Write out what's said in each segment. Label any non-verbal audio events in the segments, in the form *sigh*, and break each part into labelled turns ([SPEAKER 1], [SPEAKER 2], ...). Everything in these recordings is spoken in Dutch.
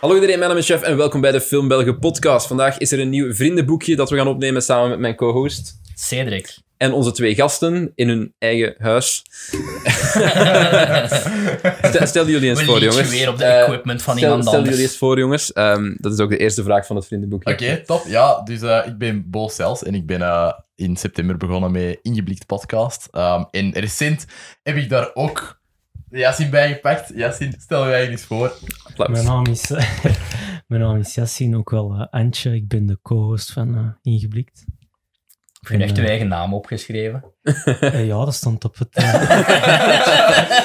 [SPEAKER 1] Hallo iedereen, mijn naam is Chef en welkom bij de Film Belgen podcast. Vandaag is er een nieuw vriendenboekje dat we gaan opnemen samen met mijn co-host
[SPEAKER 2] Cedric.
[SPEAKER 1] en onze twee gasten in hun eigen
[SPEAKER 2] *laughs*
[SPEAKER 1] huis. Stel- Stelden jullie eens
[SPEAKER 2] We
[SPEAKER 1] voor,
[SPEAKER 2] liedje
[SPEAKER 1] jongens.
[SPEAKER 2] weer op de
[SPEAKER 1] Eh,
[SPEAKER 2] equipment van
[SPEAKER 1] stel,
[SPEAKER 2] iemand
[SPEAKER 1] stel
[SPEAKER 2] anders.
[SPEAKER 1] jullie eens voor, jongens. Ehm, dat is ook de eerste vraag van het vriendenboekje.
[SPEAKER 3] Oké, top. Ja, dus eh, ik ben Bo Sels en ik ben eh, in september begonnen met Ingeblikt podcast. Ehm, en recent heb ik daar ook Yassine bij gepakt. Yassine, stel jij je eens voor.
[SPEAKER 1] Applaus.
[SPEAKER 4] Mijn naam is, *laughs* mijn naam is Yassine, ook wel eh, Antje. Ik ben de co-host van eh, Ingeblikt.
[SPEAKER 2] Heb je nu
[SPEAKER 1] Mm.
[SPEAKER 2] echt je eigen
[SPEAKER 1] *laughs*
[SPEAKER 2] naam opgeschreven?
[SPEAKER 4] Eh, ja, dat stond op het... eh,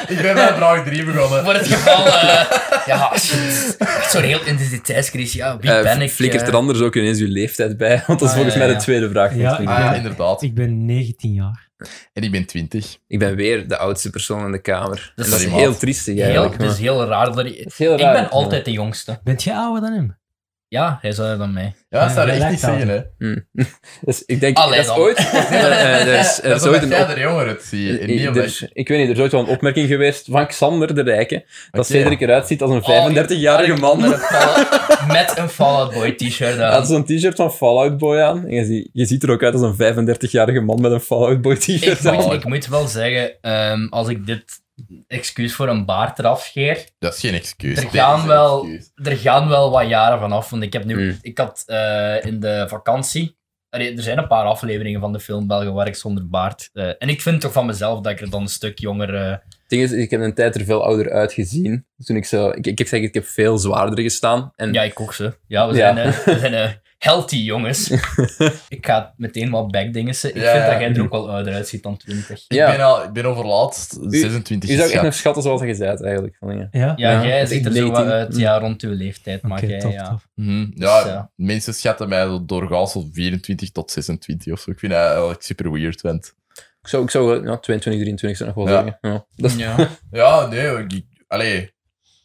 [SPEAKER 3] Ik ben bij vraag 3 begonnen.
[SPEAKER 2] Voor het geval... eh, *laughs*
[SPEAKER 1] *laughs*
[SPEAKER 2] ja, shit. Echt zo'n heel identiteitscrisis. Ja, wie
[SPEAKER 1] Eh,
[SPEAKER 2] ben ik?
[SPEAKER 1] Flikkert
[SPEAKER 2] eh?
[SPEAKER 1] er anders ook ineens uw leeftijd bij? Want dat is
[SPEAKER 2] Ah,
[SPEAKER 1] volgens
[SPEAKER 2] ja,
[SPEAKER 1] mij
[SPEAKER 2] ja.
[SPEAKER 1] de tweede vraag van
[SPEAKER 4] Ja,
[SPEAKER 1] het
[SPEAKER 3] Ah
[SPEAKER 1] vriendenboekje.
[SPEAKER 3] ja, inderdaad.
[SPEAKER 4] ik ben 19 jaar.
[SPEAKER 3] En ik ben 20.
[SPEAKER 1] Ik ben weer de oudste persoon in de kamer.
[SPEAKER 2] Dat
[SPEAKER 1] en dat
[SPEAKER 2] is
[SPEAKER 1] is
[SPEAKER 3] maat.
[SPEAKER 1] heel triestig
[SPEAKER 2] Heel,
[SPEAKER 1] eigenlijk.
[SPEAKER 2] het is
[SPEAKER 1] maar-
[SPEAKER 2] heel raar. Dat ik,
[SPEAKER 1] is heel
[SPEAKER 2] ik
[SPEAKER 1] raar,
[SPEAKER 2] ben
[SPEAKER 1] ja.
[SPEAKER 2] altijd de jongste.
[SPEAKER 4] Bent jij ouder dan hem?
[SPEAKER 2] Ja, hij is ouder dan mij.
[SPEAKER 3] Ja, dat zou je
[SPEAKER 4] Ja,
[SPEAKER 3] echt niet
[SPEAKER 4] lijkt
[SPEAKER 3] zeggen, hè.
[SPEAKER 1] Dus ik denk,
[SPEAKER 2] Allee
[SPEAKER 1] dat is
[SPEAKER 2] dan.
[SPEAKER 1] ooit... Nee, maar, eh, er is, er
[SPEAKER 3] Dat
[SPEAKER 1] is
[SPEAKER 3] is
[SPEAKER 1] ooit
[SPEAKER 3] omdat
[SPEAKER 1] een
[SPEAKER 3] jij
[SPEAKER 1] op-
[SPEAKER 3] er jonger uit ziet. En niet
[SPEAKER 1] er
[SPEAKER 3] omdat...
[SPEAKER 1] is- ik weet niet, er is ooit wel een opmerking geweest van Xander de Rijke, dat
[SPEAKER 3] Oké.
[SPEAKER 1] Cedric eruit ziet als een 35-jarige man.
[SPEAKER 2] Met een
[SPEAKER 1] *laughs*
[SPEAKER 2] Fall- *laughs* Met een Fallout Boy t-shirt
[SPEAKER 1] Hij had
[SPEAKER 2] aan.
[SPEAKER 1] zo'n t-shirt van Fallout Boy aan. En je, ziet, je ziet er ook uit als een 35-jarige man met een Fallout Boy
[SPEAKER 2] Ik
[SPEAKER 1] *laughs* t-shirt aan.
[SPEAKER 2] moet, ik moet wel zeggen, ehm, als ik dit excuus voor een baard eraf scheer,
[SPEAKER 3] Dat is geen excuus.
[SPEAKER 2] Er
[SPEAKER 3] Dit
[SPEAKER 2] gaan
[SPEAKER 3] is een
[SPEAKER 2] wel-
[SPEAKER 3] excuus. Hmm.
[SPEAKER 2] er gaan wel wat jaren vanaf. Want ik heb nu,
[SPEAKER 1] Mm.
[SPEAKER 2] ik had eh, in de vakantie. allee, Er zijn een paar afleveringen van de film Belgen waar ik zonder baard. eh, en ik vind toch van mezelf dat ik er dan een stuk jonger. eh,
[SPEAKER 1] Het ding is, ik heb een tijd er veel ouder uitgezien. Dus Toen ik zo... Ik, ik heb gezegd, ik heb veel zwaarder gestaan. En
[SPEAKER 2] ja, ik ook ze. Ja, we
[SPEAKER 1] Ja.
[SPEAKER 2] zijn, eh, we zijn eh, healthy
[SPEAKER 3] *laughs*
[SPEAKER 2] jongens. ik ga meteen wat backdingessen. Ik
[SPEAKER 3] Ja,
[SPEAKER 2] vind
[SPEAKER 3] ja.
[SPEAKER 2] dat jij er ook wel ouder uitziet dan 20.
[SPEAKER 1] Ja.
[SPEAKER 3] Ik, ben al, ik ben overlaatst
[SPEAKER 1] U-
[SPEAKER 3] 26
[SPEAKER 1] je zou echt
[SPEAKER 3] geschat.
[SPEAKER 1] nog schatten zoals je zei eigenlijk. Van, ja.
[SPEAKER 4] Ja?
[SPEAKER 2] Ja,
[SPEAKER 1] Ja,
[SPEAKER 2] jij
[SPEAKER 1] dus
[SPEAKER 2] ziet
[SPEAKER 1] ik
[SPEAKER 2] er zo wat
[SPEAKER 1] 19.
[SPEAKER 2] uit. Ja,
[SPEAKER 3] Hmm.
[SPEAKER 2] rond uw leeftijd.
[SPEAKER 4] Oké,
[SPEAKER 2] Maar jij,
[SPEAKER 4] tof,
[SPEAKER 2] ja.
[SPEAKER 4] tof.
[SPEAKER 3] Mhm. Ja,
[SPEAKER 2] Dus, ja.
[SPEAKER 3] mensen schatten mij doorgaans van 24 tot 26 of zo. Ik vind dat eigenlijk super weird, want...
[SPEAKER 1] Ik zou, ik zou wel- ja, 22, 23 zou ik nog wel
[SPEAKER 3] Ja.
[SPEAKER 1] zeggen. Ja. Dat is,
[SPEAKER 2] Ja.
[SPEAKER 3] *laughs* Ja, nee, ik, ik- allee.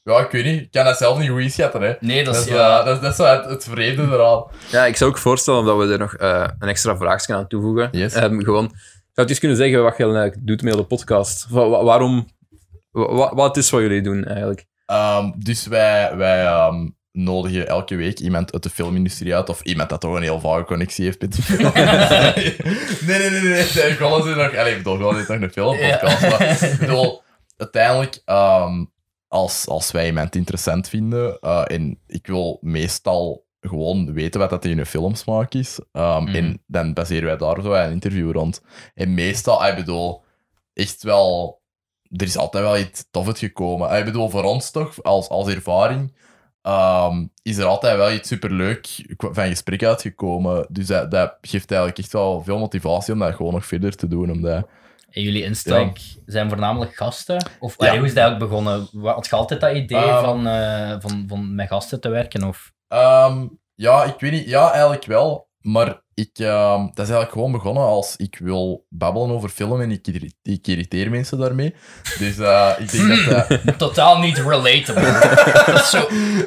[SPEAKER 3] Ja, ik weet niet. Ik kan dat zelf niet goed inschatten, hè.
[SPEAKER 2] Nee, dat
[SPEAKER 3] Dat
[SPEAKER 2] is.
[SPEAKER 3] is, eh,
[SPEAKER 2] ja.
[SPEAKER 3] dat is, dat is wel het, het vreemde eraan.
[SPEAKER 1] Ja, ik zou ook voorstellen dat we er nog eh, een extra vraagje aan toevoegen.
[SPEAKER 3] Yes.
[SPEAKER 1] Ehm, gewoon, zou je eens kunnen zeggen wat je eigenlijk doet met de podcast? Wa- wa- waarom, wa- wa- wat het is wat jullie doen eigenlijk?
[SPEAKER 3] Ehm, dus wij, wij ehm, nodigen elke week iemand uit de filmindustrie uit. Of iemand dat toch een heel vage connectie heeft met
[SPEAKER 2] *laughs*
[SPEAKER 3] de film. nee, nee, nee. nee. nee. Gollum is nog... Allee, ik bedoel, Gollum is nog een filmpodcast.
[SPEAKER 2] Ja.
[SPEAKER 3] maar ik bedoel, uiteindelijk... ehm, als, als wij iemand interessant vinden... eh, en ik wil meestal gewoon weten wat dat in hun filmsmaak is. ehm,
[SPEAKER 2] Mhm.
[SPEAKER 3] En dan baseren wij daar zo een interview rond. En meestal, ah, ik bedoel... Echt wel er is altijd wel iets tof uitgekomen. Ik bedoel, voor ons toch, als, als ervaring, ehm, is er altijd wel iets superleuk kwa- van gesprek uitgekomen. Dus dat, dat geeft eigenlijk echt wel veel motivatie om dat gewoon nog verder te doen. Omdat...
[SPEAKER 2] En jullie insteek zijn voornamelijk gasten? Of allee,
[SPEAKER 3] Ja.
[SPEAKER 2] hoe is dat ook begonnen? Wa- Had je altijd dat idee
[SPEAKER 1] Ah.
[SPEAKER 3] Ehm.
[SPEAKER 2] van, eh, van, van met gasten te werken? Of...
[SPEAKER 3] Ehm, ja, ik weet niet. Ja, eigenlijk wel. Maar ik, ehm, dat is eigenlijk gewoon begonnen als ik wil babbelen over film en ik, irri- ik irriteer mensen daarmee. Dus eh, ik denk dat...
[SPEAKER 2] *laughs*
[SPEAKER 3] dat-
[SPEAKER 2] Totaal niet relatable.
[SPEAKER 1] *laughs*
[SPEAKER 2] dat is zo...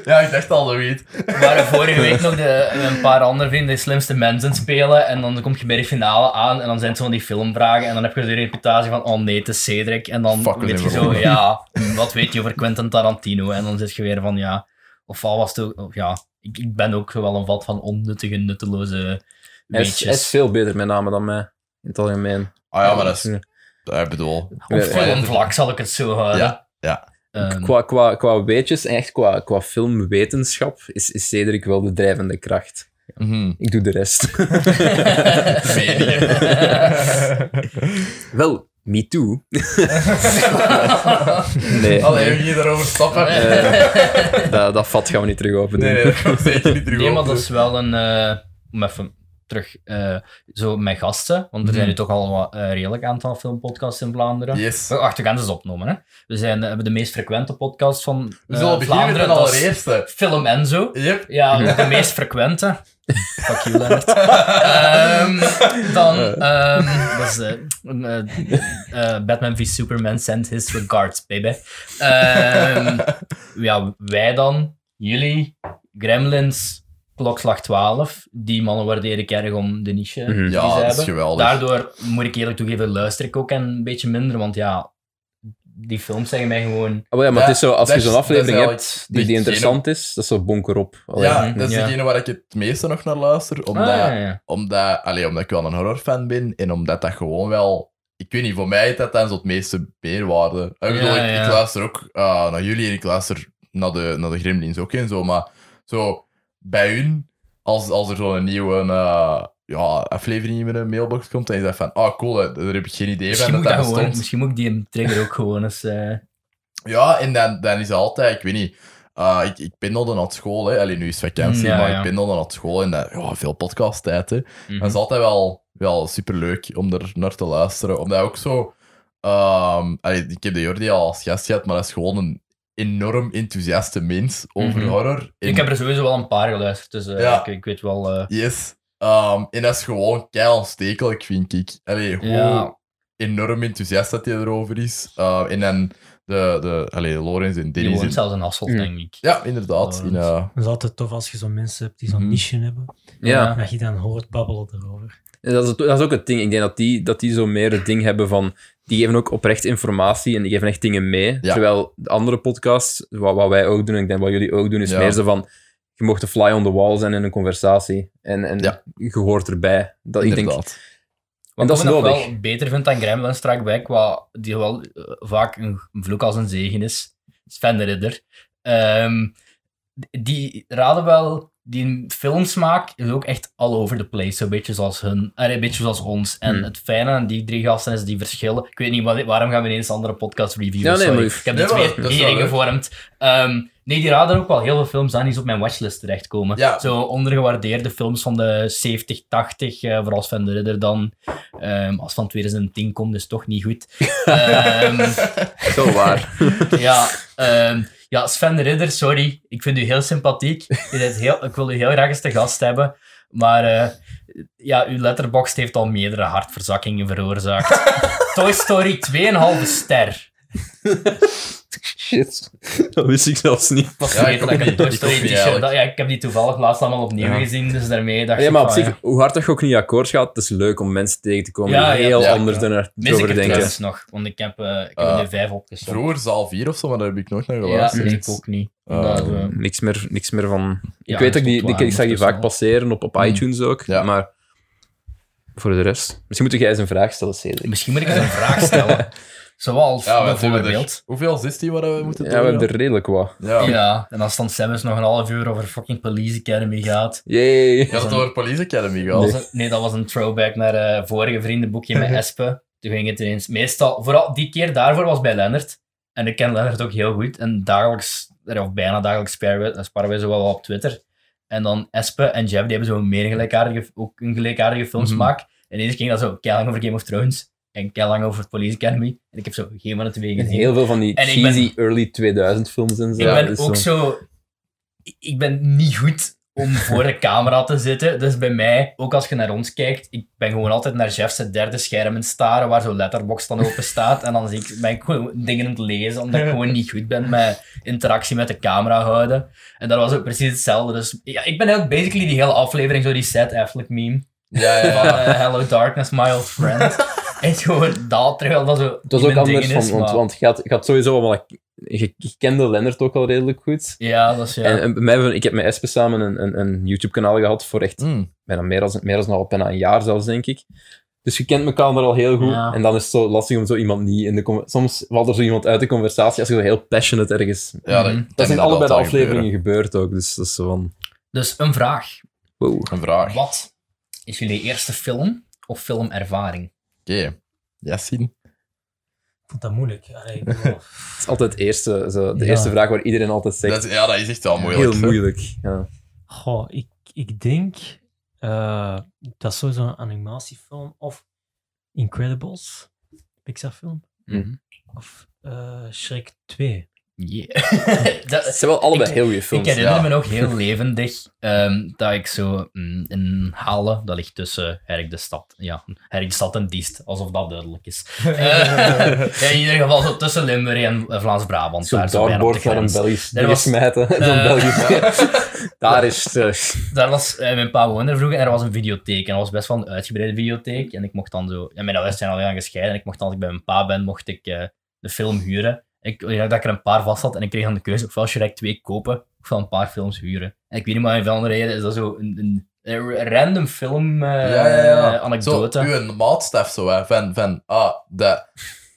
[SPEAKER 3] ja, ik dacht al zoiets.
[SPEAKER 2] We waren vorige week nog de, een paar andere vrienden, de slimste mensen spelen. En dan kom je bij de finale aan en dan zijn het zo van die filmvragen. En dan heb je de reputatie van, oh nee, het is Cedric. En dan
[SPEAKER 3] Fuck, we
[SPEAKER 2] weet je
[SPEAKER 3] zijn
[SPEAKER 2] zo,
[SPEAKER 3] verloren.
[SPEAKER 2] ja, wat weet je over Quentin Tarantino? En dan zit je weer van, ja, ofwel was het ook, of ja, ik, ik ben ook zo wel een vat van onnuttige, nutteloze
[SPEAKER 1] Hij is, hij is
[SPEAKER 2] weetjes.
[SPEAKER 1] veel beter met name dan mij, in het algemeen.
[SPEAKER 3] Ah ja, maar dat is... eh,
[SPEAKER 1] Ja.
[SPEAKER 3] Ik bedoel...
[SPEAKER 2] Op
[SPEAKER 1] Ja, ja.
[SPEAKER 2] filmvlak zal ik het zo houden.
[SPEAKER 3] Ja, ja.
[SPEAKER 2] *laughs* Ehm,
[SPEAKER 1] Qua, qua, qua weetjes en echt qua, qua filmwetenschap is, is Cedric wel de drijvende kracht.
[SPEAKER 3] Mhm.
[SPEAKER 1] Ik doe de rest.
[SPEAKER 3] *laughs*
[SPEAKER 1] wel, me *laughs* too. Nee,
[SPEAKER 3] Allee,
[SPEAKER 1] nee.
[SPEAKER 3] we gaan hier daarover stappen.
[SPEAKER 1] Eh, dat, dat vat gaan we niet terug open doen.
[SPEAKER 3] *laughs* nee, nee, dat komt zeker niet terug
[SPEAKER 2] Nee, maar
[SPEAKER 3] op.
[SPEAKER 2] dat is wel een. eh, om even terug. eh, zo met gasten. Want er zijn nu toch al wat eh, redelijk aantal filmpodcasts in Vlaanderen.
[SPEAKER 3] Mhm. Yes.
[SPEAKER 2] Oh, Wacht, we gaan ze eens opnoemen. Hè. We zijn, eh, hebben de meest frequente podcast van
[SPEAKER 3] We
[SPEAKER 2] eh,
[SPEAKER 3] zullen beginnen met
[SPEAKER 2] Vlaanderen.
[SPEAKER 3] een
[SPEAKER 2] dat is
[SPEAKER 3] allereerste.
[SPEAKER 2] Film en zo. *laughs*
[SPEAKER 3] Yep.
[SPEAKER 2] Ja, ook de meest frequente.
[SPEAKER 3] *laughs*
[SPEAKER 2] Fuck you, Leonard. Ehm, dan,
[SPEAKER 3] Eh.
[SPEAKER 2] ehm, dat is eh, een, eh, eh, Batman v Superman sent his regards, baby. Ehm, ja, wij dan, jullie, Gremlins, klokslag 12. Die mannen waardeer ik erg om de niche
[SPEAKER 1] Mhm.
[SPEAKER 2] die ze
[SPEAKER 3] Ja, dat is
[SPEAKER 2] hebben.
[SPEAKER 3] geweldig.
[SPEAKER 2] Daardoor moet ik eerlijk toegeven, luister ik ook een beetje minder, want ja, die films zeggen mij gewoon...
[SPEAKER 1] Ah, wel ja, maar
[SPEAKER 3] Ja,
[SPEAKER 1] het is zo, als
[SPEAKER 3] dat
[SPEAKER 1] je
[SPEAKER 3] is-
[SPEAKER 1] zo'n
[SPEAKER 3] dat is
[SPEAKER 1] aflevering
[SPEAKER 3] eigenlijk
[SPEAKER 1] hebt die, die
[SPEAKER 3] degene-
[SPEAKER 1] interessant is, dat is zo bonker op. Allee,
[SPEAKER 3] ja, dat is
[SPEAKER 2] Ja.
[SPEAKER 3] degene waar ik het meeste nog naar luister. Omdat,
[SPEAKER 2] Ah, ja, ja.
[SPEAKER 3] omdat, allee, omdat ik wel een horrorfan ben en omdat dat gewoon wel. Ik weet niet, voor mij heeft dat dan zo het meeste meerwaarde. Ik bedoel,
[SPEAKER 2] Ja,
[SPEAKER 3] ik,
[SPEAKER 2] ja.
[SPEAKER 3] ik luister ook eh, naar jullie en ik luister naar de, naar de Gremlins ook en zo. Maar zo bij hun, als, als er zo'n nieuwe eh, ja, aflevering in mijn mailbox komt, dan is dat van: oh cool, hè, daar heb ik geen idee
[SPEAKER 2] Misschien
[SPEAKER 3] van
[SPEAKER 2] moet,
[SPEAKER 3] dat
[SPEAKER 2] dat gewoon,
[SPEAKER 3] dat bestond.
[SPEAKER 2] misschien moet ik die trigger ook gewoon eens... eh,
[SPEAKER 3] Ja, en dan, dan is het altijd, ik weet niet. eh, ik, ik pendelde naar school, hè. Allee, nu is vakantie,
[SPEAKER 2] Mm, ja,
[SPEAKER 3] maar
[SPEAKER 2] ja.
[SPEAKER 3] ik pendelde naar school en dat, ja, veel podcasttijd. Hè.
[SPEAKER 2] mhm.
[SPEAKER 3] Dat is altijd wel, wel superleuk om er naar te luisteren. Omdat ook zo. ehm, allee, ik heb de Jordi al als gast gehad, maar dat is gewoon een enorm enthousiaste mens over
[SPEAKER 2] Mhm.
[SPEAKER 3] horror. En-
[SPEAKER 2] Ik heb er sowieso wel een paar geluisterd, dus eh,
[SPEAKER 3] Ja.
[SPEAKER 2] ik, ik weet wel... eh,
[SPEAKER 3] Yes. Ehm, en dat is gewoon kei aanstekelijk, vind ik. Allee, hoe
[SPEAKER 2] Ja.
[SPEAKER 3] enorm enthousiast dat hij erover is. Eh, en dan de, de allee, Lorenz en
[SPEAKER 2] die
[SPEAKER 3] Dennis. en-
[SPEAKER 2] woont zelfs in Hasselt,
[SPEAKER 1] Mm.
[SPEAKER 2] denk ik.
[SPEAKER 3] Ja, inderdaad. In,
[SPEAKER 2] Lorenz.
[SPEAKER 3] eh,
[SPEAKER 4] Het is altijd tof als je zo'n mensen hebt die zo'n
[SPEAKER 3] Mhm.
[SPEAKER 4] niche hebben.
[SPEAKER 1] ja.
[SPEAKER 4] Dat je dan hoort babbelen erover.
[SPEAKER 1] En Dat is, dat is ook het ding. Ik denk dat die, dat die zo meer het ding hebben van. Die geven ook oprecht informatie en die geven echt dingen mee.
[SPEAKER 3] Ja.
[SPEAKER 1] Terwijl de andere podcasts, wat, wat wij ook doen, en ik denk wat jullie ook doen, is
[SPEAKER 3] Ja.
[SPEAKER 1] meer zo van. Je mocht de fly on the wall zijn in een conversatie. En, en
[SPEAKER 3] Ja.
[SPEAKER 1] je hoort erbij. Dat, ik denk,
[SPEAKER 3] inderdaad.
[SPEAKER 1] en
[SPEAKER 2] Wat
[SPEAKER 1] dat is
[SPEAKER 2] ik nog
[SPEAKER 1] nodig.
[SPEAKER 2] wel beter vind dan Gremlins Strakbijk, wat die wel eh, vaak een vloek als een zegen is, Sven de Ridder. Ehm, die raden wel, die filmsmaak is ook echt all over the place, zo'n beetje zoals hun, eh, een beetje zoals ons. En
[SPEAKER 1] Hmm.
[SPEAKER 2] het fijne aan die drie gasten is die verschillen. Ik weet niet wa- waarom gaan we ineens andere podcast reviewen.
[SPEAKER 1] Ja, nee,
[SPEAKER 2] sorry.
[SPEAKER 1] maar-
[SPEAKER 2] ik heb
[SPEAKER 3] Nee,
[SPEAKER 2] dit
[SPEAKER 3] maar
[SPEAKER 2] weer
[SPEAKER 3] dat is wel
[SPEAKER 2] mening
[SPEAKER 3] leuk.
[SPEAKER 2] gevormd. Ehm, nee, die raden ook wel heel veel films aan die zo op mijn watchlist terechtkomen.
[SPEAKER 3] Ja.
[SPEAKER 2] Zo ondergewaardeerde films van de 70, 80, eh, vooral Sven de Ridder dan. Ehm, als van 2010 komt, is toch niet goed. Ehm,
[SPEAKER 1] Zo waar.
[SPEAKER 2] ja, ehm, ja, Sven de Ridder, sorry. Ik vind u heel sympathiek. U bent heel, ik wil u heel graag eens te gast hebben. Maar eh, ja, uw letterbox heeft al meerdere hartverzakkingen veroorzaakt. Toy Story 2,5 ster.
[SPEAKER 1] *laughs* Shit. Dat wist ik zelfs niet.
[SPEAKER 2] Ik was
[SPEAKER 3] Ja, ik
[SPEAKER 2] vergeten
[SPEAKER 3] ook
[SPEAKER 2] dat ik een
[SPEAKER 3] niet.
[SPEAKER 2] Toy
[SPEAKER 3] Ik ook
[SPEAKER 2] Story
[SPEAKER 3] niet,
[SPEAKER 2] t-shirt
[SPEAKER 3] eigenlijk.
[SPEAKER 2] had. Ja, ik heb die toevallig laatst allemaal opnieuw
[SPEAKER 1] Ja.
[SPEAKER 2] gezien, dus daarmee dacht
[SPEAKER 1] Ja,
[SPEAKER 2] ik
[SPEAKER 1] maar op
[SPEAKER 2] van,
[SPEAKER 1] zich,
[SPEAKER 2] ja,
[SPEAKER 1] hoe hard dat je ook niet akkoord gaat, het is leuk om mensen tegen te komen
[SPEAKER 2] Ja,
[SPEAKER 1] die
[SPEAKER 2] ja,
[SPEAKER 1] heel
[SPEAKER 3] ja,
[SPEAKER 1] anders
[SPEAKER 2] ja. mis ik
[SPEAKER 1] erover
[SPEAKER 2] het
[SPEAKER 1] denken.
[SPEAKER 2] trouwens nog, want ik heb, eh, ik heb er
[SPEAKER 3] Eh,
[SPEAKER 2] nu vijf opgestopt.
[SPEAKER 3] Vroeger zaal 4 of zo, maar daar heb ik nooit naar
[SPEAKER 2] Ja,
[SPEAKER 3] geluisterd.
[SPEAKER 2] ik ook niet.
[SPEAKER 3] Eh,
[SPEAKER 2] Omdat, eh,
[SPEAKER 1] Niks meer, niks meer van.
[SPEAKER 2] ja, dus
[SPEAKER 1] ik weet ook, die, die, ik zag die
[SPEAKER 2] ondertussen
[SPEAKER 1] vaak
[SPEAKER 2] al.
[SPEAKER 1] passeren op, op
[SPEAKER 3] Hmm.
[SPEAKER 1] iTunes ook.
[SPEAKER 3] Ja.
[SPEAKER 1] Maar voor de rest. Misschien moet jij eens een vraag stellen, Cedric.
[SPEAKER 2] Misschien moet ik eens een vraag
[SPEAKER 1] *laughs*
[SPEAKER 2] stellen. Zoals
[SPEAKER 3] ja, wat hebben we er?
[SPEAKER 2] bijvoorbeeld.
[SPEAKER 3] Hoeveel is die waar we moeten
[SPEAKER 1] Ja, we
[SPEAKER 3] doen?
[SPEAKER 1] hebben er redelijk wat.
[SPEAKER 3] Ja. Ja.
[SPEAKER 2] Ja, en als dan Samus nog een half uur over fucking Police Academy gaat.
[SPEAKER 1] Jee.
[SPEAKER 3] dat het over Police Academy
[SPEAKER 2] Dat
[SPEAKER 3] gehad.
[SPEAKER 2] was een- nee, dat was een throwback naar eh vorige vriendenboekje met Espe. Toen ging het ineens. Meestal, vooral die keer daarvoor was bij Lennart. En ik ken Lennart ook heel goed. En dagelijks, eh, of bijna dagelijks, sparen we- sparen wij zo wel wat op Twitter. En dan Espe en Jeff, die hebben zo meer gelijkaardige, ook een gelijkaardige filmsmaak. En ineens ging dat zo keilang over Game of Thrones. En keilang over Police Academy. En ik heb zo geen van de twee
[SPEAKER 1] En *laughs*
[SPEAKER 2] gezien.
[SPEAKER 1] heel veel van die
[SPEAKER 2] En ik ben-
[SPEAKER 1] cheesy early 2000 films en zo.
[SPEAKER 2] Ik ben
[SPEAKER 1] Dus
[SPEAKER 2] ook zo... Ik ben niet goed om voor de camera te zitten. Dus bij mij, ook als je naar ons kijkt, ik ben gewoon altijd naar Jeff's derde scherm in staren, waar zo'n letterbox dan open staat. En dan zie ik, ben ik gewoon dingen aan het lezen, omdat ik gewoon niet goed ben met interactie met de camera houden. En dat was ook precies hetzelfde. Dus ja, ik ben eigenlijk basically die hele aflevering, zo die Seth Affleck meme.
[SPEAKER 3] Ja, ja,
[SPEAKER 2] Van
[SPEAKER 3] ja.
[SPEAKER 1] *laughs*
[SPEAKER 2] eh, Hello Darkness, My Old Friend. En gewoon dat, terwijl dat zo
[SPEAKER 1] Het was
[SPEAKER 2] niet
[SPEAKER 1] ook
[SPEAKER 2] mijn ding
[SPEAKER 1] anders, van,
[SPEAKER 2] is,
[SPEAKER 1] want,
[SPEAKER 2] maar-
[SPEAKER 1] want je, had, je had sowieso allemaal... Je, je kende Lennart ook al redelijk goed.
[SPEAKER 2] Ja, dat is ja.
[SPEAKER 1] En, en bij mij, hebben- ik heb met Espe samen een, een, een YouTube-kanaal gehad voor echt
[SPEAKER 3] Mm.
[SPEAKER 1] bijna meer dan meer dan al bijna een jaar zelfs, denk ik. Dus je kent elkaar al heel goed.
[SPEAKER 2] Ja.
[SPEAKER 1] En dan is het zo lastig om zo iemand niet in de... conver- Soms valt er zo iemand uit de conversatie als je zo heel passionate ergens
[SPEAKER 3] ja
[SPEAKER 2] Mhm.
[SPEAKER 3] dat,
[SPEAKER 1] Mm. Dat
[SPEAKER 3] kan
[SPEAKER 1] zijn allebei de
[SPEAKER 3] wel
[SPEAKER 1] afleveringen gebeurd ook, dus dat is zo van...
[SPEAKER 2] Dus een vraag.
[SPEAKER 1] Wow.
[SPEAKER 3] gebeuren. Een vraag. Oké.
[SPEAKER 2] Wat is jullie eerste film of filmervaring?
[SPEAKER 3] Yassine.
[SPEAKER 4] Ik vond dat moeilijk. Allee, ik bedoel,
[SPEAKER 1] Het is altijd eerste, zo, de
[SPEAKER 4] Ja.
[SPEAKER 1] eerste vraag waar iedereen altijd zegt.
[SPEAKER 3] Dat, is- ja, dat is echt wel moeilijk.
[SPEAKER 1] Heel
[SPEAKER 3] hè. *laughs*
[SPEAKER 1] moeilijk. Ja.
[SPEAKER 4] Goh, ik, ik denk eh, dat is sowieso een animatiefilm of Incredibles, Pixar-film,
[SPEAKER 3] Mhm.
[SPEAKER 4] of eh, Shrek 2.
[SPEAKER 2] Yeah.
[SPEAKER 1] Het
[SPEAKER 2] *laughs* dat,
[SPEAKER 1] zijn wel allebei
[SPEAKER 2] Ik-
[SPEAKER 1] heel goede
[SPEAKER 2] ik
[SPEAKER 1] films.
[SPEAKER 2] herinner
[SPEAKER 3] ja.
[SPEAKER 2] me
[SPEAKER 1] *laughs*
[SPEAKER 2] nog heel levendig ehm, dat ik zo mm, in Halen, dat ligt tussen Herk de Stad, ja, Herk de Stad en Diest, alsof dat duidelijk
[SPEAKER 1] *laughs*
[SPEAKER 2] is. Eh, *laughs* ja, in ieder geval zo tussen Limburg en eh, Vlaams-Brabant.
[SPEAKER 1] Zo'n
[SPEAKER 2] daar zo bijna op de
[SPEAKER 1] dartboard naar een
[SPEAKER 2] grens.
[SPEAKER 1] Belgisch
[SPEAKER 2] Er
[SPEAKER 1] ding
[SPEAKER 2] was-
[SPEAKER 1] smijten. *laughs* Zo'n
[SPEAKER 2] Eh,
[SPEAKER 1] Belgisch- *laughs* Daar is het. eh,
[SPEAKER 2] daar was eh, mijn pa woonde er vroeger en er was een videotheek. En dat was best wel een uitgebreide videotheek. En ik mocht dan zo. Ja, mijn ouders zijn al heel lang gescheiden. En ik mocht dan, als ik bij mijn pa ben, mocht ik eh, de film huren. Ik ik dacht dat ik er een paar vast had en ik kreeg dan de keuze ofwel Shrek 2 kopen ofwel een paar films huren. En ik weet niet maar in welke reden is dat zo een, een, een random film eh,
[SPEAKER 3] ja, ja, ja.
[SPEAKER 2] anekdote.
[SPEAKER 3] Zo, uw maatstaf zo, hè, van, van ah, de,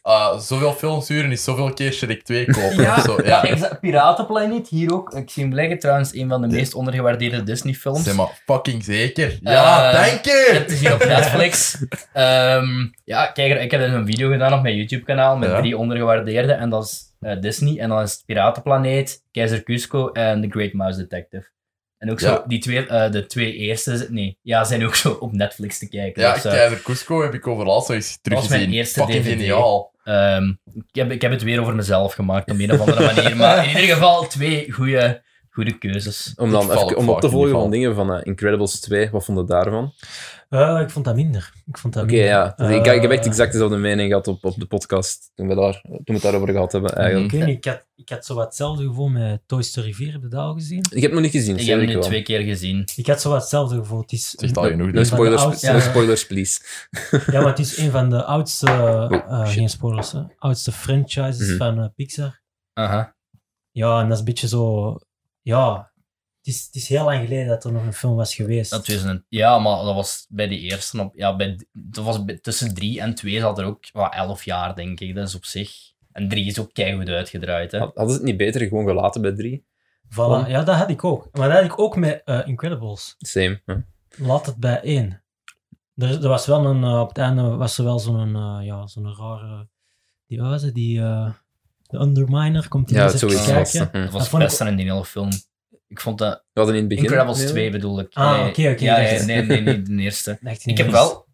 [SPEAKER 3] ah, zoveel films huren is zoveel keer Shrek 2 kopen.
[SPEAKER 2] Ja.
[SPEAKER 3] of zo,
[SPEAKER 2] Ja, *laughs*
[SPEAKER 3] ja.
[SPEAKER 2] exact. Piratenplaneet hier ook. Ik zie hem liggen trouwens, een van de meest ondergewaardeerde Disney-films.
[SPEAKER 3] Zeg maar, fucking zeker. Ja,
[SPEAKER 2] Eh,
[SPEAKER 3] dank je!
[SPEAKER 2] Het is hier op Netflix. Ehm, ja, kijk, er- ik heb er een video gedaan op mijn YouTube-kanaal met
[SPEAKER 3] Ja.
[SPEAKER 2] drie ondergewaardeerde. En dat is eh, Disney, en dan is het Piratenplaneet, Keizer Cusco en The Great Mouse Detective. En ook zo,
[SPEAKER 3] Ja.
[SPEAKER 2] die twee, eh, de twee eerste, z- nee, ja, zijn ook zo op Netflix te kijken.
[SPEAKER 3] Ja,
[SPEAKER 2] Dus, eh,
[SPEAKER 3] Keizer Cusco heb ik overal zo eens teruggezien.
[SPEAKER 2] mijn eerste
[SPEAKER 3] Fucking
[SPEAKER 2] DVD.
[SPEAKER 3] geniaal.
[SPEAKER 1] *laughs*
[SPEAKER 2] ehm, ik, heb, ik heb het weer over mezelf gemaakt, op een of andere manier. Maar in ieder geval twee goede, goede keuzes.
[SPEAKER 1] Om, dan
[SPEAKER 3] Ik val
[SPEAKER 1] even,
[SPEAKER 3] ook
[SPEAKER 1] om op
[SPEAKER 3] vaak
[SPEAKER 1] te
[SPEAKER 3] in die
[SPEAKER 1] volgen van
[SPEAKER 3] val.
[SPEAKER 1] dingen van eh, Incredibles 2, wat vond je daarvan?
[SPEAKER 4] Eh, ik vond dat minder. Ik vond dat
[SPEAKER 1] Oké,
[SPEAKER 4] minder.
[SPEAKER 1] ja. Dus
[SPEAKER 4] Eh,
[SPEAKER 1] ik, ik heb echt exact dezelfde mening gehad op, op de podcast toen we, daar, toen we het daarover gehad hebben, eigenlijk.
[SPEAKER 4] Ik weet niet, ik had, ik had zo wat hetzelfde gevoel met Toy Story 4, heb je dat al gezien?
[SPEAKER 1] Ik heb het nog niet gezien,
[SPEAKER 2] Ik
[SPEAKER 1] zeker
[SPEAKER 2] heb hem nu
[SPEAKER 1] wel.
[SPEAKER 2] twee keer gezien.
[SPEAKER 4] Ik had zo wat hetzelfde gevoel. Het is
[SPEAKER 3] Zegt al genoeg.
[SPEAKER 1] No
[SPEAKER 3] Dus.
[SPEAKER 4] van de
[SPEAKER 1] spoilers,
[SPEAKER 4] oudste-
[SPEAKER 1] no spoilers please.
[SPEAKER 4] Ja, maar het is een van de oudste, eh,
[SPEAKER 1] Oh, shit.
[SPEAKER 4] geen spoilers, hè, oudste franchises
[SPEAKER 1] Mhm.
[SPEAKER 4] van eh, Pixar.
[SPEAKER 2] Aha.
[SPEAKER 4] Ja, en dat is een beetje zo, ja, het is, het is heel lang geleden dat er nog een film was geweest.
[SPEAKER 2] Dat was een, ja, maar dat was bij de eerste. Op, ja, bij, dat was bij- tussen drie en twee zat er ook wat, elf jaar, denk ik. Dat is op zich. En drie is ook keihard uitgedraaid. Hè?
[SPEAKER 1] Had- Hadden ze het niet beter gewoon gelaten bij drie?
[SPEAKER 4] Voilà. Ja, dat had ik ook. Maar dat had ik ook met eh, Incredibles.
[SPEAKER 1] Same. hè.
[SPEAKER 4] Laat het bij één. Er, is- er was wel een, eh, op het einde was er wel zo'n eh, ja, zo'n rare, die, wat was het, die, eh, de Underminer, komt die
[SPEAKER 1] Ja,
[SPEAKER 4] eens even
[SPEAKER 1] zoiets was
[SPEAKER 4] kijken.
[SPEAKER 1] dat. hm.
[SPEAKER 2] Dat
[SPEAKER 1] We
[SPEAKER 2] was
[SPEAKER 4] Dat vond ik-
[SPEAKER 2] best aan die hele film. Ik vond dat.
[SPEAKER 1] hadden in het begin...
[SPEAKER 2] Incredibles
[SPEAKER 1] Nee.
[SPEAKER 2] 2 bedoel ik.
[SPEAKER 4] Ah,
[SPEAKER 2] Nee,
[SPEAKER 4] oké, oké,
[SPEAKER 2] Ja,
[SPEAKER 4] dat
[SPEAKER 2] ja,
[SPEAKER 4] is-
[SPEAKER 2] nee, nee, nee, de eerste.
[SPEAKER 4] Dacht
[SPEAKER 2] Ik heb
[SPEAKER 4] niet.
[SPEAKER 2] wel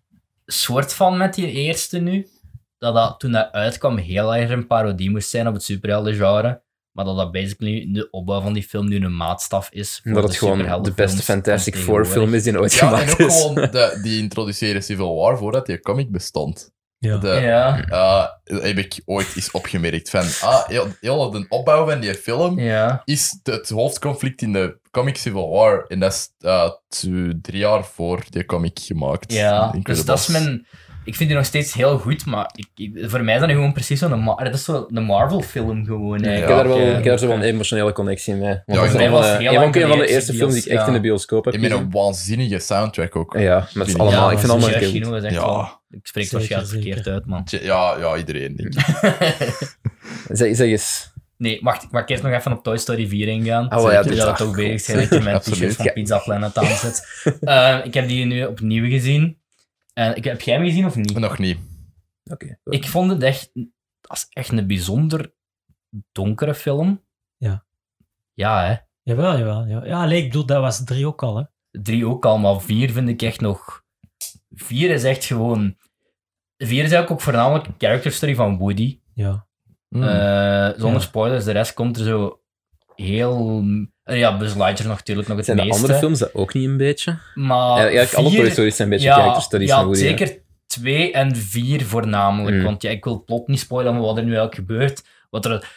[SPEAKER 2] een soort van met die eerste nu. Dat, dat toen dat uitkwam heel erg een parodie moest zijn op het superhelden-genre. Maar dat dat basically de opbouw van die film nu een maatstaf is. voor
[SPEAKER 1] Omdat het
[SPEAKER 2] de
[SPEAKER 1] gewoon de
[SPEAKER 2] superheldenfilms
[SPEAKER 1] beste
[SPEAKER 2] van
[SPEAKER 1] Fantastic Four
[SPEAKER 2] tegenwoordig.
[SPEAKER 1] film is die ooit
[SPEAKER 3] Ja, en
[SPEAKER 1] gemaakt
[SPEAKER 3] ook
[SPEAKER 1] is.
[SPEAKER 3] gewoon, de, die introduceren Civil War voordat die comic bestond.
[SPEAKER 4] Ja.
[SPEAKER 3] De,
[SPEAKER 2] Ja,
[SPEAKER 3] eh, heb ik ooit eens opgemerkt van, ah, heel, heel de opbouw van die film
[SPEAKER 2] ja.
[SPEAKER 3] is de- het hoofdconflict in de comic Civil War. En dat is eh, twee- drie jaar voor die comic gemaakt.
[SPEAKER 2] Ja, dus
[SPEAKER 3] Incredibles.
[SPEAKER 2] dat is mijn... Ik vind die nog steeds heel goed, maar ik, ik- voor mij is dat nu gewoon precies zo'n... Ma- dat is zo een Marvel-film
[SPEAKER 1] Ja,
[SPEAKER 2] gewoon,
[SPEAKER 1] ik
[SPEAKER 2] eigenlijk.
[SPEAKER 1] heb daar wel, ik heb daar zo wel
[SPEAKER 2] Ja.
[SPEAKER 1] een emotionele connectie mee. Want
[SPEAKER 3] Ja,
[SPEAKER 1] dat is
[SPEAKER 3] ik
[SPEAKER 1] een
[SPEAKER 2] was
[SPEAKER 1] van de-
[SPEAKER 2] heel
[SPEAKER 1] een
[SPEAKER 2] lang
[SPEAKER 1] van- een van de
[SPEAKER 2] geleden
[SPEAKER 1] eerste films die ik
[SPEAKER 2] bios-
[SPEAKER 1] echt in de
[SPEAKER 2] ja.
[SPEAKER 1] bioscoop heb
[SPEAKER 3] En met
[SPEAKER 1] gezien.
[SPEAKER 3] een waanzinnige soundtrack ook.
[SPEAKER 1] Ja, met
[SPEAKER 3] Ja,
[SPEAKER 1] z'n allemaal.
[SPEAKER 2] Ja,
[SPEAKER 1] ik vind
[SPEAKER 4] dat
[SPEAKER 1] allemaal
[SPEAKER 4] is
[SPEAKER 2] Sergio
[SPEAKER 1] heel
[SPEAKER 2] Gino is echt
[SPEAKER 3] Ja.
[SPEAKER 2] wel- Ik spreek
[SPEAKER 4] Zeker,
[SPEAKER 2] waarschijnlijk verkeerd
[SPEAKER 4] zeker.
[SPEAKER 2] uit, man. *laughs*
[SPEAKER 3] Ja, ja, iedereen. Denk ik.
[SPEAKER 1] cool. Zeg, zeg eens.
[SPEAKER 2] nee, wacht, ik mag eerst nog even op Toy Story 4 ingaan.
[SPEAKER 1] Oh, ja,
[SPEAKER 2] Dus
[SPEAKER 1] dit-
[SPEAKER 2] dat we
[SPEAKER 1] ah,
[SPEAKER 2] toch
[SPEAKER 1] cool.
[SPEAKER 2] bezig zijn dat je mijn
[SPEAKER 3] Absoluut.
[SPEAKER 2] t-shirt van
[SPEAKER 1] Ja.
[SPEAKER 2] Pizza Planet aan zet. Eh, ik heb die nu opnieuw gezien. En ik heb jij hem gezien of niet?
[SPEAKER 3] Nog niet.
[SPEAKER 1] Oké.
[SPEAKER 2] Ik vond het echt, dat is echt een bijzonder donkere film.
[SPEAKER 4] Ja.
[SPEAKER 2] Ja, hè.
[SPEAKER 4] Jawel, jawel. jawel. Ja, nee, ik bedoel, dat was drie ook al, hè.
[SPEAKER 2] drie ook al, maar vier vind ik echt nog. Vier is echt gewoon. Vier is eigenlijk ook voornamelijk een character story van Woody.
[SPEAKER 4] Ja.
[SPEAKER 1] Hmm.
[SPEAKER 3] Mm.
[SPEAKER 2] Eh, zonder
[SPEAKER 4] Ja.
[SPEAKER 2] spoilers, de rest komt er zo heel. eh, Ja, Buzz Lightyear nog natuurlijk nog het
[SPEAKER 1] Zijn de
[SPEAKER 2] meeste.
[SPEAKER 1] andere films dat ook niet een beetje?
[SPEAKER 2] Maar
[SPEAKER 1] Ja, eigenlijk alle
[SPEAKER 2] Ah, vier-
[SPEAKER 1] Toy Stories zijn een beetje
[SPEAKER 2] ja,
[SPEAKER 1] character studies
[SPEAKER 2] ja,
[SPEAKER 1] van Woody. hè.
[SPEAKER 2] zeker twee en vier voornamelijk.
[SPEAKER 1] Mm.
[SPEAKER 2] Want ja, ik wil het plot niet spoilen van wat er nu eigenlijk gebeurt. Wat er,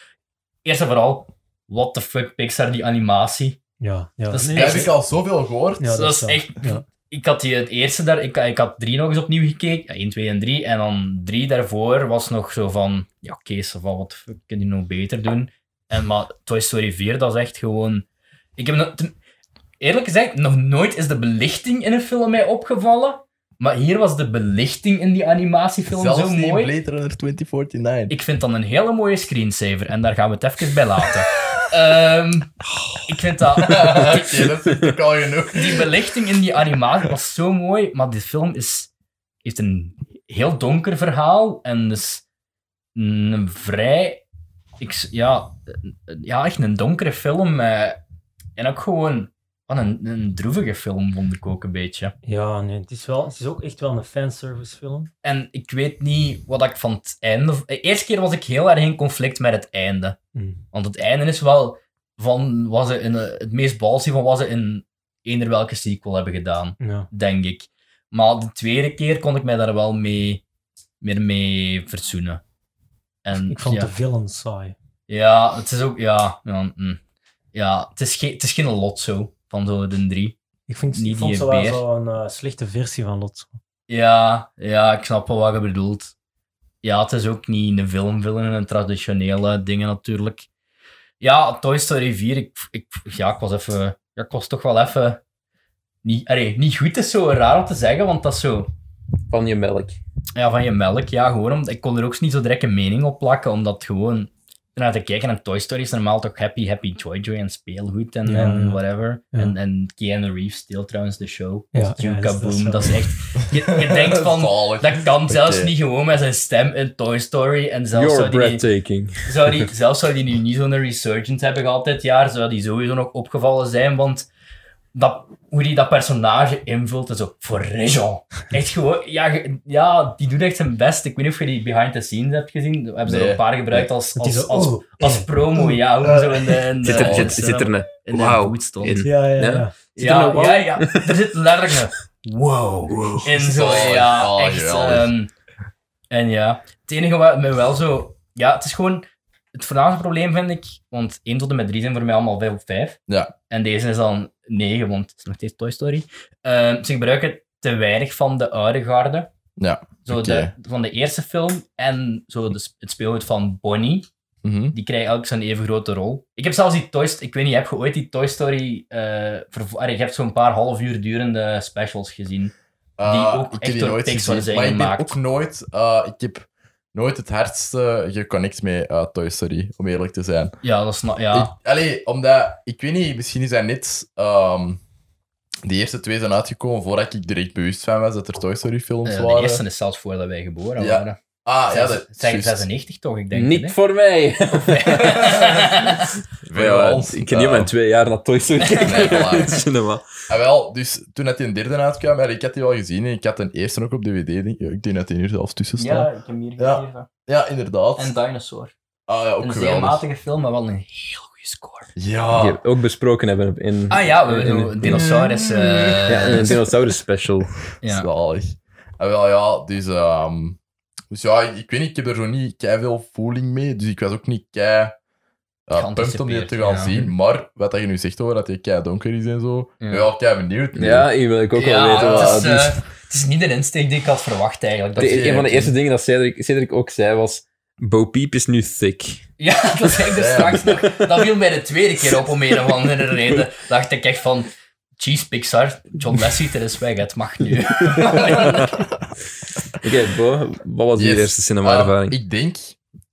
[SPEAKER 2] eerst en vooral, what the fuck Pixar, die animatie.
[SPEAKER 4] Ja, ja.
[SPEAKER 2] Dat is
[SPEAKER 3] Daar heb ik al zoveel gehoord.
[SPEAKER 4] Ja,
[SPEAKER 2] dat is
[SPEAKER 4] zo.
[SPEAKER 2] echt-
[SPEAKER 4] Ja.
[SPEAKER 2] Ik had die het eerste daar, ik, ik had drie nog eens opnieuw gekeken. 1, 2 en 3. En dan drie daarvoor was nog zo van. Ja, oké, so van wat fuck, kun je nog beter doen? En, maar Toy Story 4, dat is echt gewoon. Ik heb nog- ten- eerlijk gezegd, nog nooit is de belichting in een film mij opgevallen. Maar hier was de belichting in die animatiefilm
[SPEAKER 3] Zelfs
[SPEAKER 2] zo
[SPEAKER 3] niet in
[SPEAKER 2] mooi.
[SPEAKER 3] Blade Runner 2049. *laughs*
[SPEAKER 2] Ik vind dat een hele mooie screensaver. En daar gaan we het even bij
[SPEAKER 3] *laughs*
[SPEAKER 2] laten. Ehm, ik vind dat.
[SPEAKER 3] Oké, dat vind ik al genoeg.
[SPEAKER 2] die belichting in die animatie was zo mooi, maar die film is, heeft een heel donker verhaal en dus een vrij, ik, s- ja, een- ja, echt een donkere film. eh, en ook gewoon wat een, een droevige film, vond ik ook een beetje.
[SPEAKER 4] Ja, nee, het is, wel, het is ook echt wel een fanservice film.
[SPEAKER 2] En ik weet niet wat ik van het einde... De eerste keer was ik heel erg in conflict met het einde.
[SPEAKER 4] Mm,
[SPEAKER 2] Want het einde is wel van, was ze in, eh, het meest balsie van wat ze in eender welke sequel hebben gedaan.
[SPEAKER 4] Ja.
[SPEAKER 2] denk ik. Maar de tweede keer kon ik mij daar wel mee, meer mee verzoenen. En,
[SPEAKER 4] Ik vond
[SPEAKER 2] ja,
[SPEAKER 4] de villain saai.
[SPEAKER 2] ja, het is ook... Ja, ja, mm. ja het, is geen, het is geen lot zo, van zo de drie.
[SPEAKER 4] Ik, vind,
[SPEAKER 2] Niet
[SPEAKER 4] ik vond
[SPEAKER 2] die
[SPEAKER 4] ze wel
[SPEAKER 2] beer.
[SPEAKER 4] zo'n eh, slechte versie van Lotso.
[SPEAKER 2] Ja, ja, ik snap wel wat je bedoelt. Ja, het is ook niet een filmfilm en een traditionele dingen natuurlijk. Ja, Toy Story 4, ik, ik, ja, ik was even... Ja, ik was toch wel even... Niet, allee, niet goed is zo raar om te zeggen, want dat is zo...
[SPEAKER 1] Van je melk.
[SPEAKER 2] Ja, van je melk. Ja, gewoon omdat ik kon er ook niet zo direct een mening op plakken, omdat gewoon naar te kijken en Toy Story is normaal toch happy, happy, joy, joy en speelgoed en,
[SPEAKER 4] Ja,
[SPEAKER 2] en
[SPEAKER 4] ja.
[SPEAKER 2] whatever.
[SPEAKER 4] Ja.
[SPEAKER 2] En, en Keanu Reeves steelt trouwens de show.
[SPEAKER 4] Ja,
[SPEAKER 2] Ja,
[SPEAKER 4] ja, dat is- dat is
[SPEAKER 2] Kaboom,
[SPEAKER 4] wel-
[SPEAKER 2] dat is echt... Je, je
[SPEAKER 3] *laughs*
[SPEAKER 2] denkt van,
[SPEAKER 3] Zalig.
[SPEAKER 2] dat kan zelfs
[SPEAKER 3] Oké.
[SPEAKER 2] niet gewoon met zijn stem in Toy Story. En zelfs
[SPEAKER 1] You're
[SPEAKER 2] zou die, niet-
[SPEAKER 1] breathtaking. *laughs*
[SPEAKER 2] zou die, zelfs zou die nu niet zo'n resurgence hebben gehad dit jaar, zou die sowieso nog opgevallen zijn, want dat, hoe die dat personage invult is ook voor Réjean. Echt gewoon, ja, ge- ja, die doet echt zijn best. Ik weet niet of je die behind the scenes hebt gezien. We hebben ze er
[SPEAKER 3] Nee.
[SPEAKER 2] een paar gebruikt als,
[SPEAKER 4] Het is
[SPEAKER 2] als,
[SPEAKER 4] zo,
[SPEAKER 2] als,
[SPEAKER 4] oh,
[SPEAKER 2] als
[SPEAKER 4] eh,
[SPEAKER 2] promo,
[SPEAKER 4] oh,
[SPEAKER 2] ja. Hoe
[SPEAKER 4] eh.
[SPEAKER 2] zo in de, in de,
[SPEAKER 1] Zit er,
[SPEAKER 2] in
[SPEAKER 1] zit,
[SPEAKER 2] de-
[SPEAKER 1] zit er een...
[SPEAKER 2] in de
[SPEAKER 1] Wauw.
[SPEAKER 2] boot stond.
[SPEAKER 1] in.
[SPEAKER 4] Ja, ja,
[SPEAKER 1] Ja?
[SPEAKER 4] ja.
[SPEAKER 1] Zit er
[SPEAKER 2] Hm. Ja,
[SPEAKER 1] een wow?
[SPEAKER 2] ja, ja, er zit letterlijk een wow, in zo,
[SPEAKER 3] Zalig.
[SPEAKER 2] ja,
[SPEAKER 3] Ah,
[SPEAKER 2] echt.
[SPEAKER 3] geweldig.
[SPEAKER 2] ehm, en ja, het enige wat me wel zo, ja, het is gewoon, het voornaamste probleem vind ik, want 1 tot en met 3 zijn voor mij allemaal 5 op 5.
[SPEAKER 3] Ja.
[SPEAKER 2] En deze is dan 9, want het is nog steeds Toy Story. Ehm, ze gebruiken te weinig van de oude garde.
[SPEAKER 3] Ja,
[SPEAKER 2] Zo
[SPEAKER 3] oké.
[SPEAKER 2] de, van de eerste film en zo de, het speelgoed van Bonnie
[SPEAKER 3] Mhm.
[SPEAKER 2] die krijgen elk zijn even grote rol. Ik heb zelfs die Toy Story... Ik weet niet, heb je ooit die Toy Story... eh vervo- Allee, je hebt zo'n paar half uur durende specials gezien.
[SPEAKER 3] Eh,
[SPEAKER 2] ook
[SPEAKER 3] ik
[SPEAKER 2] echt
[SPEAKER 3] heb die
[SPEAKER 2] door
[SPEAKER 3] nooit
[SPEAKER 2] Pixar
[SPEAKER 3] gezien,
[SPEAKER 2] zijn
[SPEAKER 3] maar ik ben
[SPEAKER 2] gemaakt.
[SPEAKER 3] ook nooit... eh, ik heb nooit het hardste geconnect met eh, Toy Story, om eerlijk te zijn.
[SPEAKER 2] Ja, dat is... na- Ja.
[SPEAKER 3] Ik, allee, omdat... Ik weet niet, misschien is dat net... ehm die eerste twee zijn uitgekomen voordat ik direct bewust van was dat er Toy Story films
[SPEAKER 2] eh, de
[SPEAKER 3] waren.
[SPEAKER 2] eerste is zelfs voordat wij geboren
[SPEAKER 3] Ja,
[SPEAKER 2] waren.
[SPEAKER 3] Ah, ja, dat
[SPEAKER 2] Zes- zeg,
[SPEAKER 3] juist.
[SPEAKER 2] 96 toch, ik denk.
[SPEAKER 1] Niet
[SPEAKER 3] *laughs*
[SPEAKER 2] het, hè?
[SPEAKER 1] voor *laughs* mij.
[SPEAKER 3] Voor
[SPEAKER 1] Ja,
[SPEAKER 3] ons,
[SPEAKER 1] ik ken niemand
[SPEAKER 3] eh,
[SPEAKER 1] twee jaar naar Toy Story kijken.
[SPEAKER 3] Nee, voilà.
[SPEAKER 1] *laughs* In het cinema.
[SPEAKER 2] eh,
[SPEAKER 3] Ah, wel, dus toen dat die derde uitkwam, en ik had die al gezien en ik had de eerste ook op DVD. Denk, ja, ik denk dat die hier zelfs tussen
[SPEAKER 2] *laughs* Ja,
[SPEAKER 3] staat. Ja,
[SPEAKER 2] ik heb hier
[SPEAKER 3] Ja.
[SPEAKER 2] gegeven.
[SPEAKER 3] inderdaad.
[SPEAKER 2] En Dinosaur.
[SPEAKER 3] ah ja,
[SPEAKER 2] een
[SPEAKER 3] ook
[SPEAKER 2] zeer
[SPEAKER 3] geweldig.
[SPEAKER 2] matige film, maar wel een heel goede score.
[SPEAKER 3] Ja.
[SPEAKER 1] Die we ook besproken hebben in...
[SPEAKER 2] Ah ja, we hebben
[SPEAKER 1] in-
[SPEAKER 2] zo
[SPEAKER 3] eh,
[SPEAKER 2] een dinosaurus... eh,
[SPEAKER 1] Ja, in een dinosaurus
[SPEAKER 2] *laughs*
[SPEAKER 1] special.
[SPEAKER 2] ja.
[SPEAKER 3] Zalig. Ah, wel, ja, dus... ehm, dus ja, ik, ik weet niet, ik heb er zo niet kei veel voeling mee, dus ik was ook niet kei... eh pumped om die te gaan
[SPEAKER 2] Geanticipeerd, ja.
[SPEAKER 3] zien, maar wat dat je nu zegt over dat hij kei donker is en zo,
[SPEAKER 2] Ja.
[SPEAKER 3] ja, wel kei benieuwd. nu.
[SPEAKER 1] Ja, hier wil ik ook wel weten.
[SPEAKER 2] het
[SPEAKER 1] wat-
[SPEAKER 2] is,
[SPEAKER 1] dus-
[SPEAKER 2] eh, het is niet de insteek die ik had verwacht eigenlijk. Dat
[SPEAKER 1] De-
[SPEAKER 3] je-
[SPEAKER 1] een van de eerste dingen dat Cedric, Cedric ook zei was... Bo Peep is nu thick.
[SPEAKER 2] *laughs* Ja, dat zei ik dus
[SPEAKER 3] Ja.
[SPEAKER 2] straks nog. Dat viel mij de tweede keer op om een of andere reden. Dacht ik echt van, geez Pixar, John Lasseter is weg, het mag nu.
[SPEAKER 3] *laughs*
[SPEAKER 1] Oké, Bo, wat was
[SPEAKER 3] Yes.
[SPEAKER 1] je eerste cinema-ervaring?
[SPEAKER 3] Ah, ik denk...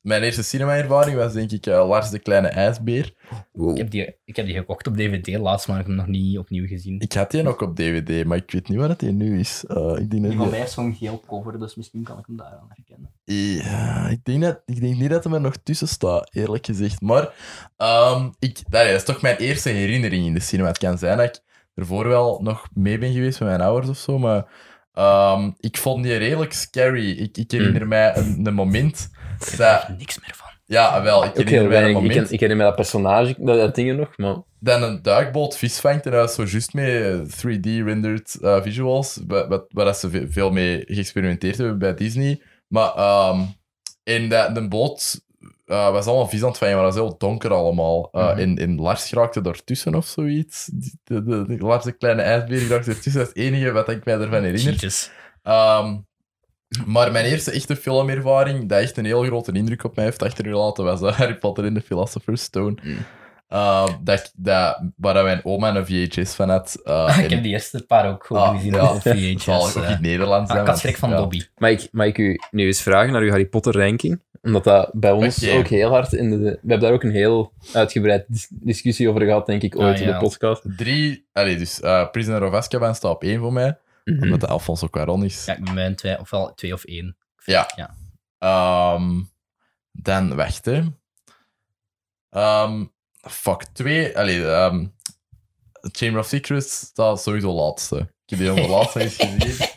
[SPEAKER 3] Mijn eerste cinema-ervaring was denk ik eh, Lars de Kleine IJsbeer.
[SPEAKER 2] ik, heb die, ik heb die gekocht op DVD laatst, maar ik heb hem nog niet opnieuw gezien.
[SPEAKER 3] Ik had die ook op DVD, maar ik weet niet waar dat die nu is. Eh, ik, denk dat die-
[SPEAKER 2] heeft zo'n geel cover, dus misschien kan ik hem daar aan herkennen.
[SPEAKER 3] Ja, ik, denk dat, ik denk niet dat hem er nog tussen staat, eerlijk gezegd. Maar ehm, ik, dat is toch mijn eerste herinnering in de cinema. Het kan zijn dat ik ervoor wel nog mee ben geweest met mijn ouders of zo, maar ehm, ik vond die redelijk scary. Ik, ik herinner
[SPEAKER 1] Hmm.
[SPEAKER 3] mij een, een
[SPEAKER 1] *laughs*
[SPEAKER 3] moment dat...
[SPEAKER 2] Niks meer van.
[SPEAKER 3] Ja, wel, ik
[SPEAKER 1] Ook
[SPEAKER 3] herinner
[SPEAKER 1] heel
[SPEAKER 3] mij een
[SPEAKER 1] weinig. Ik,
[SPEAKER 3] moment
[SPEAKER 1] ken- ik herinner me dat personage, dat, dat ding nog, maar...
[SPEAKER 3] dat een duikboot vis vangt en dat is zo juist met eh, 3D-rendered eh, visuals, wa- wat- waar dat ze ve- veel mee geëxperimenteerd hebben bij Disney. Maar ehm in de, de boot eh, was allemaal vis aan het vangen, maar dat was heel donker allemaal. Eh,
[SPEAKER 2] Mhm.
[SPEAKER 3] en, en Lars geraakte daartussen of zoiets. Die- De, de, de- Lars, de kleine ijsbeer, geraakte ertussen. Dat is het enige wat ik mij ervan herinner.
[SPEAKER 2] Cheatjes.
[SPEAKER 3] Ehm, maar mijn eerste echte filmervaring, dat echt een heel grote indruk op mij heeft achtergelaten, was eh, *laughs* Harry Potter in de Philosopher's Stone.
[SPEAKER 1] Mm.
[SPEAKER 3] Ehm, dat, ik- dat, waar dat mijn oma een VHS van had. eh,
[SPEAKER 1] Ah,
[SPEAKER 3] en-
[SPEAKER 2] *laughs* Ah, ik heb die eerste paar ook gewoon
[SPEAKER 3] Ah,
[SPEAKER 2] gezien
[SPEAKER 3] ja.
[SPEAKER 2] op
[SPEAKER 1] *laughs*
[SPEAKER 2] VHS.
[SPEAKER 3] zal ook in
[SPEAKER 2] eh.
[SPEAKER 3] het Nederlands
[SPEAKER 2] Ah,
[SPEAKER 3] zijn.
[SPEAKER 2] ik had
[SPEAKER 3] want-
[SPEAKER 2] schrik van
[SPEAKER 3] ja.
[SPEAKER 2] Dobby.
[SPEAKER 1] Mag ik, mag ik u nu eens vragen naar uw Harry Potter ranking? Omdat dat bij ons
[SPEAKER 3] Oké.
[SPEAKER 1] ook heel hard in de. We hebben daar ook een heel uitgebreid dis- discussie over gehad, denk ik, ooit
[SPEAKER 2] Ah,
[SPEAKER 1] in
[SPEAKER 2] ja.
[SPEAKER 1] de podcast.
[SPEAKER 3] Drie, allee, dus eh, Prisoner of Azkaban staat op één voor mij,
[SPEAKER 1] Mhm.
[SPEAKER 2] Mm.
[SPEAKER 3] omdat dat Alfonso Cuarón is.
[SPEAKER 2] Ja, ik ben mijn twee, ofwel twee of één.
[SPEAKER 3] Ja.
[SPEAKER 2] ja.
[SPEAKER 3] Ehm, dan wacht, hè. Ehm, fuck, twee... Allee, ehm, Chamber of Secrets staat sowieso laatste. Ik heb die helemaal laatste eens
[SPEAKER 1] *laughs*
[SPEAKER 3] gezien.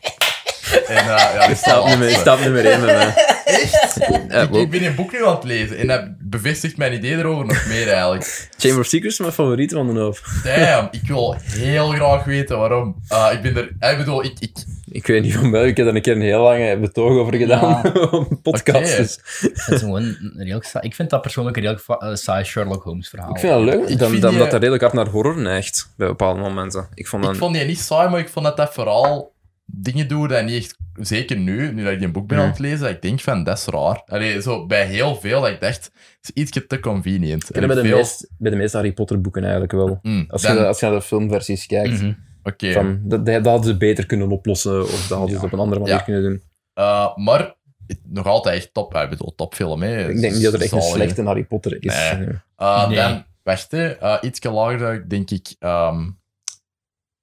[SPEAKER 3] En, eh, ja,
[SPEAKER 1] Stap
[SPEAKER 3] die staat
[SPEAKER 1] nummer,
[SPEAKER 3] laatste.
[SPEAKER 1] stap nummer eh, 1 bij mij.
[SPEAKER 3] Echt?
[SPEAKER 1] Ja,
[SPEAKER 3] ik, ik ben een boek nu aan het lezen en dat bevestigt mijn idee erover nog meer eigenlijk.
[SPEAKER 1] Chamber of Secrets is mijn favoriet van de hoofd.
[SPEAKER 3] Damn, ik wil heel graag weten waarom. Eh, ik ben er... Ik bedoel, ik... ik
[SPEAKER 1] Ik weet niet van mij, ik heb daar een keer een heel lange betoog over gedaan. *laughs* op een podcast.
[SPEAKER 3] Oké.
[SPEAKER 1] dus.
[SPEAKER 2] Het is gewoon een redelijk saai- Ik vind dat persoonlijk een redelijk fa- eh, saai Sherlock Holmes verhaal.
[SPEAKER 1] Ik vind dat leuk,
[SPEAKER 3] Ik
[SPEAKER 1] dat,
[SPEAKER 3] vind
[SPEAKER 1] dat,
[SPEAKER 3] die-
[SPEAKER 1] omdat dat redelijk hard naar horror neigt bij bepaalde momenten. Ik vond dat.
[SPEAKER 3] ik vond die niet saai, maar ik vond dat dat vooral dingen doet dat niet echt zeker nu, nu dat ik die boek ben
[SPEAKER 1] Ja.
[SPEAKER 3] aan het lezen, dat ik denk van, dat is raar. Allee, zo, bij heel veel, dat ik dacht, het is ietsje te convenient.
[SPEAKER 1] En bij
[SPEAKER 3] En
[SPEAKER 1] de,
[SPEAKER 3] veel-
[SPEAKER 1] meest, bij de meeste Harry Potter boeken eigenlijk wel.
[SPEAKER 3] Mm,
[SPEAKER 1] Als je,
[SPEAKER 3] dan-
[SPEAKER 1] als je naar de filmversies kijkt,
[SPEAKER 2] Mhm.
[SPEAKER 3] Oké,
[SPEAKER 1] van, dat, dat hadden ze beter kunnen oplossen of dat hadden ze
[SPEAKER 3] Ja.
[SPEAKER 1] het op een andere manier
[SPEAKER 3] Ja.
[SPEAKER 1] kunnen doen.
[SPEAKER 3] Eh, maar het- nog altijd echt top. Ah, Ik bedoel, topfilm. Hè.
[SPEAKER 1] Ik denk niet dat er echt een
[SPEAKER 3] Zalige.
[SPEAKER 1] slechte Harry Potter is.
[SPEAKER 3] Nee.
[SPEAKER 1] Ja.
[SPEAKER 3] Eh,
[SPEAKER 2] Nee.
[SPEAKER 3] Dan, wacht, hè. Eh, ietsje lager zou ik denk ik ehm,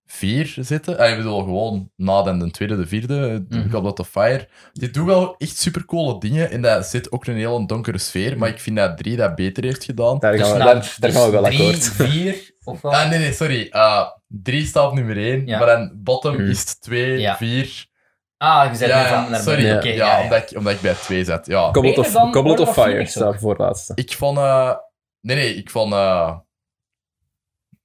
[SPEAKER 3] vier zitten. Ah, ik bedoel, gewoon na dan de tweede, de vierde, de
[SPEAKER 2] Mhm.
[SPEAKER 3] Goblet of Fire. Die doen wel echt supercoole dingen en dat zit ook in een hele donkere sfeer,
[SPEAKER 2] Mhm.
[SPEAKER 3] maar ik vind dat drie dat beter heeft gedaan.
[SPEAKER 1] Daar,
[SPEAKER 2] Dus
[SPEAKER 1] gaan we,
[SPEAKER 2] nou,
[SPEAKER 1] daar, daar
[SPEAKER 2] dus
[SPEAKER 1] gaan we wel
[SPEAKER 2] drie,
[SPEAKER 1] akkoord.
[SPEAKER 2] vier,
[SPEAKER 1] *laughs*
[SPEAKER 2] of wel?
[SPEAKER 3] Ah, nee, nee, sorry. Eh, drie staat op nummer één,
[SPEAKER 2] Ja.
[SPEAKER 3] maar dan bottom
[SPEAKER 1] Mhm.
[SPEAKER 3] is het twee,
[SPEAKER 2] Ja.
[SPEAKER 3] vier...
[SPEAKER 2] Ah, je zei
[SPEAKER 3] Ja,
[SPEAKER 2] net
[SPEAKER 3] ja,
[SPEAKER 2] van naar
[SPEAKER 3] sorry.
[SPEAKER 2] beneden.
[SPEAKER 3] Ja,
[SPEAKER 2] Oké, ja, ja.
[SPEAKER 3] Omdat, ik, omdat ik bij twee zat. Ja.
[SPEAKER 1] Goblet
[SPEAKER 2] Beter
[SPEAKER 1] of,
[SPEAKER 2] dan
[SPEAKER 1] Goblet
[SPEAKER 2] Lord
[SPEAKER 1] of
[SPEAKER 2] of
[SPEAKER 1] Fire
[SPEAKER 2] Phoenix
[SPEAKER 1] staat
[SPEAKER 2] ook.
[SPEAKER 1] voor het laatste.
[SPEAKER 3] Ik van. eh, nee, nee, ik van. eh,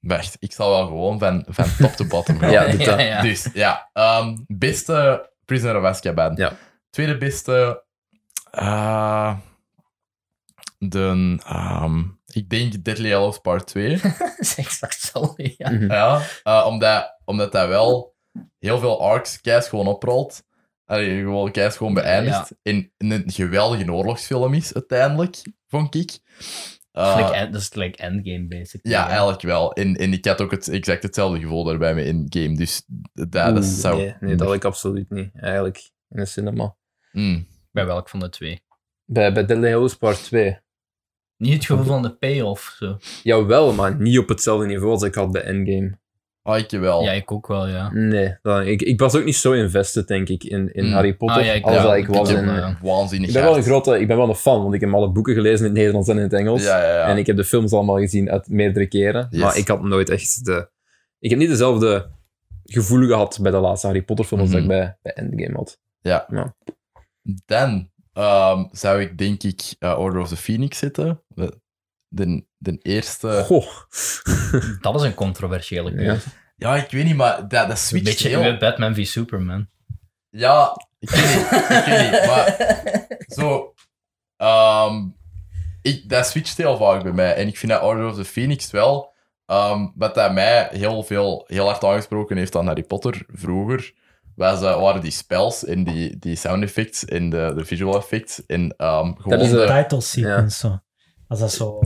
[SPEAKER 3] wacht, ik zal wel gewoon van, van top to
[SPEAKER 1] *laughs*
[SPEAKER 3] bottom gaan.
[SPEAKER 1] Ja, eh, doe dat.
[SPEAKER 2] *laughs* ja.
[SPEAKER 3] Dus ja, ehm, beste Prisoner of Azkaban.
[SPEAKER 1] Ja.
[SPEAKER 3] Tweede beste. eh, de, ehm, ik denk Deadly Hallows
[SPEAKER 1] *laughs*
[SPEAKER 3] Part 2.
[SPEAKER 2] Dat is exact hetzelfde, ja.
[SPEAKER 1] Mhm.
[SPEAKER 3] ja, eh, omdat, omdat dat wel heel veel arcs keis gewoon oprolt. Allee, gewoon keis gewoon beëindigt. En een geweldige oorlogsfilm is uiteindelijk, vond ik. Eh,
[SPEAKER 2] Dat is like end- dat is like endgame, basically.
[SPEAKER 3] ja, eigenlijk wel. En, en ik had ook het, exact hetzelfde gevoel daarbij me in game. Dus dat, dat
[SPEAKER 1] Oeh,
[SPEAKER 3] zou.
[SPEAKER 1] nee, nee, dat wil ik absoluut niet. Eigenlijk, in de cinema.
[SPEAKER 3] Mm.
[SPEAKER 2] Bij welk van de twee?
[SPEAKER 1] Bij, bij Deadly Hallows Part 2.
[SPEAKER 2] Niet het gevoel van de payoff, zo.
[SPEAKER 1] Jawel, maar niet op hetzelfde niveau als ik had bij Endgame.
[SPEAKER 3] Ah, ik wel.
[SPEAKER 2] Ja, ik ook wel, ja.
[SPEAKER 1] Nee, dan- ik, ik was ook niet zo invested, denk ik, in, in
[SPEAKER 3] Mm.
[SPEAKER 1] Harry Potter
[SPEAKER 2] Ah, ja, ik-
[SPEAKER 1] als
[SPEAKER 2] ja,
[SPEAKER 1] dat ik
[SPEAKER 2] ik
[SPEAKER 1] was
[SPEAKER 2] ook,
[SPEAKER 1] in... eh,
[SPEAKER 3] eh,
[SPEAKER 2] ja.
[SPEAKER 3] Waanzinnig.
[SPEAKER 1] Ik ben wel een
[SPEAKER 3] hard.
[SPEAKER 1] grote... Ik ben wel een fan, want ik heb alle boeken gelezen in het Nederlands en in het Engels.
[SPEAKER 3] Ja, ja, ja.
[SPEAKER 1] En ik heb de films allemaal gezien uit meerdere keren.
[SPEAKER 3] Yes.
[SPEAKER 1] Maar ik had nooit echt de... Ik heb niet dezelfde gevoel gehad bij de laatste Harry Potter film als
[SPEAKER 3] Mhm.
[SPEAKER 1] dat ik bij, bij Endgame had.
[SPEAKER 3] Dan ehm, zou ik denk ik eh, Order of the Phoenix zitten. De, de, de eerste.
[SPEAKER 1] Goh.
[SPEAKER 2] Dat is een controversiële keuze.
[SPEAKER 1] Ja.
[SPEAKER 3] Ja, ik weet niet, maar dat, dat
[SPEAKER 2] Een
[SPEAKER 3] switcht
[SPEAKER 2] beetje
[SPEAKER 3] heel.
[SPEAKER 2] Batman v Superman.
[SPEAKER 3] Ja, ik weet niet, ik weet niet, maar zo... ehm, ik, dat switcht heel vaak bij mij. En ik vind dat Order of the Phoenix wel... ehm, wat dat mij heel, veel, heel hard aangesproken heeft aan Harry Potter vroeger, was, eh, waren die spells en die, die sound effects en de, de visual effects. En ehm, gewoon...
[SPEAKER 1] is,
[SPEAKER 3] de-
[SPEAKER 1] eh,
[SPEAKER 4] Title sequence, zo. Als dat zo...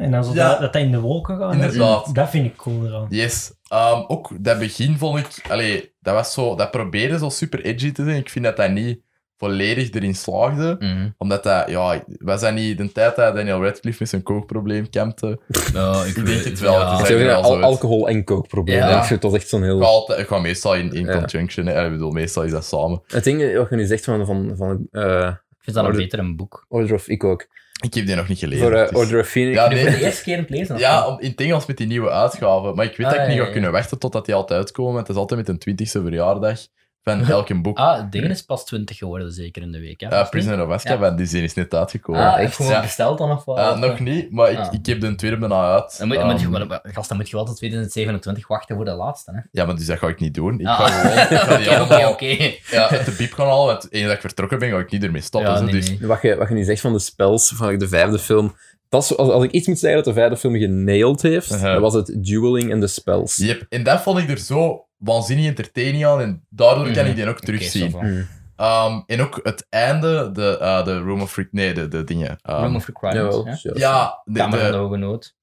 [SPEAKER 4] En dan zo
[SPEAKER 3] Ja.
[SPEAKER 4] dat, dat dat in de wolken gaat.
[SPEAKER 3] Inderdaad.
[SPEAKER 4] Dat vind ik cool eraan.
[SPEAKER 3] Yes. Ehm, ook dat begin vond ik... Allee, dat was zo... Dat probeerde zo super edgy te zijn. Ik vind dat dat niet volledig erin slaagde.
[SPEAKER 2] Mhm.
[SPEAKER 3] Omdat dat... Ja, was dat niet de tijd dat Daniel Radcliffe met zijn kookprobleem kampte?
[SPEAKER 2] Nou, ik,
[SPEAKER 3] denk
[SPEAKER 2] weet-
[SPEAKER 3] het wel,
[SPEAKER 2] ja.
[SPEAKER 3] het
[SPEAKER 1] Ik
[SPEAKER 3] is
[SPEAKER 1] zou
[SPEAKER 3] er
[SPEAKER 1] zeggen,
[SPEAKER 3] wel
[SPEAKER 1] al-
[SPEAKER 3] zoiets.
[SPEAKER 1] alcohol en kookprobleem.
[SPEAKER 2] Ja.
[SPEAKER 1] Ja. Het was echt zo'n heel...
[SPEAKER 3] Ik ga, altijd, ik ga meestal in, in
[SPEAKER 1] Ja.
[SPEAKER 3] conjunction. Hè. Ik bedoel, meestal is dat samen.
[SPEAKER 1] Het ding wat je nu zegt van, van, van eh,
[SPEAKER 2] Ik vind dat een
[SPEAKER 1] Order-
[SPEAKER 2] beter een boek.
[SPEAKER 1] Order of... Ik ook.
[SPEAKER 3] Ik heb die nog niet gelezen.
[SPEAKER 1] Voor eh,
[SPEAKER 3] dus-
[SPEAKER 1] Order of Phoenix.
[SPEAKER 3] Ja,
[SPEAKER 2] Nu
[SPEAKER 3] nee,
[SPEAKER 2] voor de
[SPEAKER 3] het-
[SPEAKER 2] eerste keer in het lezen. of
[SPEAKER 3] ja,
[SPEAKER 2] niet?
[SPEAKER 3] om, in het Engels met die nieuwe uitgaven. Maar ik weet
[SPEAKER 2] Ah,
[SPEAKER 3] dat ik niet
[SPEAKER 2] ja,
[SPEAKER 3] ga
[SPEAKER 2] ja.
[SPEAKER 3] kunnen wachten totdat die altijd uitkomen. want Het is altijd met een twintigste verjaardag
[SPEAKER 2] *laughs*
[SPEAKER 3] van elk boek.
[SPEAKER 2] Ah, het ding is pas 20 geworden, zeker in de week. Hè?
[SPEAKER 3] Eh, Prisoner of Azkaban, die zin is net uitgekomen.
[SPEAKER 2] Ah,
[SPEAKER 1] echt,
[SPEAKER 2] echt? Gewoon
[SPEAKER 3] ja.
[SPEAKER 2] besteld dan of wat?
[SPEAKER 3] Eh, nog niet, maar ik,
[SPEAKER 2] Ah.
[SPEAKER 3] ik heb de tweede bijna uit.
[SPEAKER 2] Dan moet, dan moet je,
[SPEAKER 3] Ehm,
[SPEAKER 2] maar- maar- gast, dan moet je wel tot 2027 wachten voor de laatste. Hè?
[SPEAKER 3] Ja, maar dus dat ga ik niet doen. Ik
[SPEAKER 2] Ah.
[SPEAKER 3] ga gewoon ik
[SPEAKER 2] *laughs*
[SPEAKER 3] ga die
[SPEAKER 2] Oké, oké,
[SPEAKER 3] allemaal
[SPEAKER 2] oké.
[SPEAKER 3] *laughs* ja, uit de piep gaan halen. Want eens dat ik vertrokken ben, ga ik niet ermee stoppen.
[SPEAKER 2] Ja,
[SPEAKER 3] zo,
[SPEAKER 2] nee,
[SPEAKER 3] dus
[SPEAKER 2] nee.
[SPEAKER 1] Wat je, wat je nu zegt van de spels, van de vijfde film. Dat is, als, als ik iets moet zeggen dat de vijfde film genailed heeft,
[SPEAKER 3] Uh-huh.
[SPEAKER 1] dan was het dueling en de spels.
[SPEAKER 3] Yep. En dat vond ik er zo waanzinnig entertaining aan. En daardoor kan
[SPEAKER 2] Mhm.
[SPEAKER 3] ik die ook terugzien.
[SPEAKER 2] Oké, zo van.
[SPEAKER 1] Mm.
[SPEAKER 3] Ehm, en ook het einde, de, eh, de Room of Freak... Nee, de, de dingen. ehm,
[SPEAKER 2] Room of Requirements.
[SPEAKER 1] Jawel,
[SPEAKER 2] hè?
[SPEAKER 1] sure.
[SPEAKER 3] Ja, de,
[SPEAKER 2] Kamer van de
[SPEAKER 3] de,
[SPEAKER 2] Hoge Nood.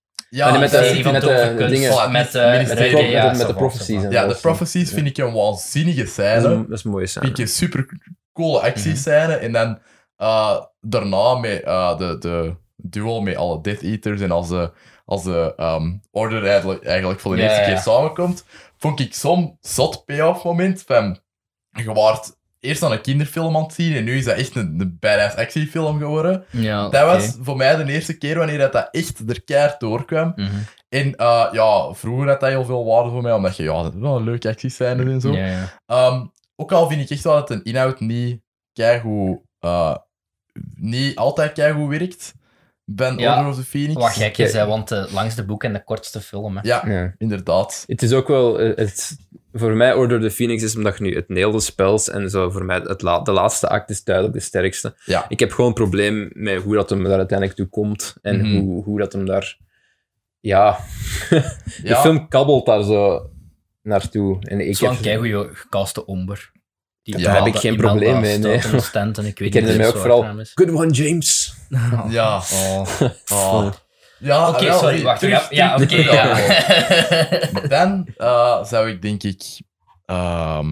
[SPEAKER 1] En
[SPEAKER 2] Ah,
[SPEAKER 3] ja,
[SPEAKER 1] Ah, die met de-
[SPEAKER 3] dat-
[SPEAKER 2] Serie van
[SPEAKER 1] met de-
[SPEAKER 2] dove
[SPEAKER 1] de
[SPEAKER 2] kunst,
[SPEAKER 1] dingen.
[SPEAKER 2] Met, eh,
[SPEAKER 3] Minister-
[SPEAKER 2] met,
[SPEAKER 1] Klopt,
[SPEAKER 2] eh, ja,
[SPEAKER 1] met, met
[SPEAKER 2] zo
[SPEAKER 1] de
[SPEAKER 2] van,
[SPEAKER 1] prophecies.
[SPEAKER 2] zo van.
[SPEAKER 1] en
[SPEAKER 3] ja,
[SPEAKER 1] zo.
[SPEAKER 3] de prophecies vind ik een waanzinnige
[SPEAKER 1] Dat is
[SPEAKER 3] scène.
[SPEAKER 2] Mhm.
[SPEAKER 1] een, dat is een mooie scène.
[SPEAKER 3] Vind ik een super coole actiescène. En dan eh, daarna met eh, de, de duel met alle Death Eaters en als de, als de ehm, Order eigenlijk, eigenlijk voor de
[SPEAKER 2] Ja,
[SPEAKER 3] eerste
[SPEAKER 2] ja,
[SPEAKER 3] keer
[SPEAKER 2] ja.
[SPEAKER 3] samenkomt, vond ik zo'n zot payoff moment van... Je waart eerst aan een kinderfilm aan het zien en nu is dat echt een, een badass actiefilm geworden.
[SPEAKER 2] Ja,
[SPEAKER 3] Dat
[SPEAKER 2] oké.
[SPEAKER 3] was voor mij de eerste keer wanneer dat, dat echt er keihard doorkwam.
[SPEAKER 2] Mhm.
[SPEAKER 3] En eh, ja, vroeger had dat heel veel waarde voor mij, omdat je ja, dat is wel een leuke actiescène en zo.
[SPEAKER 2] Ja, ja.
[SPEAKER 3] Ehm, ook al vind ik echt wel dat een inhoud niet keigoed, eh, niet altijd keigoed werkt. Ben
[SPEAKER 2] Ja.
[SPEAKER 3] Order of the Phoenix.
[SPEAKER 2] Wat gek is,
[SPEAKER 1] Oké.
[SPEAKER 2] hè, want eh, de langste boek en de kortste film. Hè.
[SPEAKER 3] Ja,
[SPEAKER 1] Ja.
[SPEAKER 3] inderdaad.
[SPEAKER 1] Het is ook wel... eh, Het, voor mij Order of the Phoenix is omdat je nu het nailde spels en zo. Voor mij het la- de laatste act is duidelijk de sterkste.
[SPEAKER 3] Ja.
[SPEAKER 1] Ik heb gewoon een probleem met hoe dat hem daar uiteindelijk toe komt. En
[SPEAKER 3] Mhm.
[SPEAKER 1] hoe, hoe dat hem daar... Ja... *laughs* De
[SPEAKER 3] Ja,
[SPEAKER 1] film kabbelt daar zo naartoe. En ik
[SPEAKER 2] Zo'n
[SPEAKER 1] heb...
[SPEAKER 2] keigoeie gecaste omber. Die
[SPEAKER 3] Ja,
[SPEAKER 1] daar heb
[SPEAKER 2] dat
[SPEAKER 1] ik geen
[SPEAKER 2] iemand
[SPEAKER 1] probleem
[SPEAKER 2] daar
[SPEAKER 1] mee.
[SPEAKER 2] staat
[SPEAKER 1] Nee.
[SPEAKER 2] aan de stand en ik weet
[SPEAKER 1] Ik ken
[SPEAKER 2] niet
[SPEAKER 1] hem
[SPEAKER 2] of
[SPEAKER 1] ook
[SPEAKER 2] het
[SPEAKER 1] vooral.
[SPEAKER 2] zwaar
[SPEAKER 1] *laughs*
[SPEAKER 2] is.
[SPEAKER 1] Good one, James.
[SPEAKER 3] Ja. Oh. Ja,
[SPEAKER 1] Ah,
[SPEAKER 2] Oké,
[SPEAKER 3] wel,
[SPEAKER 2] sorry,
[SPEAKER 3] nee,
[SPEAKER 2] wacht.
[SPEAKER 3] terug,
[SPEAKER 2] Ja, ja oké.
[SPEAKER 3] terug-
[SPEAKER 2] ja.
[SPEAKER 1] Oh.
[SPEAKER 3] Dan eh, zou ik denk ik... ehm,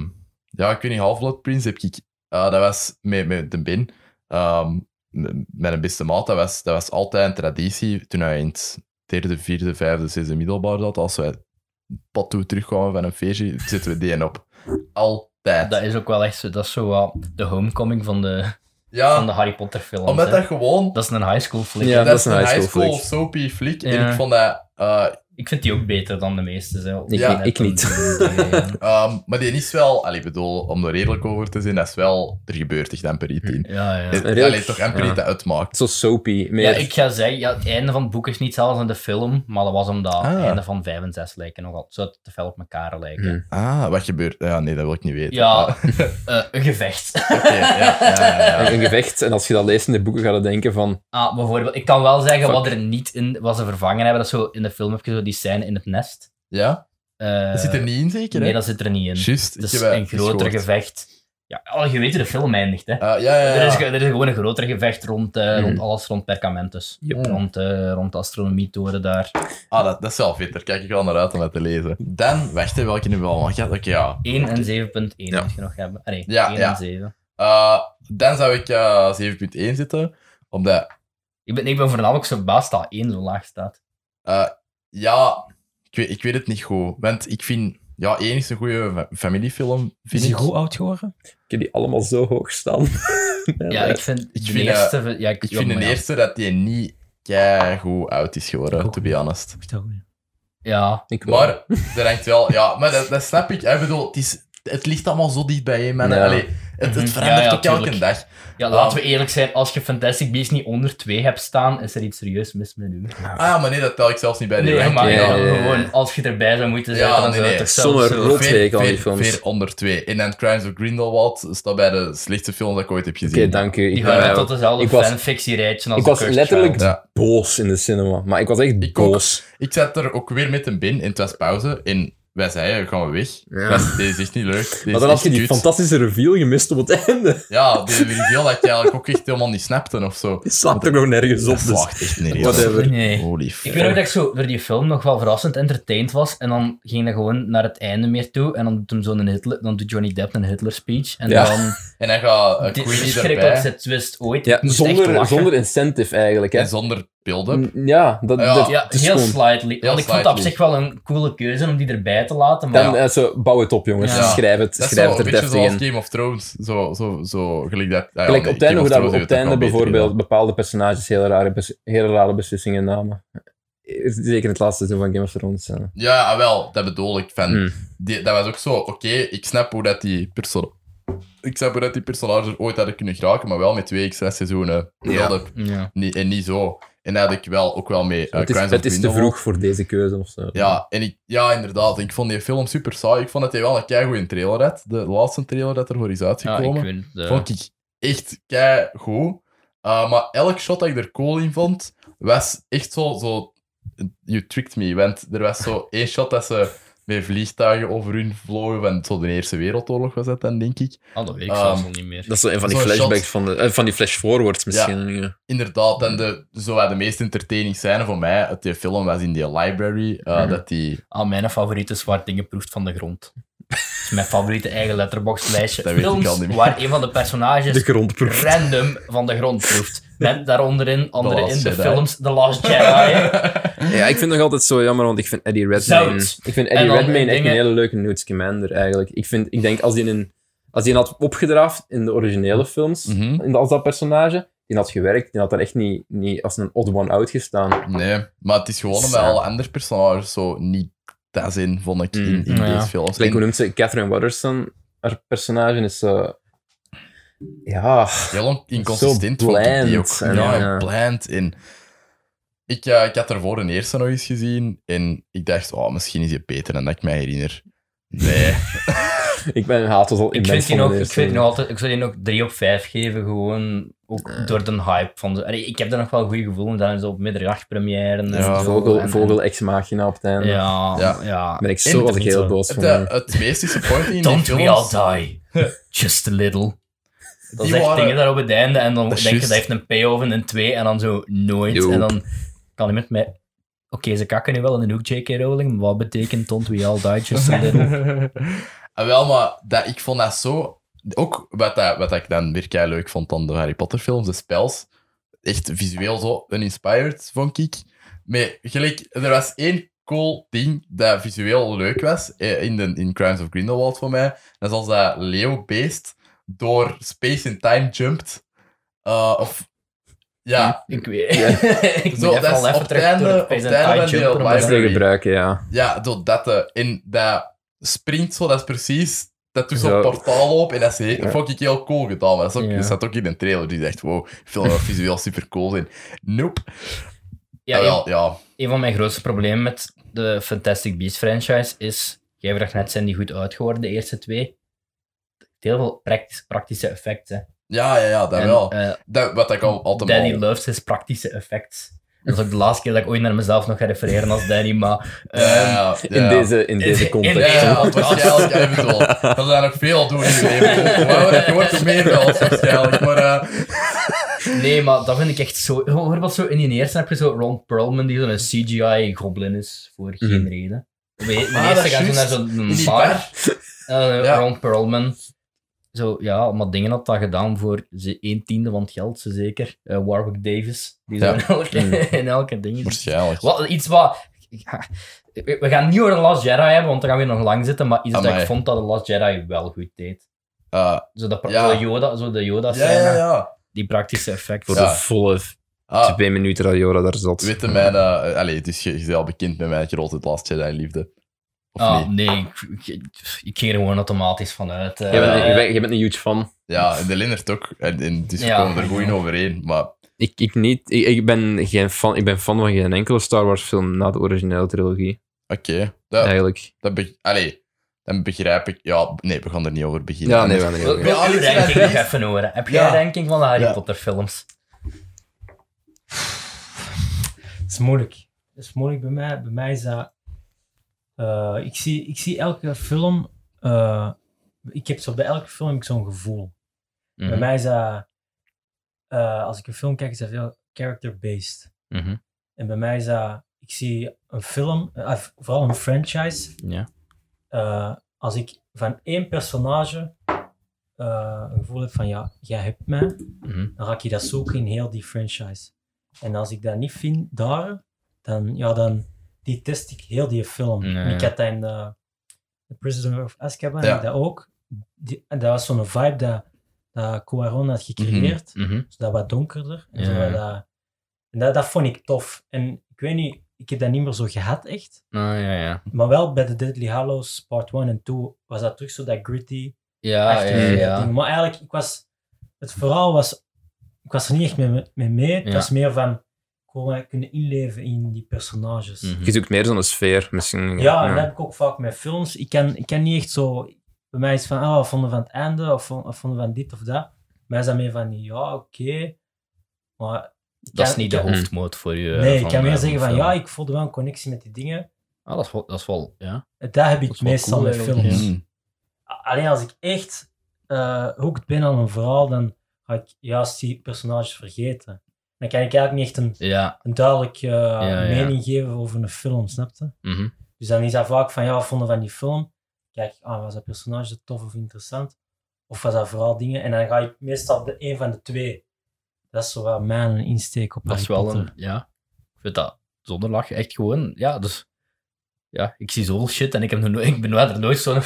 [SPEAKER 3] ja, ik weet niet, Half-Blood Prince heb ik... eh, dat was met, met de Ben, ehm, m- met een beste maat, dat was, dat was altijd een traditie. Toen hij in het derde, vierde, vijfde, zesde middelbaar zat, als wij pad toe terugkwamen van een feestje, zetten we die op. Altijd.
[SPEAKER 2] *laughs* Dat is ook wel echt zo, dat is zo wel de homecoming van de, van de
[SPEAKER 3] ja,
[SPEAKER 2] Harry Potter films.
[SPEAKER 3] omdat
[SPEAKER 2] hè.
[SPEAKER 3] dat gewoon...
[SPEAKER 2] Dat is een high school flick.
[SPEAKER 1] Ah. Ja.
[SPEAKER 2] hè.
[SPEAKER 3] dat, is een high school,
[SPEAKER 1] flick.
[SPEAKER 3] soapy flick. En
[SPEAKER 2] Ja.
[SPEAKER 3] ik vond dat... eh,
[SPEAKER 2] Ik vind die ook beter dan de meeste. Zo.
[SPEAKER 1] Ik-
[SPEAKER 3] Ja.
[SPEAKER 1] ik niet.
[SPEAKER 3] Ehm, maar die is wel, allee, ik bedoel, om er redelijk over te zijn, dat is wel, er gebeurt echt amper
[SPEAKER 2] Hm.
[SPEAKER 3] iets in.
[SPEAKER 2] Ja, ja.
[SPEAKER 3] Het-
[SPEAKER 1] Redelijk,
[SPEAKER 3] allee, toch amper
[SPEAKER 1] ja.
[SPEAKER 3] iets dat uitmaakt.
[SPEAKER 1] Zo soapy. Meer.
[SPEAKER 2] Ja, ik ga zeggen, ja, het einde van het boek is niet hetzelfde als in de film, maar dat was omdat het
[SPEAKER 3] Ah.
[SPEAKER 2] einde van 5 en 6 lijken nogal. Zou het te veel op elkaar lijken.
[SPEAKER 1] Hmm.
[SPEAKER 3] Ah, wat gebeurt? Ja, nee, dat wil ik niet weten.
[SPEAKER 2] Ja,
[SPEAKER 3] Ah,
[SPEAKER 2] eh, een gevecht. *laughs*
[SPEAKER 3] Oké, ja, ja, ja, ja.
[SPEAKER 1] Een gevecht. En als je dat leest in de boeken, ga je denken van...
[SPEAKER 2] Ah, bijvoorbeeld, ik kan wel zeggen
[SPEAKER 1] Fuck.
[SPEAKER 2] wat er niet in, wat ze vervangen hebben. Dat is zo in de film heb je zo die scène in het nest.
[SPEAKER 3] Ja?
[SPEAKER 2] Eh,
[SPEAKER 3] Dat zit er niet in, zeker? hè?
[SPEAKER 2] Nee, dat zit er niet in.
[SPEAKER 3] Juist,
[SPEAKER 2] het
[SPEAKER 3] ik
[SPEAKER 2] is
[SPEAKER 3] heb dat
[SPEAKER 2] een
[SPEAKER 3] eens
[SPEAKER 2] groter
[SPEAKER 3] gehoord.
[SPEAKER 2] gevecht. Ja, al je weet hoe de film eindigt, hè.
[SPEAKER 3] Ah, ja, ja, Hmm. ja.
[SPEAKER 2] Er, is, ge- er is gewoon een groter gevecht rond, eh,
[SPEAKER 1] Mhm.
[SPEAKER 2] rond alles, rond Percamentus.
[SPEAKER 1] Yep.
[SPEAKER 2] Rond, eh, rond de astronomietoren daar.
[SPEAKER 3] Ah, dat, dat is wel vet. Daar kijk ik wel naar uit om dat te lezen. Dan, wacht, hè, welke nu wel? Want ja, Oké, ja.
[SPEAKER 2] 1 en 7.1
[SPEAKER 3] Ja.
[SPEAKER 2] moet je nog hebben. Ah, nee,
[SPEAKER 3] Ja,
[SPEAKER 2] 1
[SPEAKER 3] ja.
[SPEAKER 2] en 7.
[SPEAKER 3] Eh, dan zou ik eh, 7.1 zitten, omdat
[SPEAKER 2] Ik ben, ik ben voornamelijk zo verbaasd dat 1 zo laag staat.
[SPEAKER 3] eh, Ja, ik weet, ik weet het niet goed. Want ik vind... Ja, één is een goede fa- familiefilm,
[SPEAKER 4] Is
[SPEAKER 3] vind
[SPEAKER 4] hij
[SPEAKER 3] ik.
[SPEAKER 4] goed oud geworden?
[SPEAKER 1] Ik heb die allemaal zo hoog staan. *laughs*
[SPEAKER 2] Ja, ik vind de
[SPEAKER 3] vind, eh,
[SPEAKER 2] eerste... ja, ik,
[SPEAKER 3] Ik
[SPEAKER 2] ja,
[SPEAKER 3] vind
[SPEAKER 2] maar
[SPEAKER 3] de
[SPEAKER 2] ja.
[SPEAKER 3] eerste dat die niet keigoed oud is geworden,
[SPEAKER 4] Ook
[SPEAKER 3] to
[SPEAKER 4] niet.
[SPEAKER 3] be honest.
[SPEAKER 4] Wacht, dat goed.
[SPEAKER 2] Ja,
[SPEAKER 1] Ik wel.
[SPEAKER 3] Maar, dat hangt wel... Ja, maar dat, dat snap ik. Ik bedoel, het, is, het ligt allemaal zo dicht bij je, man.
[SPEAKER 1] Ja.
[SPEAKER 3] Allee, het,
[SPEAKER 2] Mhm.
[SPEAKER 3] het verandert
[SPEAKER 2] Ja, ja,
[SPEAKER 3] ook elke
[SPEAKER 2] tuurlijk.
[SPEAKER 3] dag.
[SPEAKER 2] ja laten we
[SPEAKER 3] Ah.
[SPEAKER 2] eerlijk zijn. Als je Fantastic Beasts niet onder 2 hebt staan, is er iets serieus mis met u. *laughs*
[SPEAKER 3] Ah, maar nee, dat tel ik zelfs niet bij de
[SPEAKER 2] Nee,
[SPEAKER 3] ranking.
[SPEAKER 2] maar
[SPEAKER 1] ja,
[SPEAKER 2] ja,
[SPEAKER 1] ja, ja.
[SPEAKER 2] gewoon als je erbij zou moeten zijn,
[SPEAKER 3] Ja,
[SPEAKER 2] dan
[SPEAKER 3] nee,
[SPEAKER 2] zou het
[SPEAKER 3] nee.
[SPEAKER 2] toch zelfs...
[SPEAKER 1] Zonder
[SPEAKER 2] zo-
[SPEAKER 1] rot. Rotweek al die
[SPEAKER 3] Veer-
[SPEAKER 1] films.
[SPEAKER 3] veer onder twee. In And Crimes of Grindelwald staat bij de slechtste film dat ik ooit heb
[SPEAKER 1] Oké,
[SPEAKER 3] gezien.
[SPEAKER 1] dank u. Ik,
[SPEAKER 2] Die
[SPEAKER 1] ben-
[SPEAKER 2] waren tot dezelfde
[SPEAKER 1] ik was-
[SPEAKER 2] fanfictie-rijtje als
[SPEAKER 1] ik
[SPEAKER 2] de
[SPEAKER 1] was
[SPEAKER 2] Cursed
[SPEAKER 1] letterlijk
[SPEAKER 2] Child.
[SPEAKER 3] Ja.
[SPEAKER 1] boos in de cinema. Maar ik was echt
[SPEAKER 3] Ik ook.
[SPEAKER 1] boos.
[SPEAKER 3] Ik zat er ook weer met een bin in het was pauze. En wij zeiden, gaan we weg.
[SPEAKER 1] Ja.
[SPEAKER 3] Dat- Deze is echt niet leuk. Deze
[SPEAKER 1] Maar dan
[SPEAKER 3] is
[SPEAKER 1] had je die
[SPEAKER 3] kut.
[SPEAKER 1] fantastische reveal gemist op het *laughs* einde.
[SPEAKER 3] Ja, die reveal dat je eigenlijk ook echt helemaal niet snapte of zo.
[SPEAKER 1] Die slaat er nog nergens op. Dus.
[SPEAKER 3] Dat slaagt echt niet
[SPEAKER 1] Whatever.
[SPEAKER 3] heel
[SPEAKER 1] letterlijk-
[SPEAKER 2] Nee.
[SPEAKER 3] Holy
[SPEAKER 2] Ik
[SPEAKER 3] fuck.
[SPEAKER 2] weet ook dat ik zo door die film nog wel verrassend entertained was. En dan ging dat gewoon naar het einde meer toe. En dan doet, hem zo een Hitler, dan doet Johnny Depp een Hitler speech. En
[SPEAKER 3] *laughs*
[SPEAKER 1] Ja.
[SPEAKER 2] dan
[SPEAKER 3] En dan gaat eh,
[SPEAKER 2] dit is de
[SPEAKER 3] Queenie erbij.
[SPEAKER 2] verschrikkelijkste twist ooit.
[SPEAKER 1] Ja,
[SPEAKER 2] Ik moest echt
[SPEAKER 1] zonder,
[SPEAKER 2] lachen.
[SPEAKER 1] zonder incentive eigenlijk. Hè.
[SPEAKER 3] En zonder build-up.
[SPEAKER 1] Mm, Ja, dat,
[SPEAKER 3] Ja.
[SPEAKER 1] dat
[SPEAKER 2] Ja,
[SPEAKER 1] het is
[SPEAKER 2] heel
[SPEAKER 1] gewoon-
[SPEAKER 2] slightly.
[SPEAKER 3] Heel
[SPEAKER 2] Want ik vond dat op
[SPEAKER 3] slightly.
[SPEAKER 2] zich wel een coole keuze om die erbij te laten. Maar
[SPEAKER 1] Dan,
[SPEAKER 2] ja,
[SPEAKER 1] eh, zo, bouw het op, jongens.
[SPEAKER 2] Ja.
[SPEAKER 1] Schrijf het,
[SPEAKER 3] Dat is
[SPEAKER 1] schrijf
[SPEAKER 3] zo
[SPEAKER 1] het
[SPEAKER 3] een
[SPEAKER 1] er
[SPEAKER 3] beetje
[SPEAKER 1] deftig
[SPEAKER 3] zoals
[SPEAKER 1] in.
[SPEAKER 3] Game of Thrones. Zo, zo, zo gelijk dat... ah ja,
[SPEAKER 1] Gelijk,
[SPEAKER 3] nee,
[SPEAKER 1] op het einde,
[SPEAKER 3] Game
[SPEAKER 1] hoe dat we
[SPEAKER 3] of
[SPEAKER 1] op
[SPEAKER 3] Thrones
[SPEAKER 1] het
[SPEAKER 3] heeft
[SPEAKER 1] einde
[SPEAKER 3] dat wel beter
[SPEAKER 1] bijvoorbeeld bepaalde personages hele rare, bes- hele rare beslissingen namen. Eh, Zeker het laatste seizoen van Game of Thrones. eh.
[SPEAKER 3] gedaan. Ja, ah, wel. Dat bedoel ik. Van,
[SPEAKER 1] Hmm.
[SPEAKER 3] die, dat was ook zo, oké, ik snap hoe dat die persoon... Ik snap hoe dat die personages er ooit hadden kunnen geraken, maar wel met twee x seizoenen
[SPEAKER 1] Ja.
[SPEAKER 3] build-up.
[SPEAKER 2] ja.
[SPEAKER 3] Niet, en niet zo. En dat had ik wel ook wel mee. eh,
[SPEAKER 1] het is,
[SPEAKER 3] Crimes
[SPEAKER 1] het
[SPEAKER 3] of
[SPEAKER 1] is te
[SPEAKER 3] Grindelwald.
[SPEAKER 1] vroeg voor deze keuze of zo.
[SPEAKER 3] Ja, en ik, ja, inderdaad. Ik vond die film super saai. Ik vond dat hij wel een keigoede trailer had. De laatste trailer dat ervoor is
[SPEAKER 2] ja,
[SPEAKER 3] uitgekomen.
[SPEAKER 2] ik weet het. eh.
[SPEAKER 3] Vond ik echt keigoed. Eh maar elk shot dat ik er cool in vond, was echt zo, zo... You tricked me. Want er was
[SPEAKER 2] *laughs*
[SPEAKER 3] zo één shot dat ze met vliegtuigen over hun vlogen. Van zo de Eerste Wereldoorlog was dat dan, denk ik.
[SPEAKER 2] Ah, dat weet ik
[SPEAKER 3] Ehm,
[SPEAKER 2] zelfs al niet meer.
[SPEAKER 1] is zo een van
[SPEAKER 3] die Zo'n flashbacks shot.
[SPEAKER 1] van, de, van die flash-forwards
[SPEAKER 3] misschien,
[SPEAKER 1] Ja.
[SPEAKER 3] Inderdaad, en de, zo wat de meest entertaining scène voor mij uit die film was in die library. eh,
[SPEAKER 1] Mhm.
[SPEAKER 3] Dat die...
[SPEAKER 2] Ah, mijn favoriet is waar dingen proeft van de grond. Dat is mijn favoriete eigen letterboxlijstje.
[SPEAKER 3] Dat weet ik
[SPEAKER 2] Films
[SPEAKER 3] al niet meer.
[SPEAKER 2] waar een van de personages
[SPEAKER 1] De grondproef.
[SPEAKER 2] random van de grond proeft. Met daaronderin, andere
[SPEAKER 3] Last
[SPEAKER 2] in de
[SPEAKER 3] Jedi.
[SPEAKER 2] films, The Last Jedi.
[SPEAKER 1] Ja, ik vind het nog altijd zo jammer, want ik vind Eddie Redmayne...
[SPEAKER 2] Zout.
[SPEAKER 1] Ik vind
[SPEAKER 2] En
[SPEAKER 1] Eddie
[SPEAKER 2] dan
[SPEAKER 1] Redmayne echt
[SPEAKER 2] dingen-
[SPEAKER 1] een hele leuke Newt Scamander, eigenlijk. Ik, vind, ik denk, als die, een, als die een had opgedraafd in de originele films,
[SPEAKER 3] Mhm.
[SPEAKER 1] in de- als dat personage, die had gewerkt, die had er echt niet, niet als een odd one out gestaan.
[SPEAKER 3] Nee, maar het is gewoon omdat
[SPEAKER 1] Saai.
[SPEAKER 3] alle andere personages zo niet dat zijn, vond ik, in, in
[SPEAKER 2] Mm, ja.
[SPEAKER 3] deze films.
[SPEAKER 1] Like, hoe
[SPEAKER 3] En
[SPEAKER 1] noemt ze? Catherine Watterson, haar personage is zo... Ja...
[SPEAKER 3] heel inconsistent
[SPEAKER 1] Zo
[SPEAKER 3] vond ik die ook.
[SPEAKER 1] bland en,
[SPEAKER 3] ja,
[SPEAKER 1] ja.
[SPEAKER 3] bland. En ik, eh, ik had ervoor een eerste nog eens gezien en ik dacht, oh, misschien is hij beter dan dat ik mij herinner. Nee.
[SPEAKER 1] Ik ben haat was al
[SPEAKER 2] ik
[SPEAKER 1] immens
[SPEAKER 2] vind die
[SPEAKER 1] van eh. de
[SPEAKER 2] nog, ik
[SPEAKER 1] eerste.
[SPEAKER 2] vind die nog altijd, ik zou die nog 3 op 5 geven, gewoon ook door de hype van de, allee, ik heb daar nog wel een goed gevoel in, dan is het op midderjacht première en
[SPEAKER 3] Ja,
[SPEAKER 2] zo, en-
[SPEAKER 1] Vogel,
[SPEAKER 2] en-
[SPEAKER 1] vogel ex machina op het einde.
[SPEAKER 2] eh, Ja,
[SPEAKER 3] Ja.
[SPEAKER 2] ja.
[SPEAKER 1] Ben ik
[SPEAKER 3] En
[SPEAKER 1] zo was ik
[SPEAKER 2] het-
[SPEAKER 1] heel boos
[SPEAKER 3] Het,
[SPEAKER 1] van.
[SPEAKER 3] eh, het meest disappointing in die
[SPEAKER 2] Don't we all
[SPEAKER 3] films...
[SPEAKER 2] die?
[SPEAKER 3] *laughs*
[SPEAKER 2] Just a little. Dat is
[SPEAKER 3] Die
[SPEAKER 2] echt
[SPEAKER 3] waren-
[SPEAKER 2] dingen daar op het einde en dan
[SPEAKER 3] Dat is
[SPEAKER 2] denk je dat
[SPEAKER 3] juist.
[SPEAKER 2] heeft een payoff en een twee en dan zo nooit.
[SPEAKER 1] Joep.
[SPEAKER 2] En dan kan iemand mij... Oké, ze kakken nu wel in de hoek, J.K. Rowling, maar wat betekent Don't We All Die Just a
[SPEAKER 3] *laughs*
[SPEAKER 2] Little?
[SPEAKER 3] En Ah, wel, maar dat, ik vond dat zo... Ook wat, dat, wat ik dan weer kei leuk vond aan de Harry Potter films, de spels. Echt visueel zo uninspired, vond ik. Maar gelijk, er was één cool ding dat visueel leuk was eh, in, de, in Crimes of Grindelwald voor mij. Dat is als dat leeuwbeest door space and time jumpt. Eh, of... Ja,
[SPEAKER 2] ik weet
[SPEAKER 1] Ja.
[SPEAKER 2] *laughs* Ik moet
[SPEAKER 3] Zo,
[SPEAKER 2] even
[SPEAKER 3] dat is
[SPEAKER 2] al even
[SPEAKER 3] op
[SPEAKER 2] terug
[SPEAKER 3] het einde-
[SPEAKER 2] door het
[SPEAKER 3] op
[SPEAKER 2] face
[SPEAKER 3] het
[SPEAKER 2] and
[SPEAKER 3] einde
[SPEAKER 2] tie jumpen
[SPEAKER 3] van die
[SPEAKER 2] om
[SPEAKER 1] Dat
[SPEAKER 2] dat
[SPEAKER 1] is
[SPEAKER 3] live-
[SPEAKER 1] te
[SPEAKER 2] te-
[SPEAKER 1] gebruiken, ja.
[SPEAKER 3] Ja, door dat. eh, en dat springt zo, dat is precies. Dat doet
[SPEAKER 1] Zo.
[SPEAKER 3] zo'n portaal op en dat is he-
[SPEAKER 1] Ja.
[SPEAKER 3] vond ik heel cool gedaan. Maar dat, is ook,
[SPEAKER 2] Ja.
[SPEAKER 3] dat staat ook in een trailer die zegt: wow, film gaat visueel super cool zijn. Nope.
[SPEAKER 2] Ja,
[SPEAKER 3] Ah,
[SPEAKER 2] ja,
[SPEAKER 3] wel, ja.
[SPEAKER 2] een van mijn grootste problemen met de Fantastic Beasts franchise is, jij vraagt net, zijn die goed uitgeworden, de eerste twee? Heel veel praktische, praktische effecten.
[SPEAKER 3] Ja, ja, ja, dat
[SPEAKER 2] En,
[SPEAKER 3] wel.
[SPEAKER 2] eh,
[SPEAKER 3] Dat, wat ik al altijd
[SPEAKER 2] Danny
[SPEAKER 3] al-
[SPEAKER 2] loves his praktische effects. Dat is ook de laatste keer dat ik ooit naar mezelf nog ga refereren als Danny, maar...
[SPEAKER 3] Ja,
[SPEAKER 2] ehm, *laughs*
[SPEAKER 3] *laughs* ja, ja.
[SPEAKER 1] In, Deze, in deze
[SPEAKER 3] Ja,
[SPEAKER 1] context.
[SPEAKER 3] ja,
[SPEAKER 2] Ja.
[SPEAKER 3] want waarschijnlijk, ja, ik bedoel, dat we daar nog veel doen in je
[SPEAKER 2] *laughs*
[SPEAKER 3] leven. Maar je wordt er meer wel, waarschijnlijk. Maar, eh,
[SPEAKER 2] ehm, Nee, maar dat vind ik echt zo... Bijvoorbeeld zo in die eerste heb je zo Ron Perlman, die zo'n CGI-goblin is, voor geen
[SPEAKER 1] Mhm.
[SPEAKER 2] reden. In de
[SPEAKER 3] Ah, dat
[SPEAKER 2] eerste
[SPEAKER 3] is
[SPEAKER 2] gaat ze naar
[SPEAKER 3] juist. in
[SPEAKER 2] zo'n
[SPEAKER 3] die
[SPEAKER 2] bar,
[SPEAKER 3] bar.
[SPEAKER 2] *laughs* Eh,
[SPEAKER 3] Ja.
[SPEAKER 2] Ron Perlman. Zo, ja, allemaal dingen had dat gedaan voor ze een tiende van het geld, ze zeker. Eh, Warwick Davis, die zo
[SPEAKER 3] Ja.
[SPEAKER 2] in, elke,
[SPEAKER 1] Mm.
[SPEAKER 2] *laughs* in elke ding is.
[SPEAKER 3] Waarschijnlijk.
[SPEAKER 2] Wat, iets wat... ja, we we gaan niet over The Last Jedi hebben, want daar gaan we nog lang zitten, maar iets dat
[SPEAKER 3] Amai.
[SPEAKER 2] ik vond dat The Last Jedi wel goed deed.
[SPEAKER 3] Eh,
[SPEAKER 2] Zo, dat,
[SPEAKER 3] Ja.
[SPEAKER 2] zo Yoda, zo de
[SPEAKER 3] ja,
[SPEAKER 2] Yoda-scène,
[SPEAKER 3] ja, ja.
[SPEAKER 2] die praktische effecten.
[SPEAKER 1] Voor
[SPEAKER 3] Ja.
[SPEAKER 1] de volle
[SPEAKER 3] Ah,
[SPEAKER 1] twee minuten dat Jora daar zat.
[SPEAKER 3] Weet je mijn... eh, eh, allee, dus je, je bent al bekend met mijn grote Last Jedi-liefde. Of
[SPEAKER 2] Ah,
[SPEAKER 3] niet?
[SPEAKER 2] nee, ik, ik, ik ging er gewoon automatisch vanuit. eh.
[SPEAKER 1] Jij bent, jij bent- jij bent een huge fan.
[SPEAKER 3] Ja, en de Lindert ook. En, en dus
[SPEAKER 2] Ja.
[SPEAKER 3] we komen er goed in overeen. Maar
[SPEAKER 1] Ik, ik niet. Ik, ik ben geen fan. Ik ben fan van geen enkele Star Wars film na de originele trilogie.
[SPEAKER 3] oké, dat,
[SPEAKER 1] Eigenlijk.
[SPEAKER 3] dat be- allee, dan begrijp ik... Ja, nee, we gaan er niet over beginnen.
[SPEAKER 1] Ja, nee, we gaan er niet
[SPEAKER 2] Wil,
[SPEAKER 1] over.
[SPEAKER 2] wil
[SPEAKER 3] Ja,
[SPEAKER 2] uw
[SPEAKER 3] dit is
[SPEAKER 2] ranking nog
[SPEAKER 3] mijn
[SPEAKER 2] even horen? Heb jij
[SPEAKER 3] Ja.
[SPEAKER 2] een ranking van de Harry
[SPEAKER 3] Ja.
[SPEAKER 2] Potter films?
[SPEAKER 4] Het is moeilijk. Het is moeilijk bij mij. Bij mij is dat. eh, ik, zie, ik zie elke film. eh, ik heb zo, bij elke film heb ik zo'n gevoel.
[SPEAKER 2] Mhm.
[SPEAKER 4] Bij mij is dat. eh, als ik een film kijk, is dat veel character-based.
[SPEAKER 2] Mhm.
[SPEAKER 4] En bij mij is dat. Ik zie een film, eh, vooral een franchise.
[SPEAKER 2] Ja.
[SPEAKER 4] eh, als ik van één personage eh, een gevoel heb van ja, jij hebt mij,
[SPEAKER 2] Mhm.
[SPEAKER 4] dan raak je dat zoeken in heel die franchise. En als ik dat niet vind daar, dan, ja, dan die test ik heel die film.
[SPEAKER 2] Ja,
[SPEAKER 4] En Ik
[SPEAKER 2] ja.
[SPEAKER 4] had dat in eh, The Prisoner of Azkaban,
[SPEAKER 3] Ja.
[SPEAKER 4] had ik dat ook. Die, en dat was zo'n vibe dat, dat Cuarón had gecreëerd.
[SPEAKER 2] Mhm.
[SPEAKER 4] Dus dat wat donkerder. En,
[SPEAKER 2] Ja.
[SPEAKER 4] zo wat dat, en dat, dat vond ik tof. En ik weet niet, ik heb dat niet meer zo gehad echt.
[SPEAKER 2] Ah, ja, ja.
[SPEAKER 4] Maar wel bij de Deadly Hallows Part 1 en 2 was dat terug zo dat gritty.
[SPEAKER 2] Ja, Ah, ja,
[SPEAKER 4] achtige
[SPEAKER 2] ja.
[SPEAKER 4] eh, ding. Maar eigenlijk, ik was, het verhaal was, ik was er niet echt mee, mee, mee. Het
[SPEAKER 2] Ja.
[SPEAKER 4] was meer van, ik wil mij kunnen inleven in die personages.
[SPEAKER 2] Mhm.
[SPEAKER 3] Hm.
[SPEAKER 1] Je zoekt meer zo'n sfeer. Misschien.
[SPEAKER 4] Ja, en dat heb ik ook vaak met films. Ik kan, ik kan niet echt zo, bij mij is van, ah, wat vonden we van het einde, of vond- wat vonden we van dit of dat. Mij is dat meer van, ja, oké. Maar
[SPEAKER 2] Dat is
[SPEAKER 4] kan-
[SPEAKER 2] niet de
[SPEAKER 4] kan-
[SPEAKER 2] hoofdmoot voor je. eh,
[SPEAKER 4] Nee, ik
[SPEAKER 2] van,
[SPEAKER 4] kan
[SPEAKER 2] eh,
[SPEAKER 4] meer zeggen van,
[SPEAKER 2] film.
[SPEAKER 4] ja, ik voelde wel een connectie met die dingen.
[SPEAKER 2] Ah, dat, is wel, dat is wel, ja.
[SPEAKER 4] Dat heb ik
[SPEAKER 2] Dat is wel
[SPEAKER 4] meestal
[SPEAKER 2] cool
[SPEAKER 4] met
[SPEAKER 2] eigenlijk,
[SPEAKER 4] films.
[SPEAKER 2] ja.
[SPEAKER 3] Mm.
[SPEAKER 4] Alleen als ik echt eh hooked ben aan een verhaal, dan ga ik juist die personages vergeten. Dan kan ik eigenlijk niet echt een,
[SPEAKER 2] Ja.
[SPEAKER 4] een duidelijke eh,
[SPEAKER 2] ja.
[SPEAKER 4] mening geven over een film, snapte?
[SPEAKER 2] Mhm.
[SPEAKER 4] Dus dan is dat vaak van, ja, wat vonden we van die film? Kijk, ik, ah, was dat personage tof of interessant? Of was dat vooral dingen? En dan ga ik meestal op de een van de twee. Dat is zo wel mijn insteek op
[SPEAKER 2] Dat is
[SPEAKER 4] Harry
[SPEAKER 2] wel een,
[SPEAKER 4] Potter.
[SPEAKER 2] ja. Ik vind dat zonder lach echt gewoon, ja, dus. Ja, ik zie zoveel shit en ik, heb nog, nooit- ik ben er nooit *laughs* zo'n
[SPEAKER 1] Ja.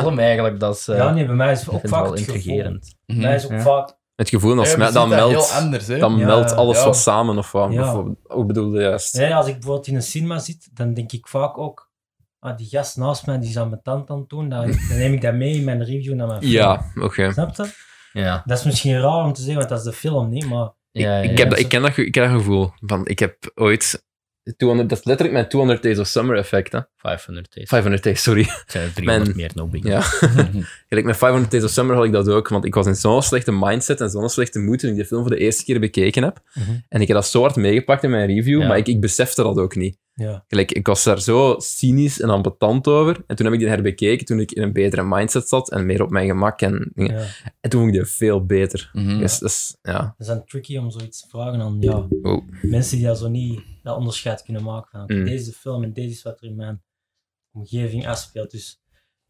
[SPEAKER 2] film eigenlijk. Dat is, eh,
[SPEAKER 4] Ja, nee, bij mij is het
[SPEAKER 2] ik
[SPEAKER 4] ook
[SPEAKER 2] vind het
[SPEAKER 4] vaak
[SPEAKER 2] wel
[SPEAKER 4] het gevoel.
[SPEAKER 2] intrigerend.
[SPEAKER 3] Mm-hmm.
[SPEAKER 4] Bij mij is ook vaak...
[SPEAKER 1] Het gevoel dat,
[SPEAKER 3] Ja,
[SPEAKER 1] smet-
[SPEAKER 3] we
[SPEAKER 1] dat
[SPEAKER 3] zien dat
[SPEAKER 1] meldt.
[SPEAKER 3] heel anders, hè?
[SPEAKER 1] Dan
[SPEAKER 4] Ja,
[SPEAKER 1] meldt alles
[SPEAKER 3] ja.
[SPEAKER 1] wat samen of wat.
[SPEAKER 4] Ja.
[SPEAKER 1] Of, ook bedoelde juist.
[SPEAKER 4] Nee, als ik bijvoorbeeld in een cinema zit, dan denk ik vaak ook, ah, die gast naast mij die is aan mijn tand aan het
[SPEAKER 2] *laughs*
[SPEAKER 4] doen, dan, dan neem ik dat mee in mijn review naar mijn film.
[SPEAKER 1] Ja, oké.
[SPEAKER 4] Snap je?
[SPEAKER 2] Ja.
[SPEAKER 4] Dat is misschien raar om te zeggen, want dat is de film, niet? Maar
[SPEAKER 2] Ja,
[SPEAKER 1] ik, ik,
[SPEAKER 2] ja, ja.
[SPEAKER 1] heb dat, ik ken dat, ge- ik ken dat gevoel. Van, ik heb ooit... 200, dat is letterlijk mijn 200 Days of Summer effect. Hè?
[SPEAKER 2] 500 days.
[SPEAKER 1] 500 Days, sorry.
[SPEAKER 2] Het zijn er 300
[SPEAKER 1] Mijn-
[SPEAKER 2] meer, no big.
[SPEAKER 1] Ja. *laughs* Gelijk met 500 Days of Summer had ik dat ook, want ik was in zo'n slechte mindset en zo'n slechte moed toen ik die film voor de eerste keer bekeken heb.
[SPEAKER 4] Mhm.
[SPEAKER 1] En ik heb dat zo hard meegepakt in mijn review,
[SPEAKER 2] Ja.
[SPEAKER 1] maar ik, ik besefte dat ook niet.
[SPEAKER 4] Ja.
[SPEAKER 1] Gelijk, ik was daar zo cynisch en ambetant over. En toen heb ik die herbekeken toen ik in een betere mindset zat en meer op mijn gemak. En, dingen.
[SPEAKER 4] ja.
[SPEAKER 1] en toen vond ik die veel beter.
[SPEAKER 3] Mhm.
[SPEAKER 1] Dus, dus, ja.
[SPEAKER 4] Dat is dan tricky om zoiets te vragen aan ja,
[SPEAKER 1] Oh.
[SPEAKER 4] mensen die dat zo niet dat onderscheid kunnen maken. Van, oké,
[SPEAKER 1] Mm.
[SPEAKER 4] Deze is de film en deze is wat er in mijn omgeving afspeelt. Dus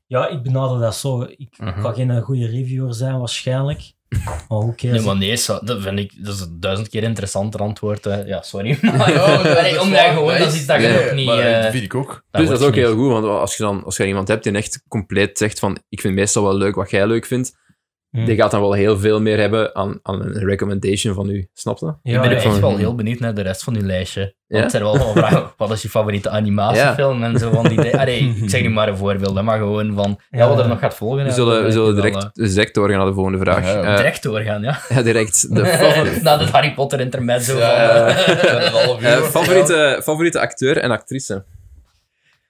[SPEAKER 4] ja, ik benader dat zo. Ik
[SPEAKER 1] Mhm.
[SPEAKER 4] ga geen eh, goede reviewer zijn waarschijnlijk. Maar hoe
[SPEAKER 2] Nee,
[SPEAKER 4] cares?
[SPEAKER 2] maar nee, zo- dat vind ik dat is een duizend keer interessanter antwoord. hè. Ja,
[SPEAKER 1] *laughs*
[SPEAKER 2] sorry. *laughs* Maar,
[SPEAKER 3] *laughs*
[SPEAKER 1] Dus
[SPEAKER 3] Ja, dat is
[SPEAKER 2] nee, omdat
[SPEAKER 3] waar,
[SPEAKER 2] gewoon, dat is iets dat je
[SPEAKER 1] Nee,
[SPEAKER 2] nog niet...
[SPEAKER 3] Maar
[SPEAKER 2] eh,
[SPEAKER 3] dat vind ik ook.
[SPEAKER 2] dat
[SPEAKER 1] Plus, Dus dat is ook
[SPEAKER 2] wordt
[SPEAKER 1] heel
[SPEAKER 2] niet.
[SPEAKER 1] goed, want als je dan als je iemand hebt die echt compleet zegt van ik vind meestal wel leuk wat jij leuk vindt,
[SPEAKER 4] Mm.
[SPEAKER 1] die gaat dan wel heel veel meer hebben aan, aan een recommendation van u. Snap je?
[SPEAKER 4] Ja,
[SPEAKER 2] Ik ben
[SPEAKER 4] ja.
[SPEAKER 2] echt
[SPEAKER 1] van-
[SPEAKER 2] wel heel benieuwd naar de rest van uw lijstje. Want
[SPEAKER 1] Ja.
[SPEAKER 2] het zijn wel gewoon vragen, wat is je favoriete animatiefilm en zo
[SPEAKER 1] *laughs*
[SPEAKER 2] van die dingen. Allee, ik zeg nu maar een voorbeeld, hè, maar gewoon van ja, wat er nog gaat volgen.
[SPEAKER 1] We
[SPEAKER 2] ja,
[SPEAKER 1] zullen, we
[SPEAKER 2] dat
[SPEAKER 1] zullen
[SPEAKER 2] weet ik wel,
[SPEAKER 1] direct, dus direct doorgaan naar de volgende vraag.
[SPEAKER 3] Ja,
[SPEAKER 1] Eh,
[SPEAKER 2] eh, direct doorgaan, *laughs* ja.
[SPEAKER 1] ja, *laughs* direct. De favori-
[SPEAKER 2] Na het Harry Potter intermezzo.
[SPEAKER 3] Ja,
[SPEAKER 2] van,
[SPEAKER 3] ja,
[SPEAKER 2] eh,
[SPEAKER 3] *laughs* ja. Een half uur.
[SPEAKER 1] eh, favoriete, favoriete acteur en actrice?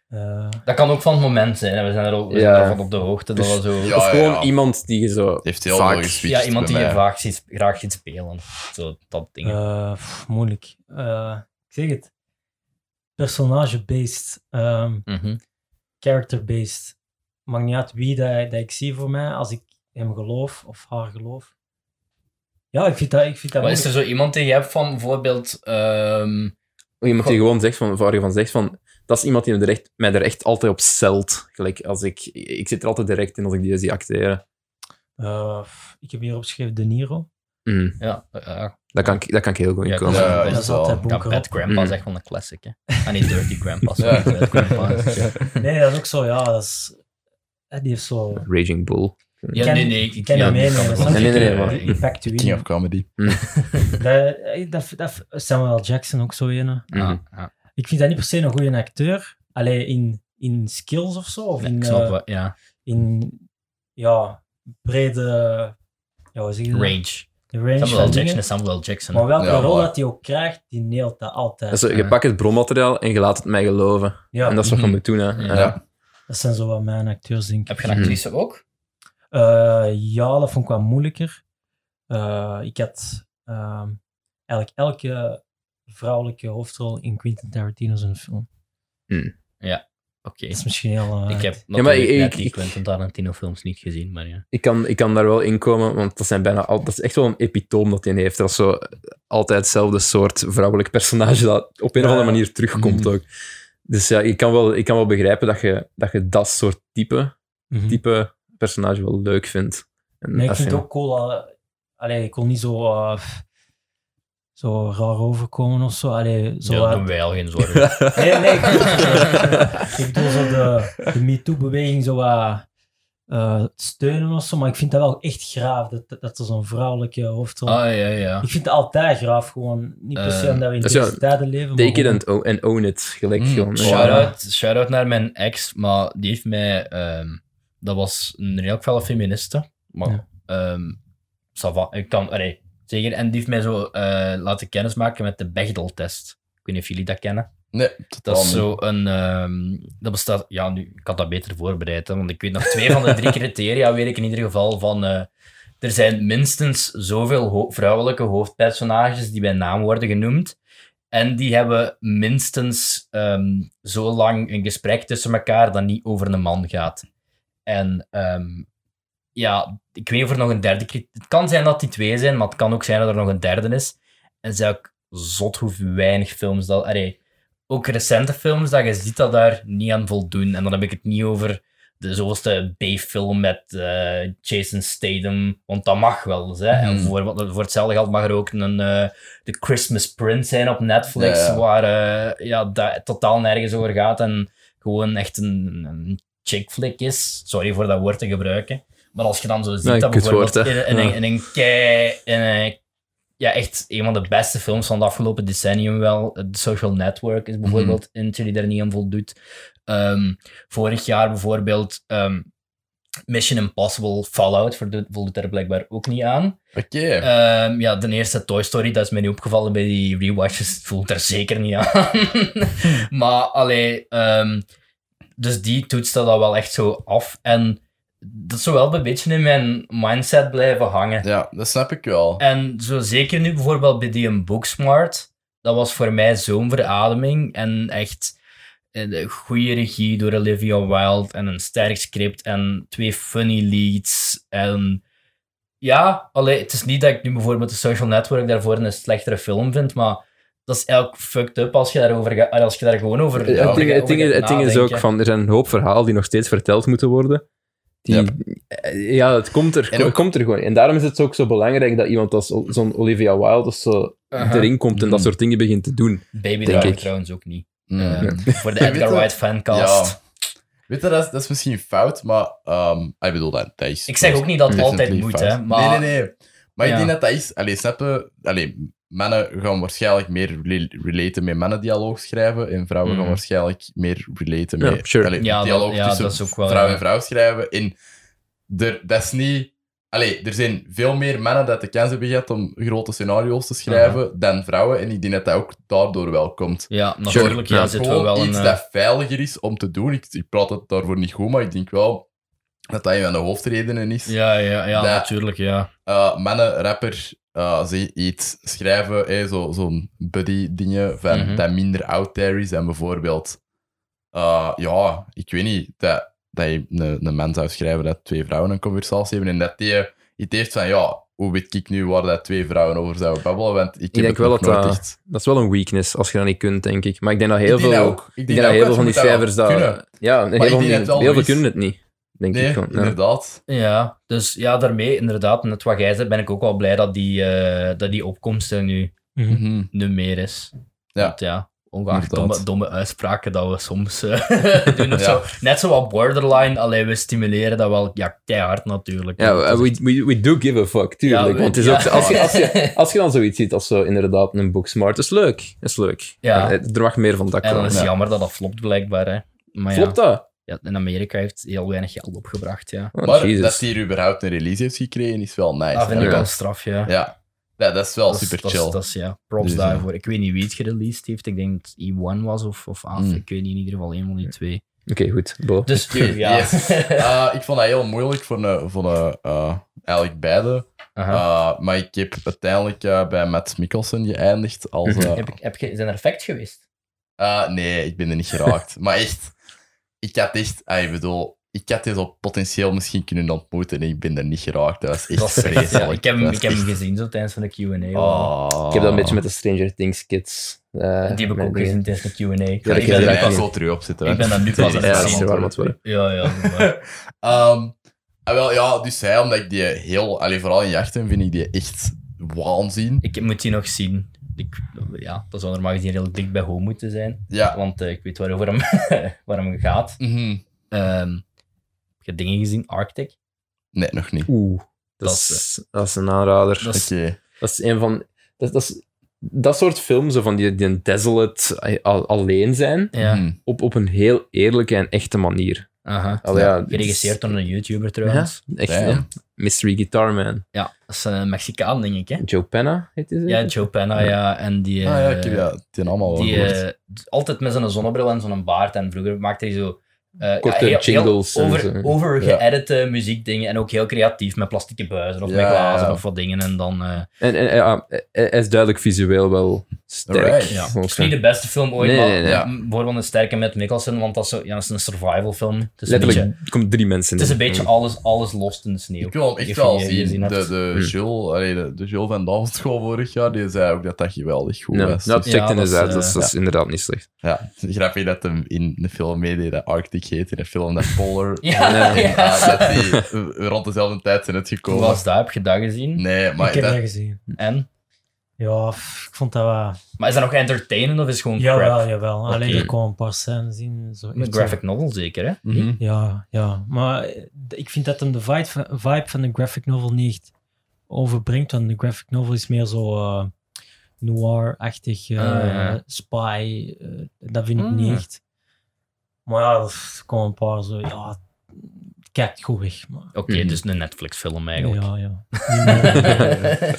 [SPEAKER 4] Eh,
[SPEAKER 2] Dat kan ook van het moment zijn. hè. We zijn er al, we zijn
[SPEAKER 1] Ja.
[SPEAKER 2] daarvan op de hoogte. Dat we zo,
[SPEAKER 3] Ja,
[SPEAKER 1] of gewoon
[SPEAKER 3] ja.
[SPEAKER 1] iemand die je zo
[SPEAKER 3] heeft heel
[SPEAKER 1] vaak...
[SPEAKER 3] veel gespeeld.
[SPEAKER 2] ja, iemand
[SPEAKER 3] bij
[SPEAKER 2] die je
[SPEAKER 3] mij.
[SPEAKER 2] vaak ziet, graag ziet spelen. Zo, dat ding.
[SPEAKER 4] eh, pff, moeilijk. Eh, ik zeg het. Personage-based, ehm,
[SPEAKER 2] Mhm.
[SPEAKER 4] character-based. Maakt niet uit wie dat, dat ik zie voor mij, als ik hem geloof of haar geloof. Ja, ik vind dat, ik vind dat
[SPEAKER 2] Maar is er
[SPEAKER 4] moeilijk.
[SPEAKER 2] zo iemand die je hebt van bijvoorbeeld... ehm,
[SPEAKER 1] Oh, Iemand die gewoon zegt van, waar je van zegt van, dat is iemand die me er echt, mij er echt altijd op zelt. Gelijk als ik, ik zit er altijd direct in als ik die zie acteren.
[SPEAKER 4] Eh, pff, ik heb hier opgeschreven De Niro.
[SPEAKER 1] Mhm.
[SPEAKER 2] ja, eh, ja,
[SPEAKER 1] Daar kan, ik, daar kan ik heel goed in
[SPEAKER 2] Ja,
[SPEAKER 1] komen.
[SPEAKER 3] Ja,
[SPEAKER 4] dat
[SPEAKER 3] is
[SPEAKER 4] is
[SPEAKER 3] wel.
[SPEAKER 4] altijd
[SPEAKER 2] ja,
[SPEAKER 4] bonker
[SPEAKER 2] Bad
[SPEAKER 4] op.
[SPEAKER 2] Grandpa is
[SPEAKER 1] Mhm.
[SPEAKER 2] echt wel een classic, hè. Ah nee, Dirty Grandpa. sorry,
[SPEAKER 3] Ja.
[SPEAKER 2] Bad Grandpa.
[SPEAKER 4] Nee, dat is ook zo, ja. Dat is, eh, die heeft zo...
[SPEAKER 1] Raging Bull.
[SPEAKER 2] Ja,
[SPEAKER 4] Ken-
[SPEAKER 2] nee, nee. Ik
[SPEAKER 4] ken
[SPEAKER 2] ja,
[SPEAKER 4] hem
[SPEAKER 2] die
[SPEAKER 4] meenemen,
[SPEAKER 2] kan
[SPEAKER 4] snap
[SPEAKER 2] wel.
[SPEAKER 1] je? Nee, nee, nee,
[SPEAKER 2] Ja,
[SPEAKER 1] maar-
[SPEAKER 2] ik-
[SPEAKER 4] Impact to
[SPEAKER 3] King
[SPEAKER 4] Win.
[SPEAKER 3] of Comedy.
[SPEAKER 4] Dat, eh, dat, dat, Samuel Jackson ook zo een. eh,
[SPEAKER 1] Mhm.
[SPEAKER 2] ja, ja.
[SPEAKER 4] Ik vind dat niet per se een goede acteur. Alleen in, in skills of zo. Of
[SPEAKER 2] Nee,
[SPEAKER 4] in,
[SPEAKER 2] Ik snap
[SPEAKER 4] eh,
[SPEAKER 2] wat, ja.
[SPEAKER 4] in ja, brede ja, hoe zeg je dat?
[SPEAKER 2] Range.
[SPEAKER 4] De range van
[SPEAKER 2] Samuel Jackson
[SPEAKER 4] dingen.
[SPEAKER 2] is Samuel
[SPEAKER 4] eh, Maar
[SPEAKER 2] Jackson.
[SPEAKER 4] welke
[SPEAKER 3] Ja,
[SPEAKER 4] rol
[SPEAKER 3] maar-
[SPEAKER 4] dat hij ook krijgt, die neelt dat altijd.
[SPEAKER 1] Dus je
[SPEAKER 2] Ja.
[SPEAKER 1] pakt het bronmateriaal en je laat het mij geloven.
[SPEAKER 4] ja,
[SPEAKER 1] En dat is wat je
[SPEAKER 2] Mhm.
[SPEAKER 1] moet doen. Hè.
[SPEAKER 2] Ja.
[SPEAKER 1] Ja.
[SPEAKER 4] dat zijn zo wat mijn acteurs, denk ik.
[SPEAKER 2] Heb je een actrice ook?
[SPEAKER 4] Eh, ja, dat vond ik wat moeilijker. Eh, ik had ehm, eigenlijk elke vrouwelijke hoofdrol in Quentin Tarantino's een film.
[SPEAKER 2] Oké.
[SPEAKER 4] Dat is misschien heel... eh,
[SPEAKER 2] Ik heb
[SPEAKER 1] maar
[SPEAKER 2] natuurlijk
[SPEAKER 1] ik-
[SPEAKER 2] net
[SPEAKER 1] ik-
[SPEAKER 2] die
[SPEAKER 1] ik-
[SPEAKER 2] Quentin Tarantino films niet gezien, maar ja.
[SPEAKER 1] Ik, kan, ik kan daar wel in komen, want dat, zijn bijna al, dat is echt wel een epitoom dat hij heeft. Dat is zo altijd hetzelfde soort vrouwelijk personage dat op een of
[SPEAKER 4] Ja.
[SPEAKER 1] andere manier terugkomt ook. Dus ja, ik kan wel, ik kan wel begrijpen dat je, dat je dat soort type,
[SPEAKER 4] Mhm.
[SPEAKER 1] type personage wel leuk vindt. En
[SPEAKER 4] Nee, ik
[SPEAKER 1] dat
[SPEAKER 4] vind het
[SPEAKER 1] vind-
[SPEAKER 4] ook cool. eh, allee, ik kon niet zo, eh, zo raar overkomen of zo. Allee, zo
[SPEAKER 2] Ja, Daar
[SPEAKER 4] uit-
[SPEAKER 2] doen wij al geen
[SPEAKER 1] *laughs*
[SPEAKER 2] zorgen. Ah,
[SPEAKER 4] Nee, *laughs* nee. Ik, ik bedoel zo de, de MeToo-beweging zo wat eh, steunen of zo. Maar ik vind dat wel echt graaf, dat, dat er zo'n vrouwelijke hoofdrol...
[SPEAKER 2] Ah, ja, ja.
[SPEAKER 4] Ik vind het altijd graaf, gewoon. Niet per se
[SPEAKER 2] Eh,
[SPEAKER 4] omdat we in
[SPEAKER 1] dus
[SPEAKER 4] deze
[SPEAKER 1] ja,
[SPEAKER 4] tijden leven, maar
[SPEAKER 1] Take it
[SPEAKER 4] gewoon-
[SPEAKER 1] and, o- and own it. Gelijk
[SPEAKER 3] Mm,
[SPEAKER 1] gewoon.
[SPEAKER 4] ja.
[SPEAKER 2] Shout-out shout naar mijn ex, maar die heeft mij... ehm, dat was een heel felle feministe, maar...
[SPEAKER 4] Ja.
[SPEAKER 2] ehm ça va, ik kan... Allee, zeker. En die heeft mij zo eh, laten kennismaken met de Bechdel-test. Ik weet niet of jullie dat kennen.
[SPEAKER 3] Nee,
[SPEAKER 2] Dat
[SPEAKER 3] totaal
[SPEAKER 2] is
[SPEAKER 3] niet.
[SPEAKER 2] zo een. ehm, dat bestaat. Ja, nu, ik had dat beter voorbereid. Hè, want ik weet nog twee van de drie *laughs* criteria. Weet ik in ieder geval van. eh, er zijn minstens zoveel ho- vrouwelijke hoofdpersonages die bij naam worden genoemd. En die hebben minstens ehm, zo lang een gesprek tussen elkaar dat niet over een man gaat. En ehm, ja, ik weet niet of er nog een derde crit- Het kan zijn dat die twee zijn, maar het kan ook zijn dat er nog een derde is. En het is ook zot hoe weinig films dat... Allee, ook recente films, dat je ziet dat daar niet aan voldoen. En dan heb ik het niet over de zoveelste B-film met eh, Jason Statham, want dat mag wel eens. Hè? En
[SPEAKER 3] Mhm.
[SPEAKER 2] voor, wat- voor hetzelfde geld mag er ook een eh The Christmas Prince zijn op Netflix,
[SPEAKER 3] Ja, ja.
[SPEAKER 2] waar eh, ja, dat totaal nergens over gaat en gewoon echt een, een chick flick is. Sorry voor dat woord te gebruiken. Maar als je dan zo ziet
[SPEAKER 1] Nee,
[SPEAKER 2] dat
[SPEAKER 1] kutwoord,
[SPEAKER 2] bijvoorbeeld in,
[SPEAKER 1] hè.
[SPEAKER 2] in,
[SPEAKER 1] Ja.
[SPEAKER 2] een- in een kei... In een, ja, echt een van de beste films van het afgelopen decennium wel. The Social Network is bijvoorbeeld
[SPEAKER 1] Mhm.
[SPEAKER 2] eentje die daar niet aan voldoet. Ehm, vorig jaar bijvoorbeeld ehm, Mission Impossible Fallout voldoet, voldoet daar blijkbaar ook niet aan.
[SPEAKER 3] Oké.
[SPEAKER 2] Ehm, ja, de eerste Toy Story, dat is mij niet opgevallen bij die rewatches. Het voelt er zeker niet aan. *laughs* maar, allee, ehm, dus die toetste dat wel echt zo af. En dat zou wel een beetje in mijn mindset blijven hangen. Eh,
[SPEAKER 3] Ja, dat snap ik wel.
[SPEAKER 2] En zo zeker nu bijvoorbeeld bij die een Booksmart, dat was voor mij zo'n verademing. En echt eh, de goede regie door Olivia Wilde en een sterk script en twee funny leads. En ja, allee, het is niet dat ik nu bijvoorbeeld de Social Network daarvoor een slechtere film vind, maar dat is eigenlijk fucked up als je, daarover ga- als je daar gewoon over
[SPEAKER 1] het
[SPEAKER 2] over
[SPEAKER 1] ding,
[SPEAKER 2] gaat-
[SPEAKER 1] het ding,
[SPEAKER 2] over
[SPEAKER 1] is-
[SPEAKER 2] gaat
[SPEAKER 1] het ding is ook
[SPEAKER 2] nadenken.
[SPEAKER 1] van, er zijn een hoop verhalen die nog steeds verteld moeten worden. Die, eh, Ja, het komt er,
[SPEAKER 3] En
[SPEAKER 1] het
[SPEAKER 3] ook-
[SPEAKER 1] komt er gewoon. En daarom is het ook zo belangrijk dat iemand als o- zo'n Olivia Wilde of zo
[SPEAKER 2] Aha.
[SPEAKER 1] erin komt en dat soort dingen begint te doen.
[SPEAKER 2] Baby
[SPEAKER 1] denk
[SPEAKER 2] Driver
[SPEAKER 1] ik.
[SPEAKER 2] trouwens ook niet.
[SPEAKER 3] Mm.
[SPEAKER 2] Eh, voor de
[SPEAKER 3] Weet *laughs*
[SPEAKER 2] Edgar
[SPEAKER 3] je-
[SPEAKER 2] Wright fancast.
[SPEAKER 3] Ja. Weet je, dat is, dat is misschien fout, maar ehm, ik bedoel, dat, dat is...
[SPEAKER 2] Ik zeg ook niet dat het altijd
[SPEAKER 3] definitely
[SPEAKER 2] moet,
[SPEAKER 3] fout.
[SPEAKER 2] hè, maar-
[SPEAKER 3] Nee, nee, nee. Maar
[SPEAKER 2] Ja.
[SPEAKER 3] ik denk dat dat is... Allee, snap je? Allee, mannen gaan waarschijnlijk meer rela- relaten met mannen dialoog schrijven en vrouwen
[SPEAKER 2] Mhm.
[SPEAKER 3] gaan waarschijnlijk meer relaten
[SPEAKER 1] Ja,
[SPEAKER 3] met...
[SPEAKER 1] sure.
[SPEAKER 3] allee,
[SPEAKER 2] Ja, dat-
[SPEAKER 3] dialoog
[SPEAKER 2] ja,
[SPEAKER 3] tussen
[SPEAKER 2] dat is ook wel,
[SPEAKER 3] vrouw
[SPEAKER 2] ja.
[SPEAKER 3] en vrouw schrijven. En er, dat is niet... Allee, er zijn veel meer mannen dat de kans hebben gehad om grote scenario's te schrijven
[SPEAKER 2] Mhm.
[SPEAKER 3] dan vrouwen. En ik denk dat dat ook daardoor wel komt.
[SPEAKER 2] Ja, natuurlijk.
[SPEAKER 3] Sure.
[SPEAKER 2] Ja, zit wel wel een...
[SPEAKER 3] iets
[SPEAKER 2] eh,
[SPEAKER 3] dat veiliger is om te doen. Ik, ik praat het daarvoor niet goed, maar ik denk wel dat dat een van de hoofdredenen is.
[SPEAKER 2] Ja, ja, ja,
[SPEAKER 3] dat-
[SPEAKER 2] natuurlijk, ja.
[SPEAKER 3] Eh, mannen, rapper, eh, ze iets schrijven, eh, zo, zo'n buddy-dingen van
[SPEAKER 2] Mhm.
[SPEAKER 3] dat minder out there is. En bijvoorbeeld, eh, ja, ik weet niet, dat, dat je een, een man zou schrijven dat twee vrouwen een conversatie hebben en dat die iets heeft van, ja, hoe weet ik nu waar dat twee vrouwen over zouden babbelen? Want ik, heb
[SPEAKER 1] denk
[SPEAKER 3] het
[SPEAKER 1] wel
[SPEAKER 3] nog
[SPEAKER 1] dat
[SPEAKER 3] nooit
[SPEAKER 1] dat-
[SPEAKER 3] echt-
[SPEAKER 1] Dat is wel een weakness als je dat niet kunt, denk ik. Maar ik denk dat heel
[SPEAKER 3] Ik
[SPEAKER 1] veel,
[SPEAKER 3] denk dat ook. Ik
[SPEAKER 1] Ik
[SPEAKER 3] denk
[SPEAKER 1] denk dat
[SPEAKER 3] dat
[SPEAKER 1] heel
[SPEAKER 3] ook,
[SPEAKER 1] veel van die
[SPEAKER 3] mensen moeten
[SPEAKER 1] schrijvers
[SPEAKER 3] dat
[SPEAKER 1] dat.
[SPEAKER 3] kunnen.
[SPEAKER 1] Ja, en heel,
[SPEAKER 3] ik
[SPEAKER 1] veel,
[SPEAKER 3] denk dat
[SPEAKER 1] die-
[SPEAKER 3] het wel
[SPEAKER 1] heel veel
[SPEAKER 3] is.
[SPEAKER 1] kunnen het niet. Denk
[SPEAKER 3] Nee,
[SPEAKER 1] ik gewoon. Ja.
[SPEAKER 3] inderdaad.
[SPEAKER 2] Ja, dus ja, daarmee inderdaad, net wat jij zei, ben ik ook wel blij dat die, eh, dat die opkomst er nu,
[SPEAKER 4] Mhm.
[SPEAKER 3] Mhm.
[SPEAKER 2] nu meer is.
[SPEAKER 3] Ja.
[SPEAKER 2] Want ja, ongeacht
[SPEAKER 3] Inderdaad.
[SPEAKER 2] domme, domme uitspraken dat we soms eh, *laughs* doen of
[SPEAKER 3] Ja.
[SPEAKER 2] zo. Net zoals borderline, alleen we stimuleren dat wel ja, keihard natuurlijk.
[SPEAKER 1] Ja,
[SPEAKER 2] Dat is
[SPEAKER 1] we, we, we do give a fuck, tuurlijk.
[SPEAKER 2] Ja, we-
[SPEAKER 1] Want het is
[SPEAKER 2] ja.
[SPEAKER 1] ook, zo- als, je, als,
[SPEAKER 3] *laughs*
[SPEAKER 1] je, als je dan zoiets ziet als zo inderdaad een booksmart, is leuk. Is leuk.
[SPEAKER 2] Ja.
[SPEAKER 1] Eh, Er mag meer van dat
[SPEAKER 2] En dan
[SPEAKER 1] komen.
[SPEAKER 2] is het
[SPEAKER 1] Ja.
[SPEAKER 2] jammer dat dat flopt, blijkbaar. Hè. Maar ja,
[SPEAKER 1] Klopt dat?
[SPEAKER 2] ja, in Amerika heeft heel weinig geld opgebracht. Ja.
[SPEAKER 1] Oh,
[SPEAKER 3] Maar
[SPEAKER 1] Jesus.
[SPEAKER 3] dat hij hier überhaupt een release heeft gekregen, is wel nice.
[SPEAKER 2] Dat Ah, vind ik
[SPEAKER 1] Ja.
[SPEAKER 2] wel straf, ja.
[SPEAKER 3] Ja. Ja, dat is wel
[SPEAKER 2] Dat is-
[SPEAKER 3] super
[SPEAKER 2] dat is-
[SPEAKER 3] chill.
[SPEAKER 2] Dat is, ja, props
[SPEAKER 3] Dus, ja.
[SPEAKER 2] daarvoor. Ik weet niet wie het gereleased heeft. Ik denk dat E1 was of, of AF.
[SPEAKER 3] Mm.
[SPEAKER 2] Ik weet niet, in ieder geval een van die twee.
[SPEAKER 1] Oké, goed. Bo.
[SPEAKER 2] Dus tuurlijk, ja. *laughs*
[SPEAKER 3] Yes. *laughs* Eh, ik vond dat heel moeilijk voor, een, voor een, eh, eigenlijk beide.
[SPEAKER 2] Aha.
[SPEAKER 3] Eh, maar ik heb uiteindelijk eh, bij Matt Mikkelsen geëindigd als... eh,
[SPEAKER 2] Mhm. heb ik, heb je, zijn er effect geweest?
[SPEAKER 3] eh, nee, ik ben er niet geraakt. maar echt, ik had echt... ah, ik bedoel, ik had dit op potentieel misschien kunnen ontmoeten en ik ben er niet geraakt. Dat was echt
[SPEAKER 2] Dat is echt, ja.
[SPEAKER 3] vreselijk.
[SPEAKER 2] Ik heb hem,
[SPEAKER 3] Dat
[SPEAKER 2] ik
[SPEAKER 3] was
[SPEAKER 2] heb hem
[SPEAKER 3] echt-
[SPEAKER 2] gezien zo tijdens van de Q&A. wel.
[SPEAKER 3] Ah.
[SPEAKER 1] Ik heb dat een beetje met de Stranger Things kids. eh,
[SPEAKER 2] die heb ik
[SPEAKER 1] met
[SPEAKER 2] ook
[SPEAKER 1] dingen.
[SPEAKER 2] gezien tijdens de Q&A.
[SPEAKER 3] Ja, ik
[SPEAKER 2] ik,
[SPEAKER 1] heb
[SPEAKER 3] ben
[SPEAKER 1] dat
[SPEAKER 2] ben,
[SPEAKER 3] er
[SPEAKER 1] eigenlijk
[SPEAKER 3] echt
[SPEAKER 1] niet.
[SPEAKER 3] zo terug op zitten.
[SPEAKER 2] ik ben dat nu pas aan
[SPEAKER 1] Ja, dat
[SPEAKER 2] het
[SPEAKER 1] is
[SPEAKER 2] zien.
[SPEAKER 1] er warm aan het worden.
[SPEAKER 2] Ja, ja. doe maar.
[SPEAKER 3] Ehm, ah, wel, ja, dus hij, omdat ik die heel, allee, vooral in jachten vind ik die echt waanzin.
[SPEAKER 2] Ik moet die nog zien. Ik, ja, dat zou normaal gezien heel dik bij Ho moeten zijn.
[SPEAKER 3] Ja.
[SPEAKER 2] Want eh, ik weet waarover *laughs* hem, waar hem gaat.
[SPEAKER 3] Mhm.
[SPEAKER 2] Ehm, heb je dingen gezien? Arctic?
[SPEAKER 3] Nee, nog niet.
[SPEAKER 1] Oeh.
[SPEAKER 2] Dat
[SPEAKER 1] Dat
[SPEAKER 2] is-
[SPEAKER 1] is, dat is een aanrader.
[SPEAKER 2] Dat
[SPEAKER 1] Dat
[SPEAKER 2] is-
[SPEAKER 1] is,
[SPEAKER 3] Oké.
[SPEAKER 1] een van... Dat, dat, is, dat soort films, zo van die, die een desolate eh, al- alleen zijn,
[SPEAKER 2] Ja.
[SPEAKER 3] Mhm.
[SPEAKER 1] op, op een heel eerlijke en echte manier.
[SPEAKER 2] Aha.
[SPEAKER 1] Al,
[SPEAKER 3] Ja,
[SPEAKER 1] ja,
[SPEAKER 2] Geregisseerd door een YouTuber trouwens.
[SPEAKER 1] Ja, echt,
[SPEAKER 3] Damn.
[SPEAKER 1] ja. Mystery Guitar Man.
[SPEAKER 2] Ja, dat is eh, een Mexicaan, denk ik. Hè?
[SPEAKER 1] Joe Penna heet hij
[SPEAKER 2] Ja, Joe Penna, ja. En die,
[SPEAKER 3] Ah ja, Oh,
[SPEAKER 2] eh,
[SPEAKER 3] ik heb dat die allemaal wel
[SPEAKER 2] die
[SPEAKER 3] gehoord.
[SPEAKER 2] eh, altijd met zo'n zonnebril en zo'n baard. En vroeger maakte hij zo. eh,
[SPEAKER 1] Korte
[SPEAKER 2] heel- heel
[SPEAKER 1] jingles en
[SPEAKER 2] over,
[SPEAKER 1] zo.
[SPEAKER 2] overgeëdite muziekdingen. En ook heel creatief met plastieke buizen of
[SPEAKER 3] Ja,
[SPEAKER 2] met glazen
[SPEAKER 3] ja.
[SPEAKER 2] of wat dingen. En dan. eh,
[SPEAKER 1] En, en ja, hij is duidelijk visueel wel sterk.
[SPEAKER 3] Alright.
[SPEAKER 2] ja. Het
[SPEAKER 1] volgens
[SPEAKER 2] is niet
[SPEAKER 1] mij.
[SPEAKER 2] de beste film ooit,
[SPEAKER 1] Nee,
[SPEAKER 2] maar
[SPEAKER 1] nee, nee.
[SPEAKER 2] ja, bijvoorbeeld een sterke met Mikkelsen, want dat is, zo, ja, dat is een survival film. Het is een
[SPEAKER 1] Letterlijk Mm.
[SPEAKER 2] beetje,
[SPEAKER 1] er komen drie mensen
[SPEAKER 2] het is een
[SPEAKER 1] in.
[SPEAKER 2] beetje alles, alles lost in de sneeuw.
[SPEAKER 3] Ik wil hem
[SPEAKER 2] Ik
[SPEAKER 3] echt
[SPEAKER 2] weet
[SPEAKER 3] wel
[SPEAKER 2] niet of je die
[SPEAKER 3] zien.
[SPEAKER 2] gezien
[SPEAKER 3] De,
[SPEAKER 2] hebt.
[SPEAKER 3] de, Jules, allee, de, de Jules van Davenschool vorig jaar, die zei ook dat dat geweldig goed
[SPEAKER 1] Ja,
[SPEAKER 3] was.
[SPEAKER 1] dat
[SPEAKER 3] Dus
[SPEAKER 2] ja,
[SPEAKER 1] checkt
[SPEAKER 2] dat is,
[SPEAKER 1] inderdaad. Dat,
[SPEAKER 2] eh,
[SPEAKER 1] is- dat is inderdaad niet slecht.
[SPEAKER 3] ja, grappig dat hem in de film meedeed dat Arctic heet, in de film dat Polar...
[SPEAKER 2] *laughs* Ja,
[SPEAKER 1] Nee.
[SPEAKER 2] ja.
[SPEAKER 3] Ah, dat die eh, rond dezelfde tijd zijn
[SPEAKER 2] Hoe
[SPEAKER 3] uitgekomen.
[SPEAKER 2] was dat? Heb je dat gezien?
[SPEAKER 3] Nee,
[SPEAKER 4] Ik
[SPEAKER 3] maar
[SPEAKER 4] heb
[SPEAKER 3] dat-
[SPEAKER 4] dat
[SPEAKER 2] eh,
[SPEAKER 4] gezien.
[SPEAKER 2] En?
[SPEAKER 4] Ja, pff, ik vond dat wel...
[SPEAKER 2] Maar is dat nog entertainend of is het gewoon crap?
[SPEAKER 4] Jawel, jawel.
[SPEAKER 2] Oké.
[SPEAKER 4] Alleen er kwam een paar scènes zien. Zo
[SPEAKER 2] Een
[SPEAKER 4] echt zo-
[SPEAKER 2] graphic novel zeker, hè?
[SPEAKER 3] Mhm.
[SPEAKER 4] Ja, ja. Maar eh, ik vind dat hem de vibe van, vibe van de graphic novel niet echt overbrengt. Want de graphic novel is meer zo eh, noir-achtig, eh,
[SPEAKER 2] Ah, ja.
[SPEAKER 4] spy. eh, dat vind ik
[SPEAKER 2] Mm.
[SPEAKER 4] niet echt. Maar ja, er komen een paar zo... Ja, het kijkt goed weg. Maar,
[SPEAKER 2] Oké,
[SPEAKER 1] Mhm.
[SPEAKER 2] dus een Netflix-film eigenlijk. *laughs*
[SPEAKER 4] ja, *laughs* ja.
[SPEAKER 2] En eh,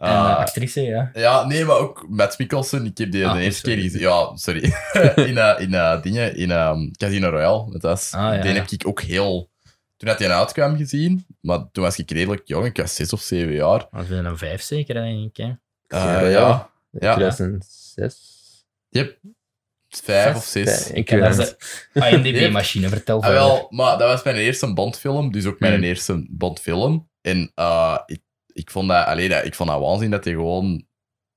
[SPEAKER 2] de
[SPEAKER 3] Ah,
[SPEAKER 2] actrice, ja.
[SPEAKER 3] Ja, nee, maar ook Matt Mikkelsen. Ik heb die
[SPEAKER 2] Ah,
[SPEAKER 3] de eerste
[SPEAKER 2] sorry.
[SPEAKER 3] keer gezien. Ja, sorry. *laughs* in eh, in eh, dingen, in ehm, Casino Royale. Dat was,
[SPEAKER 2] Ah, ja,
[SPEAKER 3] die
[SPEAKER 2] ja.
[SPEAKER 3] heb ik ook heel... Toen had hij uitkwam gezien, maar toen was ik redelijk jong. Ik was zes of zeven jaar.
[SPEAKER 2] Maar we zijn een vijf zeker, denk ik. Hè?
[SPEAKER 3] Eh,
[SPEAKER 1] Casino
[SPEAKER 3] ja.
[SPEAKER 1] Royale.
[SPEAKER 3] Ja.
[SPEAKER 1] 2006?
[SPEAKER 3] Yep. Vijf of zes.
[SPEAKER 1] Ja, Ik
[SPEAKER 2] Ja,
[SPEAKER 1] weet
[SPEAKER 2] dat
[SPEAKER 1] het
[SPEAKER 2] is
[SPEAKER 1] niet.
[SPEAKER 2] IMDb-machine, vertel
[SPEAKER 3] Ah,
[SPEAKER 2] verder.
[SPEAKER 3] wel, maar dat was mijn eerste Bondfilm, dus ook mijn
[SPEAKER 1] Hmm.
[SPEAKER 3] eerste Bondfilm. En eh, ik, ik vond dat, alleen dat, ik vond dat waanzin dat hij gewoon,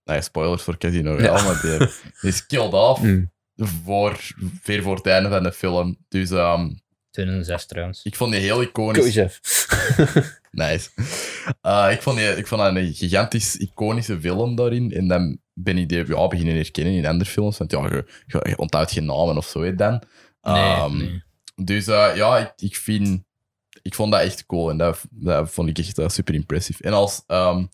[SPEAKER 3] nou ja, spoilers voor Casino Royale,
[SPEAKER 1] Ja.
[SPEAKER 3] maar die, die is killed off
[SPEAKER 1] Mm.
[SPEAKER 3] voor, ver voor het einde van de film. Dus ehm,
[SPEAKER 2] 2006 trouwens.
[SPEAKER 3] ik vond die heel iconisch.
[SPEAKER 1] Koosjef.
[SPEAKER 3] *laughs* Nice. Eh, ik, vond die, ik vond dat een gigantisch iconische film daarin. En dan ben ik die ja, beginnen herkennen in andere films. Want ja, je, je- je onthoudt geen namen of zo hè, dan.
[SPEAKER 2] Nee,
[SPEAKER 3] Ehm,
[SPEAKER 2] nee.
[SPEAKER 3] Dus eh, ja, ik, ik vind... Ik vond dat echt cool en dat, dat vond ik echt eh, super impressief. En als ehm,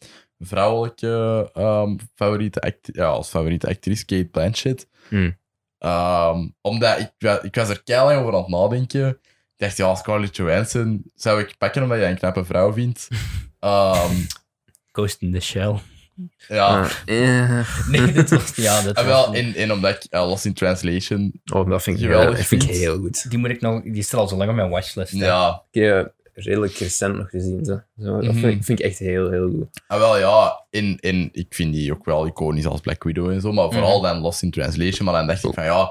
[SPEAKER 3] vrouwelijke ehm, favoriete, act ja, als favoriete actrice, Kate Blanchett.
[SPEAKER 1] Hmm.
[SPEAKER 3] Ehm, omdat ik, wa- ik was er keihard over aan het nadenken. Ik dacht, ja, Scarlett Johansson zou ik pakken omdat je een knappe vrouw vindt. Ehm,
[SPEAKER 2] Ghost in the
[SPEAKER 3] *laughs*
[SPEAKER 2] Shell.
[SPEAKER 1] Ah,
[SPEAKER 3] ja,
[SPEAKER 1] Eh,
[SPEAKER 2] Nee, dit was... Ja, dat
[SPEAKER 3] en,
[SPEAKER 2] was-
[SPEAKER 3] Ah, wel, en, en omdat ik eh, Lost in Translation...
[SPEAKER 1] Oh, dat vind ik,
[SPEAKER 3] Geweldig
[SPEAKER 1] heel, dat vind ik
[SPEAKER 3] vind.
[SPEAKER 1] heel goed.
[SPEAKER 2] Die moet ik nog... Die staat al zo lang op mijn watchlist. hè.
[SPEAKER 3] Ja,
[SPEAKER 1] Ik heb eh, redelijk recent nog gezien. Zo. Zo, dat
[SPEAKER 3] Mhm.
[SPEAKER 1] vind ik, vind ik echt heel, heel goed.
[SPEAKER 3] Ah, wel ja, en, en ik vind die ook wel iconisch als Black Widow en zo, maar vooral dan Lost in Translation. Maar dan dacht ik van ja,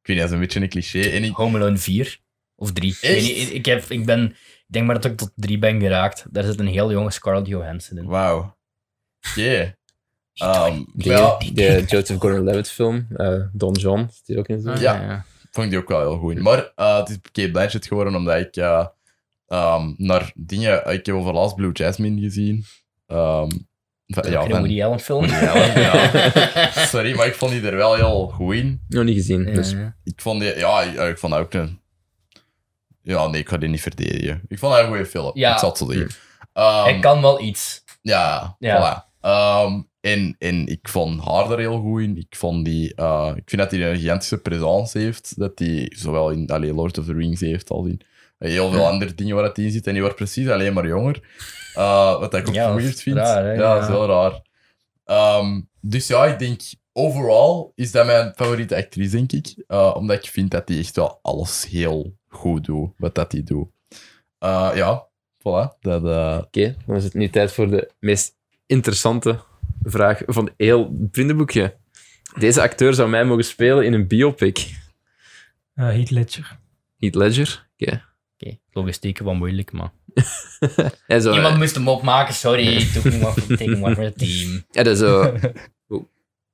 [SPEAKER 3] ik weet niet, dat is een beetje een cliché. En ik,
[SPEAKER 2] Home Alone 4 of 3. Ik, weet
[SPEAKER 3] Echt?
[SPEAKER 2] niet, ik, heb, ik, ben, ik denk maar dat ik tot 3 ben geraakt. Daar zit een heel jonge Scarlett Johansson in.
[SPEAKER 3] wauw. Oké. Ehm, wel,
[SPEAKER 1] De, de Joseph Gordon-Levitt film, eh, Don John, is die ook in zo?
[SPEAKER 3] Ah, ja. vond ik die ook wel heel goed. Maar eh, het is Kate Blanchett geworden omdat ik eh, ehm, naar dingen... Ik heb overlast Blue Jasmine gezien. Ehm, van,
[SPEAKER 2] Ook
[SPEAKER 3] ja,
[SPEAKER 2] in een
[SPEAKER 3] van,
[SPEAKER 2] Woody Allen film.
[SPEAKER 3] Woody
[SPEAKER 2] *laughs*
[SPEAKER 3] Allen, ja. sorry, maar ik vond die er wel heel goed in.
[SPEAKER 1] Nog niet gezien.
[SPEAKER 2] Ja,
[SPEAKER 1] Dus,
[SPEAKER 2] ja.
[SPEAKER 3] Ik vond die, ja, ik, ik vond dat ook een. Ja, nee, ik ga die niet verdedigen. Ik vond dat een goede film.
[SPEAKER 2] Ja.
[SPEAKER 3] Ik zal het zo zeggen. Ehm,
[SPEAKER 2] Hij kan wel iets.
[SPEAKER 3] Ja,
[SPEAKER 2] Ja.
[SPEAKER 3] voilà. Ehm, en, en ik vond haar er heel goed in. Ik, vond die, eh, ik vind dat hij een gigantische presence heeft. Dat hij zowel in allee, Lord of the Rings heeft als in eh, heel veel andere dingen waar het in zit. En die wordt precies alleen maar jonger. Eh, wat ik ook
[SPEAKER 2] Ja, dat is
[SPEAKER 3] weird vind.
[SPEAKER 2] raar, hè?
[SPEAKER 3] ja, dat is
[SPEAKER 2] Ja.
[SPEAKER 3] wel raar. Ehm, dus ja, ik denk, overal is dat mijn favoriete actrice, denk ik. Eh, omdat ik vind dat die echt wel alles heel goed doet, wat dat die doet. Eh, ja, voilà. Dat, eh,
[SPEAKER 1] Oké, dan is het nu tijd voor de meest interessante vraag van heel het vriendenboekje. Deze acteur zou mij mogen spelen in een biopic.
[SPEAKER 4] Eh, Heath Ledger.
[SPEAKER 1] Heath Ledger? Oké.
[SPEAKER 2] Oké, logistieken wat moeilijk, maar...
[SPEAKER 1] En zo,
[SPEAKER 2] Iemand moest hem opmaken, sorry. Taking one for, taking one for *laughs* the team.
[SPEAKER 1] eh, Ja, dat is zo.
[SPEAKER 2] *laughs*
[SPEAKER 1] Oeh.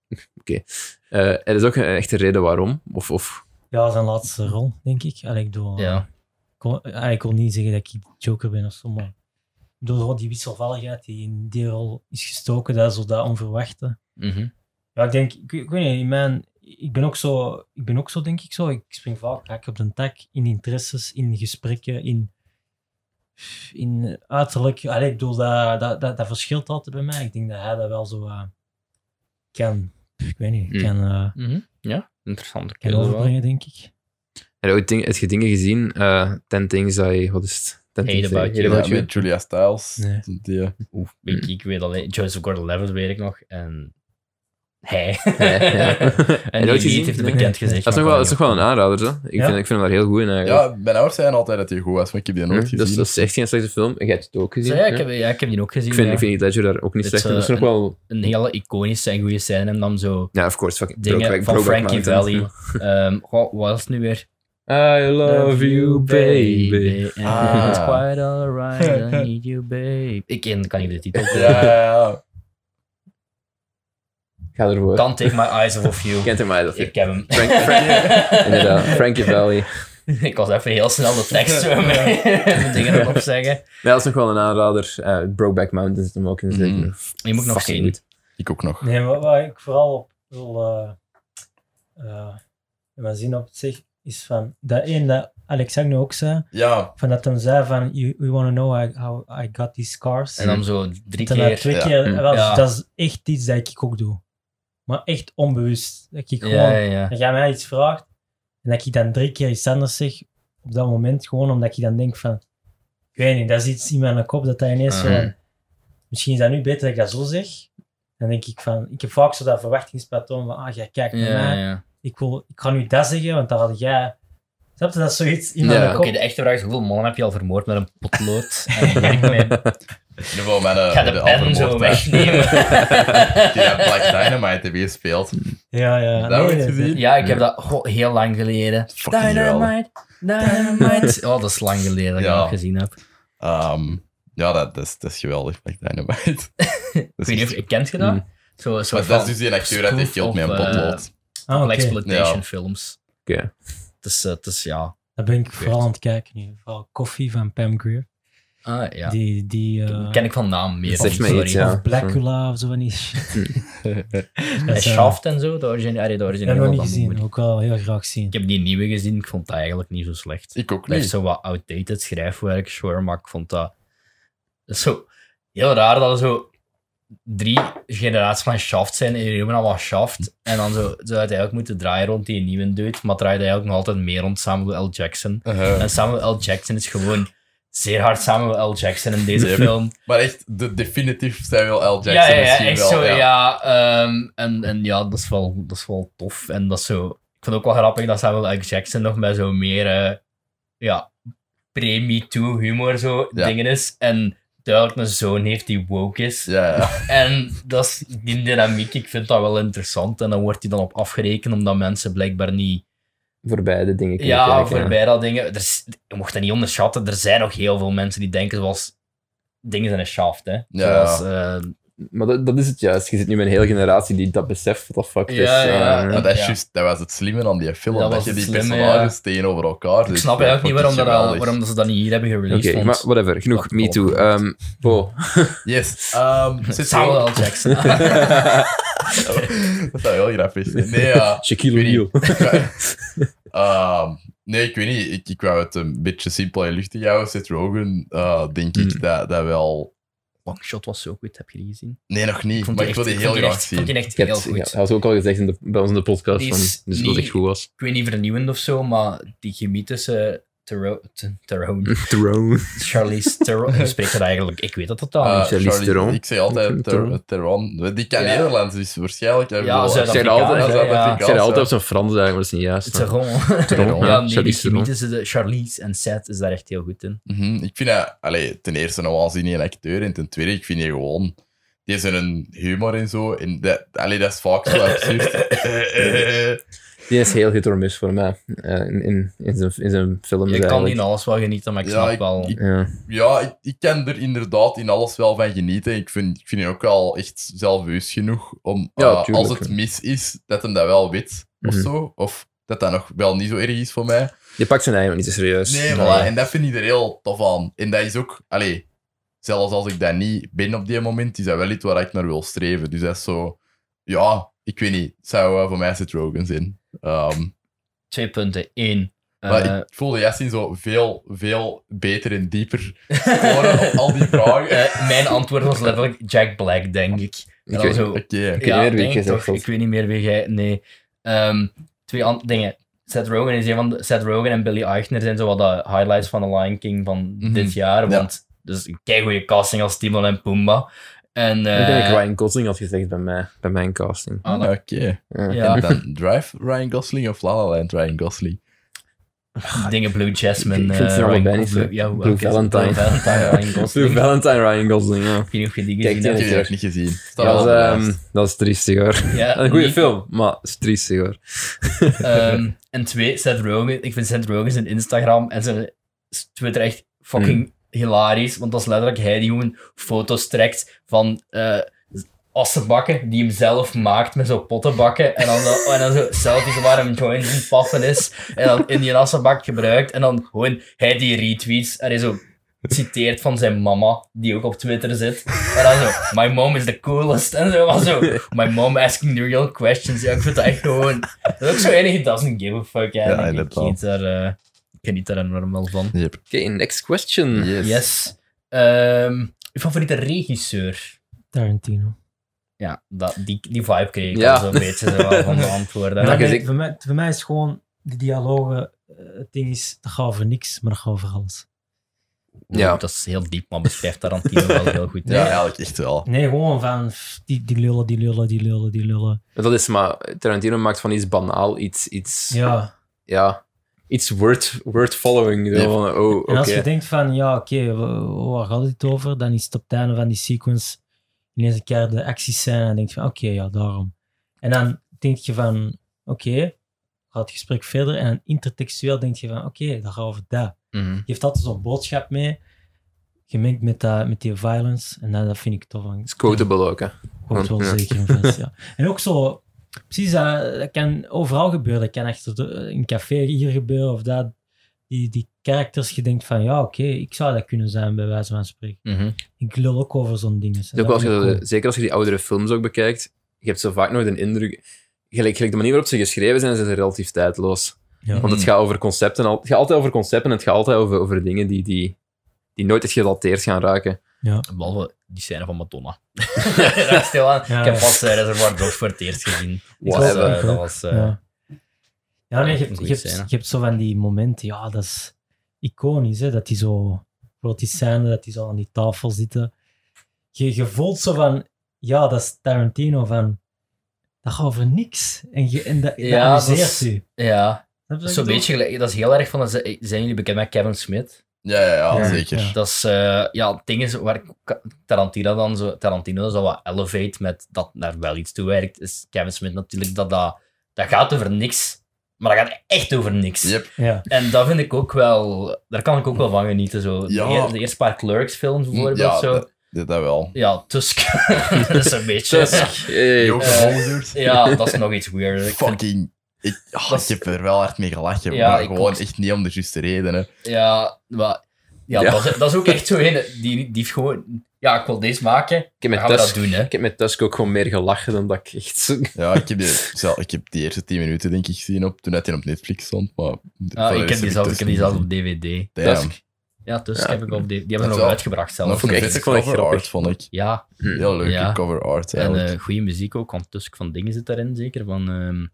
[SPEAKER 1] *laughs* Oké. Eh, er is ook een echte reden waarom. Of, of...
[SPEAKER 4] Ja, zijn laatste rol, denk ik. Allee, ik doe,
[SPEAKER 2] Ja.
[SPEAKER 4] kon, ah, ik kon niet zeggen dat ik Joker ben of zo, maar ik bedoel, gewoon die wisselvalligheid die in die rol is gestoken, dat is zo dat onverwachte.
[SPEAKER 2] Mhm.
[SPEAKER 4] Ja, ik denk, ik, ik weet niet, in mijn, ik ben ook zo, ik ben ook zo, denk ik zo. Ik spring vaak hak op de tak in interesses, in gesprekken, in, in uiterlijk. Allee, ik bedoel, dat, dat, dat, dat verschilt altijd bij mij. Ik denk dat hij dat wel zo eh, kan, ik weet niet,
[SPEAKER 1] Mm.
[SPEAKER 4] kan, eh,
[SPEAKER 2] Mhm. Ja, interessant.
[SPEAKER 4] kan overbrengen, denk ik.
[SPEAKER 1] Heb je ooit ding, heb je dingen gezien? Eh ten things I... Wat is het? Ten
[SPEAKER 2] Hate
[SPEAKER 1] things I-
[SPEAKER 2] about
[SPEAKER 1] Hate
[SPEAKER 2] you.
[SPEAKER 3] Ja,
[SPEAKER 1] about you.
[SPEAKER 3] met Julia Stiles.
[SPEAKER 4] Nee.
[SPEAKER 3] Die, eh,
[SPEAKER 2] Oeh, ik, ik weet alleen... Joseph Gordon-Levitt weet ik nog. En... *laughs* Hij.
[SPEAKER 1] Hij, *laughs* ja.
[SPEAKER 2] en
[SPEAKER 1] nooit
[SPEAKER 2] die
[SPEAKER 1] gezien?
[SPEAKER 2] lied heeft een
[SPEAKER 1] Nee.
[SPEAKER 2] bekend gezicht.
[SPEAKER 1] Dat is, nog wel,
[SPEAKER 2] maar kan
[SPEAKER 1] dat is nog wel een aanrader, zo. Ik,
[SPEAKER 4] Ja?
[SPEAKER 1] vind, ik vind hem daar heel goed in, eigenlijk.
[SPEAKER 3] ja, mijn ouders zeiden altijd dat hij goed was, maar ik heb die
[SPEAKER 1] Hm?
[SPEAKER 3] nooit
[SPEAKER 1] dat, is,
[SPEAKER 3] gezien.
[SPEAKER 1] dat is echt geen slechte film. Jij hebt het ook gezien.
[SPEAKER 2] Zo, ja,
[SPEAKER 1] hè?
[SPEAKER 2] ik heb, ja, ik heb die ook gezien.
[SPEAKER 1] ik vind,
[SPEAKER 2] ja.
[SPEAKER 1] ik vind Heath Ledger daar ook niet
[SPEAKER 2] Het,
[SPEAKER 1] slecht in. Dat is
[SPEAKER 2] eh,
[SPEAKER 1] nog wel...
[SPEAKER 2] Een hele iconische en goede scène. En dan zo
[SPEAKER 1] Ja, of course. Fucking
[SPEAKER 2] dingen
[SPEAKER 1] Brokeback-
[SPEAKER 2] van
[SPEAKER 1] Brokeback
[SPEAKER 2] Frankie Valley.
[SPEAKER 1] Mountain. *laughs*
[SPEAKER 2] Ehm, goh, wat was het nu weer?
[SPEAKER 1] I love you, baby.
[SPEAKER 2] And
[SPEAKER 3] Ah.
[SPEAKER 2] *laughs* It's quite alright, I need you, baby. Ik ken, kan niet de titel.
[SPEAKER 3] Ja, ja, ja.
[SPEAKER 1] Ga ervoor.
[SPEAKER 2] *laughs* Can't take my eyes off you.
[SPEAKER 1] Kent hem mij dat?
[SPEAKER 2] Ik heb hem. *laughs*
[SPEAKER 1] Frank- Inderdaad, Frankie Valley.
[SPEAKER 2] Ik was even heel snel de tekst zo mee. *laughs* de dingen erop zeggen.
[SPEAKER 1] Ja, dat is nog wel een aanrader. Eh, Brokeback Mountain zit hem ook in. dus zeker.
[SPEAKER 3] Mhm.
[SPEAKER 2] Die Mm-hmm. moet ik nog
[SPEAKER 1] Fucking
[SPEAKER 2] zien.
[SPEAKER 1] goed.
[SPEAKER 3] Ik ook nog.
[SPEAKER 4] Nee, maar waar ik vooral op wil eh eh, mijn zin op zich is van dat één dat Alexander nu ook zei,
[SPEAKER 3] Ja,
[SPEAKER 4] van dat hem zei van you, you want to know how, how I got these scars.
[SPEAKER 2] En dan zo drie
[SPEAKER 4] Ten na
[SPEAKER 2] keer.
[SPEAKER 4] twee
[SPEAKER 3] ja.
[SPEAKER 4] keer,
[SPEAKER 1] Mm.
[SPEAKER 4] wel,
[SPEAKER 2] Ja.
[SPEAKER 4] dat is echt iets dat ik ook doe. Maar echt onbewust. Dat ik gewoon,
[SPEAKER 2] Ja, ja, ja.
[SPEAKER 4] dat jij mij iets vraagt en dat ik dan drie keer iets anders zeg op dat moment, gewoon omdat je dan denkt van, ik weet niet, dat is iets in mijn kop dat dat ineens zo
[SPEAKER 2] Mhm.
[SPEAKER 4] van, misschien is dat nu beter dat ik dat zo zeg. Dan denk ik van, ik heb vaak zo dat verwachtingspatroon van, ah, jij kijkt naar
[SPEAKER 2] Ja,
[SPEAKER 4] mij,
[SPEAKER 2] ja.
[SPEAKER 4] ik, wil, ik ga nu dat zeggen, want dan had jij... Snap je, dat is zoiets in
[SPEAKER 1] Ja,
[SPEAKER 4] mijn
[SPEAKER 2] Oké,
[SPEAKER 4] kop.
[SPEAKER 2] de echte vraag is: hoeveel mannen heb je al vermoord met een potlood? En ik werk met
[SPEAKER 3] In ieder geval mijn, eh,
[SPEAKER 2] Ik ga de pen
[SPEAKER 3] andere
[SPEAKER 2] zo
[SPEAKER 3] woord, *laughs*
[SPEAKER 2] wegnemen. *laughs*
[SPEAKER 3] hè. Die hebben eh, Black Dynamite heb je gespeeld.
[SPEAKER 4] Ja, ja.
[SPEAKER 3] Dat wordt gezien.
[SPEAKER 2] Ja, ik heb dat goh, heel lang geleden.
[SPEAKER 3] Fucking geweldig.
[SPEAKER 2] Dynamite. *laughs* Oh, dat is lang geleden dat ik
[SPEAKER 3] Ja.
[SPEAKER 2] dat gezien heb.
[SPEAKER 3] Ehm, ja, dat, dat, is, dat is geweldig, Black Dynamite.
[SPEAKER 2] *laughs* Ik
[SPEAKER 3] dat
[SPEAKER 2] weet
[SPEAKER 3] is,
[SPEAKER 2] niet of je kent je dat?
[SPEAKER 1] Mm.
[SPEAKER 2] Zo, een soort
[SPEAKER 3] maar dat is
[SPEAKER 2] van
[SPEAKER 3] dus die acteur uit de
[SPEAKER 2] Scoof
[SPEAKER 3] Guild
[SPEAKER 2] of,
[SPEAKER 3] met een
[SPEAKER 2] eh,
[SPEAKER 3] potlood.
[SPEAKER 4] Ah, oké.
[SPEAKER 2] exploitation
[SPEAKER 3] Ja.
[SPEAKER 2] films.
[SPEAKER 1] Oké.
[SPEAKER 2] Het is, eh, het is ja.
[SPEAKER 4] Daar ben ik vooral aan het kijken nu. Vooral Coffee van Pam Grier.
[SPEAKER 2] Ah, ja.
[SPEAKER 4] Die, die eh,
[SPEAKER 2] Ken ik van naam meer.
[SPEAKER 1] Dat zegt
[SPEAKER 2] van,
[SPEAKER 1] me iets, ja.
[SPEAKER 4] of Blackula of zo
[SPEAKER 2] *laughs*
[SPEAKER 4] van die shit.
[SPEAKER 2] En
[SPEAKER 4] Dat is, eh,
[SPEAKER 2] Shaft en zo, de origine, allee, de
[SPEAKER 4] Ik
[SPEAKER 2] originele
[SPEAKER 4] heb nog niet
[SPEAKER 2] van
[SPEAKER 4] gezien,
[SPEAKER 2] Moody.
[SPEAKER 4] ook wel heel graag zien.
[SPEAKER 2] Ik heb die nieuwe gezien, ik vond dat eigenlijk niet zo slecht.
[SPEAKER 3] ik ook
[SPEAKER 2] Het
[SPEAKER 3] niet.
[SPEAKER 2] is zo wat outdated schrijfwerk, sure, maar ik vond dat dat is zo heel raar dat er zo drie generaties van Shaft zijn en jullie noemen allemaal Shaft. En dan zo, zou het eigenlijk moeten draaien rond die nieuwe dude, maar het draait eigenlijk nog altijd meer rond Samuel L. Jackson.
[SPEAKER 3] Uh-huh.
[SPEAKER 2] En Samuel L. Jackson is gewoon zeer hard Samuel L. Jackson in deze
[SPEAKER 3] Yep.
[SPEAKER 2] film.
[SPEAKER 3] Maar echt, de definitief Samuel L. Jackson
[SPEAKER 2] ja, ja, ja,
[SPEAKER 3] misschien
[SPEAKER 2] echt
[SPEAKER 3] wel.
[SPEAKER 2] zo, ja.
[SPEAKER 3] ja.
[SPEAKER 2] ehm, en, en ja, dat is, wel, dat is wel tof. En dat is zo... Ik vind het ook wel grappig dat Samuel L. Jackson nog met zo meer... eh, ja, pre-me-too humor zo
[SPEAKER 3] Ja.
[SPEAKER 2] dingen is. En duidelijk een zoon heeft die woke is.
[SPEAKER 3] Ja, ja.
[SPEAKER 2] En dat is die dynamiek, ik vind dat wel interessant. En dan wordt hij dan op afgerekend omdat mensen blijkbaar niet...
[SPEAKER 1] *laughs* Voor beide dingen. kunnen
[SPEAKER 2] Ja,
[SPEAKER 1] kijken,
[SPEAKER 2] voorbij dat dingen. Er is, je mocht dat niet onderschatten. Er zijn nog heel veel mensen die denken zoals dingen zijn een shaft, hè.
[SPEAKER 3] Ja.
[SPEAKER 2] Zoals, eh,
[SPEAKER 1] Maar dat, dat is het juist. Je zit nu met een hele generatie die dat beseft wat dat fuck
[SPEAKER 2] Ja,
[SPEAKER 1] is.
[SPEAKER 2] ja.
[SPEAKER 1] Eh,
[SPEAKER 3] Maar dat, is
[SPEAKER 2] Ja.
[SPEAKER 3] juist, dat was het slimme aan die film,
[SPEAKER 2] Dat
[SPEAKER 3] dat,
[SPEAKER 2] was
[SPEAKER 3] je
[SPEAKER 2] het
[SPEAKER 3] die
[SPEAKER 2] slimme,
[SPEAKER 3] personages tegenover elkaar
[SPEAKER 2] ik
[SPEAKER 3] zit.
[SPEAKER 2] snap
[SPEAKER 3] Ja,
[SPEAKER 2] eigenlijk niet
[SPEAKER 3] vond
[SPEAKER 2] waarom,
[SPEAKER 3] ik
[SPEAKER 2] dat al,
[SPEAKER 3] geweldig.
[SPEAKER 2] waarom dat ze dat niet hier hebben
[SPEAKER 1] Oké,
[SPEAKER 2] gereleased. want
[SPEAKER 1] maar whatever. Genoeg,
[SPEAKER 2] Dat
[SPEAKER 1] me
[SPEAKER 2] klopt.
[SPEAKER 1] too. Ehm Bo.
[SPEAKER 2] *laughs*
[SPEAKER 3] Yes. ehm, zit er
[SPEAKER 2] Samuel
[SPEAKER 3] ook-
[SPEAKER 2] L. Jackson.
[SPEAKER 3] *laughs*
[SPEAKER 2] *laughs*
[SPEAKER 3] dat zou heel grappig
[SPEAKER 2] *laughs*
[SPEAKER 3] zijn. Nee, ja.
[SPEAKER 1] Shaquille
[SPEAKER 3] Ik weet niet.
[SPEAKER 1] O'Neal.
[SPEAKER 3] Ik
[SPEAKER 1] *laughs*
[SPEAKER 3] wou- *laughs* Ehm, nee, ik weet niet. Ik, ik wou het een beetje simpel en luchtig houden. Seth Rogen, eh, denk ik,
[SPEAKER 1] Hmm.
[SPEAKER 3] dat, dat wel...
[SPEAKER 2] One Shot was zo goed, heb je die gezien?
[SPEAKER 3] Nee, nog niet.
[SPEAKER 2] Ik vond
[SPEAKER 3] maar
[SPEAKER 2] die
[SPEAKER 3] ik
[SPEAKER 2] echt,
[SPEAKER 3] wil die
[SPEAKER 2] ik
[SPEAKER 3] heel
[SPEAKER 2] vond die
[SPEAKER 3] graag
[SPEAKER 2] echt, ik vond
[SPEAKER 3] zien.
[SPEAKER 2] die echt
[SPEAKER 1] Ik
[SPEAKER 2] heel
[SPEAKER 1] had-
[SPEAKER 2] goed.
[SPEAKER 1] ja, dat was ook al gezegd in de, bij ons in de podcast.
[SPEAKER 2] Die
[SPEAKER 1] Van,
[SPEAKER 2] is
[SPEAKER 1] dus dat het
[SPEAKER 2] niet-
[SPEAKER 1] echt goed *laughs* was.
[SPEAKER 2] Ik weet niet vernieuwend of zo, maar die chemie tussen eh, Tero- T-
[SPEAKER 3] *laughs*
[SPEAKER 2] Tyrone,
[SPEAKER 1] Throne.
[SPEAKER 2] Charlize Theron, hoe spreekt dat eigenlijk? Ik weet dat totaal
[SPEAKER 3] Eh,
[SPEAKER 2] niet.
[SPEAKER 1] Charlize
[SPEAKER 3] Charlie-
[SPEAKER 1] Theron.
[SPEAKER 3] Ik zeg altijd Ter- Theron. Die kan
[SPEAKER 2] Ja.
[SPEAKER 3] Nederlands, dus waarschijnlijk... eh,
[SPEAKER 2] Ja,
[SPEAKER 3] wel-
[SPEAKER 1] Ik zeg
[SPEAKER 2] Zuid-Afrikaans,
[SPEAKER 1] dat altijd,
[SPEAKER 2] hè, ja.
[SPEAKER 1] ik zeg dat altijd op zo'n Frans eigenlijk, maar dat is niet juist.
[SPEAKER 2] Het is gewoon...
[SPEAKER 1] Theron,
[SPEAKER 2] *laughs* Ja,
[SPEAKER 1] ja,
[SPEAKER 2] nee, die
[SPEAKER 1] Charlize
[SPEAKER 2] chemie
[SPEAKER 1] Theron.
[SPEAKER 2] tussen de Charlize en Seth is daar echt heel goed in.
[SPEAKER 3] Mhm, Ik vind dat, allee, ten eerste een waanzinnige acteur en ten tweede, ik vind die gewoon, die zijn een humor en zo. En dat, allee, dat is vaak zo
[SPEAKER 1] *laughs*
[SPEAKER 3] absurd. Eh,
[SPEAKER 1] Die is heel hit or miss voor mij. eh, in, in, in zijn, in zijn films
[SPEAKER 2] Ik kan niet
[SPEAKER 1] eigenlijk.
[SPEAKER 2] in alles wel genieten, maar ik
[SPEAKER 3] Ja,
[SPEAKER 2] snap
[SPEAKER 3] ik-
[SPEAKER 2] wel...
[SPEAKER 3] ik-
[SPEAKER 1] Ja.
[SPEAKER 3] ja, ik, ik kan er inderdaad in alles wel van genieten. Ik vind, ik vind die ook wel echt zelfheus genoeg om,
[SPEAKER 1] Ja,
[SPEAKER 3] eh,
[SPEAKER 1] tuurlijk.
[SPEAKER 3] als het mis is, dat hem dat wel weet of
[SPEAKER 1] Mhm.
[SPEAKER 3] zo. Of dat dat nog wel niet zo erg is voor mij.
[SPEAKER 1] Je pakt zijn eigen niet te serieus.
[SPEAKER 3] Nee,
[SPEAKER 1] maar
[SPEAKER 3] voilà. En dat vind ik er heel tof aan. En dat is ook, allee, zelfs als ik dat niet ben op die moment, is dat wel iets waar ik naar wil streven. Dus dat is zo, ja, ik weet niet. Het zou eh, voor mij Seth Rogen zijn. Ehm,
[SPEAKER 2] Twee punten. Eén.
[SPEAKER 3] maar
[SPEAKER 2] eh,
[SPEAKER 3] ik voelde Jasmin zo veel, veel beter en dieper horen op al die vragen.
[SPEAKER 2] *laughs* eh, mijn antwoord was letterlijk Jack Black, denk ik.
[SPEAKER 1] Ik
[SPEAKER 2] En dan
[SPEAKER 1] weet-
[SPEAKER 2] zo,
[SPEAKER 3] Oké.
[SPEAKER 1] weet niet meer wie
[SPEAKER 2] denk
[SPEAKER 1] jij zegt,
[SPEAKER 2] toch,
[SPEAKER 1] of-
[SPEAKER 2] Ik weet niet meer wie jij... Nee. Ehm, twee an- dingen. Seth Rogen is een van de... Seth Rogen en Billy Eichner zijn zo wat de highlights van The Lion King van
[SPEAKER 3] Mhm.
[SPEAKER 2] dit jaar.
[SPEAKER 3] Ja.
[SPEAKER 2] Want dus een keigoeie casting als Timon en Pumbaa. En... eh
[SPEAKER 1] Ik denk dat ik Ryan Gosling had gezegd bij mij, bij mijn casting.
[SPEAKER 2] ah,
[SPEAKER 3] Ah,
[SPEAKER 2] dat-
[SPEAKER 3] Oké.
[SPEAKER 1] Ja.
[SPEAKER 2] Ja.
[SPEAKER 3] En dan Drive Ryan Gosling of La La Land Ryan Gosling?
[SPEAKER 2] dingen Blue Jasmine.
[SPEAKER 1] Ik vind ze
[SPEAKER 2] eh,
[SPEAKER 1] allebei
[SPEAKER 2] Ryan-
[SPEAKER 1] niet zo-
[SPEAKER 2] Blue- ja,
[SPEAKER 1] Blue
[SPEAKER 2] welke is het?
[SPEAKER 1] Valentine.
[SPEAKER 2] Blue Valentine, Ryan Gosling.
[SPEAKER 1] Blue
[SPEAKER 2] Ik
[SPEAKER 1] Valentine Ryan Gosling, ja.
[SPEAKER 2] weet niet of je die
[SPEAKER 1] Kijk,
[SPEAKER 2] gezien
[SPEAKER 1] die-
[SPEAKER 2] hebt.
[SPEAKER 3] Ik heb die nog niet gezien. Staat
[SPEAKER 1] Dat is,
[SPEAKER 3] wel op de lijst.
[SPEAKER 1] ehm, dat is triestig hoor.
[SPEAKER 2] Ja,
[SPEAKER 1] Een goede
[SPEAKER 2] niet-
[SPEAKER 1] film, maar het is triestig hoor.
[SPEAKER 2] Ehm, en twee, Seth Rogen. Ik vind Seth Rogen zijn Instagram en zijn Twitter echt fucking
[SPEAKER 3] Mm.
[SPEAKER 2] hilarisch. Want dat is letterlijk hij die gewoon foto's trekt van eh assenbakken die hem zelf maakt met zo'n pottenbakken. En dan,
[SPEAKER 3] *laughs*
[SPEAKER 2] zo- en dan zo selfies waar hem joints in paffen is. En dan in die assenbak gebruikt. En dan gewoon hij die retweets. En hij zo citeert van zijn mama, die ook op Twitter zit. En dan zo, my mom is the coolest. En zo, maar zo, my mom asking the real questions. Ja, ik vind dat echt gewoon... Dat is ook zo enig, it doesn't give a fuck. Ja,
[SPEAKER 3] Ja,
[SPEAKER 2] Ik- ik,
[SPEAKER 3] inderdaad.
[SPEAKER 2] geniet daar, eh, ik geniet daar enorm wel van.
[SPEAKER 3] Yep.
[SPEAKER 1] Oké, next question.
[SPEAKER 3] Yes.
[SPEAKER 2] Yes. Ehm je favoriete regisseur?
[SPEAKER 4] Tarantino.
[SPEAKER 2] Ja, dat, die, die vibe kreeg ik
[SPEAKER 1] Ja.
[SPEAKER 2] al zo'n beetje zo wel
[SPEAKER 1] *laughs*
[SPEAKER 2] van de antwoorden.
[SPEAKER 1] Ja,
[SPEAKER 4] Maar
[SPEAKER 1] je
[SPEAKER 4] nee,
[SPEAKER 1] zegt-
[SPEAKER 4] voor, mij, voor mij is gewoon, die dialogen, eh, het ding is, dat gaat over niks, maar dat gaat over alles.
[SPEAKER 2] Oeh,
[SPEAKER 1] Ja.
[SPEAKER 2] Dat is heel diep, maar beschrijft Tarantino wel heel goed.
[SPEAKER 3] Ja, eigenlijk echt wel.
[SPEAKER 4] Nee, gewoon van pff, die, die lullen, die lullen, die lullen, die lullen.
[SPEAKER 1] Dat is maar, Tarantino maakt van iets banaal iets, iets ja.
[SPEAKER 4] Ja,
[SPEAKER 1] iets word, word following. Zo
[SPEAKER 3] Ja.
[SPEAKER 1] van, oh, oké.
[SPEAKER 4] En als je denkt van, ja, oké, wa- waar gaat dit over? Dan is het op het einde van die sequence ineens een keer de actiescène en denk je van, oké, ja, daarom. En dan denk je van, oké, gaat het gesprek verder en intertextueel denk je van, oké, dat gaat over dat.
[SPEAKER 1] Mhm.
[SPEAKER 4] Je hebt altijd zo'n boodschap mee, gemengd met, dat, met die violence, en dat, dat vind ik tof.
[SPEAKER 1] Het is quotable ook, hè.
[SPEAKER 4] Komt wel
[SPEAKER 1] Ja.
[SPEAKER 4] zeker in
[SPEAKER 1] *laughs*
[SPEAKER 4] vast, ja. En ook zo, precies, dat, dat kan overal gebeuren. Dat kan achter de, in een café hier gebeuren of dat. Die, die characters, je denkt van, ja, oké, ik zou dat kunnen zijn, bij wijze van spreken.
[SPEAKER 1] Mhm.
[SPEAKER 4] Ik lul ook over zo'n dingen.
[SPEAKER 1] Dus ook als je dat- zeker als je die oudere films ook bekijkt, je hebt zo vaak nooit een indruk... Gelijk, gelijk de manier waarop ze geschreven zijn, zijn ze relatief tijdloos.
[SPEAKER 4] Ja.
[SPEAKER 1] Want het gaat over concepten. al- Het gaat altijd over concepten en het gaat altijd over, over dingen die, die, die nooit echt gedateerd gaan raken.
[SPEAKER 2] Behalve die scène
[SPEAKER 1] *laughs*
[SPEAKER 2] van Madonna. *laughs* Daar stil aan.
[SPEAKER 4] Ja.
[SPEAKER 2] Ik heb pas eh, Reservoir Dogs voor het eerst gezien. Dat
[SPEAKER 1] *laughs*
[SPEAKER 2] was,
[SPEAKER 1] Whatever.
[SPEAKER 2] eh, dat was, eh,
[SPEAKER 4] ja. Ja, nee, je, hebt,
[SPEAKER 2] Goeie
[SPEAKER 4] je, hebt,
[SPEAKER 2] scène.
[SPEAKER 4] je hebt zo van die momenten, ja, dat is iconisch, hè, dat die zo, bijvoorbeeld die scène, dat die zo aan die tafel zitten. Je, je voelt zo van, ja, dat is Tarantino, van, dat gaat over niks. En, je, en dat,
[SPEAKER 2] Ja,
[SPEAKER 4] dat
[SPEAKER 2] dat
[SPEAKER 4] amuseert
[SPEAKER 2] is-
[SPEAKER 4] u.
[SPEAKER 2] ja.
[SPEAKER 4] Snap je
[SPEAKER 2] Dat
[SPEAKER 4] wat
[SPEAKER 2] is zo'n
[SPEAKER 4] ik bedoel?
[SPEAKER 2] beetje gelijk. Dat is heel erg van. dat ze- Zijn jullie bekend met Kevin Smith?
[SPEAKER 3] Ja, ja, ja,
[SPEAKER 4] Ja.
[SPEAKER 3] zeker.
[SPEAKER 4] Ja.
[SPEAKER 2] Dat is, eh, ja, het ding is waar ik- Tarantino dan zo, Tarantino zo wat elevate met dat naar wel iets toe werkt, is Kevin Smith natuurlijk, dat, dat, dat gaat over niks, maar dat gaat echt over niks.
[SPEAKER 3] Yep.
[SPEAKER 4] Ja,
[SPEAKER 2] En dat vind ik ook wel, daar kan ik ook wel van genieten. Zo.
[SPEAKER 3] Ja.
[SPEAKER 2] De, eer- de eerste paar Clerks films bijvoorbeeld.
[SPEAKER 3] Ja,
[SPEAKER 2] zo.
[SPEAKER 3] dat, dat wel.
[SPEAKER 2] ja Tusk. *laughs* dat is een beetje.
[SPEAKER 1] Hey.
[SPEAKER 3] Joke
[SPEAKER 2] eh,
[SPEAKER 3] Volgers.
[SPEAKER 2] Ja, dat is nog iets weirder. Ik vind-
[SPEAKER 3] Fucking. Ik, ah, ik heb er wel hard mee gelachen,
[SPEAKER 2] Ja,
[SPEAKER 3] maar
[SPEAKER 2] ik
[SPEAKER 3] gewoon
[SPEAKER 2] ook.
[SPEAKER 3] echt niet om de juiste redenen.
[SPEAKER 2] ja, maar, ja,
[SPEAKER 1] Ja.
[SPEAKER 2] Dat, is, dat is ook echt zo een die, die heeft gewoon, ja, ik wil deze maken,
[SPEAKER 1] Ik heb
[SPEAKER 2] dan
[SPEAKER 1] met
[SPEAKER 2] gaan we dat
[SPEAKER 1] Tusk,
[SPEAKER 2] doen, hè.
[SPEAKER 1] ik heb met Tusk ook gewoon meer gelachen dan dat ik *laughs* echt...
[SPEAKER 3] Ja, ik heb, die, *laughs* zelf, ik heb die eerste 10 minuten denk ik gezien op, toen dat hij op Netflix stond, maar...
[SPEAKER 2] Ah, ik heb die zelf, ik heb die zelf op DVD.
[SPEAKER 3] dus Damn.
[SPEAKER 2] Tusk. Ja, Tusk
[SPEAKER 1] Ja.
[SPEAKER 2] heb ik op DVD. Die hebben
[SPEAKER 3] Dat
[SPEAKER 2] we nog
[SPEAKER 3] wel.
[SPEAKER 2] uitgebracht
[SPEAKER 3] Dat
[SPEAKER 2] zelf.
[SPEAKER 3] vond ik
[SPEAKER 1] Oké,
[SPEAKER 3] echt
[SPEAKER 1] ik vond het
[SPEAKER 3] cover
[SPEAKER 1] grappig.
[SPEAKER 3] art, vond ik.
[SPEAKER 2] Ja,
[SPEAKER 3] Heel leuke
[SPEAKER 2] Ja.
[SPEAKER 3] cover art,
[SPEAKER 2] en
[SPEAKER 3] eigenlijk.
[SPEAKER 2] eh goede muziek ook, want Tusk van Dingen zit daarin zeker. Van, ehm,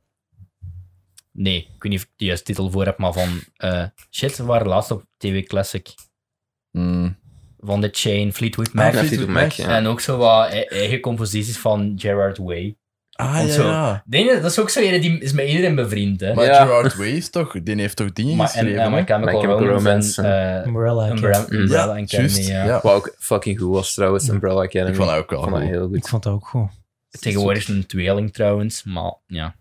[SPEAKER 2] nee, ik weet niet of ik de juiste titel voor heb, maar van eh, shit, we waren laatst op TV Classic. eh,
[SPEAKER 3] Mm.
[SPEAKER 2] Van The Chain,
[SPEAKER 3] Ah,
[SPEAKER 2] Fleetwood Mac.
[SPEAKER 1] Ja, Fleetwood Mac, ja.
[SPEAKER 2] En ook zo wat e- eigen composities van Gerard Way.
[SPEAKER 3] Ah,
[SPEAKER 2] Want
[SPEAKER 3] ja,
[SPEAKER 2] zo-
[SPEAKER 3] ja.
[SPEAKER 2] Denk je, dat is ook zo ene die is met iedereen bevriend. Hè?
[SPEAKER 3] Maar
[SPEAKER 1] Ja.
[SPEAKER 3] Gerard Way is toch... Die heeft toch dingen
[SPEAKER 2] Maar- en
[SPEAKER 3] geschreven,
[SPEAKER 2] eh, My
[SPEAKER 3] hè?
[SPEAKER 2] Chemical,
[SPEAKER 1] My Chemical
[SPEAKER 2] Romance.
[SPEAKER 1] Romance,
[SPEAKER 2] En, eh,
[SPEAKER 4] Umbrella. Academy.
[SPEAKER 2] Umbrella, Umbrella
[SPEAKER 3] Ja,
[SPEAKER 2] Academy.
[SPEAKER 3] juist.
[SPEAKER 2] ja.
[SPEAKER 3] Ja.
[SPEAKER 1] Wat ook fucking goed was trouwens, Umbrella Academy.
[SPEAKER 3] Ik vond dat ook wel
[SPEAKER 1] Ik vond dat
[SPEAKER 3] goed.
[SPEAKER 1] heel
[SPEAKER 4] Ik
[SPEAKER 1] goed.
[SPEAKER 4] vond dat ook goed.
[SPEAKER 2] Tegenwoordig is het een tweeling trouwens, maar
[SPEAKER 3] *laughs*
[SPEAKER 2] ja.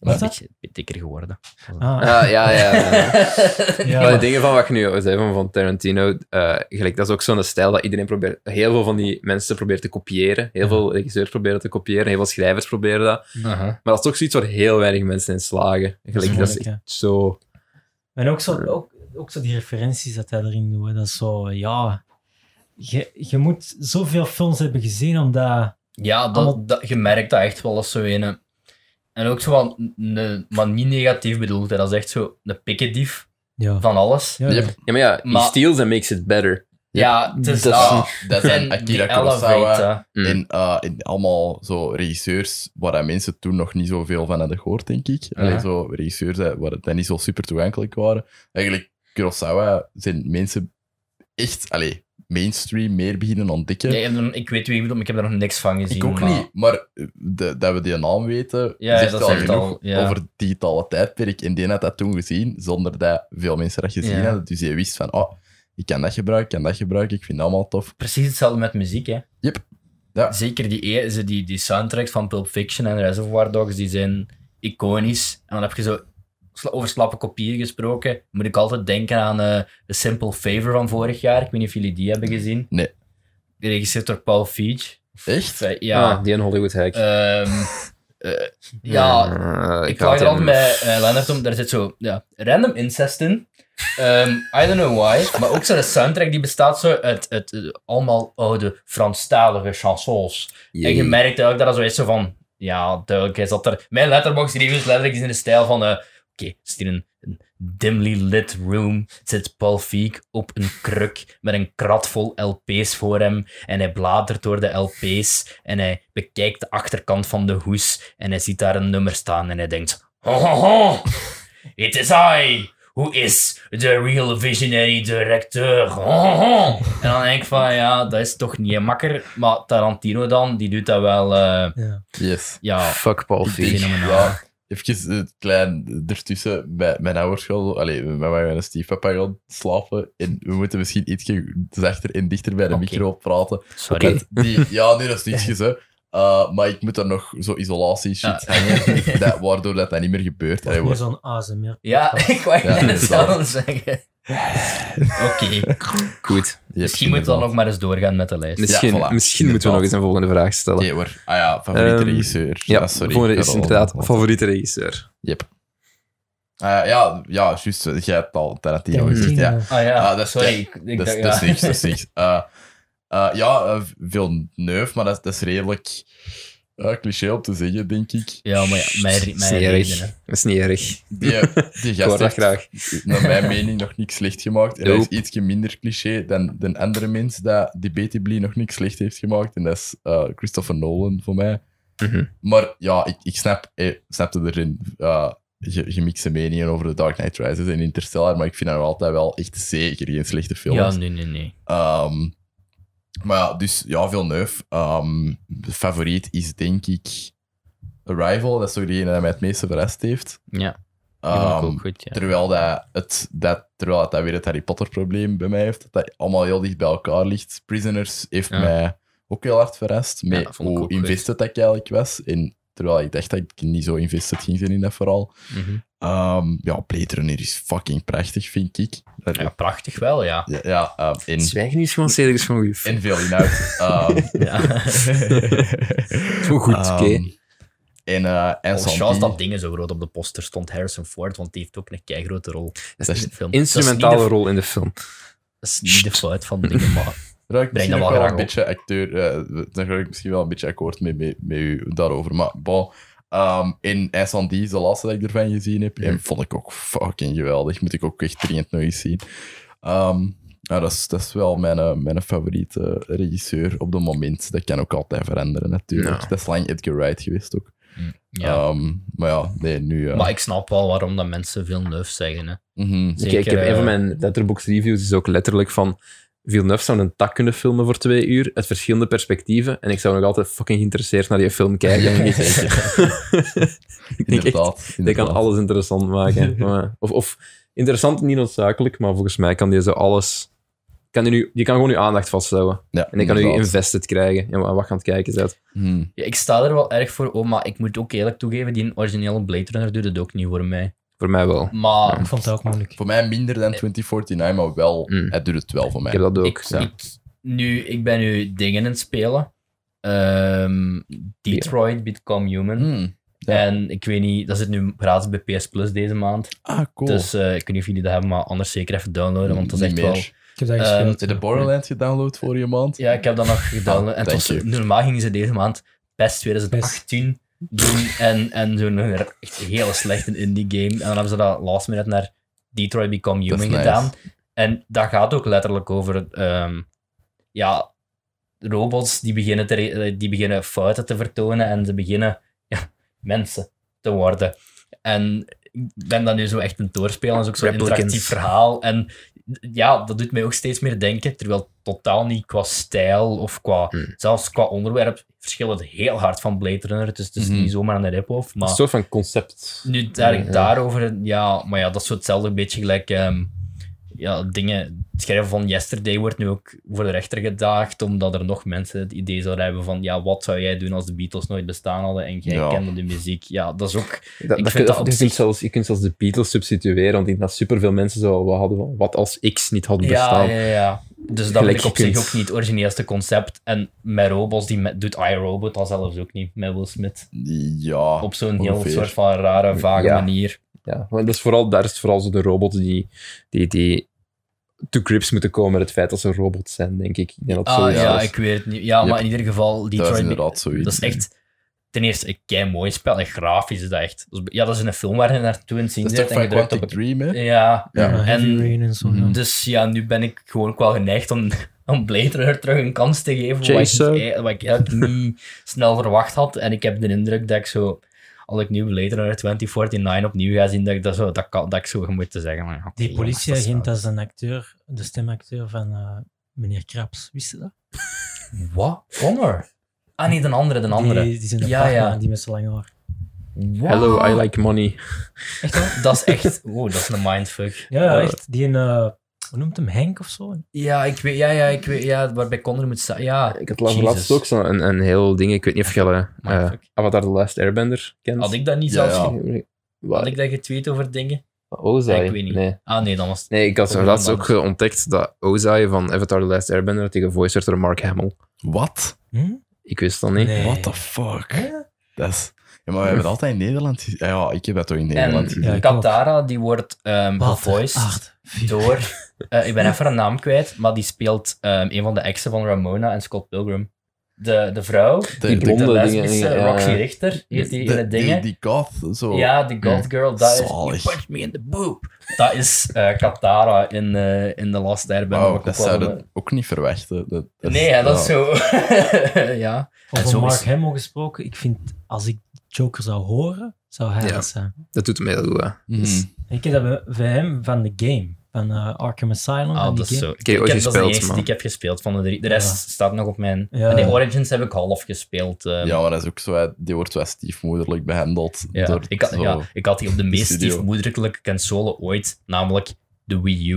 [SPEAKER 4] Wat
[SPEAKER 2] een
[SPEAKER 4] is dat?
[SPEAKER 2] beetje dikker geworden.
[SPEAKER 4] Ah,
[SPEAKER 1] Ah, ja, ja.
[SPEAKER 2] *laughs*
[SPEAKER 1] ja.
[SPEAKER 3] *laughs*
[SPEAKER 4] ja,
[SPEAKER 1] Maar de
[SPEAKER 4] maar-
[SPEAKER 1] dingen van wat ik nu al zei van, van Tarantino, eh, gelijk, dat is ook zo'n stijl dat iedereen probeert, heel veel van die mensen probeert te kopiëren. Heel veel regisseurs proberen te kopiëren, heel veel schrijvers proberen dat. Maar dat is ook zoiets waar heel weinig mensen in slagen. Gelijk, dat is
[SPEAKER 4] moeilijk,
[SPEAKER 1] echt zo...
[SPEAKER 4] *laughs* En ook zo, ook, ook zo die referenties dat hij erin doet. hè, Dat is zo, ja... Je, je moet zoveel films hebben gezien om dat...
[SPEAKER 2] Ja,
[SPEAKER 4] Allemaal-
[SPEAKER 2] dat, dat, je merkt dat echt wel als zo een. En ook zo van, een- maar niet negatief bedoeld, hè. dat is echt zo een pikkendief
[SPEAKER 4] Ja.
[SPEAKER 2] van alles. Ja,
[SPEAKER 4] Ja,
[SPEAKER 3] Yep.
[SPEAKER 1] Ja, maar ja, he
[SPEAKER 2] Maar-
[SPEAKER 1] steals and makes it better.
[SPEAKER 2] het is
[SPEAKER 1] Dat
[SPEAKER 2] dat.
[SPEAKER 1] is-
[SPEAKER 3] Dat zijn
[SPEAKER 2] En die
[SPEAKER 3] Akira Kurosawa.
[SPEAKER 2] elevate.
[SPEAKER 1] Mm.
[SPEAKER 3] En, eh, en allemaal zo regisseurs waar dat mensen toen nog niet zoveel van hadden gehoord, denk ik. Allee,
[SPEAKER 2] Ja.
[SPEAKER 3] zo regisseurs dat- waar dat niet zo super toegankelijk waren. Eigenlijk, Kurosawa zijn mensen echt allee, mainstream meer beginnen ontdekken.
[SPEAKER 2] Ja, ik, heb er- ik weet wie ik bedoel, maar ik heb er nog niks van gezien.
[SPEAKER 3] ik ook
[SPEAKER 2] maar-
[SPEAKER 3] niet, maar eh, de- dat we die naam weten,
[SPEAKER 2] Ja,
[SPEAKER 3] zegt
[SPEAKER 2] dat
[SPEAKER 3] al
[SPEAKER 2] zegt
[SPEAKER 3] genoeg
[SPEAKER 2] al, ja.
[SPEAKER 3] over het digitale tijdperk. En die had dat toen gezien, zonder dat veel mensen dat gezien
[SPEAKER 2] Ja.
[SPEAKER 3] hadden. Dus je wist van, oh, ik kan dat gebruiken, ik kan dat gebruiken, ik vind dat allemaal tof.
[SPEAKER 2] Precies hetzelfde met muziek, hè?
[SPEAKER 3] Yep. Ja.
[SPEAKER 2] Zeker die, e- ze- die, die soundtracks van Pulp Fiction en Reservoir Dogs, die zijn iconisch. En dan heb je zo sla- over slappe kopieën gesproken. Moet ik altijd denken aan eh A Simple Favor van vorig jaar. Ik weet niet of jullie die hebben gezien.
[SPEAKER 3] Nee.
[SPEAKER 2] Geregisseerd door Paul Feig.
[SPEAKER 3] Echt?
[SPEAKER 2] Eh, Ja.
[SPEAKER 1] Ah, die in Hollywood Hack.
[SPEAKER 2] ehm, eh,
[SPEAKER 3] *laughs*
[SPEAKER 2] ja,
[SPEAKER 1] Eh,
[SPEAKER 2] ik
[SPEAKER 1] haat
[SPEAKER 2] vraag
[SPEAKER 1] hem.
[SPEAKER 2] er altijd bij eh, Leonard om, daar zit zo ja, random incest in. Ehm, I don't know why. Maar ook zo'n soundtrack die bestaat zo uit, uit eh, allemaal oude Franstalige chansons. En je merkt ook dat dat zo is zo van, ja, duidelijk is dat er... Mijn letterbox reviews letterlijk is in de stijl van, eh, oké, het is hier een, een dimly lit room. Zit Paul Feig op een kruk met een krat vol LP's voor hem. En hij bladert door de LP's en hij bekijkt de achterkant van de hoes. En hij ziet daar een nummer staan en hij denkt, ho ho ho, it is I. Who is the real visionary director? Ho, ho, ho. En dan denk ik van, ja, dat is toch niet een makker. Maar Tarantino dan, die doet dat wel, eh,
[SPEAKER 4] Ja.
[SPEAKER 3] Yes.
[SPEAKER 2] ja,
[SPEAKER 1] Fuck Paul
[SPEAKER 2] Ik
[SPEAKER 1] Feig.
[SPEAKER 2] denk-
[SPEAKER 3] Ja, Even het klein ertussen. Bij mijn ouders gaan... Allee, met mij en mijn stiefpapa gaan slapen. En we moeten misschien ietsje zachter en dichter bij de
[SPEAKER 2] Oké.
[SPEAKER 3] micro
[SPEAKER 2] *laughs*
[SPEAKER 3] praten.
[SPEAKER 2] Sorry.
[SPEAKER 3] Want Die, ja, nee, dat is niets, hè. Eh, maar ik moet er nog zo isolatie shit
[SPEAKER 2] Ja. *laughs*
[SPEAKER 3] hangen, dat, waardoor dat, dat niet meer gebeurt. Allee,
[SPEAKER 4] Meer
[SPEAKER 3] wordt-
[SPEAKER 4] zo'n ASMR.
[SPEAKER 2] Ja, *laughs* ik wou
[SPEAKER 3] Ja,
[SPEAKER 2] net
[SPEAKER 3] inderdaad.
[SPEAKER 2] hetzelfde *laughs* zeggen. Oké, *laughs* dus
[SPEAKER 1] Goed.
[SPEAKER 3] je
[SPEAKER 2] misschien
[SPEAKER 3] hebt
[SPEAKER 2] moeten we dan
[SPEAKER 3] inderdaad-
[SPEAKER 2] ook maar eens doorgaan met de lijst.
[SPEAKER 1] Misschien,
[SPEAKER 3] voilà.
[SPEAKER 1] misschien moeten we nog eens een volgende vraag stellen.
[SPEAKER 3] Nee hoor. Ah ja, favoriete
[SPEAKER 1] Ehm,
[SPEAKER 3] regisseur.
[SPEAKER 1] Ja,
[SPEAKER 3] Ah, sorry.
[SPEAKER 1] volgende is
[SPEAKER 3] Ja,
[SPEAKER 1] inderdaad
[SPEAKER 3] dat-
[SPEAKER 1] favoriete regisseur.
[SPEAKER 3] Yep. Ah, ja, ja, juist. eh, Jij hebt al Tarantino gezegd, ja.
[SPEAKER 4] Tarantino.
[SPEAKER 2] Ah ja,
[SPEAKER 3] Ah, dat is-
[SPEAKER 2] sorry. Ik, ik
[SPEAKER 3] Dat
[SPEAKER 2] dacht-
[SPEAKER 3] is, dat is
[SPEAKER 2] ja.
[SPEAKER 3] niks, dat is
[SPEAKER 1] *laughs*
[SPEAKER 3] niks. Eh, eh, ja, eh, Villeneuve, maar dat, dat is redelijk eh, cliché om te zeggen, denk ik.
[SPEAKER 2] Ja, maar ja, mijn,
[SPEAKER 1] Dat is
[SPEAKER 2] mijn
[SPEAKER 1] niet erg.
[SPEAKER 2] redenen.
[SPEAKER 1] Dat is niet erg.
[SPEAKER 3] Die, eh, die
[SPEAKER 1] Ik hoor dat
[SPEAKER 3] gast heeft,
[SPEAKER 1] graag.
[SPEAKER 3] naar
[SPEAKER 1] *laughs*
[SPEAKER 3] mijn mening, nog niks slecht gemaakt. En hij is
[SPEAKER 1] Nope.
[SPEAKER 3] ietsje minder cliché dan de andere mens dat debatably nog niks slecht heeft gemaakt. En dat is eh, Christopher Nolan voor mij.
[SPEAKER 1] Mhm.
[SPEAKER 3] Maar ja, ik, ik snap, eh, snapte erin eh, ge- gemixte meningen over The Dark Knight Rises en Interstellar, maar ik vind hem altijd wel echt zeker geen slechte film.
[SPEAKER 2] Ja, nee, nee, nee.
[SPEAKER 3] Ehm, maar ja, dus ja, Villeneuve. Ehm favoriet is denk ik Arrival. Dat is toch degene die mij het meeste verrast heeft.
[SPEAKER 2] Ja, die vond
[SPEAKER 3] Ehm,
[SPEAKER 2] ik ook goed. Ja.
[SPEAKER 3] Terwijl, dat het, dat, terwijl dat, dat weer het Harry Potter-probleem bij mij heeft, dat dat allemaal heel dicht bij elkaar ligt. Prisoners heeft
[SPEAKER 2] Ja.
[SPEAKER 3] mij ook heel hard verrast met
[SPEAKER 2] dat vond ik
[SPEAKER 3] hoe
[SPEAKER 2] ook leuk.
[SPEAKER 3] invested dat ik eigenlijk was. En terwijl ik dacht dat ik niet zo invested ging zijn in dat verhaal.
[SPEAKER 2] Mhm.
[SPEAKER 3] Ehm, ja, Blade Runner is fucking prachtig, vind ik. Dat-
[SPEAKER 2] Ja, prachtig wel, ja.
[SPEAKER 3] Ja, ja, ehm, en,
[SPEAKER 1] Zwijgen nu is gewoon zedig, is gewoon goed.
[SPEAKER 3] en veel inhoud. Ehm,
[SPEAKER 2] *laughs* ja.
[SPEAKER 1] Gewoon goed, oké. Oh,
[SPEAKER 3] Ehm, En, eh en
[SPEAKER 2] Als chance dat
[SPEAKER 3] Sandy.
[SPEAKER 2] dingen zo groot op de poster stond, Harrison Ford, want die heeft ook een kei grote rol
[SPEAKER 1] Dat
[SPEAKER 3] dat
[SPEAKER 1] is
[SPEAKER 2] in
[SPEAKER 1] een
[SPEAKER 2] de film.
[SPEAKER 1] instrumentale
[SPEAKER 2] dat
[SPEAKER 1] rol in de film. Dus
[SPEAKER 2] is niet de- Dat is niet de fout van dingen, maar
[SPEAKER 3] Ruikt
[SPEAKER 2] Breng
[SPEAKER 3] misschien
[SPEAKER 2] dat
[SPEAKER 3] ook
[SPEAKER 2] wel graag
[SPEAKER 3] wel een
[SPEAKER 2] op.
[SPEAKER 3] beetje acteur. eh, daar ga ik misschien wel een beetje akkoord mee, mee, met u daarover. Maar bon. Ehm, en en Sandy is de laatste dat ik ervan gezien heb. En vond ik ook fucking geweldig. Moet ik ook echt dringend nog eens zien. Ehm, nou, dat, is, dat is wel mijn, eh, mijn favoriete eh, regisseur op het moment. Dat kan ook altijd veranderen, natuurlijk.
[SPEAKER 1] Ja.
[SPEAKER 3] Dat is lang Edgar Wright geweest ook.
[SPEAKER 2] ja.
[SPEAKER 3] Ehm, maar ja, nee, nu. ja.
[SPEAKER 2] Maar ik snap wel waarom dat mensen veel neuf zeggen. Hè.
[SPEAKER 3] Mhm.
[SPEAKER 1] Ik,
[SPEAKER 2] Zeker,
[SPEAKER 1] ik heb
[SPEAKER 2] eh,
[SPEAKER 1] een van mijn Letterboxd reviews is ook letterlijk van Villeneuve zou een tak kunnen filmen voor twee uur, uit verschillende perspectieven, en ik zou nog altijd fucking geïnteresseerd naar die film kijken.
[SPEAKER 3] Ja,
[SPEAKER 1] *laughs* ik denk echt,
[SPEAKER 3] Inderdaad.
[SPEAKER 1] die kan alles interessant maken. Maar- of, of interessant, niet noodzakelijk, maar volgens mij kan die zo alles... Kan die, nu, die kan gewoon je aandacht vasthouden. En die kan u invested krijgen. En wa- wat gaan het kijken zet.
[SPEAKER 3] Hmm.
[SPEAKER 2] Ja, ik sta er wel erg voor, oh, maar ik moet ook eerlijk toegeven, die originele Blade Runner doet het ook niet voor mij.
[SPEAKER 1] Voor mij wel.
[SPEAKER 2] Maar
[SPEAKER 4] Ik vond dat ook moeilijk.
[SPEAKER 3] Voor mij minder dan 2049, maar wel,
[SPEAKER 1] Mm.
[SPEAKER 3] het doet het wel voor mij.
[SPEAKER 1] Ik heb dat ook. ja.
[SPEAKER 2] Hmm. ik, ik, nu, ik ben nu dingen aan het spelen. Ehm, Detroit Become Human.
[SPEAKER 3] Mm. ja.
[SPEAKER 2] En ik weet niet, dat zit nu gratis bij PS Plus deze maand.
[SPEAKER 3] Ah, cool.
[SPEAKER 2] Dus eh, ik weet niet of jullie dat hebben, maar anders zeker even downloaden, want dat is echt
[SPEAKER 3] Niet
[SPEAKER 2] wel...
[SPEAKER 3] meer.
[SPEAKER 4] Ik heb dat
[SPEAKER 2] Ehm,
[SPEAKER 4] gespeeld.
[SPEAKER 3] Heb je de Borderlands gedownload vorige maand?
[SPEAKER 2] Ja, ik heb dat nog gedownload. en het was,
[SPEAKER 3] Ah, thank you.
[SPEAKER 2] normaal gingen ze deze maand best 2018 doen en, en zo'n echt hele slechte indie game. En dan hebben ze dat last minute naar Detroit Become
[SPEAKER 3] Dat is
[SPEAKER 2] Human
[SPEAKER 3] nice.
[SPEAKER 2] gedaan. En dat gaat ook letterlijk over ehm, ja, robots die beginnen, te re- eh, die beginnen fouten te vertonen en ze beginnen ja, mensen te worden. En ik ben dat nu zo echt een doorspelen. Dat is ook zo'n
[SPEAKER 1] Replicants.
[SPEAKER 2] interactief verhaal. En ja, dat doet mij ook steeds meer denken. Terwijl het totaal niet qua stijl of qua,
[SPEAKER 1] Hmm.
[SPEAKER 2] zelfs qua onderwerp verschilt het heel hard van Blade Runner. Dus het is
[SPEAKER 3] Mhm.
[SPEAKER 2] niet zomaar aan de rip-off.
[SPEAKER 1] Een
[SPEAKER 2] Maar
[SPEAKER 1] soort van concept.
[SPEAKER 2] nu eigenlijk
[SPEAKER 1] Ja.
[SPEAKER 2] daarover, ja, maar ja, dat is zo hetzelfde beetje gelijk ehm, ja, dingen. Het schrijven van Yesterday wordt nu ook voor de rechter gedaagd, omdat er nog mensen het idee zouden hebben van, ja, wat zou jij doen als de Beatles nooit bestaan hadden en jij
[SPEAKER 3] Ja.
[SPEAKER 2] kende de muziek? Ja, dat is ook.
[SPEAKER 1] Dat,
[SPEAKER 2] Ik
[SPEAKER 1] dat
[SPEAKER 2] vind
[SPEAKER 1] kun-
[SPEAKER 2] dat op
[SPEAKER 1] je,
[SPEAKER 2] zich-
[SPEAKER 1] kunt zelfs, je kunt zelfs de Beatles substitueren, want ik denk dat superveel mensen zo wel hadden van, wat als X niet had
[SPEAKER 2] Ja,
[SPEAKER 1] bestaan.
[SPEAKER 2] ja, ja. Dus dat
[SPEAKER 1] Gelijk
[SPEAKER 2] vind ik op
[SPEAKER 1] je
[SPEAKER 2] zich
[SPEAKER 1] kunt.
[SPEAKER 2] ook niet het origineelste concept. En met robots, die met, doet iRobot al zelfs ook niet, met Will Smith.
[SPEAKER 3] Ja.
[SPEAKER 2] Op zo'n heel
[SPEAKER 3] ongeveer.
[SPEAKER 2] soort van rare, vage
[SPEAKER 1] Ja.
[SPEAKER 2] manier.
[SPEAKER 1] Ja, want dat is vooral, daar is het vooral zo de robots die, die, die to grips moeten komen met het feit dat ze robots zijn, denk ik. Ik denk dat
[SPEAKER 2] Ah,
[SPEAKER 1] sowieso
[SPEAKER 2] ja,
[SPEAKER 1] is.
[SPEAKER 2] ik weet het niet. Ja,
[SPEAKER 3] Yep.
[SPEAKER 2] maar in ieder geval,
[SPEAKER 3] Dat is
[SPEAKER 2] Detroit
[SPEAKER 3] inderdaad zoiets.
[SPEAKER 2] Dat is echt ten eerste een kei mooi spel. En grafisch is dat echt. dat is- Ja, dat is een film waar je naartoe in het zien
[SPEAKER 3] Dat is
[SPEAKER 2] zit
[SPEAKER 3] toch
[SPEAKER 2] en je
[SPEAKER 3] van
[SPEAKER 2] drukt
[SPEAKER 3] Quantic
[SPEAKER 2] op.
[SPEAKER 3] Dream, hè?
[SPEAKER 2] Ja,
[SPEAKER 3] Ja.
[SPEAKER 4] Ja, Heavy
[SPEAKER 2] en-
[SPEAKER 4] Rain en zo. ja.
[SPEAKER 2] dus ja, nu ben ik gewoon ook wel geneigd om, om Blade Runner terug een kans te geven. Wat ik,
[SPEAKER 1] Jason.
[SPEAKER 2] eh, wat ik eigenlijk niet *laughs* snel verwacht had. En ik heb de indruk dat ik zo. Als ik nu Blade Runner 2049 opnieuw ga zien, dat ik dat, zo, dat, kan, dat ik zo moet te zeggen. Maar, ja, oké,
[SPEAKER 4] Die
[SPEAKER 2] jongens, dat is
[SPEAKER 4] politieagent,
[SPEAKER 2] wel-
[SPEAKER 4] dat is een acteur, de stemacteur van eh, meneer Krabs. Wist je dat?
[SPEAKER 2] Wat? Connor? Ah, niet een andere, een andere.
[SPEAKER 4] Die, die zijn een
[SPEAKER 2] Ja,
[SPEAKER 4] partner,
[SPEAKER 2] ja.
[SPEAKER 4] die met zo lang haar.
[SPEAKER 1] Hello, I like money.
[SPEAKER 2] Echt wel? Dat is echt... Oeh, dat is een mindfuck.
[SPEAKER 4] Ja, echt. Die een, eh, hoe noemt hem? Henk of zo?
[SPEAKER 2] Ja, ik weet... Ja, ja, ik weet... Ja, waarbij Connery moet staan. Ja.
[SPEAKER 1] Ik had laatst,
[SPEAKER 2] Jesus.
[SPEAKER 1] laatst ook zo'n een, een heel ding. Ik weet niet of je eh,
[SPEAKER 2] Mindfuck.
[SPEAKER 1] Avatar The Last Airbender kent.
[SPEAKER 2] Had ik dat niet
[SPEAKER 3] Ja,
[SPEAKER 2] zelfs...
[SPEAKER 3] ja.
[SPEAKER 2] ge-
[SPEAKER 1] Wat,
[SPEAKER 2] Had ik dat getweet over dingen?
[SPEAKER 1] Ozai?
[SPEAKER 2] Ik weet niet.
[SPEAKER 1] Nee.
[SPEAKER 2] Ah, nee, dan was het...
[SPEAKER 1] Nee, ik had
[SPEAKER 2] Over
[SPEAKER 1] laatst ook
[SPEAKER 2] Avatar.
[SPEAKER 1] eh, ontdekt dat Ozai van Avatar The Last Airbender dat die gevoiced werd door Mark Hamill.
[SPEAKER 3] Wat?
[SPEAKER 4] Hm?
[SPEAKER 1] Ik wist dat niet.
[SPEAKER 4] Nee.
[SPEAKER 3] What the fuck? Dat is... Ja, maar we hebben dat altijd in Nederland gezien. Ah, Ja, ik heb dat toch in Nederland
[SPEAKER 2] En
[SPEAKER 3] gezien.
[SPEAKER 4] Ja, ik
[SPEAKER 2] Katara, die wordt ehm gevoiced door...
[SPEAKER 4] *laughs*
[SPEAKER 2] eh, ik ben even haar naam kwijt, maar die speelt ehm, een van de exen van Ramona en Scott Pilgrim. De, de vrouw, de,
[SPEAKER 1] Die blonde dingen,
[SPEAKER 2] lesbische
[SPEAKER 1] ja, ja.
[SPEAKER 2] Roxy Richter, heeft die
[SPEAKER 3] die,
[SPEAKER 2] hele dingen.
[SPEAKER 3] die, die goth, zo.
[SPEAKER 2] ja, de God Girl, dat is... You
[SPEAKER 3] Zalig.
[SPEAKER 2] punch me in the boob. Dat is eh, Katara in, eh, in The Last Airbender.
[SPEAKER 3] Wauw,
[SPEAKER 2] Ook
[SPEAKER 3] dat
[SPEAKER 2] wel
[SPEAKER 3] zouden
[SPEAKER 2] een-
[SPEAKER 3] we ook niet verwachten. Dat, dat
[SPEAKER 2] Nee, hè, dat is
[SPEAKER 3] ja.
[SPEAKER 2] zo... *laughs* ja.
[SPEAKER 4] Over
[SPEAKER 2] Zo is-
[SPEAKER 4] Mark Hamill gesproken, ik vind als ik Joker zou horen, zou hij
[SPEAKER 1] Ja.
[SPEAKER 4] dat zijn.
[SPEAKER 1] Dat doet hem heel goed. hè.
[SPEAKER 3] Mhm.
[SPEAKER 1] Dus-
[SPEAKER 4] Ik heb dat bij- bij hem van de game, van eh, Arkham Asylum.
[SPEAKER 2] Ah,
[SPEAKER 4] van die
[SPEAKER 2] dat is
[SPEAKER 4] game.
[SPEAKER 2] zo.
[SPEAKER 1] Ik heb je
[SPEAKER 2] Ik
[SPEAKER 1] ooit
[SPEAKER 2] heb, dat is de
[SPEAKER 1] gespeeld,
[SPEAKER 2] eerste die
[SPEAKER 1] man.
[SPEAKER 2] ik heb gespeeld van de drie. De rest staat nog op mijn...
[SPEAKER 4] Ja.
[SPEAKER 2] En die Origins heb ik half gespeeld. ehm.
[SPEAKER 3] Ja, maar dat is ook zo, hè, die wordt wel stiefmoederlijk behandeld.
[SPEAKER 2] Ja,
[SPEAKER 3] door
[SPEAKER 2] ik, had,
[SPEAKER 3] zo.
[SPEAKER 2] ja, ik had die op de meest
[SPEAKER 3] studio.
[SPEAKER 2] stiefmoederlijke console ooit, namelijk de Wii U.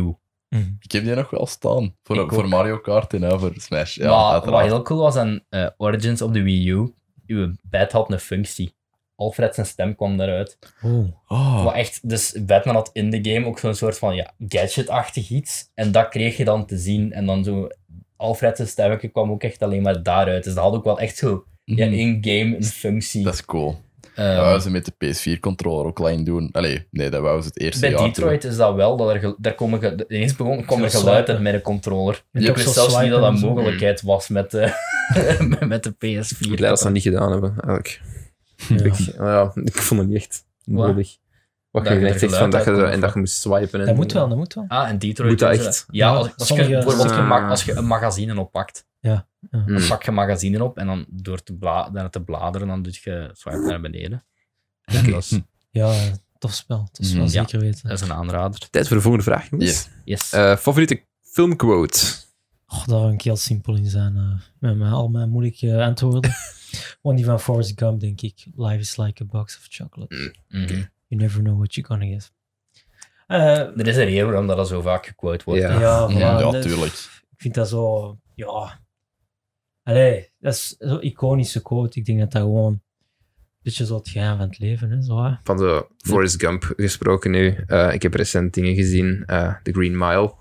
[SPEAKER 4] Mhm.
[SPEAKER 3] Ik heb die nog wel staan.
[SPEAKER 2] Ik
[SPEAKER 3] Voor, voor
[SPEAKER 2] ook.
[SPEAKER 3] Mario Kart en hè, voor Smash. Ja,
[SPEAKER 2] maar wat
[SPEAKER 3] uiteraard.
[SPEAKER 2] heel cool was aan eh, Origins op de Wii U, uw bed had een functie. Alfred zijn stem kwam daaruit.
[SPEAKER 3] *laughs*
[SPEAKER 4] Oh.
[SPEAKER 3] Oh,
[SPEAKER 2] Maar echt, dus Batman had in de game ook zo'n soort van ja, gadget-achtig iets. En dat kreeg je dan te zien. En dan zo, Alfred zijn stemmetje kwam ook echt alleen maar daaruit. Dus dat had ook wel echt zo ja,
[SPEAKER 3] mhm.
[SPEAKER 2] in-game een functie.
[SPEAKER 3] Dat is cool.
[SPEAKER 2] Ehm,
[SPEAKER 3] Dat wouden ze met de PS4-controller ook lang doen. Allee, nee, dat wouden ze het eerste
[SPEAKER 2] Bij
[SPEAKER 3] jaar
[SPEAKER 2] Detroit is dat wel, dat er, gel- daar komen ge- ineens begon, kwam er
[SPEAKER 4] Zo'n
[SPEAKER 2] geluid uit
[SPEAKER 4] swipen.
[SPEAKER 2] met een controller.
[SPEAKER 4] Ja,
[SPEAKER 2] ik
[SPEAKER 4] toch
[SPEAKER 2] wist
[SPEAKER 4] zo'n
[SPEAKER 2] zelfs niet dat
[SPEAKER 4] swipen
[SPEAKER 2] dat
[SPEAKER 4] en zo.
[SPEAKER 1] Mm.
[SPEAKER 2] mogelijkheid was met de, *laughs* met de PS4.
[SPEAKER 1] Ik ben blij dat ze dat niet gedaan hebben. Eigenlijk.
[SPEAKER 4] Ja.
[SPEAKER 1] *laughs* Ik, ja, ik vond het niet echt
[SPEAKER 2] Wat?
[SPEAKER 1] nodig. Wat
[SPEAKER 2] Dat
[SPEAKER 1] je
[SPEAKER 2] je
[SPEAKER 1] echt
[SPEAKER 2] er
[SPEAKER 1] zegt van
[SPEAKER 2] geluid
[SPEAKER 1] dat je,
[SPEAKER 2] uit
[SPEAKER 1] zo-
[SPEAKER 2] kon
[SPEAKER 1] en dat je moest swipen. En,
[SPEAKER 4] Dat moet wel, dat moet wel.
[SPEAKER 2] Ah, en Detroit.
[SPEAKER 1] Moet dat
[SPEAKER 2] doen ze
[SPEAKER 1] echt?
[SPEAKER 2] Ja,
[SPEAKER 4] Ja,
[SPEAKER 2] als, als, je,
[SPEAKER 4] sommige-
[SPEAKER 2] bijvoorbeeld je mag,
[SPEAKER 1] Ah.
[SPEAKER 2] als je een magazine oppakt,
[SPEAKER 1] Hmm.
[SPEAKER 2] dan pak je magazine op en dan door te, bla daarna te bladeren, dan doe je swipe naar beneden. En dat, is,
[SPEAKER 4] Ja, tof spel. Tof spel,
[SPEAKER 3] Mhm.
[SPEAKER 2] Ja.
[SPEAKER 4] zeker weten.
[SPEAKER 2] dat is een aanrader.
[SPEAKER 1] Tijd voor de volgende vraag, jongens.
[SPEAKER 3] Yes.
[SPEAKER 2] Yes.
[SPEAKER 1] Eh, favoriete filmquote?
[SPEAKER 4] Oh, daar kan ik heel simpel in zijn. eh, met mijn, al mijn moeilijke eh, antwoorden. Gewoon die van Forrest Gump, denk ik. Life is like a box of chocolate.
[SPEAKER 2] Mhm.
[SPEAKER 4] You never know what you're gonna get. Eh,
[SPEAKER 2] Er is een reden waarom dat, dat zo vaak gequote wordt.
[SPEAKER 1] Ja.
[SPEAKER 2] hè.
[SPEAKER 4] ja, voilà.
[SPEAKER 3] Ja,
[SPEAKER 4] Dat-
[SPEAKER 3] tuurlijk.
[SPEAKER 4] Ik vind dat zo... Ja. Allee, dat is zo'n iconische quote. Ik denk dat dat gewoon... Een beetje zo het geheim van het leven, hè. Zo, hè.
[SPEAKER 1] Van de Forrest Gump gesproken nu. Eh, ik heb recent dingen gezien. eh The Green Mile.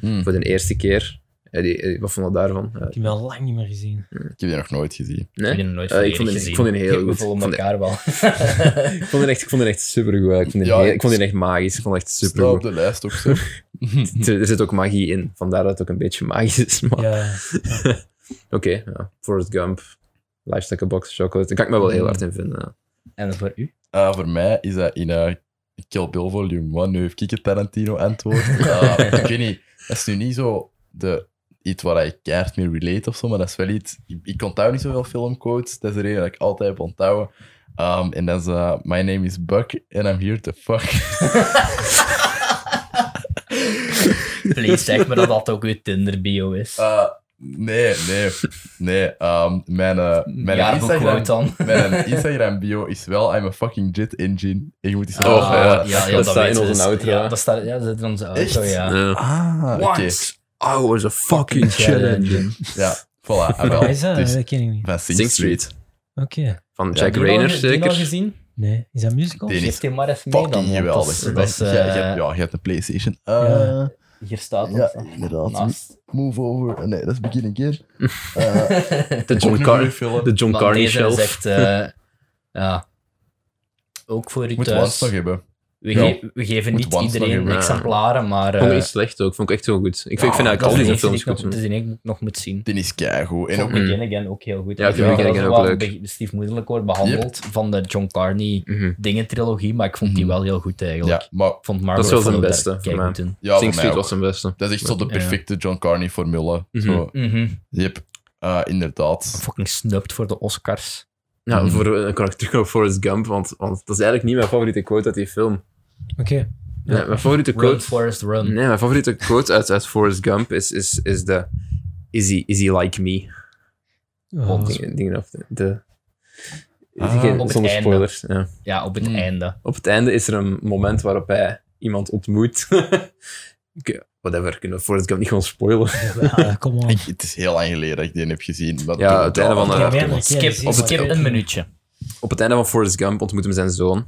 [SPEAKER 3] Hm,
[SPEAKER 1] Voor de eerste keer. Eh, die, eh, wat vond je daarvan? Eh,
[SPEAKER 4] Ik heb hem al lang niet meer gezien.
[SPEAKER 3] Ik heb die nog nooit gezien.
[SPEAKER 1] nee?
[SPEAKER 2] Ik heb die nooit
[SPEAKER 1] Eh, ik, vond
[SPEAKER 2] volledig
[SPEAKER 1] die,
[SPEAKER 2] gezien.
[SPEAKER 1] ik vond die heel
[SPEAKER 2] We
[SPEAKER 1] goed.
[SPEAKER 2] volgen
[SPEAKER 1] Ik vond die-
[SPEAKER 2] elkaar wel.
[SPEAKER 1] *laughs* Ik vond die echt, ik vond die echt supergoed. eh. Ik vond die,
[SPEAKER 3] Ja,
[SPEAKER 1] heel-
[SPEAKER 3] ik-
[SPEAKER 1] ik vond die echt magisch. Ik vond die echt
[SPEAKER 3] Super op
[SPEAKER 1] supergoed.
[SPEAKER 3] de lijst ook
[SPEAKER 2] *laughs*
[SPEAKER 3] zo. *laughs*
[SPEAKER 1] Er er zit ook magie in. Vandaar dat het ook een beetje magisch is. Maar...
[SPEAKER 4] Ja.
[SPEAKER 1] Oké, ja. Forrest Gump, Life Like a Box of Chocolate. Daar kan ik me wel heel hard in vinden. ja.
[SPEAKER 2] en voor u?
[SPEAKER 3] Ah, voor mij is dat in eh, Kill Bill Volume 1. Nu heeft ik het Tarantino-antwoord. Ah, ik weet niet. Dat is nu niet zo de, iets waar ik keihard mee relate of zo, maar dat is wel iets... Ik, ik onthoud niet zoveel filmquotes. Dat is de reden dat ik altijd heb onthouden. Ehm, en dat is... eh, My name is Buck and I'm here to fuck. *laughs*
[SPEAKER 2] Please, zeg me dat dat ook uw Tinder-bio is.
[SPEAKER 3] Eh, nee, nee. Nee. ehm, mijn eh, mijn
[SPEAKER 2] ja, hoe
[SPEAKER 3] Instagram...
[SPEAKER 2] quote dan?
[SPEAKER 3] Mijn Instagram-bio is wel I'm a fucking jet engine. En je moet eens...
[SPEAKER 1] Oh, ja.
[SPEAKER 3] Ah,
[SPEAKER 1] dat staat in
[SPEAKER 2] weten we
[SPEAKER 1] onze
[SPEAKER 2] dus.
[SPEAKER 1] outro,
[SPEAKER 2] Ja,
[SPEAKER 1] hè?
[SPEAKER 2] dat staat ja, dat zit in onze outro,
[SPEAKER 3] Echt?
[SPEAKER 2] ja.
[SPEAKER 1] Ja.
[SPEAKER 3] Ah, oké.
[SPEAKER 1] I was Oh, a fucking
[SPEAKER 2] Challenge.
[SPEAKER 3] Ja, voilà. Ah, wel.
[SPEAKER 4] Waar is dat?
[SPEAKER 3] Dus
[SPEAKER 4] Dat ken ik niet.
[SPEAKER 3] van Sing,
[SPEAKER 1] Sing
[SPEAKER 3] Street.
[SPEAKER 1] Street.
[SPEAKER 4] Oké.
[SPEAKER 1] Van
[SPEAKER 2] Ja,
[SPEAKER 1] Jack
[SPEAKER 2] die
[SPEAKER 1] Rayner,
[SPEAKER 2] al- die al
[SPEAKER 1] zeker.
[SPEAKER 2] gezien?
[SPEAKER 4] Nee. Is dat musical?
[SPEAKER 3] Die-
[SPEAKER 2] Geef die maar eens mee dan.
[SPEAKER 3] Fucking
[SPEAKER 2] want
[SPEAKER 3] geweldig.
[SPEAKER 2] Dat is,
[SPEAKER 3] Dat
[SPEAKER 2] dat is,
[SPEAKER 3] ja, je, hebt,
[SPEAKER 2] eh,
[SPEAKER 3] ja, je hebt een PlayStation. Eh,
[SPEAKER 4] Ja.
[SPEAKER 2] Hier staat
[SPEAKER 3] ja,
[SPEAKER 2] dat.
[SPEAKER 3] inderdaad. *laughs*
[SPEAKER 2] Naast.
[SPEAKER 3] Move over. Nee, dat is begin
[SPEAKER 1] *laughs*
[SPEAKER 3] again. Eh,
[SPEAKER 1] De
[SPEAKER 3] ook
[SPEAKER 1] John,
[SPEAKER 3] een
[SPEAKER 1] Car
[SPEAKER 3] goeie film.
[SPEAKER 1] de John
[SPEAKER 2] Maar
[SPEAKER 1] Carney
[SPEAKER 2] deze
[SPEAKER 1] shelf.
[SPEAKER 2] is echt...
[SPEAKER 3] *laughs*
[SPEAKER 2] eh, ja. Ook voor u
[SPEAKER 3] Moet
[SPEAKER 2] thuis.
[SPEAKER 3] Once nog hebben.
[SPEAKER 2] we,
[SPEAKER 3] ja.
[SPEAKER 2] ge- we geven
[SPEAKER 3] Moet
[SPEAKER 2] niet
[SPEAKER 3] Once nog
[SPEAKER 2] iedereen
[SPEAKER 3] hebben,
[SPEAKER 1] ja.
[SPEAKER 2] exemplaren, maar... eh,
[SPEAKER 1] Vond ik niet slecht ook. Vond ik echt heel goed. Ik vind, ik vind
[SPEAKER 2] ja,
[SPEAKER 1] eigenlijk
[SPEAKER 2] dat
[SPEAKER 1] al
[SPEAKER 2] is
[SPEAKER 1] deze
[SPEAKER 2] de
[SPEAKER 1] films
[SPEAKER 2] eerste die
[SPEAKER 1] goed.
[SPEAKER 2] ik nog-
[SPEAKER 1] man.
[SPEAKER 2] dat is de enige die ik nog moet zien.
[SPEAKER 3] Die is keigoed. En ook
[SPEAKER 2] Vond Begin Again ook heel goed.
[SPEAKER 1] Ja, ik
[SPEAKER 3] vind Begin
[SPEAKER 2] dat
[SPEAKER 1] Again
[SPEAKER 2] is
[SPEAKER 1] ook
[SPEAKER 2] wel
[SPEAKER 1] leuk.
[SPEAKER 2] be- stiefmoederlijk wordt behandeld van de John Carney
[SPEAKER 1] Mhm.
[SPEAKER 2] dingen trilogie, maar ik vond die
[SPEAKER 3] Mhm.
[SPEAKER 2] wel heel goed eigenlijk.
[SPEAKER 3] ja, maar
[SPEAKER 2] Ik vond Marvel
[SPEAKER 1] Dat is wel zijn
[SPEAKER 2] Frodo
[SPEAKER 1] beste,
[SPEAKER 2] daar
[SPEAKER 1] voor
[SPEAKER 2] keigoed in.
[SPEAKER 3] ja, voor
[SPEAKER 1] Sing
[SPEAKER 3] mij
[SPEAKER 1] Street
[SPEAKER 3] ook.
[SPEAKER 1] was zijn beste.
[SPEAKER 3] Dat is echt zo de
[SPEAKER 2] Ja.
[SPEAKER 3] perfecte John Carney-formule.
[SPEAKER 1] Mhm.
[SPEAKER 3] Zo,
[SPEAKER 2] Mhm.
[SPEAKER 3] Yep. Eh, inderdaad.
[SPEAKER 2] Fucking snubbed voor de Oscars.
[SPEAKER 1] Ja,
[SPEAKER 3] Mhm.
[SPEAKER 1] voor, dan kan ik terug naar Forrest Gump, want, want dat is eigenlijk niet mijn favoriete quote uit die film.
[SPEAKER 4] Oké. Oh,
[SPEAKER 1] Nee, mijn favoriete
[SPEAKER 2] Run,
[SPEAKER 1] quote...
[SPEAKER 2] Forrest, run.
[SPEAKER 1] Nee, mijn favoriete quote uit, uit Forrest Gump is, is, is de... Is he, is he like me?
[SPEAKER 4] Oh,
[SPEAKER 1] Dingen, dingen of de, de- Ah, Geen-
[SPEAKER 2] op het
[SPEAKER 1] zonder
[SPEAKER 2] einde.
[SPEAKER 1] spoilers. Ja.
[SPEAKER 2] Ja, op het
[SPEAKER 1] Mm.
[SPEAKER 3] Hmm.
[SPEAKER 2] einde.
[SPEAKER 1] Op het einde is er een moment waarop hij iemand ontmoet. *laughs* Oké, Whatever, kunnen we Forrest Gump niet gewoon spoilen. *laughs*
[SPEAKER 4] *laughs* Ja, kom op.
[SPEAKER 3] Ik- het is heel lang geleden dat ik die heb gezien. Maar
[SPEAKER 1] Ja,
[SPEAKER 3] toen-
[SPEAKER 1] het einde van de-
[SPEAKER 3] toen-
[SPEAKER 1] Ja,
[SPEAKER 4] meerdere keren
[SPEAKER 2] Skip,
[SPEAKER 4] gezien,
[SPEAKER 1] op het-
[SPEAKER 4] maar-
[SPEAKER 2] skip een minuutje.
[SPEAKER 1] Op het einde van Forrest Gump ontmoet hem zijn zoon.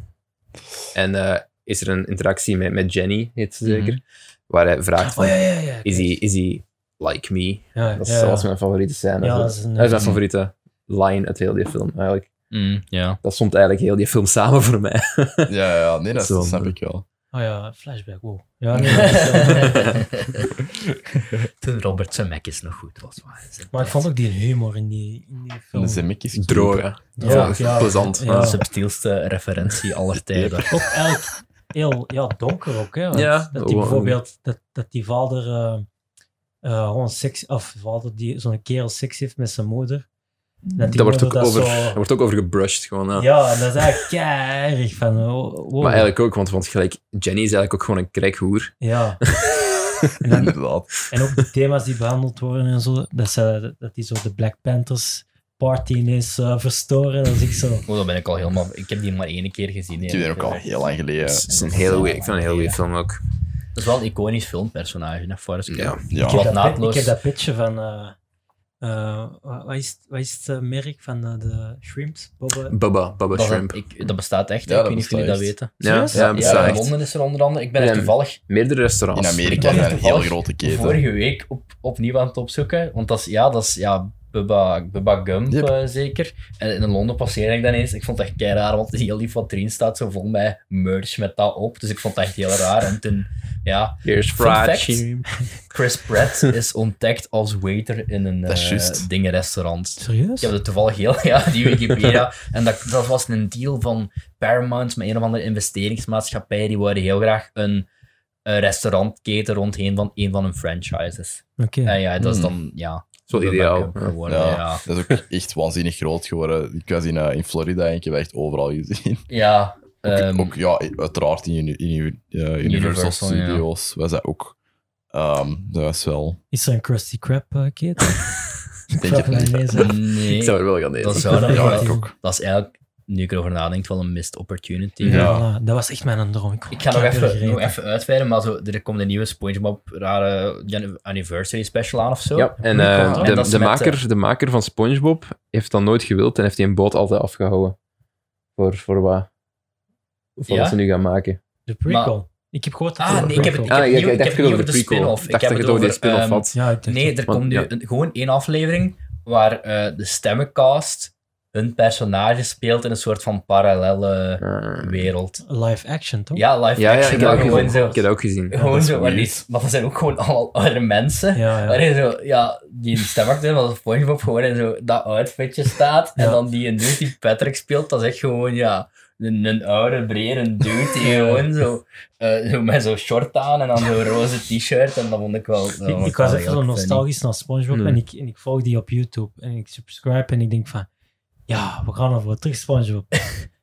[SPEAKER 1] En eh, is er een interactie met, met Jenny, heet ze zeker. Waar hij vraagt van,
[SPEAKER 4] Mhm. Oh ja, ja, ja.
[SPEAKER 1] is, hij, is hij like me?
[SPEAKER 4] Ja,
[SPEAKER 1] Dat is
[SPEAKER 4] ja, ja.
[SPEAKER 1] zelfs mijn favoriete scène.
[SPEAKER 4] Ja,
[SPEAKER 1] Zo.
[SPEAKER 4] dat is een-
[SPEAKER 1] dat is mijn favoriete line uit heel die film, eigenlijk.
[SPEAKER 2] Mm,
[SPEAKER 1] *laughs*
[SPEAKER 2] ja.
[SPEAKER 1] Dat stond eigenlijk heel die film samen voor mij. *laughs*
[SPEAKER 3] Ja, ja, nee, dat,
[SPEAKER 1] Zo,
[SPEAKER 3] dat snap
[SPEAKER 1] maar-
[SPEAKER 3] ik wel.
[SPEAKER 4] Oh ja, flashback, wow.
[SPEAKER 1] *laughs*
[SPEAKER 4] Ja, nee, dat is wel-
[SPEAKER 2] *laughs* Toen Robert zijn Mac is nog goed was. maar-
[SPEAKER 4] maar ik vond ook die humor in die, in die film.
[SPEAKER 3] De Zemek is
[SPEAKER 1] Droge.
[SPEAKER 4] Ja, ja.
[SPEAKER 1] Plezant.
[SPEAKER 4] Ja.
[SPEAKER 1] Ja.
[SPEAKER 2] De subtielste referentie
[SPEAKER 1] *laughs*
[SPEAKER 2] aller tijden.
[SPEAKER 4] Ook elk heel ja, donker ook. Hè? Want
[SPEAKER 1] Ja.
[SPEAKER 4] dat die
[SPEAKER 1] Oh,
[SPEAKER 4] bijvoorbeeld dat, dat die vader eh, eh, gewoon seks, of vader die zo'n kerel seks heeft met zijn moeder. Dat, die
[SPEAKER 1] Daar Mm. wordt, ook
[SPEAKER 4] moeder
[SPEAKER 1] over,
[SPEAKER 4] dat
[SPEAKER 1] daar
[SPEAKER 4] zo-
[SPEAKER 1] wordt ook over gebrushed, gewoon. *laughs* ja.
[SPEAKER 4] Ja, en dat is eigenlijk keirig van. oh, wow.
[SPEAKER 1] Maar eigenlijk ook, want, want gelijk, Jenny is eigenlijk ook gewoon een *laughs* krekhoer.
[SPEAKER 4] Ja,
[SPEAKER 3] Inderdaad.
[SPEAKER 4] en ook de thema's die behandeld worden en zo. Dat, ze, dat die zo de Black Panthers party ineens eh, verstoren. Dat is ik zo.
[SPEAKER 2] Oh, dat ben ik al helemaal... Ik heb die maar één keer gezien.
[SPEAKER 3] Ik
[SPEAKER 2] hè.
[SPEAKER 3] heb die ook al heel lang geleden.
[SPEAKER 1] Dus het is een hele goeie- ik vind het een hele goede film ook.
[SPEAKER 2] Dat is wel een iconisch filmpersonage, hè, Forrest Gump.
[SPEAKER 1] Ja.
[SPEAKER 3] Ja,
[SPEAKER 4] Ik heb,
[SPEAKER 2] Wat
[SPEAKER 4] dat, pit-
[SPEAKER 2] naadloos.
[SPEAKER 4] ik heb dat pitje van. eh eh, wa- wat, is, het- wat is het eh, merk van eh, de shrimps? Bobba?
[SPEAKER 1] Bubba, Bubba
[SPEAKER 2] Dat,
[SPEAKER 1] Shrimp.
[SPEAKER 2] ik, dat bestaat echt, hè.
[SPEAKER 3] Ja,
[SPEAKER 2] ik weet
[SPEAKER 3] dat
[SPEAKER 2] niet of jullie dat
[SPEAKER 3] bestaat
[SPEAKER 2] weten.
[SPEAKER 1] ja,
[SPEAKER 4] serieus?
[SPEAKER 1] ja, bestaat
[SPEAKER 2] Ja, in
[SPEAKER 1] echt.
[SPEAKER 2] Londen is er onder andere. Ik ben
[SPEAKER 1] Ja,
[SPEAKER 2] er toevallig
[SPEAKER 1] Meerdere
[SPEAKER 3] in
[SPEAKER 1] restaurants.
[SPEAKER 3] Amerika
[SPEAKER 2] Ik
[SPEAKER 3] zijn
[SPEAKER 2] ben
[SPEAKER 3] een heel
[SPEAKER 2] toevallig
[SPEAKER 3] grote keten.
[SPEAKER 2] vorige week op, opnieuw aan het opzoeken. Want dat is, ja, dat is ja, Bubba, Bubba Gump
[SPEAKER 3] Yep.
[SPEAKER 2] eh, zeker. En in Londen passeerde ik dan eens. Ik vond het echt kei raar, want heel lief wat erin staat, zo vol mij merch met dat op. Dus ik vond het echt heel raar. En toen, ja,
[SPEAKER 1] Here's
[SPEAKER 2] Fun
[SPEAKER 1] fried
[SPEAKER 2] fact.
[SPEAKER 1] shrimp.
[SPEAKER 2] Chris
[SPEAKER 1] *laughs*
[SPEAKER 2] Pratt is ontdekt als waiter in een
[SPEAKER 3] Dat is
[SPEAKER 2] eh
[SPEAKER 3] juist.
[SPEAKER 2] dingenrestaurant.
[SPEAKER 4] Serieus?
[SPEAKER 2] Ik heb het toevallig heel, *laughs* ja, die Wikipedia. en dat, dat was een deal van Paramount met een of andere investeringsmaatschappij. Die wilden heel graag een, een restaurantketen rondheen van een van hun franchises.
[SPEAKER 4] Oké.
[SPEAKER 2] En ja, dat is
[SPEAKER 3] Hmm.
[SPEAKER 2] dan, ja.
[SPEAKER 1] Zo ideaal.
[SPEAKER 2] Bubba Gump
[SPEAKER 1] Ja.
[SPEAKER 2] geworden,
[SPEAKER 3] Ja,
[SPEAKER 2] ja.
[SPEAKER 3] dat is ook echt waanzinnig groot geworden. Ik was in, eh, in Florida en ik heb echt overal gezien. *laughs*
[SPEAKER 2] Ja,
[SPEAKER 3] Ook,
[SPEAKER 2] ehm,
[SPEAKER 3] ook, ja, uiteraard in, Uni- in Uni- eh, Universal,
[SPEAKER 2] Universal, ja.
[SPEAKER 3] Studios was dat ook. Ehm, dat was
[SPEAKER 4] *laughs*
[SPEAKER 3] wel...
[SPEAKER 4] Is er een Krusty Krab eh, kid?
[SPEAKER 2] *laughs*
[SPEAKER 3] Ik denk het niet.
[SPEAKER 1] Ik *laughs*
[SPEAKER 2] nee,
[SPEAKER 1] zou er wel gaan
[SPEAKER 2] dat
[SPEAKER 1] eten.
[SPEAKER 2] zou dan
[SPEAKER 4] Ja,
[SPEAKER 2] wel-
[SPEAKER 4] ik
[SPEAKER 3] ook.
[SPEAKER 2] Dat is eigenlijk, nu ik erover nadenk, wel een missed opportunity.
[SPEAKER 3] Ja.
[SPEAKER 4] voilà. Dat was echt mijn droom. Ik,
[SPEAKER 2] Ik ga nog
[SPEAKER 4] heb er
[SPEAKER 2] even,
[SPEAKER 4] gereden.
[SPEAKER 2] nog even uitweiden, maar zo, er komt een nieuwe SpongeBob rare jan- anniversary special aan of zo.
[SPEAKER 1] Ja, en
[SPEAKER 4] Ja,
[SPEAKER 1] eh,
[SPEAKER 4] en
[SPEAKER 1] de,
[SPEAKER 2] dat is
[SPEAKER 1] de,
[SPEAKER 2] met,
[SPEAKER 1] maker, de maker van SpongeBob heeft dat nooit gewild en heeft die een boot altijd afgehouden. Voor, voor wat? Voor
[SPEAKER 2] Ja?
[SPEAKER 1] wat ze nu gaan maken.
[SPEAKER 4] De prequel. ik heb gehoord dat
[SPEAKER 2] Ah,
[SPEAKER 4] er een
[SPEAKER 2] nee, ik heb het-
[SPEAKER 4] prequel-
[SPEAKER 1] Ah, ik,
[SPEAKER 2] nieuw-
[SPEAKER 1] ik
[SPEAKER 2] ik
[SPEAKER 1] dacht dat
[SPEAKER 2] heb
[SPEAKER 1] het
[SPEAKER 2] nieuw
[SPEAKER 1] over
[SPEAKER 2] de
[SPEAKER 1] de prequel.
[SPEAKER 2] spin-off.
[SPEAKER 1] Ik
[SPEAKER 2] Ik
[SPEAKER 1] dacht
[SPEAKER 2] heb
[SPEAKER 1] dat je
[SPEAKER 2] het
[SPEAKER 1] het over die spin-off
[SPEAKER 2] over, ehm, *laughs*
[SPEAKER 1] had.
[SPEAKER 4] Ja, ik dacht
[SPEAKER 2] Nee,
[SPEAKER 4] ook.
[SPEAKER 2] er
[SPEAKER 1] Want-
[SPEAKER 2] komt nu
[SPEAKER 1] ja.
[SPEAKER 2] een- gewoon één aflevering waar eh, de stemmencast hun personage speelt in een soort van parallele
[SPEAKER 1] Ah.
[SPEAKER 2] wereld.
[SPEAKER 4] Live action, toch?
[SPEAKER 2] Ja, live
[SPEAKER 1] Ja, ja, ik
[SPEAKER 2] action,
[SPEAKER 1] heb dat
[SPEAKER 2] maar
[SPEAKER 1] ook
[SPEAKER 2] gewoon
[SPEAKER 1] gezien.
[SPEAKER 2] zo.
[SPEAKER 1] Ik heb dat ook gezien.
[SPEAKER 2] Gewoon
[SPEAKER 3] is
[SPEAKER 2] zo, maar,
[SPEAKER 3] weird.
[SPEAKER 2] niet- maar dat zijn ook gewoon allemaal andere mensen.
[SPEAKER 4] Ja, ja.
[SPEAKER 2] Waarin zo, Oh, ja, die stemacteur van Spongebob gewoon in zo dat outfitje staat. En
[SPEAKER 4] Ja.
[SPEAKER 2] dan die een dude die Patrick speelt, dat is echt gewoon, ja, een, een oude, brede dude die gewoon zo, eh, zo met zo'n short aan en dan zo'n roze t-shirt. En dat vond ik wel... dat vond
[SPEAKER 4] Ik, ik
[SPEAKER 2] wel
[SPEAKER 4] was even
[SPEAKER 2] heel
[SPEAKER 4] zo
[SPEAKER 2] funny.
[SPEAKER 4] nostalgisch naar SpongeBob
[SPEAKER 1] Hmm.
[SPEAKER 4] en, ik, en ik volg die op YouTube en ik subscribe en ik denk van, ja, we gaan ervoor terug SpongeBob.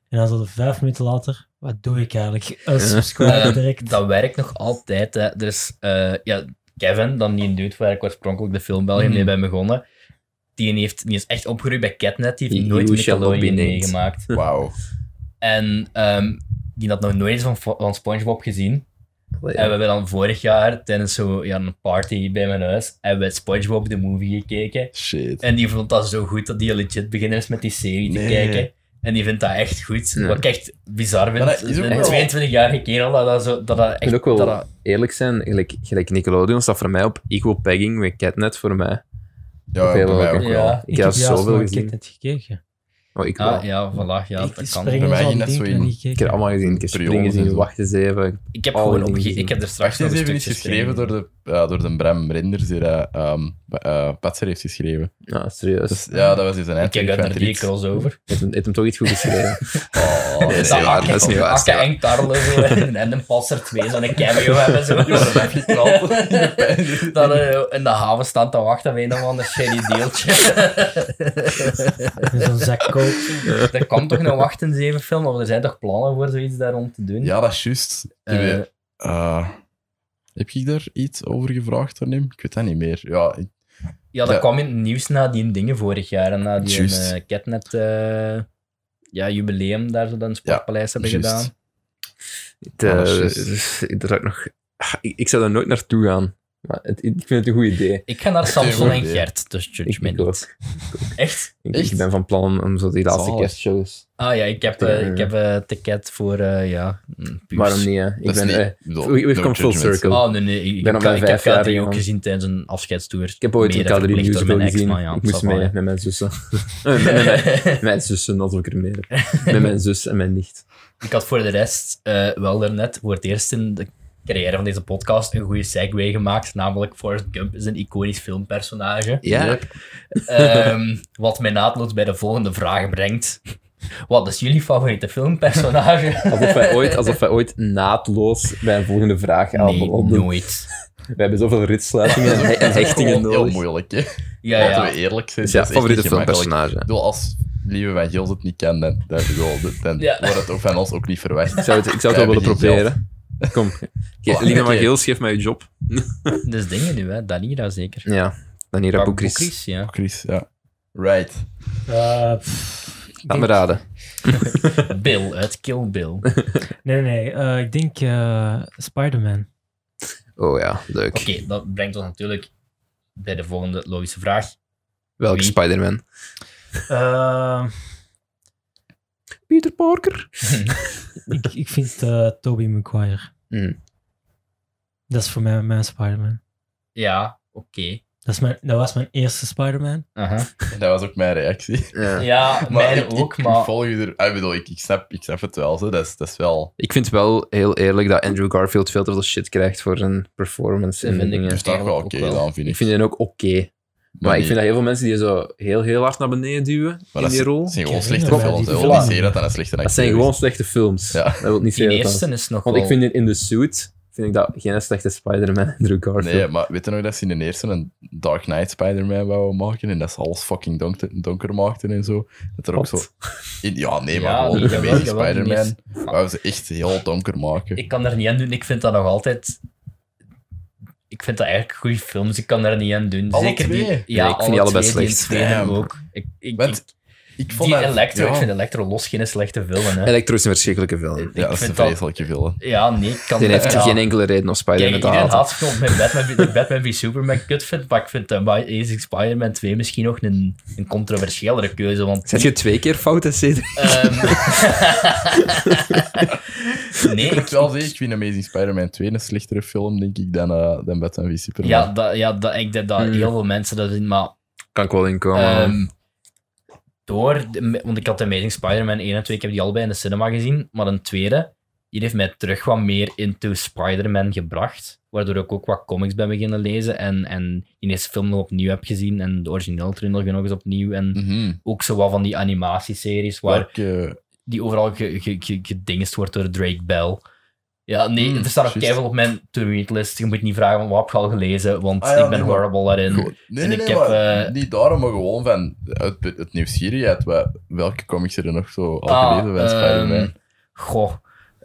[SPEAKER 4] en dan zo de vijf minuten later, wat doe ik eigenlijk? *laughs* Unsubscribe
[SPEAKER 2] Eh,
[SPEAKER 4] direct.
[SPEAKER 2] Dat werkt nog altijd. Hè. Dus eh, ja, Kevin, dan die een dude waar ik oorspronkelijk de film België
[SPEAKER 3] Mhm.
[SPEAKER 2] mee ben begonnen, die, heeft, die is echt opgegroeid bij Catnet. Die heeft
[SPEAKER 1] You
[SPEAKER 2] nooit
[SPEAKER 1] shall not
[SPEAKER 2] Nickelodeon
[SPEAKER 1] be named.
[SPEAKER 2] meegemaakt.
[SPEAKER 3] Wauw.
[SPEAKER 2] En ehm, die had nog nooit eens van, van SpongeBob gezien. En we hebben dan vorig jaar tijdens zo, ja, een party bij mijn huis hebben we SpongeBob de movie gekeken.
[SPEAKER 3] Shit.
[SPEAKER 2] En die vond dat zo goed dat die legit beginnen is met die serie te
[SPEAKER 3] Nee.
[SPEAKER 2] kijken. En die vindt dat echt goed.
[SPEAKER 1] Ja.
[SPEAKER 2] Wat ik echt bizar
[SPEAKER 3] Maar dat
[SPEAKER 2] vind.
[SPEAKER 3] is ook
[SPEAKER 2] Een
[SPEAKER 3] wel-
[SPEAKER 2] 22-jarige kerel dat, dat, zo, dat, dat
[SPEAKER 1] Ik
[SPEAKER 2] echt...
[SPEAKER 1] moet ook wel
[SPEAKER 2] dat dat-
[SPEAKER 1] eerlijk zijn, gelijk, gelijk Nickelodeon staat voor mij op equal pegging met Catnet voor mij.
[SPEAKER 3] Ja,
[SPEAKER 1] Op heel
[SPEAKER 3] bij mij
[SPEAKER 1] welke-
[SPEAKER 3] ook
[SPEAKER 2] ja.
[SPEAKER 3] wel.
[SPEAKER 1] Ik heb
[SPEAKER 4] juist
[SPEAKER 1] zoveel
[SPEAKER 4] nog een keer
[SPEAKER 1] gezien.
[SPEAKER 4] net gekeken.
[SPEAKER 1] Oh, ik, wel.
[SPEAKER 2] Ah, ja, voilà. Ja,
[SPEAKER 4] ik
[SPEAKER 2] dat
[SPEAKER 4] spring
[SPEAKER 2] kan.
[SPEAKER 3] Bij
[SPEAKER 4] in
[SPEAKER 3] mij
[SPEAKER 4] zo'n
[SPEAKER 3] ging dat
[SPEAKER 4] ding,
[SPEAKER 3] zo
[SPEAKER 4] ik
[SPEAKER 3] in-
[SPEAKER 4] heb
[SPEAKER 1] ik
[SPEAKER 4] niet
[SPEAKER 1] heb
[SPEAKER 4] gekeken.
[SPEAKER 1] het allemaal gezien. Ik heb
[SPEAKER 3] Perioden
[SPEAKER 1] springen
[SPEAKER 3] en
[SPEAKER 1] gezien,
[SPEAKER 3] zo.
[SPEAKER 1] wachten zeven.
[SPEAKER 2] Ik heb
[SPEAKER 1] Oh,
[SPEAKER 2] gewoon
[SPEAKER 1] die
[SPEAKER 2] opge...
[SPEAKER 1] gezien.
[SPEAKER 2] Ik heb er
[SPEAKER 3] Wacht,
[SPEAKER 2] straks
[SPEAKER 3] deze
[SPEAKER 2] nog een
[SPEAKER 3] is even
[SPEAKER 2] stukje
[SPEAKER 3] iets geschreven door de, eh, door de Bram Renders, die dat, ehm, b- eh, Patser heeft geschreven.
[SPEAKER 1] Ja, serieus.
[SPEAKER 3] Dus ja, dat was dus een
[SPEAKER 2] Ik kijk
[SPEAKER 3] eindelijk
[SPEAKER 2] uit
[SPEAKER 3] van
[SPEAKER 2] naar die
[SPEAKER 3] Dries.
[SPEAKER 2] crossover.
[SPEAKER 1] Heeft hem, heeft hem toch iets goed geschreven.
[SPEAKER 3] Oh, nee,
[SPEAKER 2] Is
[SPEAKER 3] nee,
[SPEAKER 2] dat
[SPEAKER 3] waar,
[SPEAKER 2] Akke-
[SPEAKER 3] dat is niet waar.
[SPEAKER 2] Akke en Carlo zo, en, en een passer 2 zo'n cameo hebben. Zo.
[SPEAKER 3] *laughs*
[SPEAKER 2] dat eh, in de haven staan te wachten op een of ander shitty deeltje.
[SPEAKER 4] Met zo'n zak
[SPEAKER 2] *laughs*
[SPEAKER 4] coke.
[SPEAKER 2] er komt toch een wacht in zeven film, maar er zijn toch plannen voor zoiets daar om te doen?
[SPEAKER 3] Ja, dat is juist. Die
[SPEAKER 2] Eh,
[SPEAKER 3] we- eh, heb ik daar iets over gevraagd, Arnim? Ik weet dat niet meer. Ja, ik-
[SPEAKER 2] ja dat
[SPEAKER 3] Ja.
[SPEAKER 2] kwam in het nieuws na die dingen vorig jaar, en na die
[SPEAKER 3] Juist.
[SPEAKER 2] eh catnet... eh, ja, jubileum daar zo dan Sportpaleis hebben
[SPEAKER 3] juist.
[SPEAKER 2] gedaan.
[SPEAKER 1] Het, eh,
[SPEAKER 3] Ah, shit.
[SPEAKER 1] dus ik draag nog... Ah, Ik, ik zou daar nooit naartoe gaan. Maar het- ik vind het een goed idee.
[SPEAKER 2] Ik ga naar Samson
[SPEAKER 3] goed
[SPEAKER 2] en
[SPEAKER 3] idee.
[SPEAKER 2] Gert, dus judge
[SPEAKER 1] Ik,
[SPEAKER 2] me
[SPEAKER 1] ik, ook.
[SPEAKER 2] niet. Echt?
[SPEAKER 1] Ik-
[SPEAKER 3] Echt?
[SPEAKER 1] ik ben van plan om, om zo die laatste
[SPEAKER 3] Zalig.
[SPEAKER 1] kerstshows...
[SPEAKER 2] Ah ja, ik heb, eh,
[SPEAKER 1] Ja.
[SPEAKER 2] ik heb eh, ticket voor, eh, ja, mm, puurs.
[SPEAKER 1] Waarom niet, hè? Ik
[SPEAKER 3] Dat is
[SPEAKER 1] ben...
[SPEAKER 3] niet-
[SPEAKER 1] eh,
[SPEAKER 3] ik bedoel,
[SPEAKER 1] we- we've
[SPEAKER 3] no
[SPEAKER 1] come full
[SPEAKER 3] judgment.
[SPEAKER 1] circle.
[SPEAKER 2] Oh, nee, nee. Ik,
[SPEAKER 1] ben
[SPEAKER 2] ik,
[SPEAKER 1] al bij
[SPEAKER 2] ik
[SPEAKER 1] vijf
[SPEAKER 2] heb
[SPEAKER 1] jaar,
[SPEAKER 2] K3 ook
[SPEAKER 1] jongen.
[SPEAKER 2] gezien tijdens een afscheidstoer.
[SPEAKER 1] Ik heb ooit een
[SPEAKER 2] Mede
[SPEAKER 1] Calgary
[SPEAKER 2] verplicht
[SPEAKER 1] Musical
[SPEAKER 2] door mijn ex,
[SPEAKER 1] gezien.
[SPEAKER 2] maar ja,
[SPEAKER 1] ik moest
[SPEAKER 2] ça va,
[SPEAKER 1] mee
[SPEAKER 2] hè.
[SPEAKER 1] met mijn zussen. *laughs* Eh, met, mijn, met mijn zussen, als ik er
[SPEAKER 3] *laughs*
[SPEAKER 1] meer heb. Met mijn zus en mijn nicht.
[SPEAKER 2] Ik had voor de rest eh, wel daarnet voor het eerst in de carrière van deze podcast een goede segue gemaakt. Namelijk Forrest Gump is een iconisch filmpersonage.
[SPEAKER 1] Ja.
[SPEAKER 2] Ehm, wat mij naadloos bij de volgende vraag brengt. Wat is jullie favoriete filmpersonage?
[SPEAKER 1] Alsof wij ooit, alsof wij ooit naadloos bij een volgende vraag aan
[SPEAKER 2] Nee, nooit.
[SPEAKER 1] We hebben zoveel ritsluitingen en, en
[SPEAKER 3] Dat is gewoon
[SPEAKER 1] hechtingen
[SPEAKER 3] heel
[SPEAKER 1] nodig.
[SPEAKER 3] moeilijk, hè.
[SPEAKER 2] Ja,
[SPEAKER 3] Laten
[SPEAKER 2] ja.
[SPEAKER 3] we eerlijk zijn.
[SPEAKER 1] Dus ja,
[SPEAKER 3] dat is echt
[SPEAKER 1] favoriete
[SPEAKER 3] niet gemakkelijk.
[SPEAKER 1] filmpersonage.
[SPEAKER 3] Ik bedoel, als Lieve van Gils het niet kent, dan, dan, bedoel, dan- dan
[SPEAKER 2] Ja.
[SPEAKER 3] wordt het ook van ons ook niet verwacht.
[SPEAKER 1] Ik zou het, ik zou het wel
[SPEAKER 3] Wij
[SPEAKER 1] willen
[SPEAKER 3] hebben Oh,
[SPEAKER 1] proberen. Kom. Ge-
[SPEAKER 3] Oké.
[SPEAKER 1] Lina Magiels, geef mij je job.
[SPEAKER 2] Dus dingen nu, hè. Danira zeker.
[SPEAKER 1] Ja. Danira Boekris.
[SPEAKER 2] Boekris,
[SPEAKER 1] *laughs*
[SPEAKER 2] ja.
[SPEAKER 3] Chris, ja. Right.
[SPEAKER 4] Eh, pff, ik
[SPEAKER 1] Laat
[SPEAKER 4] denk-
[SPEAKER 1] me raden.
[SPEAKER 2] Bill uit
[SPEAKER 1] *laughs*
[SPEAKER 2] Kill Bill.
[SPEAKER 4] Nee, nee, nee. eh, ik denk eh, Spider-Man.
[SPEAKER 1] Oh ja, leuk.
[SPEAKER 2] Oké, dat brengt ons natuurlijk bij de volgende logische vraag.
[SPEAKER 1] Welke
[SPEAKER 2] Wie?
[SPEAKER 1] Spider-Man?
[SPEAKER 4] Eh,
[SPEAKER 1] Peter Parker.
[SPEAKER 4] ik, ik vind eh Tobey Maguire.
[SPEAKER 1] Mm.
[SPEAKER 4] Dat is voor mij mijn Spider-Man.
[SPEAKER 2] Ja, oké.
[SPEAKER 4] Dat, is mijn, dat was mijn eerste Spider-Man.
[SPEAKER 2] Aha.
[SPEAKER 3] Dat was ook mijn reactie.
[SPEAKER 1] Ja.
[SPEAKER 2] Ja,
[SPEAKER 3] ik,
[SPEAKER 2] mijn
[SPEAKER 3] ik-
[SPEAKER 2] ook,
[SPEAKER 3] ik
[SPEAKER 2] maar...
[SPEAKER 3] volg je er... ah, Ik bedoel, ik, ik, snap, ik snap het wel, zo. Dat, is, dat is wel...
[SPEAKER 1] Ik vind wel heel eerlijk dat Andrew Garfield veel te veel shit krijgt voor zijn performance
[SPEAKER 2] Dat
[SPEAKER 1] en
[SPEAKER 2] vind ik
[SPEAKER 1] dingen.
[SPEAKER 3] Dat is toch wel oké
[SPEAKER 2] eigenlijk ook wel.
[SPEAKER 3] dan, vind ik.
[SPEAKER 1] Ik vind hen ook oké. Maar ik
[SPEAKER 3] die-
[SPEAKER 1] vind dat heel veel mensen die zo heel, heel hard naar beneden duwen
[SPEAKER 3] maar
[SPEAKER 1] in
[SPEAKER 3] dat
[SPEAKER 1] die
[SPEAKER 3] is-
[SPEAKER 1] rol.
[SPEAKER 3] zijn gewoon
[SPEAKER 4] Ik
[SPEAKER 3] slechte
[SPEAKER 4] herinner
[SPEAKER 3] films.
[SPEAKER 4] me die
[SPEAKER 3] Ik wil
[SPEAKER 4] film.
[SPEAKER 3] niet zeggen dat dat een slechte acteur
[SPEAKER 1] Dat zijn
[SPEAKER 3] is.
[SPEAKER 1] gewoon slechte films.
[SPEAKER 3] Ja.
[SPEAKER 1] Dat wil niet
[SPEAKER 2] Die
[SPEAKER 1] zeggen dat dat-
[SPEAKER 2] eerste is nog
[SPEAKER 1] Want
[SPEAKER 2] wel...
[SPEAKER 1] ik vind in, in The Suit vind ik dat geen slechte Spider-Man *laughs* Andrew Garfield.
[SPEAKER 3] Nee, maar weet je nog dat ze in de eerste een Dark Knight Spider-Man wouden maken en dat ze alles fucking donker, donker maakten en zo? Dat er ook
[SPEAKER 1] Wat?
[SPEAKER 3] zo... in- ja, nee, maar
[SPEAKER 2] Ja,
[SPEAKER 3] gewoon
[SPEAKER 2] die-
[SPEAKER 3] de
[SPEAKER 2] jawel,
[SPEAKER 3] meeste
[SPEAKER 2] jawel, die
[SPEAKER 3] Spider-Man
[SPEAKER 2] meeste-
[SPEAKER 3] wouden ze echt heel donker maken.
[SPEAKER 2] Ik kan er niet aan doen. Ik vind dat nog altijd... Ik vind dat eigenlijk goede films. Ik kan daar niet aan doen.
[SPEAKER 3] Alle
[SPEAKER 2] Zeker
[SPEAKER 3] twee?
[SPEAKER 2] die... Ja,
[SPEAKER 1] Nee, ik vind die
[SPEAKER 2] alle
[SPEAKER 1] allebei
[SPEAKER 2] twee, die in
[SPEAKER 1] slecht.
[SPEAKER 2] tweede
[SPEAKER 3] Damn.
[SPEAKER 2] ook. Ik, ik,
[SPEAKER 3] Want
[SPEAKER 2] ik-
[SPEAKER 3] Ik
[SPEAKER 2] die
[SPEAKER 3] dat-
[SPEAKER 2] Electro,
[SPEAKER 3] ja.
[SPEAKER 2] ik vind Electro los geen slechte film. Hè.
[SPEAKER 1] Electro is een verschrikkelijke film.
[SPEAKER 3] Ja, dat is
[SPEAKER 2] vind
[SPEAKER 3] een
[SPEAKER 2] dat-
[SPEAKER 3] vreselijke film.
[SPEAKER 2] Ja, nee, ik kan
[SPEAKER 1] Die heeft
[SPEAKER 2] ja.
[SPEAKER 1] geen enkele reden om
[SPEAKER 2] Kijk,
[SPEAKER 1] Spider-Man te
[SPEAKER 2] iedereen
[SPEAKER 1] haten.
[SPEAKER 2] haat film met Batman, dat Batman v Superman kut vindt, maar ik vind de Amazing Spider-Man 2 misschien nog een, een controversiëlere keuze, want...
[SPEAKER 1] Zet je twee keer fout, hè, Cedric?
[SPEAKER 2] ehm, *laughs* nee,
[SPEAKER 3] Ik moet
[SPEAKER 2] ik-
[SPEAKER 3] wel zeggen, ik vind Amazing Spider-Man 2 een slechtere film, denk ik, dan, eh dan Batman v Superman.
[SPEAKER 2] ja, dat, ja dat, ik denk dat
[SPEAKER 1] Hmm.
[SPEAKER 2] heel veel mensen dat zien, maar...
[SPEAKER 1] *laughs* Kan ik wel inkomen.
[SPEAKER 2] Ehm, door, de- want ik had de Amazing Spider-Man 1 en 2, ik heb die allebei in de cinema gezien, maar een tweede, die heeft mij terug wat meer into Spider-Man gebracht, waardoor ik ook wat comics ben beginnen lezen en, en die eerste film nog opnieuw heb gezien en de originele trilogie nog eens opnieuw en
[SPEAKER 3] Mhm. eh,
[SPEAKER 2] ook zo wat van die animatieseries waar
[SPEAKER 3] Welke...
[SPEAKER 2] die overal ge, ge- ge- gedingest wordt door Drake Bell. Ja, nee,
[SPEAKER 3] Hmm,
[SPEAKER 2] er staat ook
[SPEAKER 3] juist.
[SPEAKER 2] keihard op mijn to-read list. Je moet niet vragen van wat heb je al gelezen, want
[SPEAKER 3] Ah ja,
[SPEAKER 2] ik ben
[SPEAKER 3] nee, maar-
[SPEAKER 2] horrible daarin.
[SPEAKER 3] Gewoon- Nee,
[SPEAKER 2] en
[SPEAKER 3] nee,
[SPEAKER 2] ik
[SPEAKER 3] nee,
[SPEAKER 2] heb,
[SPEAKER 3] maar
[SPEAKER 2] eh,
[SPEAKER 3] niet daarom, maar gewoon van het, het nieuwsgierigheid. wa- Welke comics er nog zo al
[SPEAKER 2] Ah,
[SPEAKER 3] gelezen bij Spider-Man?
[SPEAKER 2] ehm, goh.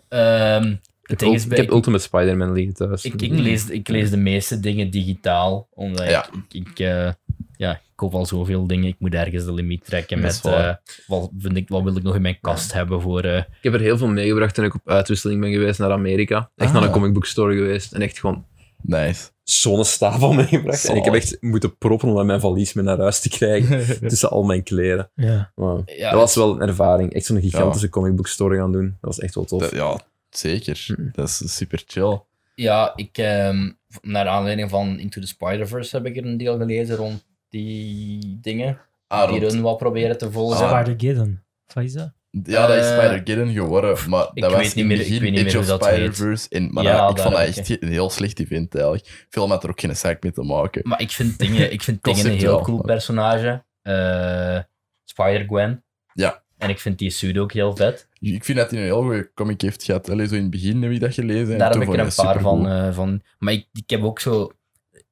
[SPEAKER 2] Ehm,
[SPEAKER 1] ik,
[SPEAKER 2] het
[SPEAKER 1] heb,
[SPEAKER 2] ding
[SPEAKER 1] ul-
[SPEAKER 2] is,
[SPEAKER 1] ik
[SPEAKER 2] bij-
[SPEAKER 1] heb
[SPEAKER 2] ik,
[SPEAKER 1] Ultimate Spider-Man liggen thuis.
[SPEAKER 2] ik, ik lees, ik lees de meeste dingen digitaal, omdat
[SPEAKER 3] Ja.
[SPEAKER 2] ik, ik, ik, eh, ja, ik koop al zoveel dingen. Ik moet ergens de limiet trekken
[SPEAKER 3] Dat
[SPEAKER 2] met
[SPEAKER 3] is waar.
[SPEAKER 2] eh, wat, vind ik, wat wil ik nog in mijn kast hebben voor... eh,
[SPEAKER 1] Ik heb er heel veel meegebracht toen ik op uitwisseling ben geweest naar Amerika. Echt
[SPEAKER 3] Ah.
[SPEAKER 1] naar een comic book store geweest. En echt gewoon
[SPEAKER 3] Nice.
[SPEAKER 1] zo'n stapel *laughs* meegebracht. En ik heb
[SPEAKER 3] Zalig.
[SPEAKER 1] echt moeten proppen om dat mijn valies mee naar huis te krijgen.
[SPEAKER 2] *laughs*
[SPEAKER 1] tussen al mijn kleren.
[SPEAKER 4] Ja.
[SPEAKER 1] Wow.
[SPEAKER 2] ja,
[SPEAKER 1] dat was wel een ervaring. Echt zo'n gigantische comic book store gaan doen. Dat was echt wel tof.
[SPEAKER 3] Dat- ja, zeker.
[SPEAKER 2] Hm.
[SPEAKER 1] Mhm.
[SPEAKER 3] Dat is super chill.
[SPEAKER 2] Ja, ik, ehm, naar aanleiding van Into the Spider-Verse heb ik er een deel gelezen rond die dingen.
[SPEAKER 3] Ah,
[SPEAKER 2] die
[SPEAKER 3] rond-
[SPEAKER 2] run wel proberen te volgen.
[SPEAKER 3] Ah.
[SPEAKER 4] Spider-Giddon. Wat is dat?
[SPEAKER 3] ja, dat is
[SPEAKER 2] eh,
[SPEAKER 3] Spider-Gidden geworden, maar
[SPEAKER 2] ik
[SPEAKER 3] dat was
[SPEAKER 2] weet niet
[SPEAKER 3] in
[SPEAKER 2] meer-
[SPEAKER 3] het
[SPEAKER 2] ik
[SPEAKER 3] begin
[SPEAKER 2] weet niet
[SPEAKER 3] Age
[SPEAKER 2] meer
[SPEAKER 3] of
[SPEAKER 2] hoe dat heet.
[SPEAKER 3] Spider-Verse. en- Maar
[SPEAKER 2] Ja,
[SPEAKER 3] dat- ik
[SPEAKER 2] daar,
[SPEAKER 3] vond dat
[SPEAKER 2] oké.
[SPEAKER 3] echt een heel slecht event eigenlijk. Film had er ook geen zaak mee te maken.
[SPEAKER 2] Maar ik vind dingen, ik vind dingen een heel
[SPEAKER 3] Conceptueel.
[SPEAKER 2] cool personage. Eh, Spider-Gwen.
[SPEAKER 3] Ja.
[SPEAKER 2] En ik vind die suit ook heel vet.
[SPEAKER 3] Ik vind dat hij een heel goede comic heeft gehad. Allee, zo in het begin heb ik dat gelezen. en
[SPEAKER 2] Daar heb
[SPEAKER 3] toen
[SPEAKER 2] ik er een
[SPEAKER 3] vond
[SPEAKER 2] paar
[SPEAKER 3] dat supergoed.
[SPEAKER 2] van, eh, van. Maar ik, ik heb ook zo...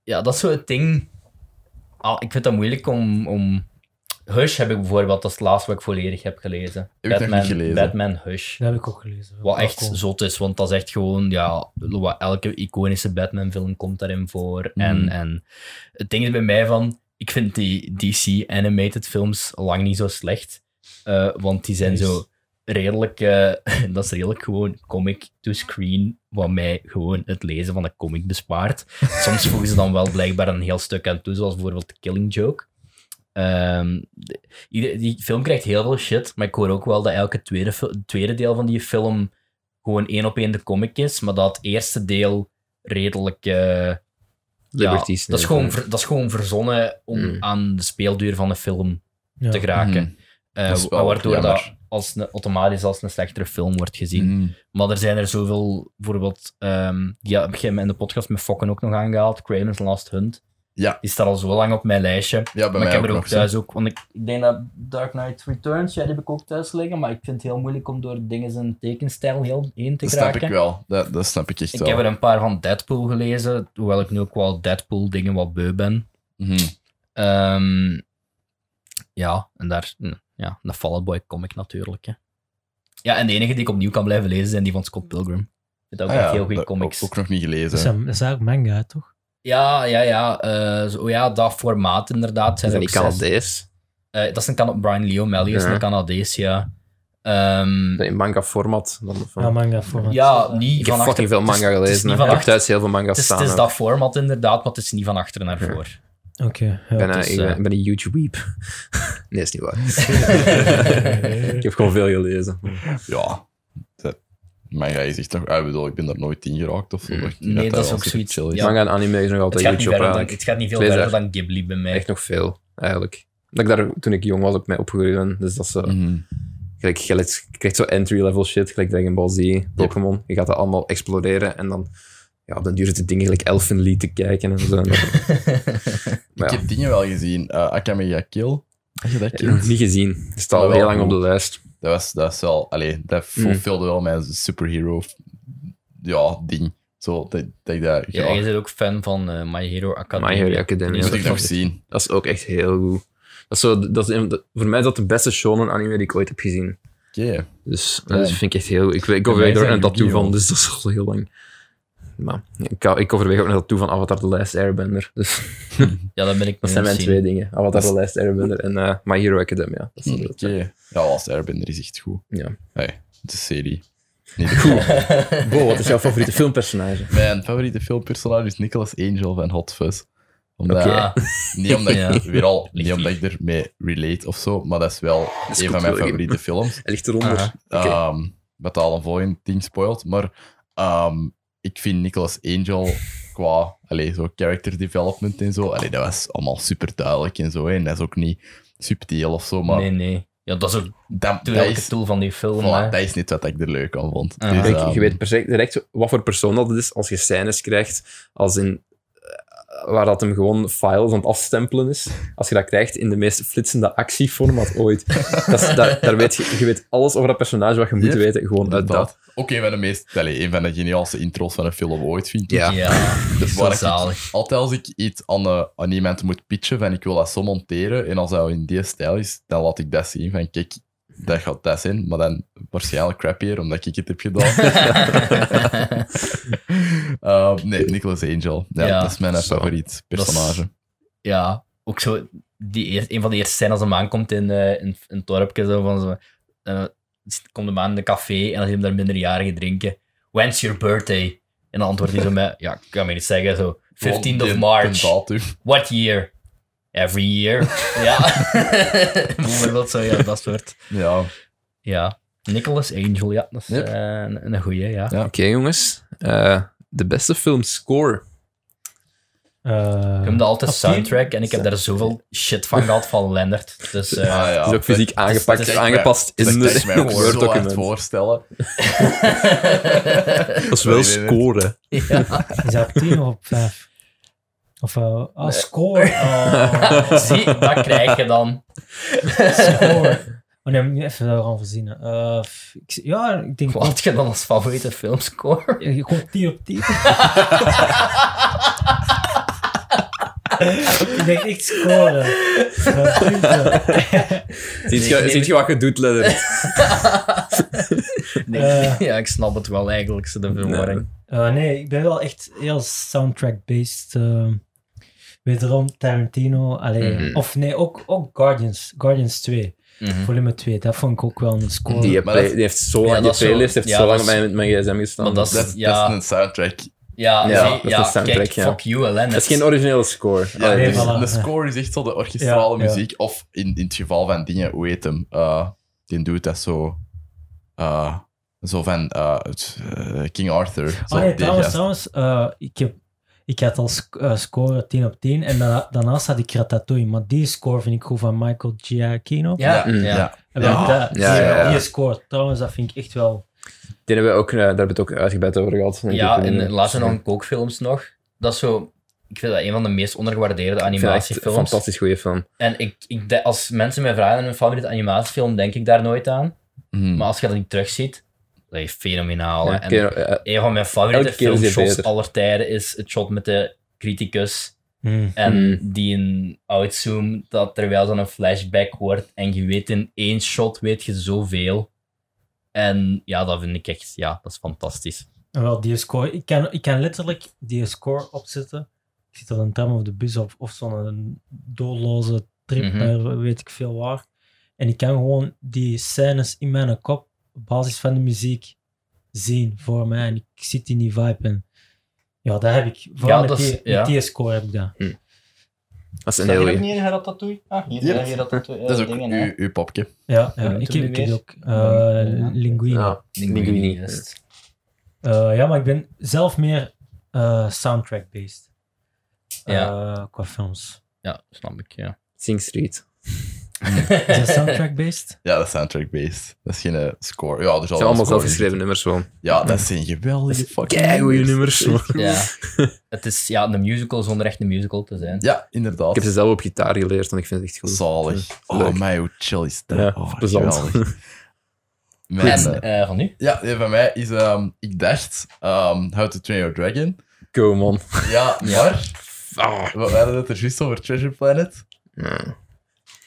[SPEAKER 2] Ja, dat is zo het ding. Ah, ik vind dat moeilijk om... om Hush heb ik bijvoorbeeld, dat is het laatste wat ik volledig heb gelezen.
[SPEAKER 3] ik nog niet gelezen.
[SPEAKER 2] Batman Hush.
[SPEAKER 4] Dat heb ik ook gelezen.
[SPEAKER 2] Wat echt
[SPEAKER 4] cool.
[SPEAKER 2] zot is, want dat is echt gewoon, ja, wat elke iconische Batman-film komt daarin voor.
[SPEAKER 3] Mhm.
[SPEAKER 2] En, en het ding is bij mij van, ik vind die DC-animated films lang niet zo slecht. Eh, want die zijn
[SPEAKER 4] Nice.
[SPEAKER 2] zo redelijk... eh, *laughs* dat is redelijk gewoon comic-to-screen, wat mij gewoon het lezen van een comic bespaart. Soms voegen ze dan wel blijkbaar een heel stuk aan toe, zoals bijvoorbeeld The Killing Joke. Ehm, de- ieder- die film krijgt heel veel shit, maar ik hoor ook wel dat elke tweede, fil- tweede deel van die film gewoon één op één de comic is, maar dat het eerste deel redelijk... eh,
[SPEAKER 1] Liberty
[SPEAKER 2] ja, dat, is
[SPEAKER 1] Snake,
[SPEAKER 2] gewoon
[SPEAKER 1] hè.
[SPEAKER 2] ver- dat is gewoon verzonnen om
[SPEAKER 1] Mm.
[SPEAKER 2] aan de speelduur van de film
[SPEAKER 4] Ja.
[SPEAKER 2] te geraken.
[SPEAKER 3] Mhm.
[SPEAKER 2] Eh,
[SPEAKER 3] Dat is wel
[SPEAKER 2] waardoor
[SPEAKER 3] jammer.
[SPEAKER 2] dat als een, automatisch als een slechtere film wordt gezien.
[SPEAKER 3] Mhm.
[SPEAKER 2] Maar er zijn er zoveel, bijvoorbeeld, ehm die heb je in de podcast met Fokken ook nog aangehaald, Craven's Last Hunt.
[SPEAKER 3] Ja.
[SPEAKER 2] Die staat al zo lang op mijn lijstje.
[SPEAKER 3] Ja, bij
[SPEAKER 2] maar ik
[SPEAKER 3] mij
[SPEAKER 2] heb
[SPEAKER 3] ook
[SPEAKER 2] er ook
[SPEAKER 3] nog zo.
[SPEAKER 2] thuis ook, want ik, ik denk dat Dark Knight Returns, ja, die heb ik ook thuis liggen, maar ik vind het heel moeilijk om door dingen zijn tekenstijl heel heen te
[SPEAKER 3] Dat
[SPEAKER 2] geraken.
[SPEAKER 3] snap ik wel. Dat, dat snap ik echt
[SPEAKER 2] Ik
[SPEAKER 3] wel.
[SPEAKER 2] heb er een paar van Deadpool gelezen, hoewel ik nu ook wel Deadpool dingen wat beu ben.
[SPEAKER 3] Mhm.
[SPEAKER 2] Ehm, ja, en daar, hm, ja, de Fall Out Boy comic natuurlijk. Hè. Ja, en de enige die ik opnieuw kan blijven lezen zijn die van Scott Pilgrim. Ik vind dat ook
[SPEAKER 3] Ah
[SPEAKER 2] echt
[SPEAKER 3] ja,
[SPEAKER 2] heel goede
[SPEAKER 3] dat-
[SPEAKER 2] comics.
[SPEAKER 3] Ook, ook nog niet
[SPEAKER 4] Dat is,
[SPEAKER 3] gelezen.
[SPEAKER 4] een- dat is eigenlijk manga, toch?
[SPEAKER 2] Ja, ja, ja, eh, zo, ja, dat formaat inderdaad.
[SPEAKER 1] Is
[SPEAKER 2] Zijn
[SPEAKER 1] dat
[SPEAKER 2] er
[SPEAKER 1] niet
[SPEAKER 2] ook zes-
[SPEAKER 1] Canadees?
[SPEAKER 2] Eh, dat is een Cana- Brian Lee O'Malley is
[SPEAKER 1] Ja.
[SPEAKER 2] een Canadees, ja. Ehm,
[SPEAKER 1] Is dat In manga-format? dan of-
[SPEAKER 4] Ja, manga format.
[SPEAKER 2] ja, niet
[SPEAKER 1] Ik
[SPEAKER 2] van
[SPEAKER 1] heb
[SPEAKER 2] achter-
[SPEAKER 1] fucking veel
[SPEAKER 2] het is-
[SPEAKER 1] manga
[SPEAKER 2] het is
[SPEAKER 1] gelezen.
[SPEAKER 2] niet
[SPEAKER 1] hè.
[SPEAKER 2] van
[SPEAKER 1] Ik heb
[SPEAKER 2] achter-
[SPEAKER 1] thuis heel veel manga's
[SPEAKER 2] Het is,
[SPEAKER 1] staan.
[SPEAKER 2] het is
[SPEAKER 1] hè.
[SPEAKER 2] dat format inderdaad, maar het is niet van achter naar voor.
[SPEAKER 4] Oké. ja.
[SPEAKER 1] Ik ben, eh,
[SPEAKER 2] het is,
[SPEAKER 1] ik ben-
[SPEAKER 2] eh,
[SPEAKER 4] *laughs*
[SPEAKER 1] ik ben een huge weep. *laughs* nee, is niet waar.
[SPEAKER 2] *laughs*
[SPEAKER 4] eh,
[SPEAKER 1] ik heb gewoon veel gelezen.
[SPEAKER 3] Ja. Dat- Manga is echt nog... ah, Ik bedoel, ik ben er nooit in geraakt of zo.
[SPEAKER 1] Mhm.
[SPEAKER 3] Ik denk
[SPEAKER 2] Mm. Nee, dat
[SPEAKER 3] wel
[SPEAKER 2] is ook
[SPEAKER 3] super
[SPEAKER 2] zoiets-
[SPEAKER 3] chill is.
[SPEAKER 2] ja.
[SPEAKER 1] Manga en anime is nog
[SPEAKER 2] Het,
[SPEAKER 1] altijd
[SPEAKER 2] gaat niet
[SPEAKER 1] YouTube
[SPEAKER 2] verder dan,
[SPEAKER 1] eigenlijk.
[SPEAKER 2] het gaat niet veel
[SPEAKER 1] Twee
[SPEAKER 2] verder dan Ghibli bij mij.
[SPEAKER 1] Echt nog veel, eigenlijk. Dat ik daar toen ik jong was ook mee opgegroeid ben. Dus dat is zo.
[SPEAKER 3] Mhm.
[SPEAKER 1] Gelijk, je let- je krijgt zo entry-level shit, gelijk Dragon Ball Z, Pokémon. Je gaat dat allemaal exploreren en dan... Ja, op den duur zitten dingen gelijk Elfenlied te kijken en zo. En dat-
[SPEAKER 2] *laughs*
[SPEAKER 3] Ik
[SPEAKER 1] Ja.
[SPEAKER 3] heb dingen wel gezien. Eh Akame ga Kill. Heb je dat
[SPEAKER 1] Ik
[SPEAKER 3] *laughs*
[SPEAKER 1] heb
[SPEAKER 3] kind?
[SPEAKER 1] het niet gezien. Het staat al
[SPEAKER 3] Maar
[SPEAKER 1] heel
[SPEAKER 3] wel
[SPEAKER 1] lang op de lijst.
[SPEAKER 3] Dat was, dat was wel... Allee, dat fulfilde wel mijn superhero... Ja, ding. Zo, dat, dat ik dat...
[SPEAKER 2] Ja,
[SPEAKER 3] Ja,
[SPEAKER 2] je bent ook fan van eh, My Hero
[SPEAKER 1] My
[SPEAKER 2] Academia.
[SPEAKER 1] Hero Academia.
[SPEAKER 3] moet
[SPEAKER 1] dat
[SPEAKER 3] ik
[SPEAKER 1] is-
[SPEAKER 3] nog zien.
[SPEAKER 1] Dat is ook echt heel goed. Dat is zo, dat is een- dat- voor mij is dat de beste shonen anime die ik ooit heb gezien.
[SPEAKER 3] Oké.
[SPEAKER 1] Dus
[SPEAKER 3] Ja.
[SPEAKER 1] dat vind ik echt heel... Ik, ik
[SPEAKER 2] mij
[SPEAKER 1] overweeg er
[SPEAKER 2] zijn
[SPEAKER 1] een tattoo
[SPEAKER 2] Yu-Gi-Oh!
[SPEAKER 1] van, dus dat is al heel lang. Maar ik, ik overweeg ook een tattoo van Avatar The Last Airbender. Dus... *laughs*
[SPEAKER 2] Ja, dat ben ik
[SPEAKER 1] Dat
[SPEAKER 2] nog
[SPEAKER 1] zijn mijn
[SPEAKER 2] zien.
[SPEAKER 1] twee dingen. Avatar
[SPEAKER 3] Dus-
[SPEAKER 1] The Last Airbender en eh, My Hero Academia. Dat is
[SPEAKER 3] Oké.
[SPEAKER 1] het.
[SPEAKER 3] Ja, Last Airbender is echt goed.
[SPEAKER 1] Ja.
[SPEAKER 3] Hey, de serie. Niet de film.
[SPEAKER 1] Bo, wat is jouw favoriete filmpersonage?
[SPEAKER 3] Mijn favoriete filmpersonage is Nicolas Angel van Hot Fuzz. Omdat,
[SPEAKER 1] Oké.
[SPEAKER 2] Ja,
[SPEAKER 3] Niet omdat, ik,
[SPEAKER 2] Ja.
[SPEAKER 3] weer al, niet
[SPEAKER 2] Ligt
[SPEAKER 3] omdat ik ermee relate of zo, maar dat is wel
[SPEAKER 1] is goed,
[SPEAKER 3] een van mijn
[SPEAKER 1] William.
[SPEAKER 3] favoriete films.
[SPEAKER 1] Hij ligt eronder.
[SPEAKER 2] Aha.
[SPEAKER 1] Oké.
[SPEAKER 3] Ehm, wat al een volgend ding spoilt. Maar ehm, ik vind Nicolas Angel qua allee, zo character development en zo, allee, dat was allemaal super duidelijk en zo. hè. En dat is ook niet subtiel of zo, maar
[SPEAKER 2] nee, nee. Ja, dat is ook
[SPEAKER 3] dat,
[SPEAKER 2] toen
[SPEAKER 3] dat,
[SPEAKER 2] elke
[SPEAKER 3] is,
[SPEAKER 2] tool van die film.
[SPEAKER 3] voilà,
[SPEAKER 2] hè.
[SPEAKER 3] dat is niet wat ik er leuk aan vond.
[SPEAKER 2] Aha.
[SPEAKER 3] Dus,
[SPEAKER 1] Kijk,
[SPEAKER 3] ehm,
[SPEAKER 1] je Ah. weet perfect, direct wat voor persoon dat is als je scènes krijgt, als in eh, waar dat hem gewoon files aan het afstempelen is. Als je dat krijgt in de meest flitsende actieformat
[SPEAKER 2] *laughs*
[SPEAKER 1] ooit. dat is, daar, daar weet je, je weet alles over dat personage wat je moet
[SPEAKER 3] Ja.
[SPEAKER 1] weten, gewoon uit dat.
[SPEAKER 3] Inderdaad. Ook een van de meest, allee, een van de geniaalste intro's van een film ooit, vind ik.
[SPEAKER 1] Ja.
[SPEAKER 2] Ja, *laughs* dat is
[SPEAKER 3] Dus Waar
[SPEAKER 2] zo
[SPEAKER 3] ik-
[SPEAKER 2] zalig.
[SPEAKER 3] Altijd als ik iets aan, eh, aan iemand moet pitchen van ik wil dat zo monteren en als dat in die stijl is, dan laat ik dat zien van kijk, dat gaat dat zijn, maar dan waarschijnlijk crappier omdat ik het heb gedaan.
[SPEAKER 2] *laughs*
[SPEAKER 3] *laughs* Eh, nee, Nicolas Angel. Ja,
[SPEAKER 2] Ja.
[SPEAKER 3] Dat is mijn eh,
[SPEAKER 1] Zo.
[SPEAKER 3] favoriet personage.
[SPEAKER 2] ja, ook zo. Die eer- een van de eerste scènes als hem aankomt in, eh in, in het dorpje. Zo, van zo, eh, zit- komt hem aan in de café en dan zien hem daar minderjarigen drinken. When's your birthday? En dan antwoordt hij zo met, ja, ik kan me niet zeggen, zo, 15th
[SPEAKER 3] Gewoon
[SPEAKER 2] of
[SPEAKER 3] die-
[SPEAKER 2] March.
[SPEAKER 3] een datum.
[SPEAKER 2] What year? Every year.
[SPEAKER 1] *laughs*
[SPEAKER 2] ja. *laughs* Bijvoorbeeld zo, ja, dat soort.
[SPEAKER 3] Ja.
[SPEAKER 2] Ja. Nicholas Angel, ja, dat is
[SPEAKER 3] Yep.
[SPEAKER 2] eh, een, een goeie, ja.
[SPEAKER 3] Ja.
[SPEAKER 1] Oké, jongens. Eh, de beste filmscore.
[SPEAKER 4] Eh,
[SPEAKER 2] Ik heb dat altijd
[SPEAKER 4] als die-
[SPEAKER 2] soundtrack en ik heb daar zoveel shit van gehad van Lennart. Dus eh,
[SPEAKER 3] Ah, ja.
[SPEAKER 1] is ook fysiek aangepakt,
[SPEAKER 2] dat is-
[SPEAKER 1] aangepast
[SPEAKER 3] Dat
[SPEAKER 1] in
[SPEAKER 3] kan ik mij
[SPEAKER 1] de
[SPEAKER 3] ook zo hard
[SPEAKER 1] Word-document.
[SPEAKER 3] voorstellen.
[SPEAKER 1] Dat is
[SPEAKER 3] Nee,
[SPEAKER 1] wel
[SPEAKER 3] nee, nee.
[SPEAKER 1] scoren.
[SPEAKER 2] *laughs* ja.
[SPEAKER 4] Is dat op 10 of op 5? Of eh, ah, score. Oh,
[SPEAKER 2] *laughs* Zie, dat krijg je dan.
[SPEAKER 4] score. Oh nee, ik moet nu even daarvan voorzien. hè. Eh, f- ik, ja, ik denk
[SPEAKER 2] Wat had je dan als favoriete filmscore?
[SPEAKER 4] Ja, je komt 10 op 10. ik denk echt scoren. Eh, punten.
[SPEAKER 1] Ziet je,
[SPEAKER 2] nee.
[SPEAKER 1] ziet je wat je doet, Lennart?
[SPEAKER 2] *laughs* Nee.
[SPEAKER 4] Eh.
[SPEAKER 2] Ja, ik snap het wel eigenlijk, ze de verwarring.
[SPEAKER 4] Eh, nee, ik ben wel echt heel soundtrack-based. eh. wederom Tarantino. Allee,
[SPEAKER 1] Mhm.
[SPEAKER 4] Of nee, ook, ook Guardians. Guardians 2, volume 2. Dat vond ik ook wel een score.
[SPEAKER 1] Die, heb-
[SPEAKER 3] Maar dat-
[SPEAKER 1] die heeft zo
[SPEAKER 2] Ja,
[SPEAKER 1] lang, die
[SPEAKER 2] dat is zo-
[SPEAKER 1] playlist heeft
[SPEAKER 2] ja,
[SPEAKER 1] zo
[SPEAKER 2] dat
[SPEAKER 1] lang op
[SPEAKER 2] is-
[SPEAKER 1] mijn, mijn gsm gestaan.
[SPEAKER 2] Maar dat is-
[SPEAKER 3] Dat, is-
[SPEAKER 2] Ja.
[SPEAKER 3] dat is een soundtrack.
[SPEAKER 2] Ja,
[SPEAKER 1] Ja,
[SPEAKER 2] nee,
[SPEAKER 1] dat
[SPEAKER 2] ja,
[SPEAKER 1] is de soundtrack,
[SPEAKER 2] kijk,
[SPEAKER 1] ja.
[SPEAKER 2] fuck you, Ellen.
[SPEAKER 1] Dat is geen originele score.
[SPEAKER 3] Ja,
[SPEAKER 1] Allee,
[SPEAKER 4] nee,
[SPEAKER 3] dus
[SPEAKER 1] dus-
[SPEAKER 4] voilà.
[SPEAKER 3] de score is echt zo de orchestrale
[SPEAKER 4] Ja, ja.
[SPEAKER 3] muziek. Of in, in het geval van dingen, hoe heet hem? Eh, die doet dat zo. eh, zo van eh, het, eh, King Arthur. Zo,
[SPEAKER 4] Oh nee,
[SPEAKER 3] die
[SPEAKER 4] trouwens,
[SPEAKER 3] gast.
[SPEAKER 4] trouwens eh, ik, heb, ik had al sc- eh, score 10 op 10 en daarna- daarnaast had ik Ratatouille, maar die score vind ik goed van Michael Giacchino.
[SPEAKER 2] Ja,
[SPEAKER 1] Mm.
[SPEAKER 2] ja.
[SPEAKER 3] Ja.
[SPEAKER 4] En wel, dat- die,
[SPEAKER 1] Ja, ja, ja.
[SPEAKER 4] die score, trouwens, dat vind ik echt wel...
[SPEAKER 1] Die hebben we ook, eh, daar hebben we het ook uitgebreid over gehad. denk
[SPEAKER 2] Ja,
[SPEAKER 1] ik.
[SPEAKER 2] en laatst nog een kookfilms nog. Dat is zo... Ik vind dat een van de meest ondergewaardeerde
[SPEAKER 1] Ik vind dat echt een
[SPEAKER 2] animatiefilms.
[SPEAKER 1] fantastisch goede film.
[SPEAKER 2] En ik, ik, de- als mensen mij vragen aan hun favoriete animatiefilm, denk ik daar nooit aan.
[SPEAKER 3] Mhm.
[SPEAKER 2] Maar als je dat niet terugziet, dat is fenomenaal. hè.
[SPEAKER 1] Ja,
[SPEAKER 2] en
[SPEAKER 1] oké, eh,
[SPEAKER 2] een van mijn favoriete
[SPEAKER 1] elke keer is die
[SPEAKER 2] filmshots
[SPEAKER 1] beter.
[SPEAKER 2] aller tijden is het shot met de criticus
[SPEAKER 4] hmm,
[SPEAKER 2] en
[SPEAKER 1] Mm.
[SPEAKER 2] die een outzoom, dat terwijl dan een flashback wordt en je weet in één shot weet je zoveel. En ja, dat vind ik echt, ja, dat is fantastisch.
[SPEAKER 4] En wel, die score, ik kan, ik kan letterlijk die score opzetten. Ik zit op een tram of de bus of, of zo'n doelloze trip
[SPEAKER 2] Mhm.
[SPEAKER 4] naar weet ik veel waar. En ik kan gewoon die scènes in mijn kop op basis van de muziek zien voor mij. En ik zit in die vibe. En ja, dat heb ik. Vooral
[SPEAKER 2] Ja,
[SPEAKER 4] met,
[SPEAKER 2] dat
[SPEAKER 4] die,
[SPEAKER 2] is- ja.
[SPEAKER 4] met die score heb ik dat.
[SPEAKER 1] Dat is een heel goeie.
[SPEAKER 2] niet in Ratatouille? Ah, hier,
[SPEAKER 3] Yep.
[SPEAKER 2] hier eh, Ratatouille.
[SPEAKER 3] Dat is ook uw, uw popje.
[SPEAKER 4] Ja, ja,
[SPEAKER 2] noemt
[SPEAKER 4] ik,
[SPEAKER 2] hem
[SPEAKER 4] heb, ik
[SPEAKER 2] nu
[SPEAKER 4] heb
[SPEAKER 2] weer?
[SPEAKER 4] ook eh,
[SPEAKER 2] Ja.
[SPEAKER 4] Linguini. Ja.
[SPEAKER 1] Ja, Linguini.
[SPEAKER 4] Eh, ja, maar ik ben zelf meer eh, soundtrack-based.
[SPEAKER 2] Ja.
[SPEAKER 4] Eh, qua films.
[SPEAKER 2] Ja, snap ik,
[SPEAKER 1] *laughs*
[SPEAKER 2] ja.
[SPEAKER 1] Sing Street.
[SPEAKER 2] *laughs*
[SPEAKER 4] Is dat soundtrack-based?
[SPEAKER 3] Ja, dat is soundtrack-based. Dat is geen eh, score. Ja, er
[SPEAKER 1] Het zijn
[SPEAKER 3] zal wel
[SPEAKER 1] allemaal
[SPEAKER 3] score in
[SPEAKER 1] zelfgeschreven nummers gewoon.
[SPEAKER 3] zitten. Ja, dat zijn geweldige fucking
[SPEAKER 1] Kijk, goede nummers.
[SPEAKER 2] ja. Het is ja, een musical zonder echt een musical te zijn.
[SPEAKER 3] Ja, inderdaad.
[SPEAKER 1] Ik heb ze zelf op gitaar geleerd en ik vind het echt goed.
[SPEAKER 3] Zalig.
[SPEAKER 1] Leuk.
[SPEAKER 3] Oh, mij, hoe chill is dat?
[SPEAKER 1] Ja,
[SPEAKER 3] oh,
[SPEAKER 1] plezant. *laughs*
[SPEAKER 3] geweldig. Mijn, eh,
[SPEAKER 2] En eh, van nu?
[SPEAKER 3] Ja, die van mij is, ehm, ik dacht, ehm How to Train Your Dragon.
[SPEAKER 1] Go, man.
[SPEAKER 3] Ja,
[SPEAKER 2] Ja.
[SPEAKER 3] maar
[SPEAKER 1] Ah.
[SPEAKER 3] we hadden het er juist over Treasure Planet.
[SPEAKER 1] Ja.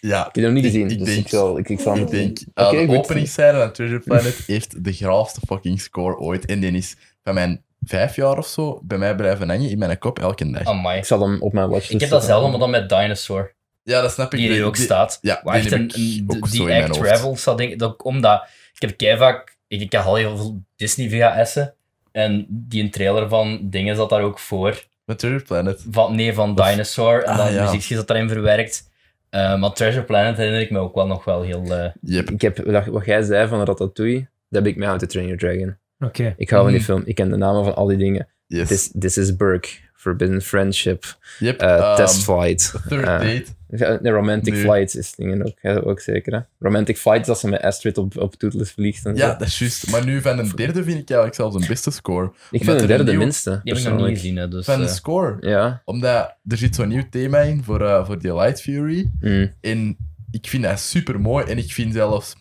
[SPEAKER 3] Ja,
[SPEAKER 1] Ik heb hem niet
[SPEAKER 3] Ik-
[SPEAKER 1] gezien,
[SPEAKER 3] ik
[SPEAKER 1] dus
[SPEAKER 3] denk-
[SPEAKER 1] ik zal... Ik, ik zal
[SPEAKER 3] ik
[SPEAKER 1] hem-
[SPEAKER 3] denk,
[SPEAKER 1] Oké,
[SPEAKER 3] eh,
[SPEAKER 1] ik
[SPEAKER 3] de
[SPEAKER 1] weet-
[SPEAKER 3] openingsscène van Treasure Planet heeft de graafste fucking score ooit. En die is van mijn vijf jaar of zo bij mij blijven hangen in mijn kop elke dag.
[SPEAKER 2] Amai.
[SPEAKER 1] Ik zal hem op mijn watchlist
[SPEAKER 2] Ik
[SPEAKER 3] Dus,
[SPEAKER 2] heb dat
[SPEAKER 1] zetten.
[SPEAKER 2] zelf, maar dan met Dinosaur.
[SPEAKER 3] Ja, dat snap ik.
[SPEAKER 2] die er
[SPEAKER 3] Die-
[SPEAKER 2] ook
[SPEAKER 3] eh, die-
[SPEAKER 2] staat.
[SPEAKER 3] Ja,
[SPEAKER 2] Waar
[SPEAKER 3] die
[SPEAKER 2] echt
[SPEAKER 3] heb
[SPEAKER 2] een,
[SPEAKER 3] ik
[SPEAKER 2] een-
[SPEAKER 3] ook zo
[SPEAKER 2] die
[SPEAKER 3] in mijn
[SPEAKER 2] act
[SPEAKER 3] hoofd.
[SPEAKER 2] travel zat denk ik, dat, omdat ik heb kei vaak, ik, ik had al heel veel Disney VHS'en en die een trailer van dingen zat daar ook voor.
[SPEAKER 3] Met Treasure Planet.
[SPEAKER 2] Van, nee, van Dinosaur en
[SPEAKER 3] ah,
[SPEAKER 2] dan
[SPEAKER 3] ja.
[SPEAKER 2] muziekje zat daarin verwerkt. Eh, maar Treasure Planet herinner ik me ook wel nog wel heel... eh,
[SPEAKER 3] Yep.
[SPEAKER 1] Ik heb, dat- wat jij zei van Ratatouille, dat heb ik mij aan to Train Your Dragon.
[SPEAKER 4] Oké.
[SPEAKER 1] Ik hou van die
[SPEAKER 2] Mm.
[SPEAKER 1] film. Ik ken de namen van al die dingen.
[SPEAKER 3] Yes.
[SPEAKER 1] This, this is Burke. Forbidden Friendship.
[SPEAKER 3] yep.
[SPEAKER 1] eh,
[SPEAKER 3] ehm,
[SPEAKER 1] test Flight.
[SPEAKER 3] Third
[SPEAKER 1] eh,
[SPEAKER 3] Date.
[SPEAKER 1] Ja, nee, Romantic
[SPEAKER 3] Nu.
[SPEAKER 1] Flight is dingen ook, hè, ook zeker. Hè? Romantic Flight is als ze met Astrid op, op Tootles vliegt. En
[SPEAKER 3] Ja,
[SPEAKER 1] zo.
[SPEAKER 3] dat is juist. Maar nu van een derde vind ik eigenlijk zelfs een beste
[SPEAKER 1] Ik
[SPEAKER 3] score. omdat
[SPEAKER 1] vind de
[SPEAKER 3] er een
[SPEAKER 1] derde
[SPEAKER 3] nieuw-
[SPEAKER 1] minste.
[SPEAKER 2] die heb ik nog
[SPEAKER 1] persoonlijk.
[SPEAKER 2] niet gezien, hè, dus... eh,
[SPEAKER 3] Van een score.
[SPEAKER 1] Ja.
[SPEAKER 3] Omdat er zit zo'n nieuw thema in voor, eh, voor die Light Fury.
[SPEAKER 1] Mm.
[SPEAKER 3] En ik vind dat super mooi. En ik vind zelfs